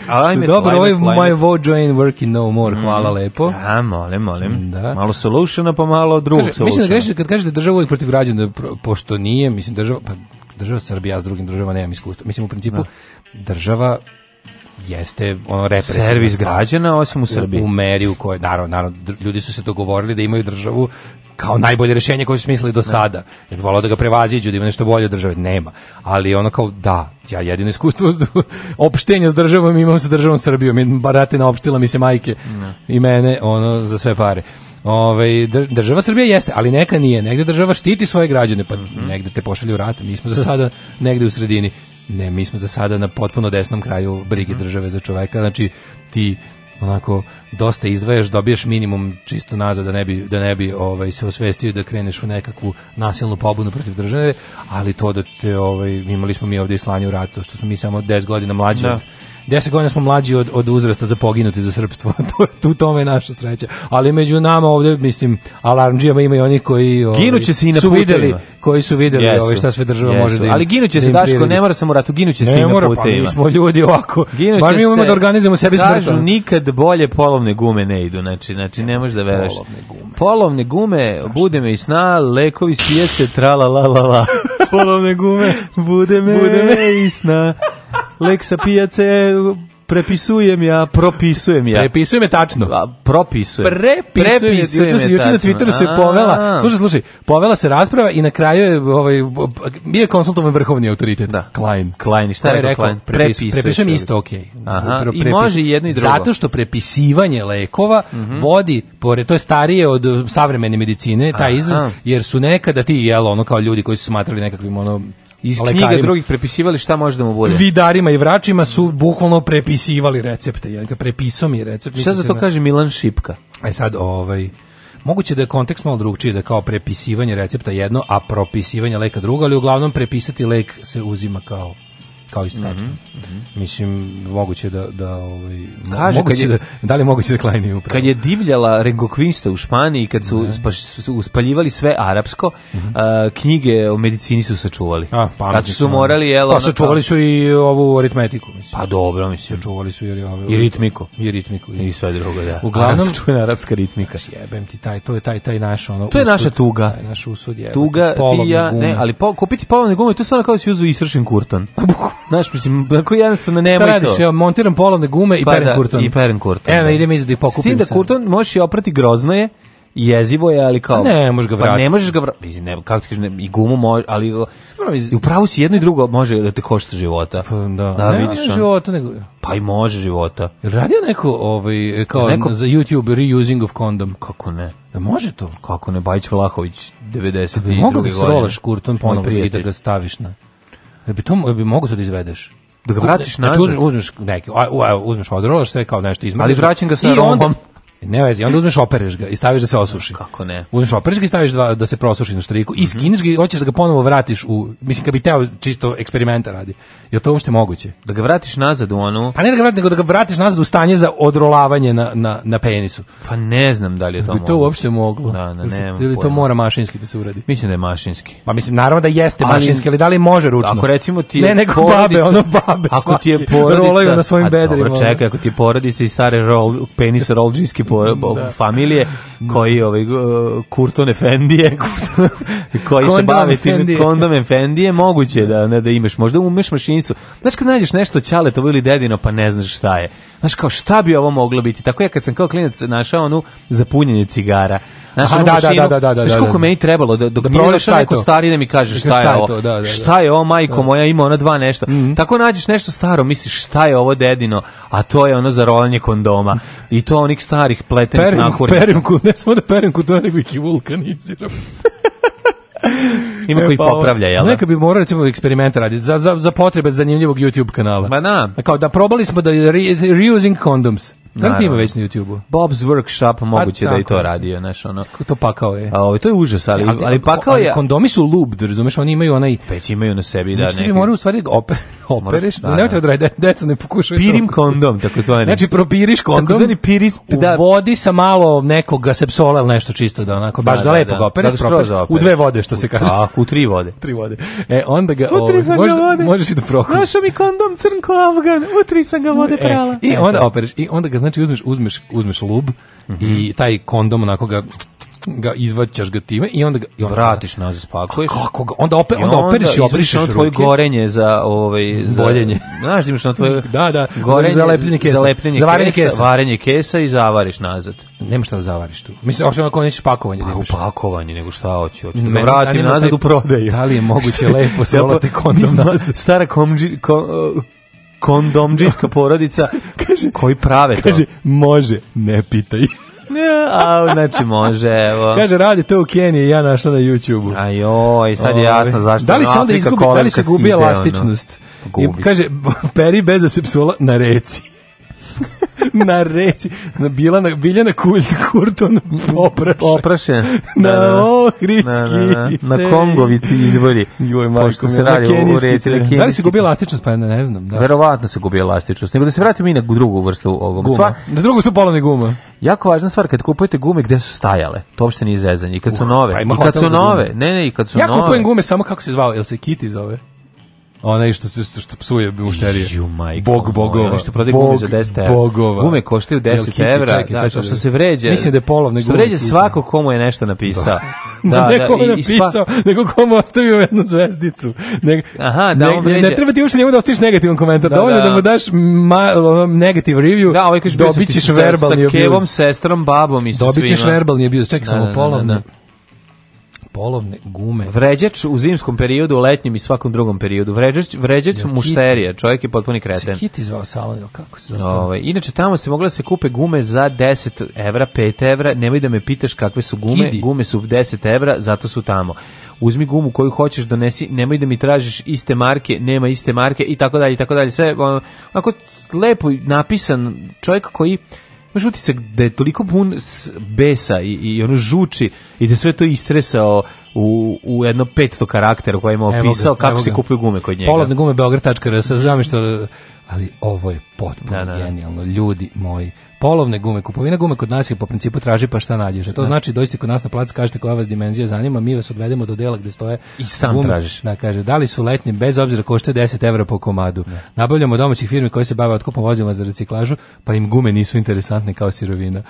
Speaker 7: Ajme,
Speaker 8: Dobro,
Speaker 7: ajme,
Speaker 8: ovaj
Speaker 7: ajme. Mhm.
Speaker 8: My Vojo ain't working no more, hvala lepo.
Speaker 7: A, Mm. molim, molim. Da. Malo solutiona, pa malo drugog
Speaker 8: Kaže, mislim da
Speaker 7: solutiona.
Speaker 8: grešite kad kažete država uvijek protiv građana, pro- pošto nije, mislim država, pa država Srbija s drugim državama nemam iskustva. Mislim u principu država jeste ono represivna
Speaker 7: Servis
Speaker 8: stvar.
Speaker 7: građana, osim u Srbiji.
Speaker 8: U meri u kojoj, naravno, naravno, dr- ljudi su se dogovorili da imaju državu kao najbolje rešenje koje su smislili do sada. Ja bih volao da ga prevaziđu, da ima nešto bolje od države. Nema. Ali ono kao, da, ja jedino iskustvo opštenja s državom imam sa državom Srbijom. I Baratina opštila mi se majke i mene, ono, za sve pare. Ove, država Srbija jeste, ali neka
Speaker 7: Mhm.
Speaker 8: nije. Negde država štiti svoje građane, pa negde te pošalju u rat. Mi smo za sada negde u sredini. Ne, mi smo za sada na potpuno desnom kraju brige države za čoveka, znači ti onako dosta izdvajaš, dobiješ minimum čisto nazad da ne bi da ne bi ovaj se osvestio da kreneš u nekakvu nasilnu pobunu protiv države, ali to da te ovaj imali smo mi ovdje i slanje u ratu, što smo mi samo 10 godina mlađi
Speaker 7: Da.
Speaker 8: od 10 godina smo mlađi od, od uzrasta za poginuti za srpstvo. to, tu tome je naša sreća. Ali među nama ovdje, mislim, alarmđijama ima i oni koji ovaj,
Speaker 7: Ginuće se i na
Speaker 8: su
Speaker 7: putevima.
Speaker 8: videli, koji su videli
Speaker 7: Jesu.
Speaker 8: ovaj, šta sve država
Speaker 7: Jesu.
Speaker 8: može da im,
Speaker 7: Ali ginuće
Speaker 8: da
Speaker 7: se
Speaker 8: im
Speaker 7: Daško,
Speaker 8: priredi.
Speaker 7: ne mora samo u ratu, ginuće se
Speaker 8: Ne
Speaker 7: i na
Speaker 8: mora, pa
Speaker 7: putevima.
Speaker 8: mi smo ljudi ovako. Bar mi umemo da organizujemo sebi smrt,
Speaker 7: Kažu,
Speaker 8: ono.
Speaker 7: nikad bolje polovne gume ne idu, znači, znači ne možeš da veruješ. Polovne gume. Polovne gume, bude me i sna, lekovi sije se, tra la la la la. polovne gume, bude me,
Speaker 20: Bude
Speaker 7: me i sna. Lek sa pijace, prepisujem ja, propisujem ja.
Speaker 8: Prepisujem je tačno.
Speaker 7: A, propisujem.
Speaker 8: Prepisujem,
Speaker 7: Prepisujem
Speaker 8: juče se
Speaker 7: je
Speaker 8: juče na
Speaker 7: tačno.
Speaker 8: Twitteru se
Speaker 7: A.
Speaker 8: povela. Slušaj, slušaj, povela se rasprava i na kraju je ovaj bio je konsultovan vrhovni autoritet. Da. Klein.
Speaker 7: Klein, šta je
Speaker 8: Koji
Speaker 7: rekao Klein?
Speaker 8: prepis-
Speaker 7: Prepisuješ
Speaker 8: Prepisujem
Speaker 7: čovjek.
Speaker 8: isto, okej.
Speaker 7: Aha,
Speaker 8: Pre-
Speaker 7: i
Speaker 8: prepis-
Speaker 7: može i jedno i drugo. Mhm.
Speaker 8: Zato što prepisivanje lekova vodi pored to je starije od uh, savremene medicine, taj izraz,
Speaker 7: Aha.
Speaker 8: jer su nekada ti jelo ono kao ljudi koji su smatrali nekakvim ono
Speaker 7: Iz knjiga
Speaker 8: lekarima,
Speaker 7: drugih prepisivali šta može da mu bude.
Speaker 8: vidarima i vračima su bukvalno prepisivali recepte. Jel ga prepisao mi je recept.
Speaker 7: Šta za to kaže Milan Šipka?
Speaker 8: Aj sad, ovaj, moguće da je kontekst malo drugčiji, da je kao prepisivanje recepta jedno, a propisivanje leka drugo, ali uglavnom prepisati lek se uzima kao kao isto tačno.
Speaker 7: Mhm.
Speaker 8: Mislim, Mhm. moguće da... da ovaj, mo-
Speaker 7: Kaže,
Speaker 8: moguće
Speaker 7: kad je-
Speaker 8: da, da li je moguće da Klein nije upravo?
Speaker 7: Kad je divljala Rengokvinsta u Španiji, kad su, spaš- su uspaljivali sve arapsko, a, knjige o medicini su sačuvali.
Speaker 8: Mhm. A,
Speaker 7: Kad
Speaker 8: pametni
Speaker 7: su morali, jel,
Speaker 8: Pa
Speaker 7: ono,
Speaker 8: sačuvali
Speaker 7: kao-
Speaker 8: su i ovu aritmetiku, mislim.
Speaker 7: Pa dobro, mislim.
Speaker 8: Sačuvali su jer je ovaj- ove-
Speaker 7: I ritmiku.
Speaker 8: I ritmiku.
Speaker 7: I sve drugo, da.
Speaker 8: Uglavnom-
Speaker 7: Arapska, čuvena arapska ritmika.
Speaker 8: Jebem ti taj, to je taj, taj naš ono...
Speaker 7: To je naša tuga.
Speaker 8: Taj naš usud jebem.
Speaker 7: Tuga, ti i
Speaker 8: Polovne
Speaker 7: ja, ne,
Speaker 8: gume. Pa
Speaker 7: ali po, kupiti polovne gume, to je stvarno kao da si uzu isršen kurton. Znaš, mislim, tako jednostavno nemoj to.
Speaker 8: Šta radiš? Evo, montiram polovne gume i
Speaker 7: Pa
Speaker 8: peren
Speaker 7: da,
Speaker 8: kurton. E,
Speaker 7: i peren kurton,
Speaker 8: Evo,
Speaker 7: da.
Speaker 8: idem izad i
Speaker 7: S
Speaker 8: pokupim
Speaker 7: tim da
Speaker 8: sad.
Speaker 7: kurton možeš i oprati grozno je, jezivo je, ali kao...
Speaker 8: A ne, možeš ga
Speaker 7: Pa
Speaker 8: vratiti.
Speaker 7: ne možeš ga vratiti. Mislim, ne, kako ti kažem, ne, i gumu može, ali... I upravo si jedno i drugo može da te košta života. Pa,
Speaker 8: Da,
Speaker 7: da
Speaker 8: ne,
Speaker 7: vidiš.
Speaker 8: ne
Speaker 7: ono.
Speaker 8: života, nego...
Speaker 7: Pa i može života.
Speaker 8: Jel Radio neko ovaj, kao
Speaker 7: Neko-
Speaker 8: za YouTube reusing of condom.
Speaker 7: Kako ne?
Speaker 8: Da može to?
Speaker 7: Kako ne? Bajić Vlahović, 92.
Speaker 8: Da bi mogo da
Speaker 7: godine.
Speaker 8: srolaš kurton
Speaker 7: Moj
Speaker 8: ponovo i da
Speaker 7: prijatelj.
Speaker 8: ga staviš na... Da bi, to, da bi mogo to da izvedeš?
Speaker 7: Da ga vratiš
Speaker 8: znači,
Speaker 7: nazad?
Speaker 8: uzmeš, uzmeš neki, a, u, evo, uzmeš odrolaš sve kao nešto izmrdaš.
Speaker 7: Ali vraćam ga sa
Speaker 8: i onda-
Speaker 7: rombom.
Speaker 8: Ne vezi, onda uzmeš opereš ga i staviš da se osuši.
Speaker 7: Kako ne? Mhm.
Speaker 8: Uzmeš opreš ga i staviš dva, da se prosuši na štriku i skiniš ga i hoćeš da ga ponovo vratiš u... Mislim, kad bi teo čisto eksperimenta radi. Je to uopšte moguće?
Speaker 7: Da ga vratiš nazad u onu...
Speaker 8: Pa ne da ga vratiš, nego da ga vratiš nazad u stanje za odrolavanje na, na, na penisu.
Speaker 7: Pa ne znam da li je to
Speaker 8: bi to
Speaker 7: moguće.
Speaker 8: uopšte moglo.
Speaker 7: Da, da,
Speaker 8: Ili se-
Speaker 7: nemam
Speaker 8: Ili to
Speaker 7: pojma.
Speaker 8: mora mašinski da se uradi.
Speaker 7: Mislim da je mašinski.
Speaker 8: Pa mislim, naravno da jeste
Speaker 7: Ali-
Speaker 8: mašinski, ali da li može ručno?
Speaker 7: Ako recimo ti je
Speaker 8: Ne, nego
Speaker 7: porodica-
Speaker 8: babe, ono babe
Speaker 7: Ako ti je
Speaker 8: svaki
Speaker 7: porodica,
Speaker 8: rolaju na svojim
Speaker 7: A
Speaker 8: bedrima, ono.
Speaker 7: Dobro, čekaj, ako ti je porodica i stare rol, penis rolđijski po,
Speaker 8: Da.
Speaker 7: familije koji ovaj uh, Kurton Efendije, Kurton, koji se
Speaker 8: Kondom
Speaker 7: bave tim
Speaker 8: Efendije.
Speaker 7: kondom Efendije, moguće je da ne da imaš, možda umeš mašinicu. Znaš kad nađeš nešto ćaletovo ili dedino pa ne znaš šta je. Znaš kao šta bi ovo moglo biti? Tako ja kad sam kao klinac našao onu za punjenje cigara. Znaš,
Speaker 8: Aha,
Speaker 7: onu
Speaker 8: da, da,
Speaker 7: mašinu,
Speaker 8: da, da, da, da,
Speaker 7: Znaš koliko
Speaker 8: da.
Speaker 7: meni trebalo da, dok
Speaker 8: Da
Speaker 7: nije
Speaker 8: proveriš
Speaker 7: došao
Speaker 8: šta je
Speaker 7: neko
Speaker 8: to.
Speaker 7: stari da mi kaže
Speaker 8: Da,
Speaker 7: šta,
Speaker 8: šta
Speaker 7: je
Speaker 8: je
Speaker 7: ovo.
Speaker 8: to, da, da, Mhm. da.
Speaker 7: Šta je ovo, majko moja, ima ona dva nešto. Tako nađeš nešto staro, misliš šta je ovo dedino, a to je ono za rolanje kondoma. I to onih starih pletenih
Speaker 8: Perim,
Speaker 7: nahurnika.
Speaker 8: perim ku, ne samo da perim ku, to nego ih i vulkaniziram.
Speaker 7: Ima
Speaker 8: E,
Speaker 7: koji
Speaker 8: pa,
Speaker 7: popravlja, jel da?
Speaker 8: Neka bi morao recimo eksperimenta raditi za, za, za potrebe zanimljivog YouTube kanala. E,
Speaker 7: Ma na.
Speaker 8: Kao da probali smo da je re, reusing condoms. Da li ti ima
Speaker 7: Naravno.
Speaker 8: već na YouTube-u?
Speaker 7: Bob's Workshop moguće da i
Speaker 8: Pa tako,
Speaker 7: to radio, znaš, ono.
Speaker 8: Ko To pakao je.
Speaker 7: A, ovo, to je užas, ali, ali pakao je...
Speaker 8: Kondomi su lubd, razumeš, oni imaju onaj...
Speaker 7: Peć imaju na sebi, da,
Speaker 8: znači, ti bi
Speaker 7: neki.
Speaker 8: morao u stvari da oper, opereš,
Speaker 7: da,
Speaker 8: da, nemojte
Speaker 7: da.
Speaker 8: da radi, deca ne pokušaju.
Speaker 7: Pirim kondom, tako zvani.
Speaker 8: Znači, propiriš kondom.
Speaker 7: Takozvani piris, da.
Speaker 8: Da. Vodi sa malo nekog sepsola ili nešto čisto da onako baš
Speaker 7: Da,
Speaker 8: ga
Speaker 7: da,
Speaker 8: lepo
Speaker 7: da.
Speaker 8: ga opereš,
Speaker 7: Da ga skroz
Speaker 8: propereš,
Speaker 7: opereš.
Speaker 8: u dve vode što se kaže.
Speaker 7: Tako, u tri vode.
Speaker 8: tri vode. E onda ga
Speaker 7: U tri
Speaker 8: ovaj,
Speaker 7: sam ga
Speaker 8: možda-
Speaker 7: vode.
Speaker 8: možeš i da prokuš.
Speaker 7: Našao mi kondom crnko Afgan, utri sam ga vode prala.
Speaker 8: E, I onda opereš i onda ga znači uzmeš uzmeš uzmeš lub
Speaker 7: Mhm.
Speaker 8: i taj kondom onako ga ga izvaćaš ga time i onda ga i onda ga- Pa
Speaker 7: Vratiš nazad, spakuješ.
Speaker 8: kako ga onda opet
Speaker 7: I
Speaker 8: onda operiš i
Speaker 7: izvršiš
Speaker 8: obrišeš
Speaker 7: ono tvoje
Speaker 8: ruke.
Speaker 7: gorenje za ovaj za
Speaker 8: Boljenje.
Speaker 7: Znaš, imaš na tvoje
Speaker 8: Da, da,
Speaker 7: gorenje
Speaker 8: za lepljenje kesa.
Speaker 7: za lepljenje
Speaker 8: Za varenje
Speaker 7: kesa,
Speaker 8: kesa.
Speaker 7: varenje kesa i zavariš nazad.
Speaker 8: Nema šta da zavariš tu. Mislim osim ako nećeš pakovanje da
Speaker 7: Pa u
Speaker 8: imaš.
Speaker 7: pakovanje, nego šta hoće, hoće da
Speaker 8: Mene
Speaker 7: vrati
Speaker 8: zanima
Speaker 7: nazad
Speaker 8: taj-
Speaker 7: u prodaju.
Speaker 8: Da li je moguće
Speaker 7: Šta-
Speaker 8: lepo solati
Speaker 7: Ja pa-
Speaker 8: kondom
Speaker 7: mi smo
Speaker 8: nazad?
Speaker 7: Stara komdži, ko, kondomdžijska porodica koji prave to.
Speaker 8: Kaže može, ne pitaj.
Speaker 7: Ne, a, znači može, evo.
Speaker 8: Kaže radi to u Keniji, ja našla na YouTubeu. Ovaj,
Speaker 7: Ajoj, sad je jasno zašto.
Speaker 8: Da li
Speaker 7: ono
Speaker 8: se onda
Speaker 7: Afrika
Speaker 8: izgubi, da li
Speaker 7: kolenka
Speaker 8: se gubi
Speaker 7: side, ono.
Speaker 8: elastičnost? I kaže, peri bez asepsola na reci. na reci. Na, bila na, bilja na kulj, kurton oprašen.
Speaker 7: Oprašen.
Speaker 8: na
Speaker 7: Da, da.
Speaker 8: ohridski.
Speaker 7: Na, na, na.
Speaker 8: te-
Speaker 7: Na Kongovi ti izvori.
Speaker 8: Joj, majko
Speaker 7: Pošto se
Speaker 8: mila,
Speaker 7: radi
Speaker 8: na
Speaker 7: o
Speaker 8: kenijski
Speaker 7: reci,
Speaker 8: te.
Speaker 7: na
Speaker 8: Da li se
Speaker 7: kenijski.
Speaker 8: gubi elastičnost? Pa ne, ne znam. Da.
Speaker 7: Verovatno se gubi elastičnost. Nego da se vratimo i na drugu vrstu ovog.
Speaker 8: Guma.
Speaker 7: Sva,
Speaker 8: Na drugu su polovne gume.
Speaker 7: Jako važna stvar kad kupujete gume gde su stajale. To uopšte nije zezanje. I kad su
Speaker 8: Uh,
Speaker 7: nove.
Speaker 8: pa ima
Speaker 7: I kad
Speaker 8: hotel
Speaker 7: su
Speaker 8: za gume.
Speaker 7: nove. Ne, ne, i kad su
Speaker 8: Ja
Speaker 7: nove.
Speaker 8: kupujem gume samo kako se zvao, jel se Kitty zove? Onaj što se što, što psuje mušterije. Bog bogova.
Speaker 7: Ono što prodaje gume za 10 evra.
Speaker 8: Bogova.
Speaker 7: Gume koštaju 10
Speaker 8: Jel, Kitty,
Speaker 7: evra.
Speaker 8: čekaj,
Speaker 7: Da,
Speaker 8: sad ću
Speaker 7: što,
Speaker 8: da-
Speaker 7: se vređa.
Speaker 8: Mislim da je polovne
Speaker 7: Što
Speaker 8: gume
Speaker 7: vređa
Speaker 8: Kitty.
Speaker 7: svako komu je nešto napisao.
Speaker 8: Da, da, neko mu
Speaker 7: i- i
Speaker 8: napisao,
Speaker 7: spa-
Speaker 8: nego komu ostavio jednu zvezdicu. Ne,
Speaker 7: Aha, da,
Speaker 8: ne,
Speaker 7: on
Speaker 8: ne,
Speaker 7: vređa.
Speaker 8: treba ti uopšte njemu da ostaviš negativan komentar.
Speaker 7: Da,
Speaker 8: Dovoljno da,
Speaker 7: da.
Speaker 8: mu daš ma, ono, negative review,
Speaker 7: Da, ovaj kaže bio sam
Speaker 8: dobit
Speaker 7: ti
Speaker 8: ćeš
Speaker 7: sa-
Speaker 8: verbalni
Speaker 7: Sa kevom,
Speaker 8: abuse.
Speaker 7: sestrom, babom i sa svima.
Speaker 8: Dobit ćeš verbalni abuse. Čekaj, samo polovne.
Speaker 7: Polovne gume. Vređač u zimskom periodu, u letnjem i svakom drugom periodu. Vređač, vređač
Speaker 8: Jel,
Speaker 7: mušterija. Čovjek je potpuni kreten.
Speaker 8: Kitty zvao salon, jel kako se zove?
Speaker 7: Ove, Ovaj, inače, tamo se mogla da se kupe gume za 10 evra, 5 evra, nemoj da me pitaš kakve su gume,
Speaker 8: Kidi.
Speaker 7: gume su 10 evra, zato su tamo. Uzmi gumu koju hoćeš, donesi, nemoj da mi tražiš iste marke, nema iste marke i tako dalje, i tako dalje. Sve, ono, onako c- lepo napisan čovjek koji Imaš utisak da je toliko pun s- besa i, i ono žuči i da je sve to istresao u, u jedno 500 karaktera koje ima
Speaker 8: Evo ga,
Speaker 7: opisao
Speaker 8: evo
Speaker 7: kako se
Speaker 8: ga.
Speaker 7: kupuju gume kod njega.
Speaker 8: Polovne gume Beograd.rs, znam što... Ali ovo je potpuno genijalno, ljudi moji. Polovne gume, kupovina gume kod nas je po principu traži pa šta nađeš. A to
Speaker 7: Da.
Speaker 8: znači dođite kod nas na plac, kažete koja vas dimenzija zanima, mi vas odvedemo do dela gde stoje
Speaker 7: I sam
Speaker 8: gume.
Speaker 7: tražiš.
Speaker 8: Da, kaže, da li su letnje, bez obzira košta 10 evra po komadu. Nabavljamo domaćih firmi koje se bave otkupom vozila za reciklažu, pa im gume nisu interesantne kao sirovina.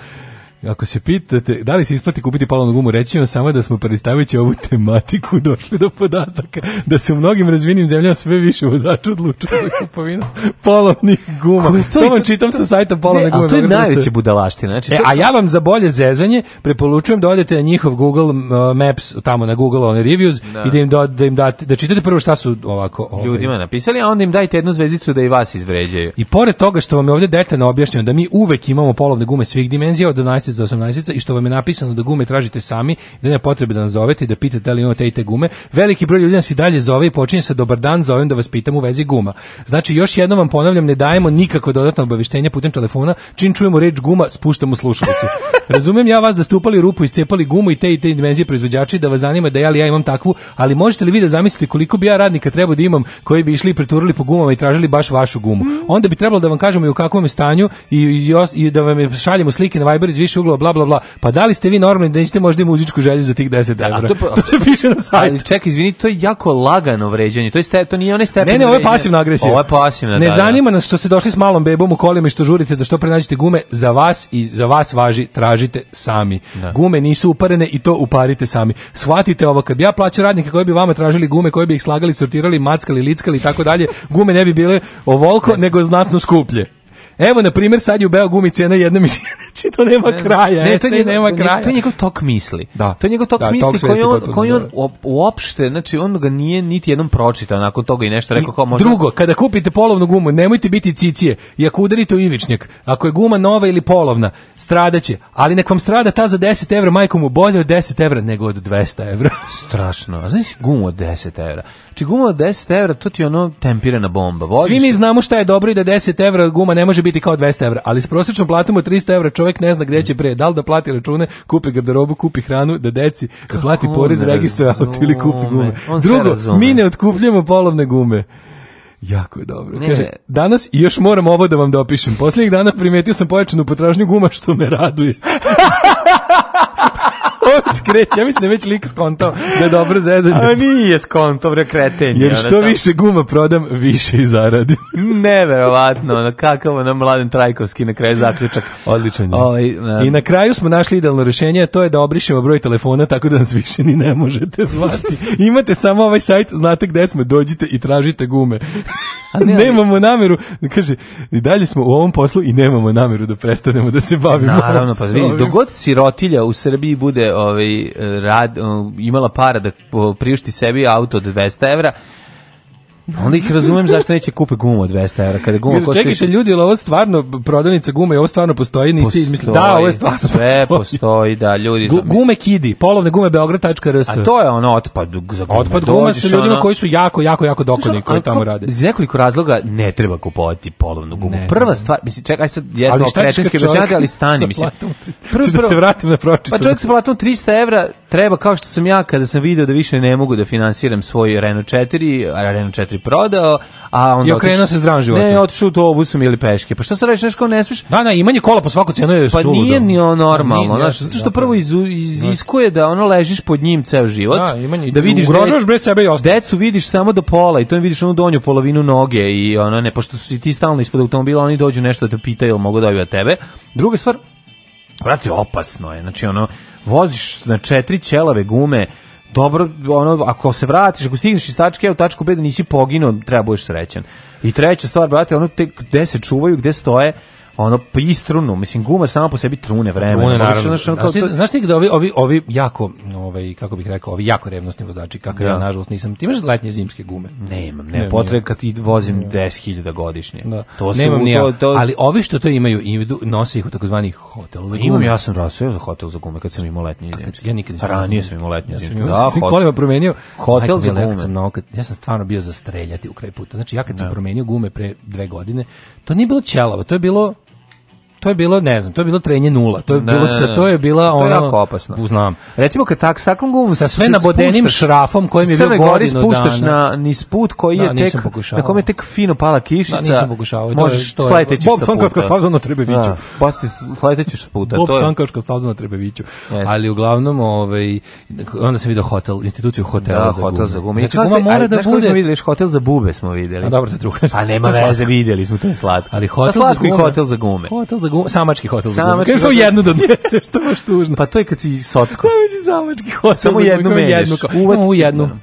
Speaker 8: Ako se pitate da li se isplati kupiti polovnu gumu, reći ću vam samo da smo predstavljajući ovu tematiku došli do podataka da se u mnogim razvijenim zemljama sve više vozača odlučuju za kupovinu polovnih guma. To, vam čitam sa sajta polovne
Speaker 7: Ne,
Speaker 8: gume.
Speaker 7: ali to je
Speaker 8: Beograd.rs.
Speaker 7: najveća budalaština. Znači,
Speaker 8: E,
Speaker 7: to-
Speaker 8: a ja vam za bolje zezanje preporučujem da odete na njihov Google uh, Maps tamo na Google one reviews
Speaker 7: Da.
Speaker 8: i da im do- da im date da čitate prvo šta su ovako ovaj,
Speaker 7: ljudima napisali, a onda im dajte jednu zvezdicu da i vas izvređaju.
Speaker 8: I pored toga što vam je ovdje detaljno objašnjeno da mi uvek imamo polovne gume svih dimenzija od 12 do 18 i što vam je napisano da gume tražite sami, da nema potrebe da nas zovete i da pitate da li imate i te gume, veliki broj ljudi nas i dalje zove i počinje sa dobar dan, zovem da vas pitam u vezi guma. Znači još jednom vam ponavljam, ne dajemo nikako dodatno obavještenja putem telefona, čim čujemo reč guma, spuštamo slušalicu. Razumijem ja vas da ste upali rupu, iscepali gumu i te i te dimenzije proizvođači da vas zanima da ja li ja imam takvu, ali možete li vi da zamislite koliko bi ja radnika trebao da imam koji bi išli i preturali po gumama i tražili baš vašu gumu. Onda bi trebalo da vam kažemo i u kakvom je stanju i, i, os- i da vam je šaljemo slike na Viber iz više uglova, bla bla bla. Pa da li ste vi normalni da niste možda i muzičku želju za tih 10 evra?
Speaker 7: to pa-
Speaker 8: to se piše na sajtu.
Speaker 7: Ali čekaj, izvini, to je jako lagano vređanje. To, je ste, to nije onaj stepen
Speaker 8: Ne, ne, ovo je
Speaker 7: vređanja.
Speaker 8: pasivna agresija.
Speaker 7: Ovo je pasivna,
Speaker 8: Ne
Speaker 7: da, da.
Speaker 8: zanima nas što ste došli s malom bebom u kolima i što žurite da što pre nađete gume za vas i za vas važi, tražite sami. Gume nisu uparene i to uparite sami. Shvatite ovo, kad bi ja plaćao radnike koji bi vama tražili gume, koji bi ih slagali, sortirali, mackali, lickali i tako dalje, gume ne bi bile ovolko, nego znatno skuplje. Evo, na primjer, sad je u Beo gumi cena jedna mišljenja, znači to nema kraja,
Speaker 7: Ne,
Speaker 8: ne,
Speaker 7: to je njegov-
Speaker 8: nema
Speaker 7: to je-
Speaker 8: kraja.
Speaker 7: to je njegov tok misli.
Speaker 8: Da.
Speaker 7: To je njegov tok
Speaker 8: Da,
Speaker 7: misli
Speaker 8: tok
Speaker 7: koji
Speaker 8: svesti
Speaker 7: on,
Speaker 8: potpuno,
Speaker 7: koji on
Speaker 8: da.
Speaker 7: uop- uopšte, znači on ga nije niti jednom pročitao, nakon toga i nešto rekao kao možda...
Speaker 8: Drugo, kada kupite polovnu gumu, nemojte biti cicije. I ako udarite u ivičnjak, ako je guma nova ili polovna, stradaće. Ali nek vam strada ta za 10 evra, majko mu bolje od 10 evra nego od 200 evra.
Speaker 7: Strašno. A znaš gumu od 10 evra? Znači gumu od 10 evra, to ti je ono tempirana bomba. Voziš
Speaker 8: Svi mi znamo šta je dobro i da 10 evra guma ne može biti kao 200 evra, ali s prosječnom platom od 300 evra čovjek ne zna gdje će pre. Da li da plati račune, kupi garderobu, kupi hranu, da deci, da plati
Speaker 7: on
Speaker 8: porez,
Speaker 7: ne
Speaker 8: registruje auto ili kupi gume.
Speaker 7: razume? On sve
Speaker 8: Drugo,
Speaker 7: razume.
Speaker 8: mi ne otkupljamo polovne gume. Jako je dobro.
Speaker 7: Ne.
Speaker 8: Kaže, danas i još moram ovo da vam dopišem. Posljednjih dana primetio sam pojačanu potražnju guma što me raduje. On skreće, ja mislim da je već lik skontao da je dobro zezanje.
Speaker 7: A nije skonto, bre, kretenje.
Speaker 8: Jer
Speaker 7: ono,
Speaker 8: što
Speaker 7: samo-
Speaker 8: više guma prodam, više i zaradim.
Speaker 7: Neverovatno, ono, kakav ono mladen Trajkovski na kraju zaključak.
Speaker 8: Odličan je.
Speaker 7: Ovaj, da.
Speaker 8: I na kraju smo našli idealno rješenje, a to je da obrišemo broj telefona tako da nas više ni ne možete zvati. Imate samo ovaj sajt, znate gde smo, dođite i tražite gume. nemamo nameru, kaže, i dalje smo u ovom poslu i nemamo nameru da prestanemo da se bavimo.
Speaker 7: Naravno, pa
Speaker 8: s
Speaker 7: vidi,
Speaker 8: ovim.
Speaker 7: dogod sirotilja u Srbiji bude ovaj, um, eh, rad, eh, imala para da eh, priušti sebi auto od 200 evra, Onda ih razumem zašto neće kupe gumu od 200 evra. Kada guma košta
Speaker 8: Čekajte ljudi, ali ovo stvarno prodavnica gume, ovo stvarno postoji, niste izmislili. Da, ovo je stvarno
Speaker 7: ovaj, Sve postoji, da, ljudi.
Speaker 8: Gu- gume kidi, polovne gume beograd.rs.
Speaker 7: A to je ono otpad za gume.
Speaker 8: Otpad pa guma sa
Speaker 7: Dođeš,
Speaker 8: ljudima
Speaker 7: ono-
Speaker 8: koji su jako, jako, jako dokoni
Speaker 7: Znaš, ono,
Speaker 8: koji
Speaker 7: ali
Speaker 8: tamo
Speaker 7: kao,
Speaker 8: rade.
Speaker 7: Iz nekoliko razloga ne treba kupovati polovnu gumu.
Speaker 8: Ne.
Speaker 7: Prva stvar, mislim, čekaj, aj sad jesmo
Speaker 8: Ali
Speaker 7: ali
Speaker 8: šta ćeš kad
Speaker 7: kretinski
Speaker 8: čovjek
Speaker 7: objašnjati, ali stani,
Speaker 8: sa
Speaker 7: mislim.
Speaker 8: platom tri- Ću da se vratim na pročito.
Speaker 7: Pa čovjek sa platom 300 evra treba, kao što sam ja kada sam video da više ne mogu da finansiram svoj Renault 4, a Renault 4 prodao, a onda...
Speaker 8: I okrenuo
Speaker 7: otišao-
Speaker 8: se zdravim životom.
Speaker 7: Ne, otišao autobusom ili peške. Pa šta se radiš, nešto ne smiješ?
Speaker 8: Da, da, imanje kola po svaku cenu je
Speaker 7: Pa
Speaker 8: suludo.
Speaker 7: nije ni ono
Speaker 8: Nije,
Speaker 7: normalno,
Speaker 8: nije,
Speaker 7: znaš, zato što
Speaker 8: zapravo.
Speaker 7: prvo izu- iziskuje da ono ležiš pod njim ceo život.
Speaker 8: Da, ima nje-
Speaker 7: da vidiš
Speaker 8: ugrožavaš,
Speaker 7: bre sebe i ostalo. Decu vidiš samo do pola i to im vidiš onu donju polovinu noge i ono ne pošto si ti stalno ispod automobila, oni dođu nešto da te pitaju, jel mogu dobiti od tebe. Druga stvar, brate, opasno je. Znači ono voziš na četiri ćelave gume Dobro, ono, ako se vratiš, ako stigneš iz tačke A u tačku B da nisi poginuo, treba budeš srećan. I treća stvar, brate, ono te, gde se čuvaju, gde stoje, ono, pa istrunu, mislim, guma sama po sebi trune vremena.
Speaker 8: Trune,
Speaker 7: Možeš,
Speaker 8: naravno.
Speaker 7: znaš, ono, kao
Speaker 8: Znaš ti,
Speaker 7: to-
Speaker 8: znaš ti da ovi, ovi, ovi jako, ovaj, kako bih rekao, ovi jako revnosni vozači, kakav ja,
Speaker 7: Da.
Speaker 8: nažalost nisam. Ti imaš letnje zimske gume?
Speaker 7: Nemam, ne, potrebe kad ti vozim 10.000 godišnje. To su,
Speaker 8: Nemam ni ja,
Speaker 7: to, to,
Speaker 8: ali ovi što to imaju, idu, nose ih u takozvani hotel za gume.
Speaker 7: Imam, ja sam rasio za hotel za gume kad sam imao letnje
Speaker 8: Kad- ja nikad nisam.
Speaker 7: Ranije sam imao letnje
Speaker 8: Ja sam
Speaker 7: zimske.
Speaker 8: imao-
Speaker 7: Da,
Speaker 8: svim
Speaker 7: hot-
Speaker 8: kolima promenio.
Speaker 7: Hotel
Speaker 8: Majko
Speaker 7: za
Speaker 8: mila, ja kad
Speaker 7: gume.
Speaker 8: sam na oko- ja sam stvarno bio za streljati u kraj puta. Znači ja kad sam promenio gume pre dve godine, to nije bilo ćelavo, to je bilo To je bilo, ne znam, to je bilo trenje nula. To je
Speaker 7: Ne,
Speaker 8: bilo
Speaker 7: ne,
Speaker 8: sa
Speaker 7: ne.
Speaker 8: to je bila
Speaker 7: To je
Speaker 8: ono
Speaker 7: jako opasno.
Speaker 8: Znam.
Speaker 7: Recimo kad tak, s takvom gumom
Speaker 8: Sa
Speaker 7: se
Speaker 8: sve nabodenim
Speaker 7: spuštaš-
Speaker 8: šrafom kojim je
Speaker 7: sa
Speaker 8: bio
Speaker 7: Crne Gore
Speaker 8: godinu
Speaker 7: spuštaš
Speaker 8: dana.
Speaker 7: na niz put koji
Speaker 8: Da,
Speaker 7: je tek
Speaker 8: nisam pokušavao.
Speaker 7: na kome je tek fino pala kišica.
Speaker 8: Da, Znači, nisam pokušavao, to je-
Speaker 7: Možeš
Speaker 8: to je-
Speaker 7: sleteći
Speaker 8: Bob
Speaker 7: sa
Speaker 8: Sankarska
Speaker 7: puta.
Speaker 8: staza na Trebeviću.
Speaker 7: Da, Pa posti sleteći sa puta.
Speaker 8: Bob
Speaker 7: to je-
Speaker 8: Sankačka staza na Trebeviću. Ali uglavnom, ovaj, onda sam video hotel, instituciju hotela
Speaker 7: Da,
Speaker 8: za
Speaker 7: hotel
Speaker 8: gume.
Speaker 7: za gume.
Speaker 8: Znači,
Speaker 7: I kao
Speaker 8: guma
Speaker 7: se-
Speaker 8: mora
Speaker 7: ali,
Speaker 8: da
Speaker 7: znaš kako smo
Speaker 8: bude...
Speaker 7: videli, još hotel za bube smo videli.
Speaker 8: A dobro, to je druga
Speaker 7: A nema
Speaker 8: to je
Speaker 7: veze,
Speaker 8: slatko.
Speaker 7: videli smo, to je slatko.
Speaker 8: Ali hotel
Speaker 7: Pa slatko
Speaker 8: za
Speaker 7: i
Speaker 8: gume.
Speaker 7: hotel za gume.
Speaker 8: Hotel za gume, samački hotel za gume.
Speaker 7: Samački
Speaker 8: Kažem samo
Speaker 7: hotel-
Speaker 8: jednu da odneseš, to baš tužno.
Speaker 7: Pa to je kad si socko.
Speaker 8: Samački samački hotel
Speaker 7: Samo
Speaker 8: za gume,
Speaker 7: jednu
Speaker 8: kao
Speaker 7: menjaš.
Speaker 8: jednu, kao-
Speaker 7: Uvatit
Speaker 8: Imamo
Speaker 7: će
Speaker 8: jednu.
Speaker 7: jednom.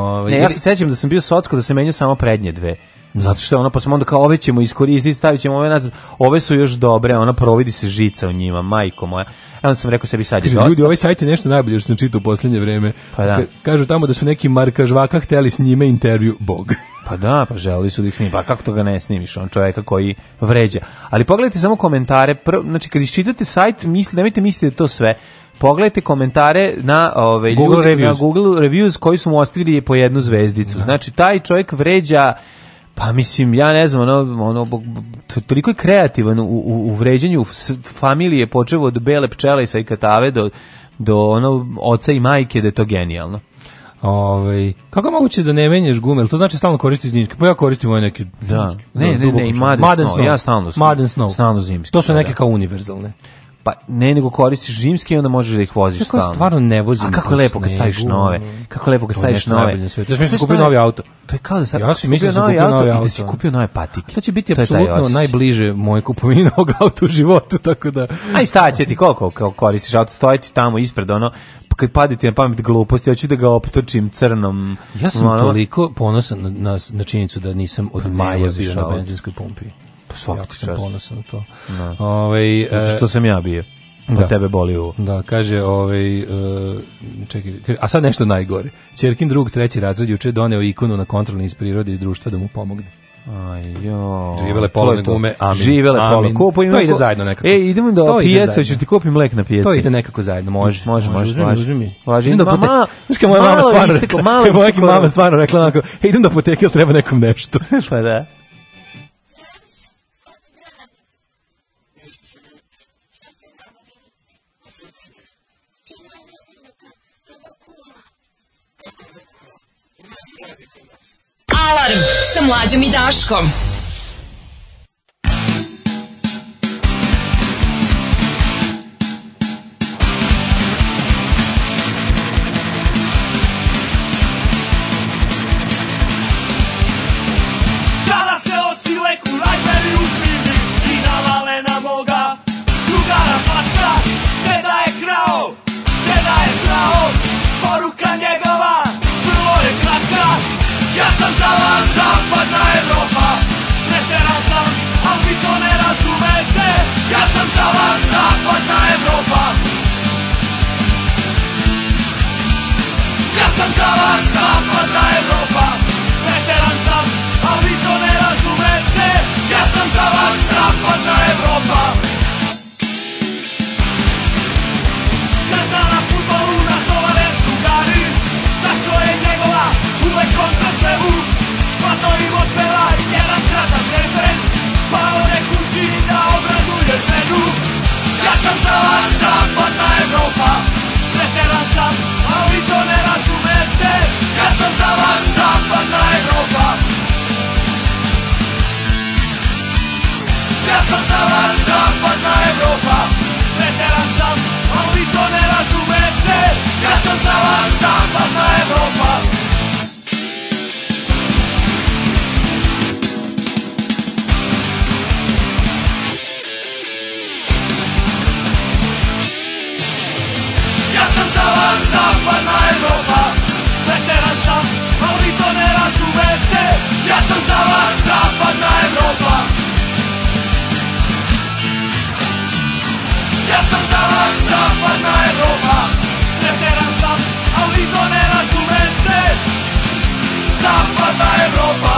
Speaker 8: Ovaj,
Speaker 7: Ne, ja
Speaker 8: ili-
Speaker 7: se sećam da sam bio socko da sam menjao samo prednje dve. Zato što je ono, pa sam onda kao ove ćemo iskoristiti, stavit ćemo ove nazad, ove su još dobre, ona providi se žica u njima, majko moja. E onda sam rekao sebi sad je
Speaker 8: Kaže,
Speaker 7: dosta.
Speaker 8: ljudi, ovaj sajt je nešto najbolje što sam čitao u posljednje vreme.
Speaker 7: Pa da.
Speaker 8: Ka- Kažu tamo da su neki markažvaka hteli s njime intervju Bog.
Speaker 7: Pa da, pa želi su da ih snimi. Pa kako to ga ne snimiš, on čoveka koji vređa. Ali pogledajte samo komentare. Prv, znači, kad iščitate sajt, misli, nemojte misliti da je to sve. Pogledajte komentare na ove
Speaker 8: Google
Speaker 7: ljudi-
Speaker 8: reviews.
Speaker 7: na Google reviews koji su mu ostavili po jednu zvezdicu. Znači taj čovjek vređa pa mislim ja ne znam ono ono bo- bo- to- toliko je kreativan u, u, u vređanju s- familije počevo od bele pčele i sa ikatave do do ono oca i majke da je to genijalno.
Speaker 8: Ovaj, kako je moguće da ne menjaš gume? Jel To znači stalno koristiš zimske. Pa ja koristim ove neke
Speaker 7: Da.
Speaker 8: zimske.
Speaker 7: Ne, ne,
Speaker 8: Duboko
Speaker 7: ne, i
Speaker 8: šum.
Speaker 7: Madden Snow. Ja stalno snow.
Speaker 8: Madden Snow.
Speaker 7: Stalno zimske,
Speaker 8: To su
Speaker 7: pa
Speaker 8: neke
Speaker 7: da.
Speaker 8: kao univerzalne.
Speaker 7: Pa ne, nego koristiš zimski i onda možeš da ih voziš
Speaker 8: Kako ja
Speaker 7: stalno.
Speaker 8: stvarno ne vozim
Speaker 7: A kako
Speaker 8: po
Speaker 7: lepo kad
Speaker 8: snegu,
Speaker 7: staviš nove.
Speaker 8: ono.
Speaker 7: Kako lepo kad
Speaker 8: To je
Speaker 7: staviš
Speaker 8: nešto
Speaker 7: nove.
Speaker 8: najbolje na svijetu. Ja sam mislio da sam
Speaker 7: Znaš
Speaker 8: kupio
Speaker 7: šta je?
Speaker 8: novi auto.
Speaker 7: To je kao da sad
Speaker 8: Ja sam mislio da sam kupio novi
Speaker 7: i da
Speaker 8: auto.
Speaker 7: si kupio nove patike.
Speaker 8: To će biti
Speaker 7: je taj
Speaker 8: apsolutno
Speaker 7: osjećaj.
Speaker 8: najbliže moje kupovine ovog auta u životu, tako da...
Speaker 7: A i staće ti koliko kao koristiš auto, stoji ti tamo ispred ono, pa kad padaju ti na pamet gluposti, hoću da ga optočim crnom.
Speaker 8: Ja sam
Speaker 7: ono,
Speaker 8: toliko ponosan na, na, na činjenicu da nisam
Speaker 7: Pa
Speaker 8: od maja
Speaker 7: voziš
Speaker 8: bio na
Speaker 7: auto.
Speaker 8: benzinskoj pumpi.
Speaker 7: Pa svaka
Speaker 8: Jako
Speaker 7: ti
Speaker 8: sam
Speaker 7: čast.
Speaker 8: ponosan na to.
Speaker 7: Da.
Speaker 8: Ovaj,
Speaker 7: Zato
Speaker 8: e,
Speaker 7: što sam ja bio.
Speaker 8: Da.
Speaker 7: Da. tebe boli ovo.
Speaker 8: Da, kaže, ovaj, e, čekaj, kaže, a sad nešto najgore. Ćerkin drug treći razred juče doneo ikonu na kontrolni iz prirode iz društva da mu pomogne.
Speaker 7: Aj jo.
Speaker 8: Živele
Speaker 7: to
Speaker 8: polovne
Speaker 7: je to.
Speaker 8: gume, amin.
Speaker 7: Živele
Speaker 8: Amin.
Speaker 7: polovne. Kupujemo-
Speaker 8: To ide zajedno nekako.
Speaker 7: E, idemo do
Speaker 8: To ide
Speaker 7: pijace,
Speaker 8: zajedno.
Speaker 7: hoćeš ti kupim lek na pijaci.
Speaker 8: To ide nekako zajedno, može.
Speaker 7: Može, može,
Speaker 8: uzmi,
Speaker 7: može.
Speaker 8: uzmi mi.
Speaker 7: Važi,
Speaker 8: Idem do
Speaker 7: ma- ma-
Speaker 8: apoteke. Znaš kao moja mama
Speaker 7: malo je
Speaker 8: stvarno
Speaker 7: isteklo,
Speaker 8: rekla,
Speaker 7: malo je
Speaker 8: moja
Speaker 7: isteklo.
Speaker 8: mama stvarno rekla onako, e, idem do apoteke, jel treba nekom nešto.
Speaker 7: pa da.
Speaker 6: Alarm sa mlađom i Daškom.
Speaker 3: Kada se osile kurajberi u pivi i navale na moga drugara slatka, deda je krao, deda je srao, poruka njegova vrlo je kratka. Ja sam za vas zapadna Evropa, e Ja sam za vas zapadna Evropa Veteran sam, a vi to ne razumete Ja sam za vas zapadna Evropa Ja sam za vas zapadna Evropa Veteran sam, a vi to ne razumete Ja sam za vas zapadna Evropa Ja sam za vas zapadna Evropa Veteran sam, a vi to ne razumete Zapadna Evropa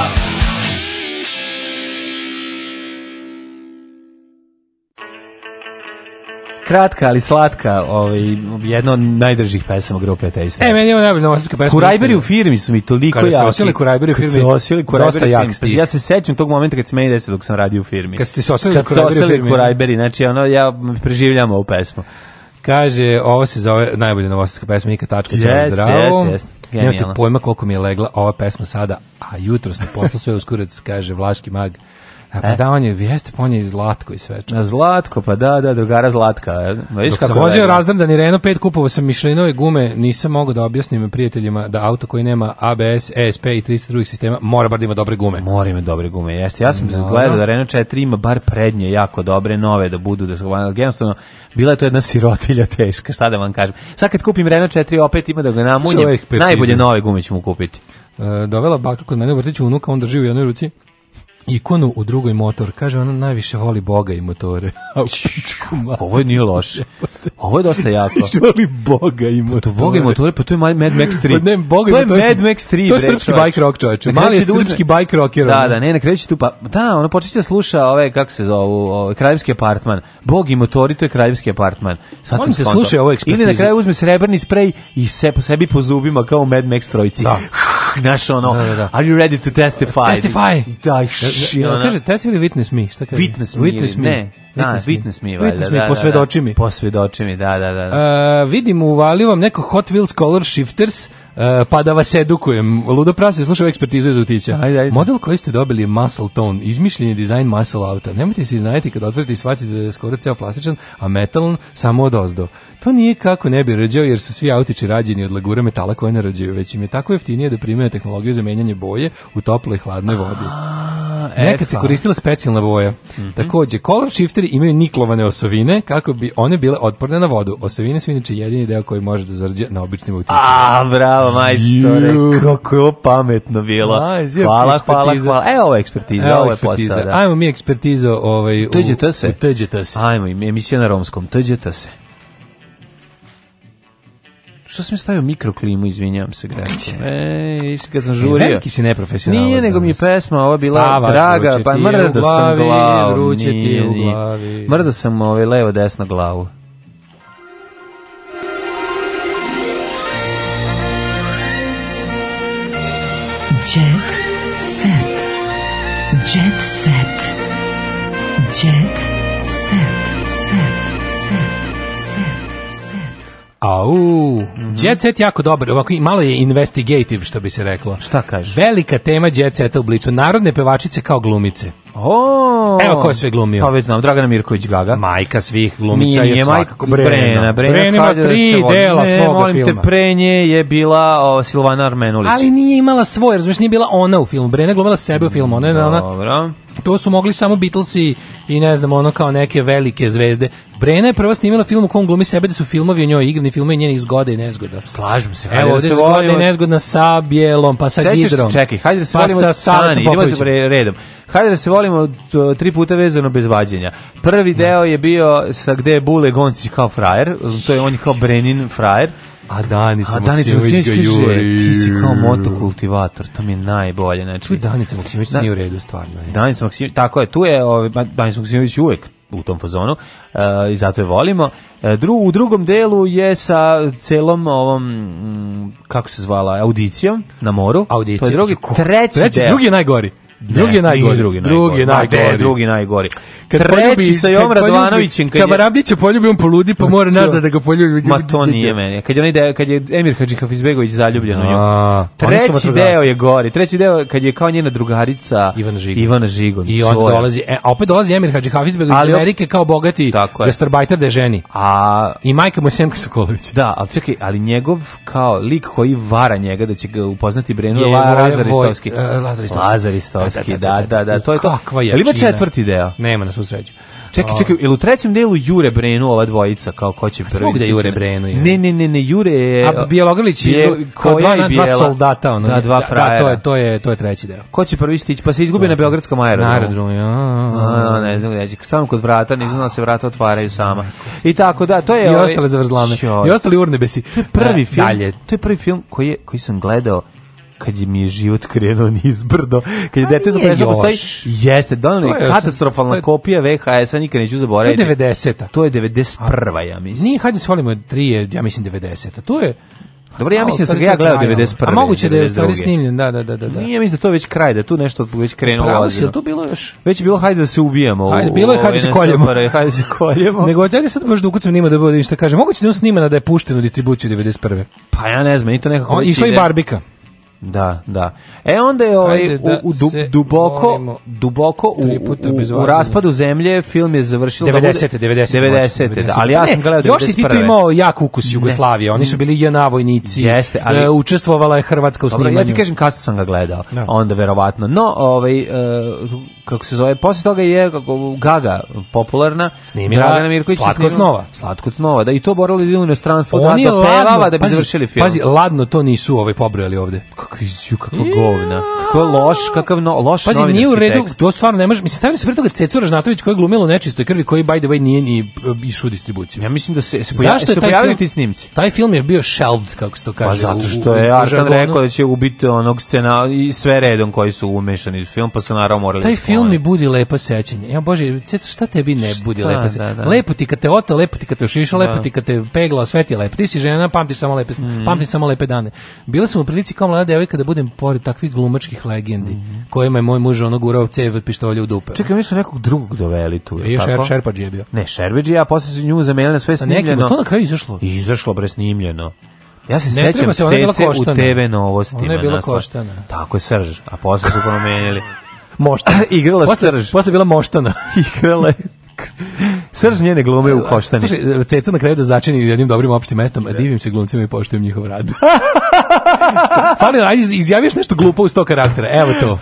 Speaker 7: Kratka, ali slatka, ovaj, jedna od najdržih pesama grupe Taste.
Speaker 8: E, meni je ovo najbolja novosadska pesma.
Speaker 7: Kurajberi u firmi su mi toliko
Speaker 8: Kada
Speaker 7: jaki.
Speaker 8: se osjeli kurajberi u
Speaker 7: Kad
Speaker 8: firmi,
Speaker 7: se osjeli kurajberi
Speaker 8: dosta
Speaker 7: u
Speaker 8: jak
Speaker 7: firmi.
Speaker 8: stih.
Speaker 7: Pazi, Ja se sećam tog momenta kad se meni desilo dok sam radio u firmi.
Speaker 8: Kad ste se osjeli
Speaker 7: Kad se
Speaker 8: kurajberi u
Speaker 7: osjeli
Speaker 8: firmi.
Speaker 7: kurajberi, znači ono, ja preživljam ovu pesmu.
Speaker 8: Kaže, E, ovo se zove najbolja novosadska pesma Nika Tačka, čao
Speaker 7: Jeste,
Speaker 8: zdravo.
Speaker 7: jeste, jeste. Genijalno.
Speaker 8: Nemate pojma koliko mi je legla ova pesma sada, a jutros na poslu sve uskurac, kaže Vlaški mag. A pa
Speaker 7: E.
Speaker 8: da, on je, jeste, pa on je i Zlatko i sve.
Speaker 7: Na Zlatko, pa da, da, drugara Zlatka. e. Ma, Viš
Speaker 8: Dok sam
Speaker 7: kako
Speaker 8: vozio
Speaker 7: je
Speaker 8: razdradan i Renault 5 kupovao sam Michelinove gume, nisam mogao da objasnim prijateljima da auto koji nema ABS, ESP E i 300 drugih sistema mora bar da ima dobre gume.
Speaker 7: Mora ima dobre gume, jeste. Ja sam
Speaker 8: Dobro.
Speaker 7: gledao da Renault 4 ima bar prednje jako dobre nove da budu da se ali jednostavno bila je to jedna sirotilja teška, šta da vam kažem. Sad kad kupim Renault 4 opet ima da ga
Speaker 8: Slušaj, ovo je
Speaker 7: namunjem.
Speaker 8: ekspertiza.
Speaker 7: Najbolje nove gume ćemo kupiti.
Speaker 8: E, dovela baka kod mene u vrtiću unuka, on drži u jednoj ruci ikonu u drugoj motor. Kaže, ona najviše voli Boga i motore. A, pičku mater.
Speaker 7: Ovo je nije loše. Ovo je dosta jako.
Speaker 8: Najviše voli Boga i motore.
Speaker 7: To Boga i motore, pa to je Mad Mad Max 3.
Speaker 8: Pa ne, Boga i
Speaker 7: to je
Speaker 8: motore.
Speaker 7: Mad Max 3.
Speaker 8: To je
Speaker 7: bre,
Speaker 8: srpski
Speaker 7: čoveče.
Speaker 8: bike rock, čoveče.
Speaker 7: Na kraju
Speaker 8: Mali je
Speaker 7: će da uzme-
Speaker 8: srpski bike rocker, ono.
Speaker 7: Da, da, ne, na kraju će tu pa da, ono počeće da sluša ove kako se zovu, ove kraljevski apartman. Bog i motori, to je kraljevski apartman. Sad
Speaker 8: Molim
Speaker 7: sam
Speaker 8: te,
Speaker 7: skontao.
Speaker 8: slušaj ovo ekspertizu.
Speaker 7: Ili na kraju uzme srebrni sprej i se po sebi po zubima kao u Mad Max trojici.
Speaker 8: Da.
Speaker 7: Naš ono,
Speaker 8: Da, da, da.
Speaker 7: are you ready to testify?
Speaker 8: Testify. E,
Speaker 7: Da, i
Speaker 8: Da,
Speaker 7: š- i
Speaker 8: da,
Speaker 7: ono-
Speaker 8: Kaže, test ili witness me? Šta kaže?
Speaker 7: Witness me, ili- ne, da, witness me, valjda,
Speaker 8: Witness
Speaker 7: da, da,
Speaker 8: me,
Speaker 7: da.
Speaker 8: posvedoči mi.
Speaker 7: Posvedoči mi, da, da, da. da.
Speaker 8: E, vidim, uvalio vam neko Hot Wheels Color Shifters, e, pa da vas edukujem. Ludo Prase, slušaj ovu ekspertizu iz utića. Model koji ste dobili je Muscle Tone, izmišljen je dizajn muscle auta. Nemojte se iznajeti kad otvorite i shvatite da je skoro ceo plastičan, a metalan samo od ozdo. To nije kako ne bi rađao, jer su svi autići rađeni od lagura metala koje ne rađaju, već im je tako jeftinije da primaju tehnologiju za menjanje boje u toploj i hladnoj vodi. Nekad se
Speaker 7: eto.
Speaker 8: koristila specijalna boja.
Speaker 7: Mhm.
Speaker 8: Takođe, color shifteri imaju niklovane osovine kako bi one bile otporne na vodu. Osovine su inače jedini deo koji može da zarđe na običnim utičima.
Speaker 7: A, bravo, majstore,
Speaker 8: Ju.
Speaker 7: kako je ovo pametno bilo.
Speaker 8: Ajzio,
Speaker 7: Hvala, hvala,
Speaker 8: ekspertiza.
Speaker 7: hvala. Evo ovo je ekspertiza, ovo je posao. da.
Speaker 8: Ajmo mi ekspertizo ovaj, u,
Speaker 7: Tđete se.
Speaker 8: u TGT se.
Speaker 7: Ajmo, im- emisija na romskom. Tđete se. Što sam stavio mikroklimu, izvinjavam se, Grenko. Ej, E, viš, kad sam žurio.
Speaker 8: E, veliki si neprofesionalac
Speaker 7: Nije, nego mi je
Speaker 8: danas.
Speaker 7: pesma, ova bila
Speaker 8: Spavaš,
Speaker 7: draga,
Speaker 8: vruće
Speaker 7: pa
Speaker 8: ti je
Speaker 7: mrda
Speaker 8: u
Speaker 7: sam
Speaker 8: glavi,
Speaker 7: glavu.
Speaker 8: vruće ti je
Speaker 7: Nije,
Speaker 8: u
Speaker 7: nije.
Speaker 8: glavi.
Speaker 7: Mrda sam ovaj, levo, desno glavu.
Speaker 21: Jet set. Jet set. Jet set. Set. Set. Set.
Speaker 8: Au,
Speaker 7: Mhm.
Speaker 8: Jet Set jako dobar, ovako i malo je investigative što bi se reklo.
Speaker 7: Šta kažeš?
Speaker 8: Velika tema Jet Seta u oblicu narodne pevačice kao glumice.
Speaker 7: O,
Speaker 8: Evo ko je sve glumio.
Speaker 7: Pa već znam, Dragana Mirković Gaga.
Speaker 8: Majka svih glumica
Speaker 7: Nije,
Speaker 8: je
Speaker 7: nije
Speaker 8: svakako
Speaker 7: majka-
Speaker 8: Brena.
Speaker 7: Brena, Brena,
Speaker 8: ima
Speaker 7: kaže da se
Speaker 8: tri
Speaker 7: vodi.
Speaker 8: dela
Speaker 7: ne,
Speaker 8: svoga
Speaker 7: molim
Speaker 8: filma.
Speaker 7: te, pre nje je bila o, Silvana Armenulić.
Speaker 8: Ali nije imala svoje, razumiješ, nije bila ona u filmu. Brena je glumila sebe u filmu, ona je ona,
Speaker 7: Dobro.
Speaker 8: to su mogli samo Beatlesi i ne znam, ono kao neke velike zvezde. Brena je prva snimila film u kom glumi sebe da su filmovi o njoj igrani filmovi njenih zgoda i nezgoda.
Speaker 7: Slažem se. hajde
Speaker 8: Evo
Speaker 7: da
Speaker 8: ovdje
Speaker 7: se
Speaker 8: je zgodna i
Speaker 7: volimo.
Speaker 8: nezgodna sa bijelom, pa sa
Speaker 7: Sećaš se,
Speaker 8: gidrom.
Speaker 7: Čekaj, hajde da se
Speaker 8: pa
Speaker 7: volimo.
Speaker 8: sa Savetom
Speaker 7: Stani, idemo
Speaker 8: Popovićem.
Speaker 7: se pre- redom. Hajde da se volimo t- tri puta vezano bez vađenja. Prvi deo je bio sa gde je Bule Goncić kao frajer, to je on je kao Brenin frajer.
Speaker 8: A Danica,
Speaker 7: A Danica
Speaker 8: Maksimović
Speaker 7: Maksimović
Speaker 8: ga
Speaker 7: kaže,
Speaker 8: juri.
Speaker 7: ti si kao motokultivator, to mi je najbolje.
Speaker 8: Mm. Tu
Speaker 7: Znači,
Speaker 8: je Danica Maksimović
Speaker 7: Da.
Speaker 8: nije u redu, stvarno je.
Speaker 7: Danica Maksimović, tako je, tu je ovaj, ma- Danica Maksimović uvek u tom fazonu e, i zato je volimo. E, dru, u drugom delu je sa celom ovom, mm, kako se zvala, audicijom na moru.
Speaker 8: Audicija.
Speaker 7: To je drugi,
Speaker 8: Ko-
Speaker 7: treći,
Speaker 8: Treći,
Speaker 7: deo.
Speaker 8: drugi je najgori. Drugi je najgori.
Speaker 7: drugi
Speaker 8: Drugi je
Speaker 7: najgori. Ma,
Speaker 8: najgori.
Speaker 7: de, drugi najgori.
Speaker 8: Kad
Speaker 7: Treći
Speaker 8: poljubi-
Speaker 7: sa Jom
Speaker 8: kad poljubi-
Speaker 7: Radovanovićem. kad je-
Speaker 8: Čabarabdić je poljubi, on poludi, pa mora
Speaker 7: Ma, to-
Speaker 8: nazad da ga poljubi.
Speaker 7: Ma to nije meni. Kad je, onaj deo, kad je Emir Hadžihafizbegović zaljubljen u nju.
Speaker 8: A, pa oni su
Speaker 7: Treći
Speaker 8: vatrogasci.
Speaker 7: deo je gori. Treći deo je kad je kao njena drugarica Ivana Žigon.
Speaker 8: I on
Speaker 7: Svoja.
Speaker 8: dolazi, e, a opet dolazi Emir Hadžihafizbegović iz
Speaker 7: Ali op-
Speaker 8: Amerike kao bogati
Speaker 7: Tako je.
Speaker 8: gastarbajter da je ženi.
Speaker 7: A
Speaker 8: i majka mu je Semka Sokolović.
Speaker 7: Da, ali čekaj, ali njegov kao lik koji vara njega da će ga upoznati Brenu
Speaker 8: Je
Speaker 7: je La,
Speaker 8: Voja-
Speaker 7: Lazar
Speaker 8: Voj-
Speaker 7: Istovski.
Speaker 8: e, Lazar Istovski.
Speaker 7: Lazar Istovski, da, da, da, to je to.
Speaker 8: Kakva
Speaker 7: Jel ima
Speaker 8: jačina.
Speaker 7: četvrti deo?
Speaker 8: Nema na svu sreću.
Speaker 7: Čekaj,
Speaker 8: A,
Speaker 7: čekaj, jel u trećem delu Jure Brenu ova dvojica kao ko će prvi?
Speaker 8: svugde
Speaker 7: ići?
Speaker 8: Jure Brenu je.
Speaker 7: Ne, ne, ne, ne, Jure je...
Speaker 8: A Bjelogrlić i
Speaker 7: E, Bje-
Speaker 8: dru- kao
Speaker 7: koja
Speaker 8: dva,
Speaker 7: i
Speaker 8: dva
Speaker 7: Bijela?
Speaker 8: soldata. Ono,
Speaker 7: da, dva frajera.
Speaker 8: Da, to je, to je, to je treći deo.
Speaker 7: Ko će prvi stići? Pa se izgubi na Beogradskom aerodromu.
Speaker 8: Na aerodromu, ja.
Speaker 7: A, ne znam gde će. Stavim kod vrata, ne znam da se vrata otvaraju sama. I tako da, to je...
Speaker 8: I
Speaker 7: ovaj-
Speaker 8: ostale zavrzlame.
Speaker 7: Ćao.
Speaker 8: I ostali urnebesi.
Speaker 7: prvi film,
Speaker 8: E, Dalje.
Speaker 7: to je prvi film koji je koji sam gledao kad je mi je život krenuo nizbrdo. Kad je
Speaker 8: A
Speaker 7: dete za
Speaker 8: Pa nije
Speaker 7: prestao
Speaker 8: još.
Speaker 7: postoji, jeste,
Speaker 8: To
Speaker 7: donali
Speaker 8: je
Speaker 7: katastrofalna
Speaker 8: osam- to je-
Speaker 7: kopija VHS-a, nikad neću zaboraviti.
Speaker 8: To je 90-a.
Speaker 7: To je 91 ja mislim.
Speaker 8: Nije, hajde se volimo, tri je, ja mislim, 90-a. Tu je...
Speaker 7: Dobro, ja
Speaker 8: A,
Speaker 7: mislim da sam
Speaker 8: ustvari
Speaker 7: ga
Speaker 8: to je
Speaker 7: ja gledao
Speaker 8: kraj, ono.
Speaker 7: 91.
Speaker 8: A moguće da je u stvari
Speaker 7: 92..
Speaker 8: snimljen, da, da, da. da. da.
Speaker 7: Nije, mislim da to je već kraj, da je tu nešto već krenulo.
Speaker 8: Pravo si,
Speaker 7: ozbiljno.
Speaker 8: jel to bilo još?
Speaker 7: Već je bilo hajde da se ubijemo. u-
Speaker 8: Hajde, bilo je,
Speaker 7: u
Speaker 8: hajde se
Speaker 7: ove
Speaker 8: koljemo.
Speaker 7: nesopare, Hajde se koljemo.
Speaker 8: Nego, ajde sad možda ukucam nima da bude ništa kaže. Moguće da je on snimana da je pušten u distribuciju 91.
Speaker 7: Pa ja ne znam, meni to nekako...
Speaker 8: On,
Speaker 7: već
Speaker 8: išla i
Speaker 7: ide.
Speaker 8: Barbika.
Speaker 7: Da, da. E onda je ovaj,
Speaker 8: Hajde
Speaker 7: u,
Speaker 8: da
Speaker 7: u du-
Speaker 8: se
Speaker 7: duboko,
Speaker 8: volimo.
Speaker 7: duboko u,
Speaker 8: Tri puta
Speaker 7: u- u,
Speaker 8: obezvlačeni.
Speaker 7: raspadu zemlje film je završio... da bude-
Speaker 8: 90-te, 90-te.
Speaker 7: 90-te, da, ali ja sam
Speaker 8: Pa Ne,
Speaker 7: gledao 91.
Speaker 8: Još si ti tu imao jak ukus Jugoslavije, oni su bili JNA vojnici.
Speaker 7: Jeste, ali-
Speaker 8: e, učestvovala je Hrvatska u
Speaker 7: Dobro,
Speaker 8: snimanju.
Speaker 7: ja ti kažem kasno sam ga gledao,
Speaker 8: Da.
Speaker 7: onda verovatno. No, ovaj, e, kako se zove, posle toga je kako, Gaga popularna.
Speaker 8: Snimila
Speaker 7: Dragana Mirković je
Speaker 8: Slatko od
Speaker 7: snimila-
Speaker 8: snova.
Speaker 7: Slatko od snova, da i to borali da idu u inostranstvo, da,
Speaker 8: Oni
Speaker 7: da pevava
Speaker 8: ladno-
Speaker 7: da bi
Speaker 8: pazi,
Speaker 7: završili film.
Speaker 8: Pazi, ladno to nisu ovaj pobrojali ovde.
Speaker 7: kakvi ju kako govna. Kako loš, kakav no, loš
Speaker 8: Pazi,
Speaker 7: novinarski
Speaker 8: nije u redu,
Speaker 7: tekst.
Speaker 8: to stvarno ne može. Mislim, stavili su pre toga Cecu Ražnatović koja je glumila u nečistoj krvi, koji, by the way, nije ni e, išao u distribuciju.
Speaker 7: Ja mislim da se, se, poja,
Speaker 8: Zašto je
Speaker 7: se
Speaker 8: taj
Speaker 7: pojavili
Speaker 8: film-
Speaker 7: ti snimci.
Speaker 8: Taj film je bio shelved, kako se to kaže.
Speaker 7: Pa
Speaker 8: u-
Speaker 7: zato
Speaker 8: u-
Speaker 7: što
Speaker 8: u-
Speaker 7: je
Speaker 8: u
Speaker 7: Arkan
Speaker 8: žargonu.
Speaker 7: rekao da će ubiti onog scena i sve redom koji su umešani u film, pa se naravno morali
Speaker 8: Taj
Speaker 7: da
Speaker 8: film mi
Speaker 7: sklone.
Speaker 8: budi lepo sećanje. Ja bože, Ceco, šta tebi ne budi lepo sećanje?
Speaker 7: da, da.
Speaker 8: Lepo ti kad te ota, lepo ti kad te ošiša, lepo
Speaker 7: Da. Mhm.
Speaker 8: ti kad te pegla, sve ti je lepo. Ti si žena, pamtiš samo lepe, pamtiš samo lepe dane. Bila sam u prilici kao mlada devojka da budem pored takvih glumačkih legendi, kojima je moj muž ono gurao cev od pištolja u dupe.
Speaker 7: Čekaj, mi su nekog drugog doveli tu. je li
Speaker 8: I još
Speaker 7: tako?
Speaker 8: Šer, Šerpađi je bio.
Speaker 7: Ne, Šerbeđi, a posle su nju zamenili na sve
Speaker 8: Sa
Speaker 7: snimljeno.
Speaker 8: nekim, to na kraju izašlo.
Speaker 7: I Izašlo bre snimljeno. Ja se
Speaker 8: Ne
Speaker 7: sećam
Speaker 8: treba se, ona je bila
Speaker 7: Cece u
Speaker 8: koštana.
Speaker 7: TV novostima.
Speaker 8: Ona je bila
Speaker 7: naslov.
Speaker 8: koštana. E,
Speaker 7: Tako je Srž, a posle su promenili.
Speaker 8: Moštana.
Speaker 7: Igrala
Speaker 8: posle,
Speaker 7: Srž.
Speaker 8: Posle je bila moštana.
Speaker 7: Igrala je- Srž njene glume u koštani.
Speaker 8: Slušaj, Ceca na kraju da začini jednim dobrim opštim mestom, a divim se glumcima i poštujem njihov rad. Fali, ajde, izjaviš nešto glupo u sto karaktera. Evo to.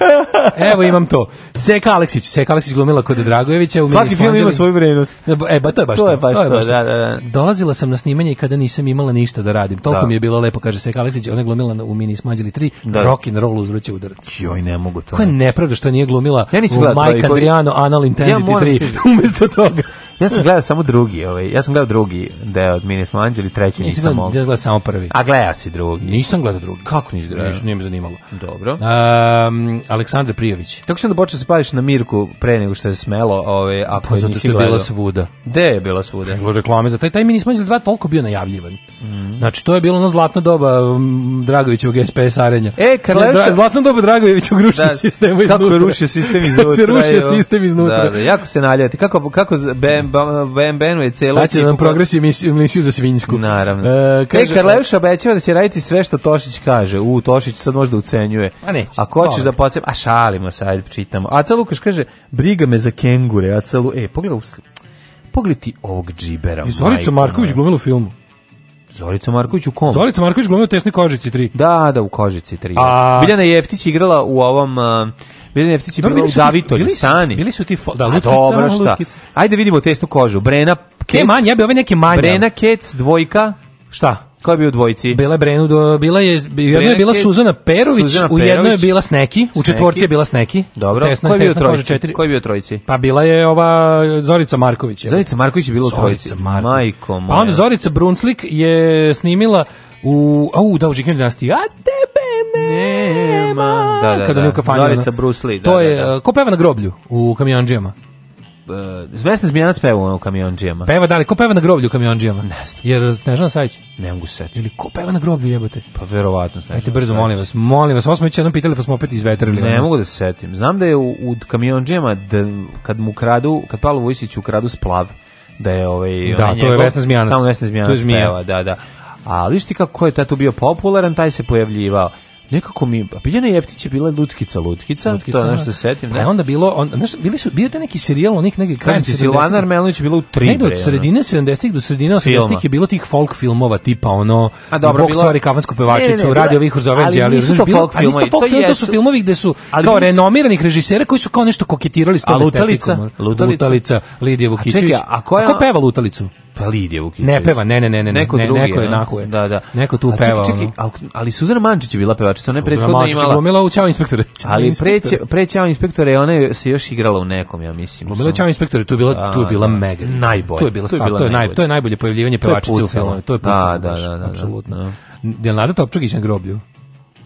Speaker 8: Evo imam to. Seka Aleksić. Seka Aleksić glumila kod Dragojevića. U
Speaker 7: Svaki
Speaker 8: Minis
Speaker 7: film ima
Speaker 8: Vanđeli.
Speaker 7: svoju vrednost.
Speaker 8: E, ba, to je baš
Speaker 7: To
Speaker 8: to.
Speaker 7: je baš to, da, da, da.
Speaker 8: Dolazila sam na snimanje i kada nisam imala ništa da radim. Toliko
Speaker 7: Da.
Speaker 8: mi je bilo lepo, kaže Seka Aleksić. Ona je glumila na- u Mini Smađeli 3,
Speaker 7: Da.
Speaker 8: rock and roll uz vrući udarac.
Speaker 7: Joj, ne mogu to.
Speaker 8: Koja je nepravda što nije glumila
Speaker 7: Ja nisam
Speaker 8: u
Speaker 7: gledao
Speaker 8: Mike
Speaker 7: Trojicu.
Speaker 8: Andriano Anal Intensity
Speaker 7: moram
Speaker 8: 3 umesto toga.
Speaker 7: Ja sam gledao samo drugi, ovaj. Ja sam gledao drugi deo od Minis Manđeli, treći
Speaker 8: Nisam
Speaker 7: nisam
Speaker 8: gledao, ja
Speaker 7: mogao.
Speaker 8: sam gledao samo prvi.
Speaker 7: A gledao si drugi.
Speaker 8: Nisam gledao drugi. Kako nisi
Speaker 7: gledao?
Speaker 8: Nisam, nije me zanimalo.
Speaker 7: Dobro.
Speaker 8: Um, Aleksandar Prijović.
Speaker 7: Kako si onda počeo da se pališ na Mirku pre nego što je smelo, ovaj, a
Speaker 8: Pa
Speaker 7: pa
Speaker 8: zato
Speaker 7: nisi
Speaker 8: što je bila
Speaker 7: gledao?
Speaker 8: svuda.
Speaker 7: Gde je bila svuda?
Speaker 8: Bilo reklame za taj, taj mi nismo 2 toliko bio najavljivan. Znači, to je bilo ono zlatno doba um, Dragovićevog SPS arenja.
Speaker 7: E, Karleuša-
Speaker 8: Dra- Zlatno doba Dragovićevog rušenja
Speaker 7: Da,
Speaker 8: sistema iznutra.
Speaker 7: kako je Pa rušio sistem iznutra.
Speaker 8: Kako se rušio
Speaker 7: evo.
Speaker 8: sistem iznutra.
Speaker 7: Da, da, jako se naljati. Kako, kako z- BM, BM, BM je celo...
Speaker 8: Sad će nam progresi emisiju, emisiju za Svinjsku.
Speaker 7: Naravno.
Speaker 8: E,
Speaker 7: Kaže, e, Karleuša obećava da će raditi sve što Tošić kaže. U, Tošić sad možda ucenjuje.
Speaker 8: A neće.
Speaker 7: Ako hoćeš
Speaker 8: Molim.
Speaker 7: da podsjeti... A šalimo se, ajde čitamo. Aca Lukaš kaže, briga me za kengure. Aca Lu... E, pogledaj usli. Pogledaj ti ovog džibera.
Speaker 8: I Zorica
Speaker 7: majko
Speaker 8: Marković
Speaker 7: moja.
Speaker 8: glumila u filmu.
Speaker 7: Zorica Marković u kom?
Speaker 8: Zorica Marković glumila u Tesnoj kožici 3.
Speaker 7: Da, da, u Kožici 3.
Speaker 8: A-
Speaker 7: Biljana Jeftić je igrala u ovom... Uh, Biljana Jeftić je
Speaker 8: Dobro,
Speaker 7: bila u
Speaker 8: bili su-
Speaker 7: Zavitolju,
Speaker 8: bili su-
Speaker 7: Sani.
Speaker 8: bili su ti fo- da,
Speaker 7: A
Speaker 8: lutkica,
Speaker 7: dobro, šta?
Speaker 8: lutkica.
Speaker 7: Ajde vidimo tesnu kožu. Brena Kec.
Speaker 8: Ke manje, ja bi ove neke manje.
Speaker 7: Brena Kec, dvojka.
Speaker 8: Šta?
Speaker 7: Ko je bio u dvojci?
Speaker 8: Bila je Brenu, do- bila je, u jednoj je bila
Speaker 7: Brena Kec,
Speaker 8: Suzana Perović,
Speaker 7: Suzana
Speaker 8: u jednoj je
Speaker 7: Perović.
Speaker 8: bila Sneki, u četvorci je bila Sneki.
Speaker 7: Dobro.
Speaker 8: Tesna,
Speaker 7: Ko je bio u
Speaker 8: tesna koža
Speaker 7: trojici?
Speaker 8: četiri.
Speaker 7: Ko je bio u trojici?
Speaker 8: Pa bila je ova Zorica Marković. je.
Speaker 7: Zorica Marković je bila u trojici.
Speaker 8: Zorica Marković.
Speaker 7: Majko moja.
Speaker 8: Pa onda Zorica Brunslik je snimila u, au, da, u Žikim dinastiji. A tebe nema.
Speaker 7: Nema. Da, da,
Speaker 8: Kada
Speaker 7: da.
Speaker 8: nije u kafanju.
Speaker 7: Zorica
Speaker 8: ono.
Speaker 7: Bruce Lee, da,
Speaker 8: to
Speaker 7: da,
Speaker 8: je,
Speaker 7: da.
Speaker 8: e, ko peva na groblju u kamionđijama?
Speaker 7: Pa- Zvesna Zmijanac peva ono u kamionđijama.
Speaker 8: Peva da li, ko peva na groblju u kamionđijama?
Speaker 7: Ne znam.
Speaker 8: Jer Snežana Sajić?
Speaker 7: Ne mogu se setiti.
Speaker 8: Ili ko peva na groblju jebote?
Speaker 7: Pa verovatno. Snežana
Speaker 8: Ajte brzo,
Speaker 7: Sajić.
Speaker 8: molim vas, molim vas, ovo smo već jednom pitali pa smo opet izvetrili.
Speaker 7: Ne
Speaker 8: ono.
Speaker 7: mogu da se setim. Znam da je u, u kamionđijama da, kad mu kradu, kad Pavlo Vojsić ukradu splav, da je ovaj
Speaker 8: Da,
Speaker 7: onaj
Speaker 8: to je Vesna Zmijanac.
Speaker 7: Tamo Vesna
Speaker 8: To je
Speaker 7: Zmijanac
Speaker 8: Zmija.
Speaker 7: peva, da, da. A vidiš ti kako je tad tu bio popularan, taj se pojavljivao. Nekako mi, a Biljana Jeftić je bila lutkica, lutkica,
Speaker 8: Lutkica,
Speaker 7: to je ono
Speaker 8: da.
Speaker 7: što se setim.
Speaker 8: Pa je onda bilo, on, znaš, bili su, bio je taj neki serijal onih negdje krajem
Speaker 7: Kažem ti, Silvana Armelović je bila u tri.
Speaker 8: Negde
Speaker 7: bre,
Speaker 8: od
Speaker 7: ono.
Speaker 8: sredine 70-ih do sredine 80-ih
Speaker 7: Filma.
Speaker 8: je bilo tih folk filmova tipa ono
Speaker 7: A dobro,
Speaker 8: Bog
Speaker 7: bilo-
Speaker 8: stvari kafansku
Speaker 7: Ne, ne,
Speaker 8: pevačicu,
Speaker 7: ne,
Speaker 8: radio
Speaker 7: bila-
Speaker 8: vihor za Avengers,
Speaker 7: ali
Speaker 8: ali
Speaker 7: nisu
Speaker 8: znaš,
Speaker 7: to
Speaker 8: bilo-
Speaker 7: folk
Speaker 8: ali nisu to
Speaker 7: filmovi,
Speaker 8: folk
Speaker 7: to
Speaker 8: filmovi, to su
Speaker 7: jesu-
Speaker 8: filmovi gde su
Speaker 7: Ali
Speaker 8: kao
Speaker 7: nisu-
Speaker 8: renomiranih režisera koji su kao nešto koketirali s
Speaker 7: A
Speaker 8: tom
Speaker 7: Lutalica?
Speaker 8: estetikom. ono.
Speaker 7: Lutalica?
Speaker 8: Lutalica, Lidija Vukićević.
Speaker 7: čekaj, a ko je ona-
Speaker 8: peva Lutalicu?
Speaker 7: Pa Lidija Vukićević.
Speaker 8: Ne peva, ne, ne, ne, ne, ne,
Speaker 7: Neko
Speaker 8: ne,
Speaker 7: drugi,
Speaker 8: neko je
Speaker 7: ono.
Speaker 8: nahuje.
Speaker 7: Da, da.
Speaker 8: Neko tu
Speaker 7: A čekaj,
Speaker 8: peva,
Speaker 7: čekaj,
Speaker 8: ono.
Speaker 7: ali, ali Suzana Mančić je bila pevačica, ona je prethodno
Speaker 8: Mačić
Speaker 7: imala...
Speaker 8: glumila u Ćao inspektore.
Speaker 7: Ali
Speaker 8: Inspektore.
Speaker 7: preće preće inspektore, ona je se još igrala u nekom, ja mislim.
Speaker 8: Glumila Pa je
Speaker 7: Samo-
Speaker 8: Ćao inspektore, tu je bila,
Speaker 7: A,
Speaker 8: tu je bila
Speaker 7: da.
Speaker 8: mega.
Speaker 7: Najbolje.
Speaker 8: Tu je bila
Speaker 7: To je
Speaker 8: stvar,
Speaker 7: bila
Speaker 8: to je, naj,
Speaker 7: najbolje.
Speaker 8: to je najbolje pojavljivanje
Speaker 7: To je
Speaker 8: pevačice u
Speaker 7: pucalo.
Speaker 8: filmu. To je
Speaker 7: Da,
Speaker 8: pucalo,
Speaker 7: da,
Speaker 8: baš,
Speaker 7: da, da, da.
Speaker 8: apsolutno.
Speaker 7: Da.
Speaker 8: Jel Nada Topčagić na groblju?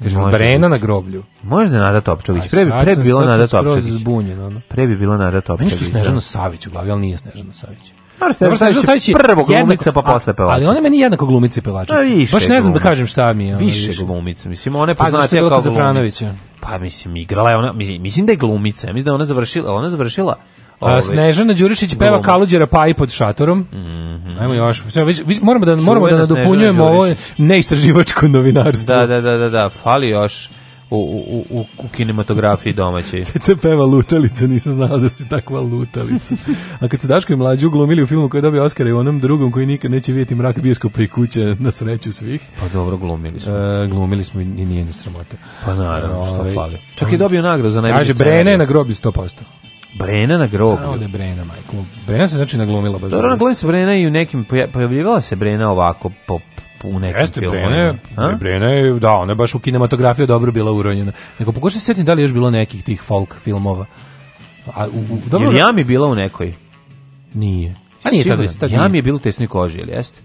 Speaker 8: Kaže,
Speaker 7: Može
Speaker 8: Brena na groblju.
Speaker 7: Možda je Nada Topčagić.
Speaker 8: Aj,
Speaker 7: Pre bi
Speaker 8: sad
Speaker 7: pre bi
Speaker 8: sam-
Speaker 7: bilo
Speaker 8: sad sam
Speaker 7: Nada
Speaker 8: skroz
Speaker 7: Topčagić.
Speaker 8: zbunjen, ono.
Speaker 7: Pre bi bilo Nada Topčagić.
Speaker 8: Meni što Snežana
Speaker 7: da.
Speaker 8: Savić u glavi, ali nije Snežana Savić.
Speaker 7: Dobro, Snežana Savić je prvo
Speaker 8: jednako-
Speaker 7: glumica, pa
Speaker 8: a-
Speaker 7: posle pevačica.
Speaker 8: Ali ona je meni jednako glumica i pevačica.
Speaker 7: A, više
Speaker 8: Baš ne znam da
Speaker 7: glumica.
Speaker 8: kažem šta mi je. ono,
Speaker 7: Više glumica, mislim, ona je
Speaker 8: Pa, zašto je
Speaker 7: poznatija
Speaker 8: bila
Speaker 7: kao
Speaker 8: kod Zafranovića?
Speaker 7: glumica. Pa mislim igrala je ona, mislim, mislim da je glumica. Ja mislim da je ona završila, ona završila. ovaj,
Speaker 8: A, Snežana Đurišić peva
Speaker 7: gluma.
Speaker 8: Kaluđera Paji pod šatorom. Ajmo još. Sve, vi- vi- moramo da, moramo da
Speaker 7: Mm. Mhm. Čuvena Snežana
Speaker 8: nadopunjujemo ovo neistraživačko novinarstvo.
Speaker 7: Da, da, da, da, da, fali još u, u, u, u kinematografiji domaćoj.
Speaker 8: Ceca peva lutalica, nisam znao da si takva lutalica. A kad su Daško i Mlađu glumili u filmu koji je dobio Oscara i u onom drugom koji nikad neće vidjeti mrak bioskopa i kuće na sreću svih,
Speaker 7: Pa dobro, glumili smo.
Speaker 8: e, glumili smo i nije na sramota.
Speaker 7: Pa naravno, što
Speaker 8: Ovaj,
Speaker 7: fali. Čak je dobio nagradu za najbolji
Speaker 8: Kaže, Brena je na groblju 100%.
Speaker 7: Brena na groblju.
Speaker 8: Ovde je Brena, majko. Brena se znači naglumila baš.
Speaker 7: Dobro, na glumi se Brena i u nekim, poja- pojavljivala se Brena ovako po, po- u nekim
Speaker 8: Jeste,
Speaker 7: filmovima.
Speaker 8: Brena, je-
Speaker 7: A?
Speaker 8: Brena je, da, ona je baš u kinematografiju dobro bila uronjena. Nego pokušaj se sjetiti da li je još bilo nekih tih folk filmova. A, u, u, dobro,
Speaker 7: Je li Jami bila u nekoj?
Speaker 8: Nije. A nije tada,
Speaker 7: Sigurno.
Speaker 8: tada nije.
Speaker 7: Jami je bila u tesnoj koži, jel jeste?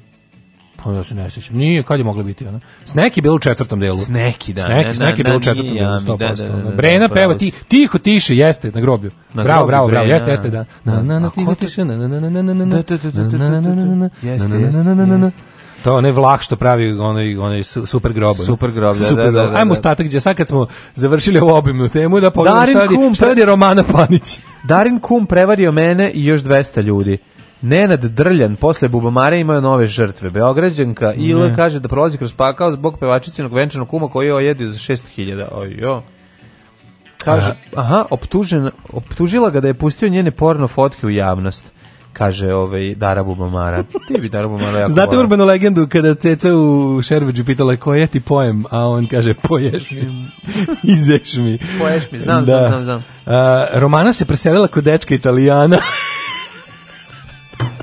Speaker 8: Pa ja se ne sećam. Nije, kad je mogla biti ona? Sneki je bilo u četvrtom delu.
Speaker 7: Sneki, da,
Speaker 8: Sneki,
Speaker 7: ne,
Speaker 8: Sneki je
Speaker 7: ne,
Speaker 8: bilo u
Speaker 7: ne,
Speaker 8: četvrtom
Speaker 7: nije
Speaker 8: delu,
Speaker 7: Jami,
Speaker 8: 100%.
Speaker 7: da, da, da, da,
Speaker 8: Brena
Speaker 7: da,
Speaker 8: peva
Speaker 7: pravo
Speaker 8: ti,
Speaker 7: si.
Speaker 8: tiho tiše, jeste, na groblju.
Speaker 7: Na
Speaker 8: bravo,
Speaker 7: groblju
Speaker 8: bravo, bravo,
Speaker 7: Brena.
Speaker 8: jeste, jeste, da. Na, na, na,
Speaker 7: A
Speaker 8: tiho
Speaker 7: ko
Speaker 8: tiše, na, na, na, na, na, na, na, na,
Speaker 7: Da, da, da, da, da,
Speaker 8: na, na, na, na, na,
Speaker 7: Jeste,
Speaker 8: na, na,
Speaker 7: jeste,
Speaker 8: na, na, na, na. To onaj vlah što pravi onaj onaj su- super grob. ono.
Speaker 7: Super grob, da,
Speaker 8: Super
Speaker 7: da, da,
Speaker 8: grob.
Speaker 7: da, da.
Speaker 8: Ajmo ostatak gdje sad kad smo završili ovu obimnu temu da pogledamo
Speaker 7: Darin
Speaker 8: šta radi,
Speaker 7: Kum,
Speaker 8: šta radi Romana Panić.
Speaker 7: Darin Kum prevario mene i još 200 ljudi. Nenad Drljan posle Bubamare imaju nove žrtve. Beograđanka Ila kaže da prolazi kroz pakao zbog pevačicinog venčanog kuma koji je ojedio za 6.000. Ojo. Kaže, aha, optužen, optužila ga da je pustio njene porno fotke u javnost kaže ovaj Dara Bubamara. Ti bi Dara Bubamara jako ono.
Speaker 8: Znate
Speaker 7: volao.
Speaker 8: urbanu legendu kada Ceca u Šerbeđu pitala koji je ti pojem, a on kaže poješ mi, izeš mi.
Speaker 7: Poješ mi, znam,
Speaker 8: Da.
Speaker 7: znam, znam, znam.
Speaker 8: A, Romana se preselila kod dečka Italijana.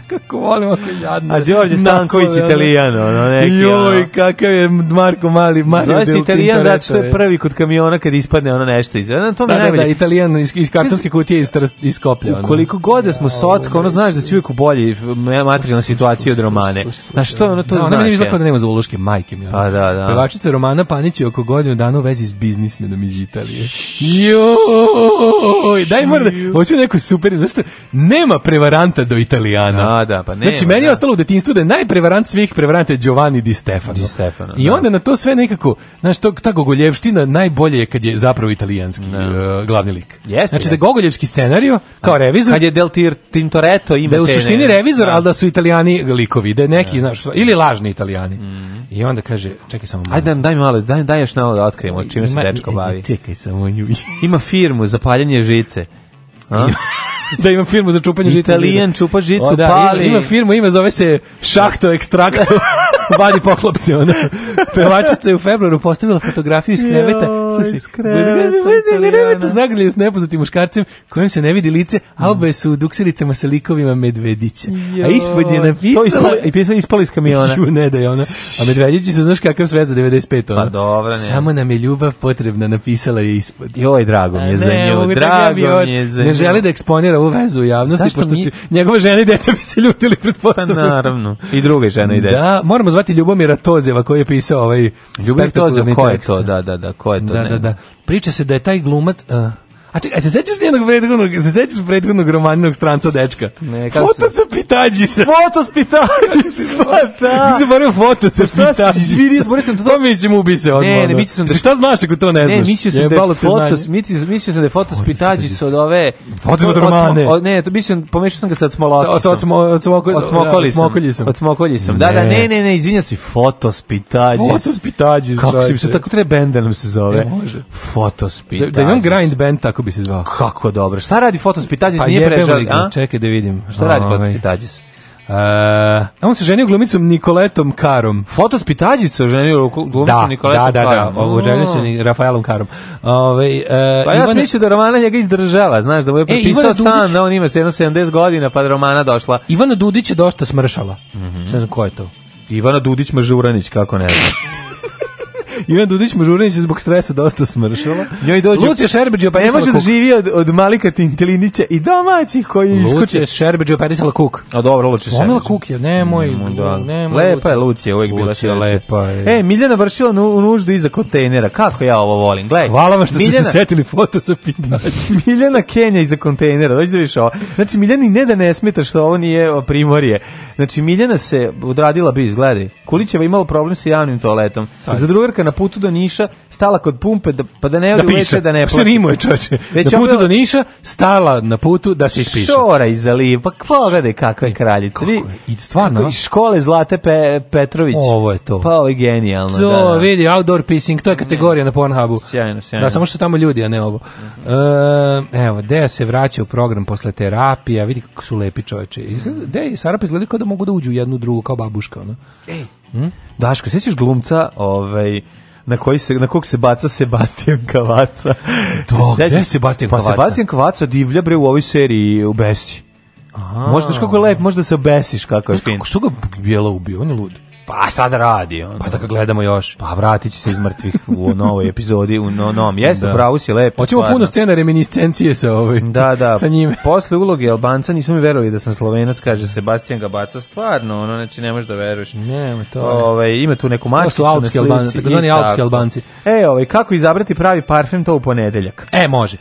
Speaker 8: Kako volim ako je jadno.
Speaker 7: A Đorđe Stanković
Speaker 8: Naslove, ono.
Speaker 7: Italijan, ono neki. ono.
Speaker 8: Joj, kakav je Marko Mali, Mario
Speaker 7: Zove se
Speaker 8: del
Speaker 7: Italijan zato što je
Speaker 8: Tintoretto,
Speaker 7: prvi kod kamiona kad ispadne ono nešto iz. Na to mi
Speaker 8: Da,
Speaker 7: je
Speaker 8: da, da,
Speaker 7: najbolje.
Speaker 8: Italijan iz, iz kartonske kutije iz, Trs- iz Skoplja. ono.
Speaker 7: Koliko god da smo socka, ono znaš da si uvijek u bolji f- materijalnoj situaciji od romane. Znaš što, ono to
Speaker 8: da,
Speaker 7: znaš.
Speaker 8: ona meni
Speaker 7: je.
Speaker 8: izgleda kao da nema zoološke majke mi. ono. ona.
Speaker 7: Pa da, da.
Speaker 8: Pevačica Romana Panić je oko godinu dana u vezi s biznismenom iz Italije. Joj, daj mora da, hoću neku super, zašto nema prevaranta do Italijana.
Speaker 7: Da, da, pa nema,
Speaker 8: Znači, meni je
Speaker 7: da.
Speaker 8: ostalo u detinstvu da je najprevarant svih prevaranta je Giovanni Di Stefano.
Speaker 7: Di Stefano,
Speaker 8: I
Speaker 7: da.
Speaker 8: onda na to sve nekako, znaš, to, ta gogoljevština najbolje je kad je zapravo italijanski e, glavni lik.
Speaker 7: Jeste,
Speaker 8: znači, da je
Speaker 7: jeste.
Speaker 8: gogoljevski scenario, kao revizor,
Speaker 7: Kad je Del Tir Tintoretto ima
Speaker 8: da je u
Speaker 7: te ne-
Speaker 8: suštini revizor, ali da su italijani likovi, da je neki, znaš, ili lažni italijani.
Speaker 7: Mhm.
Speaker 8: I onda kaže, čekaj samo malo.
Speaker 7: Ajde, daj malo, daj, daj još malo da otkrijemo čime se
Speaker 8: Ima- e,
Speaker 7: dečko bavi.
Speaker 8: Čekaj samo nju.
Speaker 7: Ima firmu za paljenje žice. A?
Speaker 8: da imam firmu za čupanje žice.
Speaker 7: Italijan čupa žicu,
Speaker 8: O, da,
Speaker 7: pali.
Speaker 8: Ima, ima firmu, ime zove se Šahto Ekstrakto. Vadi poklopce, ona. Pevačica je u februaru postavila fotografiju iz kreveta.
Speaker 7: Joj,
Speaker 8: Slušaj,
Speaker 7: iz kreveta, Italijana.
Speaker 8: zagrljaju s nepoznatim muškarcem kojem se ne vidi lice, a oba su u duksiricama sa likovima medvedića. A ispod je
Speaker 7: Joj, To je ispalo,
Speaker 8: napisala...
Speaker 7: i pisalo ispalo iz kamiona.
Speaker 8: Ju, ne da je ona. A Medvedići su, znaš kakav sve za 95 ona.
Speaker 7: Pa dobro, ne.
Speaker 8: ono. Samo nam je ljubav potrebna, napisala je ispod.
Speaker 7: Joj, drago mi je za
Speaker 8: Ne, mogu
Speaker 7: nju,
Speaker 8: čak ja bi
Speaker 7: drago
Speaker 8: još-
Speaker 7: mi je za nju.
Speaker 8: Ne želi da eksponira ovu vezu u javnosti,
Speaker 7: Zašto
Speaker 8: pošto
Speaker 7: mi-
Speaker 8: će njegove žene i deca bi se ljutili
Speaker 7: Pa
Speaker 8: pretpostavljam.
Speaker 7: naravno. I druga žena ide.
Speaker 8: Da, moramo zvati Ljubomira Tozeva koji je pisao ovaj
Speaker 7: Ljubim to za
Speaker 8: spektakularni
Speaker 7: ko je
Speaker 8: tekst.
Speaker 7: to, da, da, da, ko je to,
Speaker 8: Da,
Speaker 7: ne.
Speaker 8: da, da. Priča se da je taj glumac... Uh, A čekaj, a se sećaš njenog prethodnog, se sećaš prethodnog romaninog stranca dečka?
Speaker 7: Ne, kako
Speaker 8: Foto sa pitađisa.
Speaker 7: Foto sa pitađisa, pa da. Pa
Speaker 8: Ti se borio foto sa
Speaker 7: Šta si,
Speaker 8: pitađisa.
Speaker 7: vidi, izborio sam to.
Speaker 8: To mi ćemo ubi Pa se odmah.
Speaker 7: Ne, ne,
Speaker 8: da.
Speaker 7: mislio sam da-
Speaker 8: Se Šta znaš ako to ne
Speaker 7: Ne,
Speaker 8: znaš?
Speaker 7: mislio sam da je
Speaker 8: Jebalo te
Speaker 7: foto,
Speaker 8: znanje.
Speaker 7: mislio, mislio sam da je foto s pitađis od ove...
Speaker 8: Foto od romane.
Speaker 7: od- ne, to mislim, pomešao sam ga sa
Speaker 8: Sa-
Speaker 7: smolokicom.
Speaker 8: sa odsmo- odsmoko-
Speaker 7: Od smokolji
Speaker 8: da, odsmokolji
Speaker 7: sam.
Speaker 8: sam.
Speaker 7: Od smokolji sam. Da, da, ne, ne, ne, izvinja se, foto s pitađis.
Speaker 8: Fotos pitađis.
Speaker 7: Kako si mi se
Speaker 8: čoveče.
Speaker 7: tako treba bend da nam se zove?
Speaker 8: E, može.
Speaker 7: Fotos
Speaker 8: Da,
Speaker 7: pitađis.
Speaker 8: da imam grind band, tako bi se zvao.
Speaker 7: Kako dobro. Šta radi Fotos pitađis?
Speaker 8: Pa
Speaker 7: Nije
Speaker 8: jebem
Speaker 7: prežal,
Speaker 8: li ga,
Speaker 7: a?
Speaker 8: Čekaj da vidim.
Speaker 7: Šta radi Fotos
Speaker 8: Ovaj.
Speaker 7: pitađis?
Speaker 8: E, on se ženio glumicom Nikoletom Karom.
Speaker 7: Fotos pitađis se oženio glumicom
Speaker 8: Da,
Speaker 7: Nikoletom
Speaker 8: da, da, da,
Speaker 7: Karom.
Speaker 8: ovo želio se ni Rafaelom Karom. Ove, e,
Speaker 7: Pa ja sam
Speaker 8: Ivane- E,
Speaker 7: mislio da Romana njega izdržava, znaš, da mu je prepisao
Speaker 8: Ivana
Speaker 7: stan,
Speaker 8: Dudić-
Speaker 7: da on ima jedno 70 godina, pa da Romana došla.
Speaker 8: Ivana Dudić je dosta smršala. Ne znam ko je to.
Speaker 7: Ivana Dudić Mažuranić, kako ne znam.
Speaker 8: Ivana Dudić Mažurinić je zbog stresa dosta smršala.
Speaker 7: Njoj dođe...
Speaker 8: Lucija Šerbeđi
Speaker 7: ne
Speaker 8: operisala
Speaker 7: može da
Speaker 8: pa kuk.
Speaker 7: živi od, od Malika Tintilinića i domaćih koji iskoče.
Speaker 8: Lucija Šerbeđi operisala kuk.
Speaker 7: A dobro, Lucija
Speaker 8: Slomila
Speaker 7: Šerbeđ.
Speaker 8: pa- kuk je, nemoj,
Speaker 7: Da.
Speaker 8: nemoj.
Speaker 7: Lepa je Lucija, uvek bila
Speaker 8: Lucija
Speaker 7: sreća.
Speaker 8: lepa je.
Speaker 7: E, Miljana vršila nu, nuždu iza kontejnera. Kako ja ovo volim. Gledaj.
Speaker 8: Hvala vam što ste
Speaker 7: Miljana-
Speaker 8: se setili foto sa pitađa.
Speaker 7: Miljana Kenja iza kontejnera, dođi da vidiš ovo. Znači, Miljani ne da ne smeta što ovo nije o, primorje. Znači, Miljana se odradila bi, gledaj. Kulićeva imala problem sa javnim toaletom.
Speaker 8: Sad.
Speaker 7: Za drugarka na putu do Niša stala kod pumpe da, pa da ne
Speaker 8: Da
Speaker 7: ode u WC
Speaker 8: piše,
Speaker 7: da ne
Speaker 8: se
Speaker 7: plati.
Speaker 8: rimo je čoče.
Speaker 7: Već
Speaker 8: Na
Speaker 7: je
Speaker 8: putu
Speaker 7: bila-
Speaker 8: do Niša, stala na putu da se ispiše.
Speaker 7: Šora iza liva, pa pogledaj kakva je kraljica.
Speaker 8: Kako je? I stvarno,
Speaker 7: kako je
Speaker 8: a?
Speaker 7: iz škole Zlate Pe- Petrović.
Speaker 8: Ovo je to.
Speaker 7: Pa ovo je genijalno.
Speaker 8: To,
Speaker 7: da, da.
Speaker 8: vidi, outdoor pissing, to je kategorija na Pornhubu.
Speaker 7: Sjajno, sjajno.
Speaker 8: Da, samo što su tamo ljudi, a ne ovo. E, evo, Deja se vraća u program posle terapija, vidi kako su lepi čoveče. Izgleda- Deja i Sarapa izgledaju kao da mogu da uđu u jednu u drugu, kao babuška, ono.
Speaker 7: E, Daško, sjećaš glumca, ovaj na koji se na kog se baca Sebastian Kavaca.
Speaker 8: Da,
Speaker 7: Sjećaš?
Speaker 8: gde je Sebastijan
Speaker 7: pa
Speaker 8: Kavaca?
Speaker 7: Sebastian Kavaca divlja bre u ovoj seriji u Besi. Možda znaš kako je lep, možda se obesiš kako je fin.
Speaker 8: Kako što ga bijela ubio, on je lud.
Speaker 7: Pa šta da radi on?
Speaker 8: Pa da ga gledamo još.
Speaker 7: Pa vratit će se iz mrtvih u novoj epizodi, u no, novom. Jeste,
Speaker 8: Da.
Speaker 7: pravo si lepo.
Speaker 8: Hoćemo
Speaker 7: stvarno.
Speaker 8: puno scena reminiscencije sa ovaj.
Speaker 7: Da, da.
Speaker 8: Sa njime.
Speaker 7: Posle uloge Albanca nisu mi verovali da sam Slovenac, kaže Sebastian Gabaca, stvarno, ono, znači ne možeš da veruješ.
Speaker 8: Nema to.
Speaker 7: Ovaj ima tu neku
Speaker 8: To
Speaker 7: mačicu
Speaker 8: su
Speaker 7: na
Speaker 8: alpski
Speaker 7: slici
Speaker 8: Albanci,
Speaker 7: i
Speaker 8: takozvani
Speaker 7: tako.
Speaker 8: alpski Albanci.
Speaker 7: E, ovaj kako izabrati pravi parfem to u ponedeljak.
Speaker 8: E, može.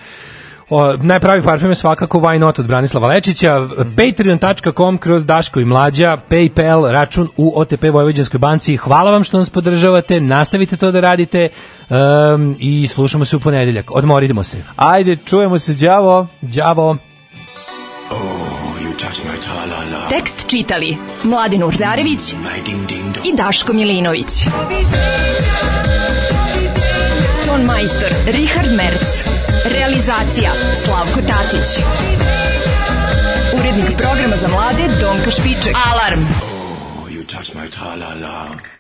Speaker 8: O, najpravi parfum je svakako Why Not od Branislava Lečića,
Speaker 7: Mhm.
Speaker 8: patreon.com kroz Daško i Mlađa, Paypal, račun u OTP Vojvođanskoj banci. Hvala vam što nas podržavate, nastavite to da radite em, i slušamo se u ponedeljak. Odmorimo se.
Speaker 7: Ajde, čujemo se, đavo.
Speaker 8: Đavo!
Speaker 6: Tekst čitali Mladin Urdarević i Daško Milinović. Ton majstor Richard Merc. Realizacija Slavko Tatić. Urednik programa za mlade Donka Špiček. Alarm!
Speaker 19: You touch my tra-la-la.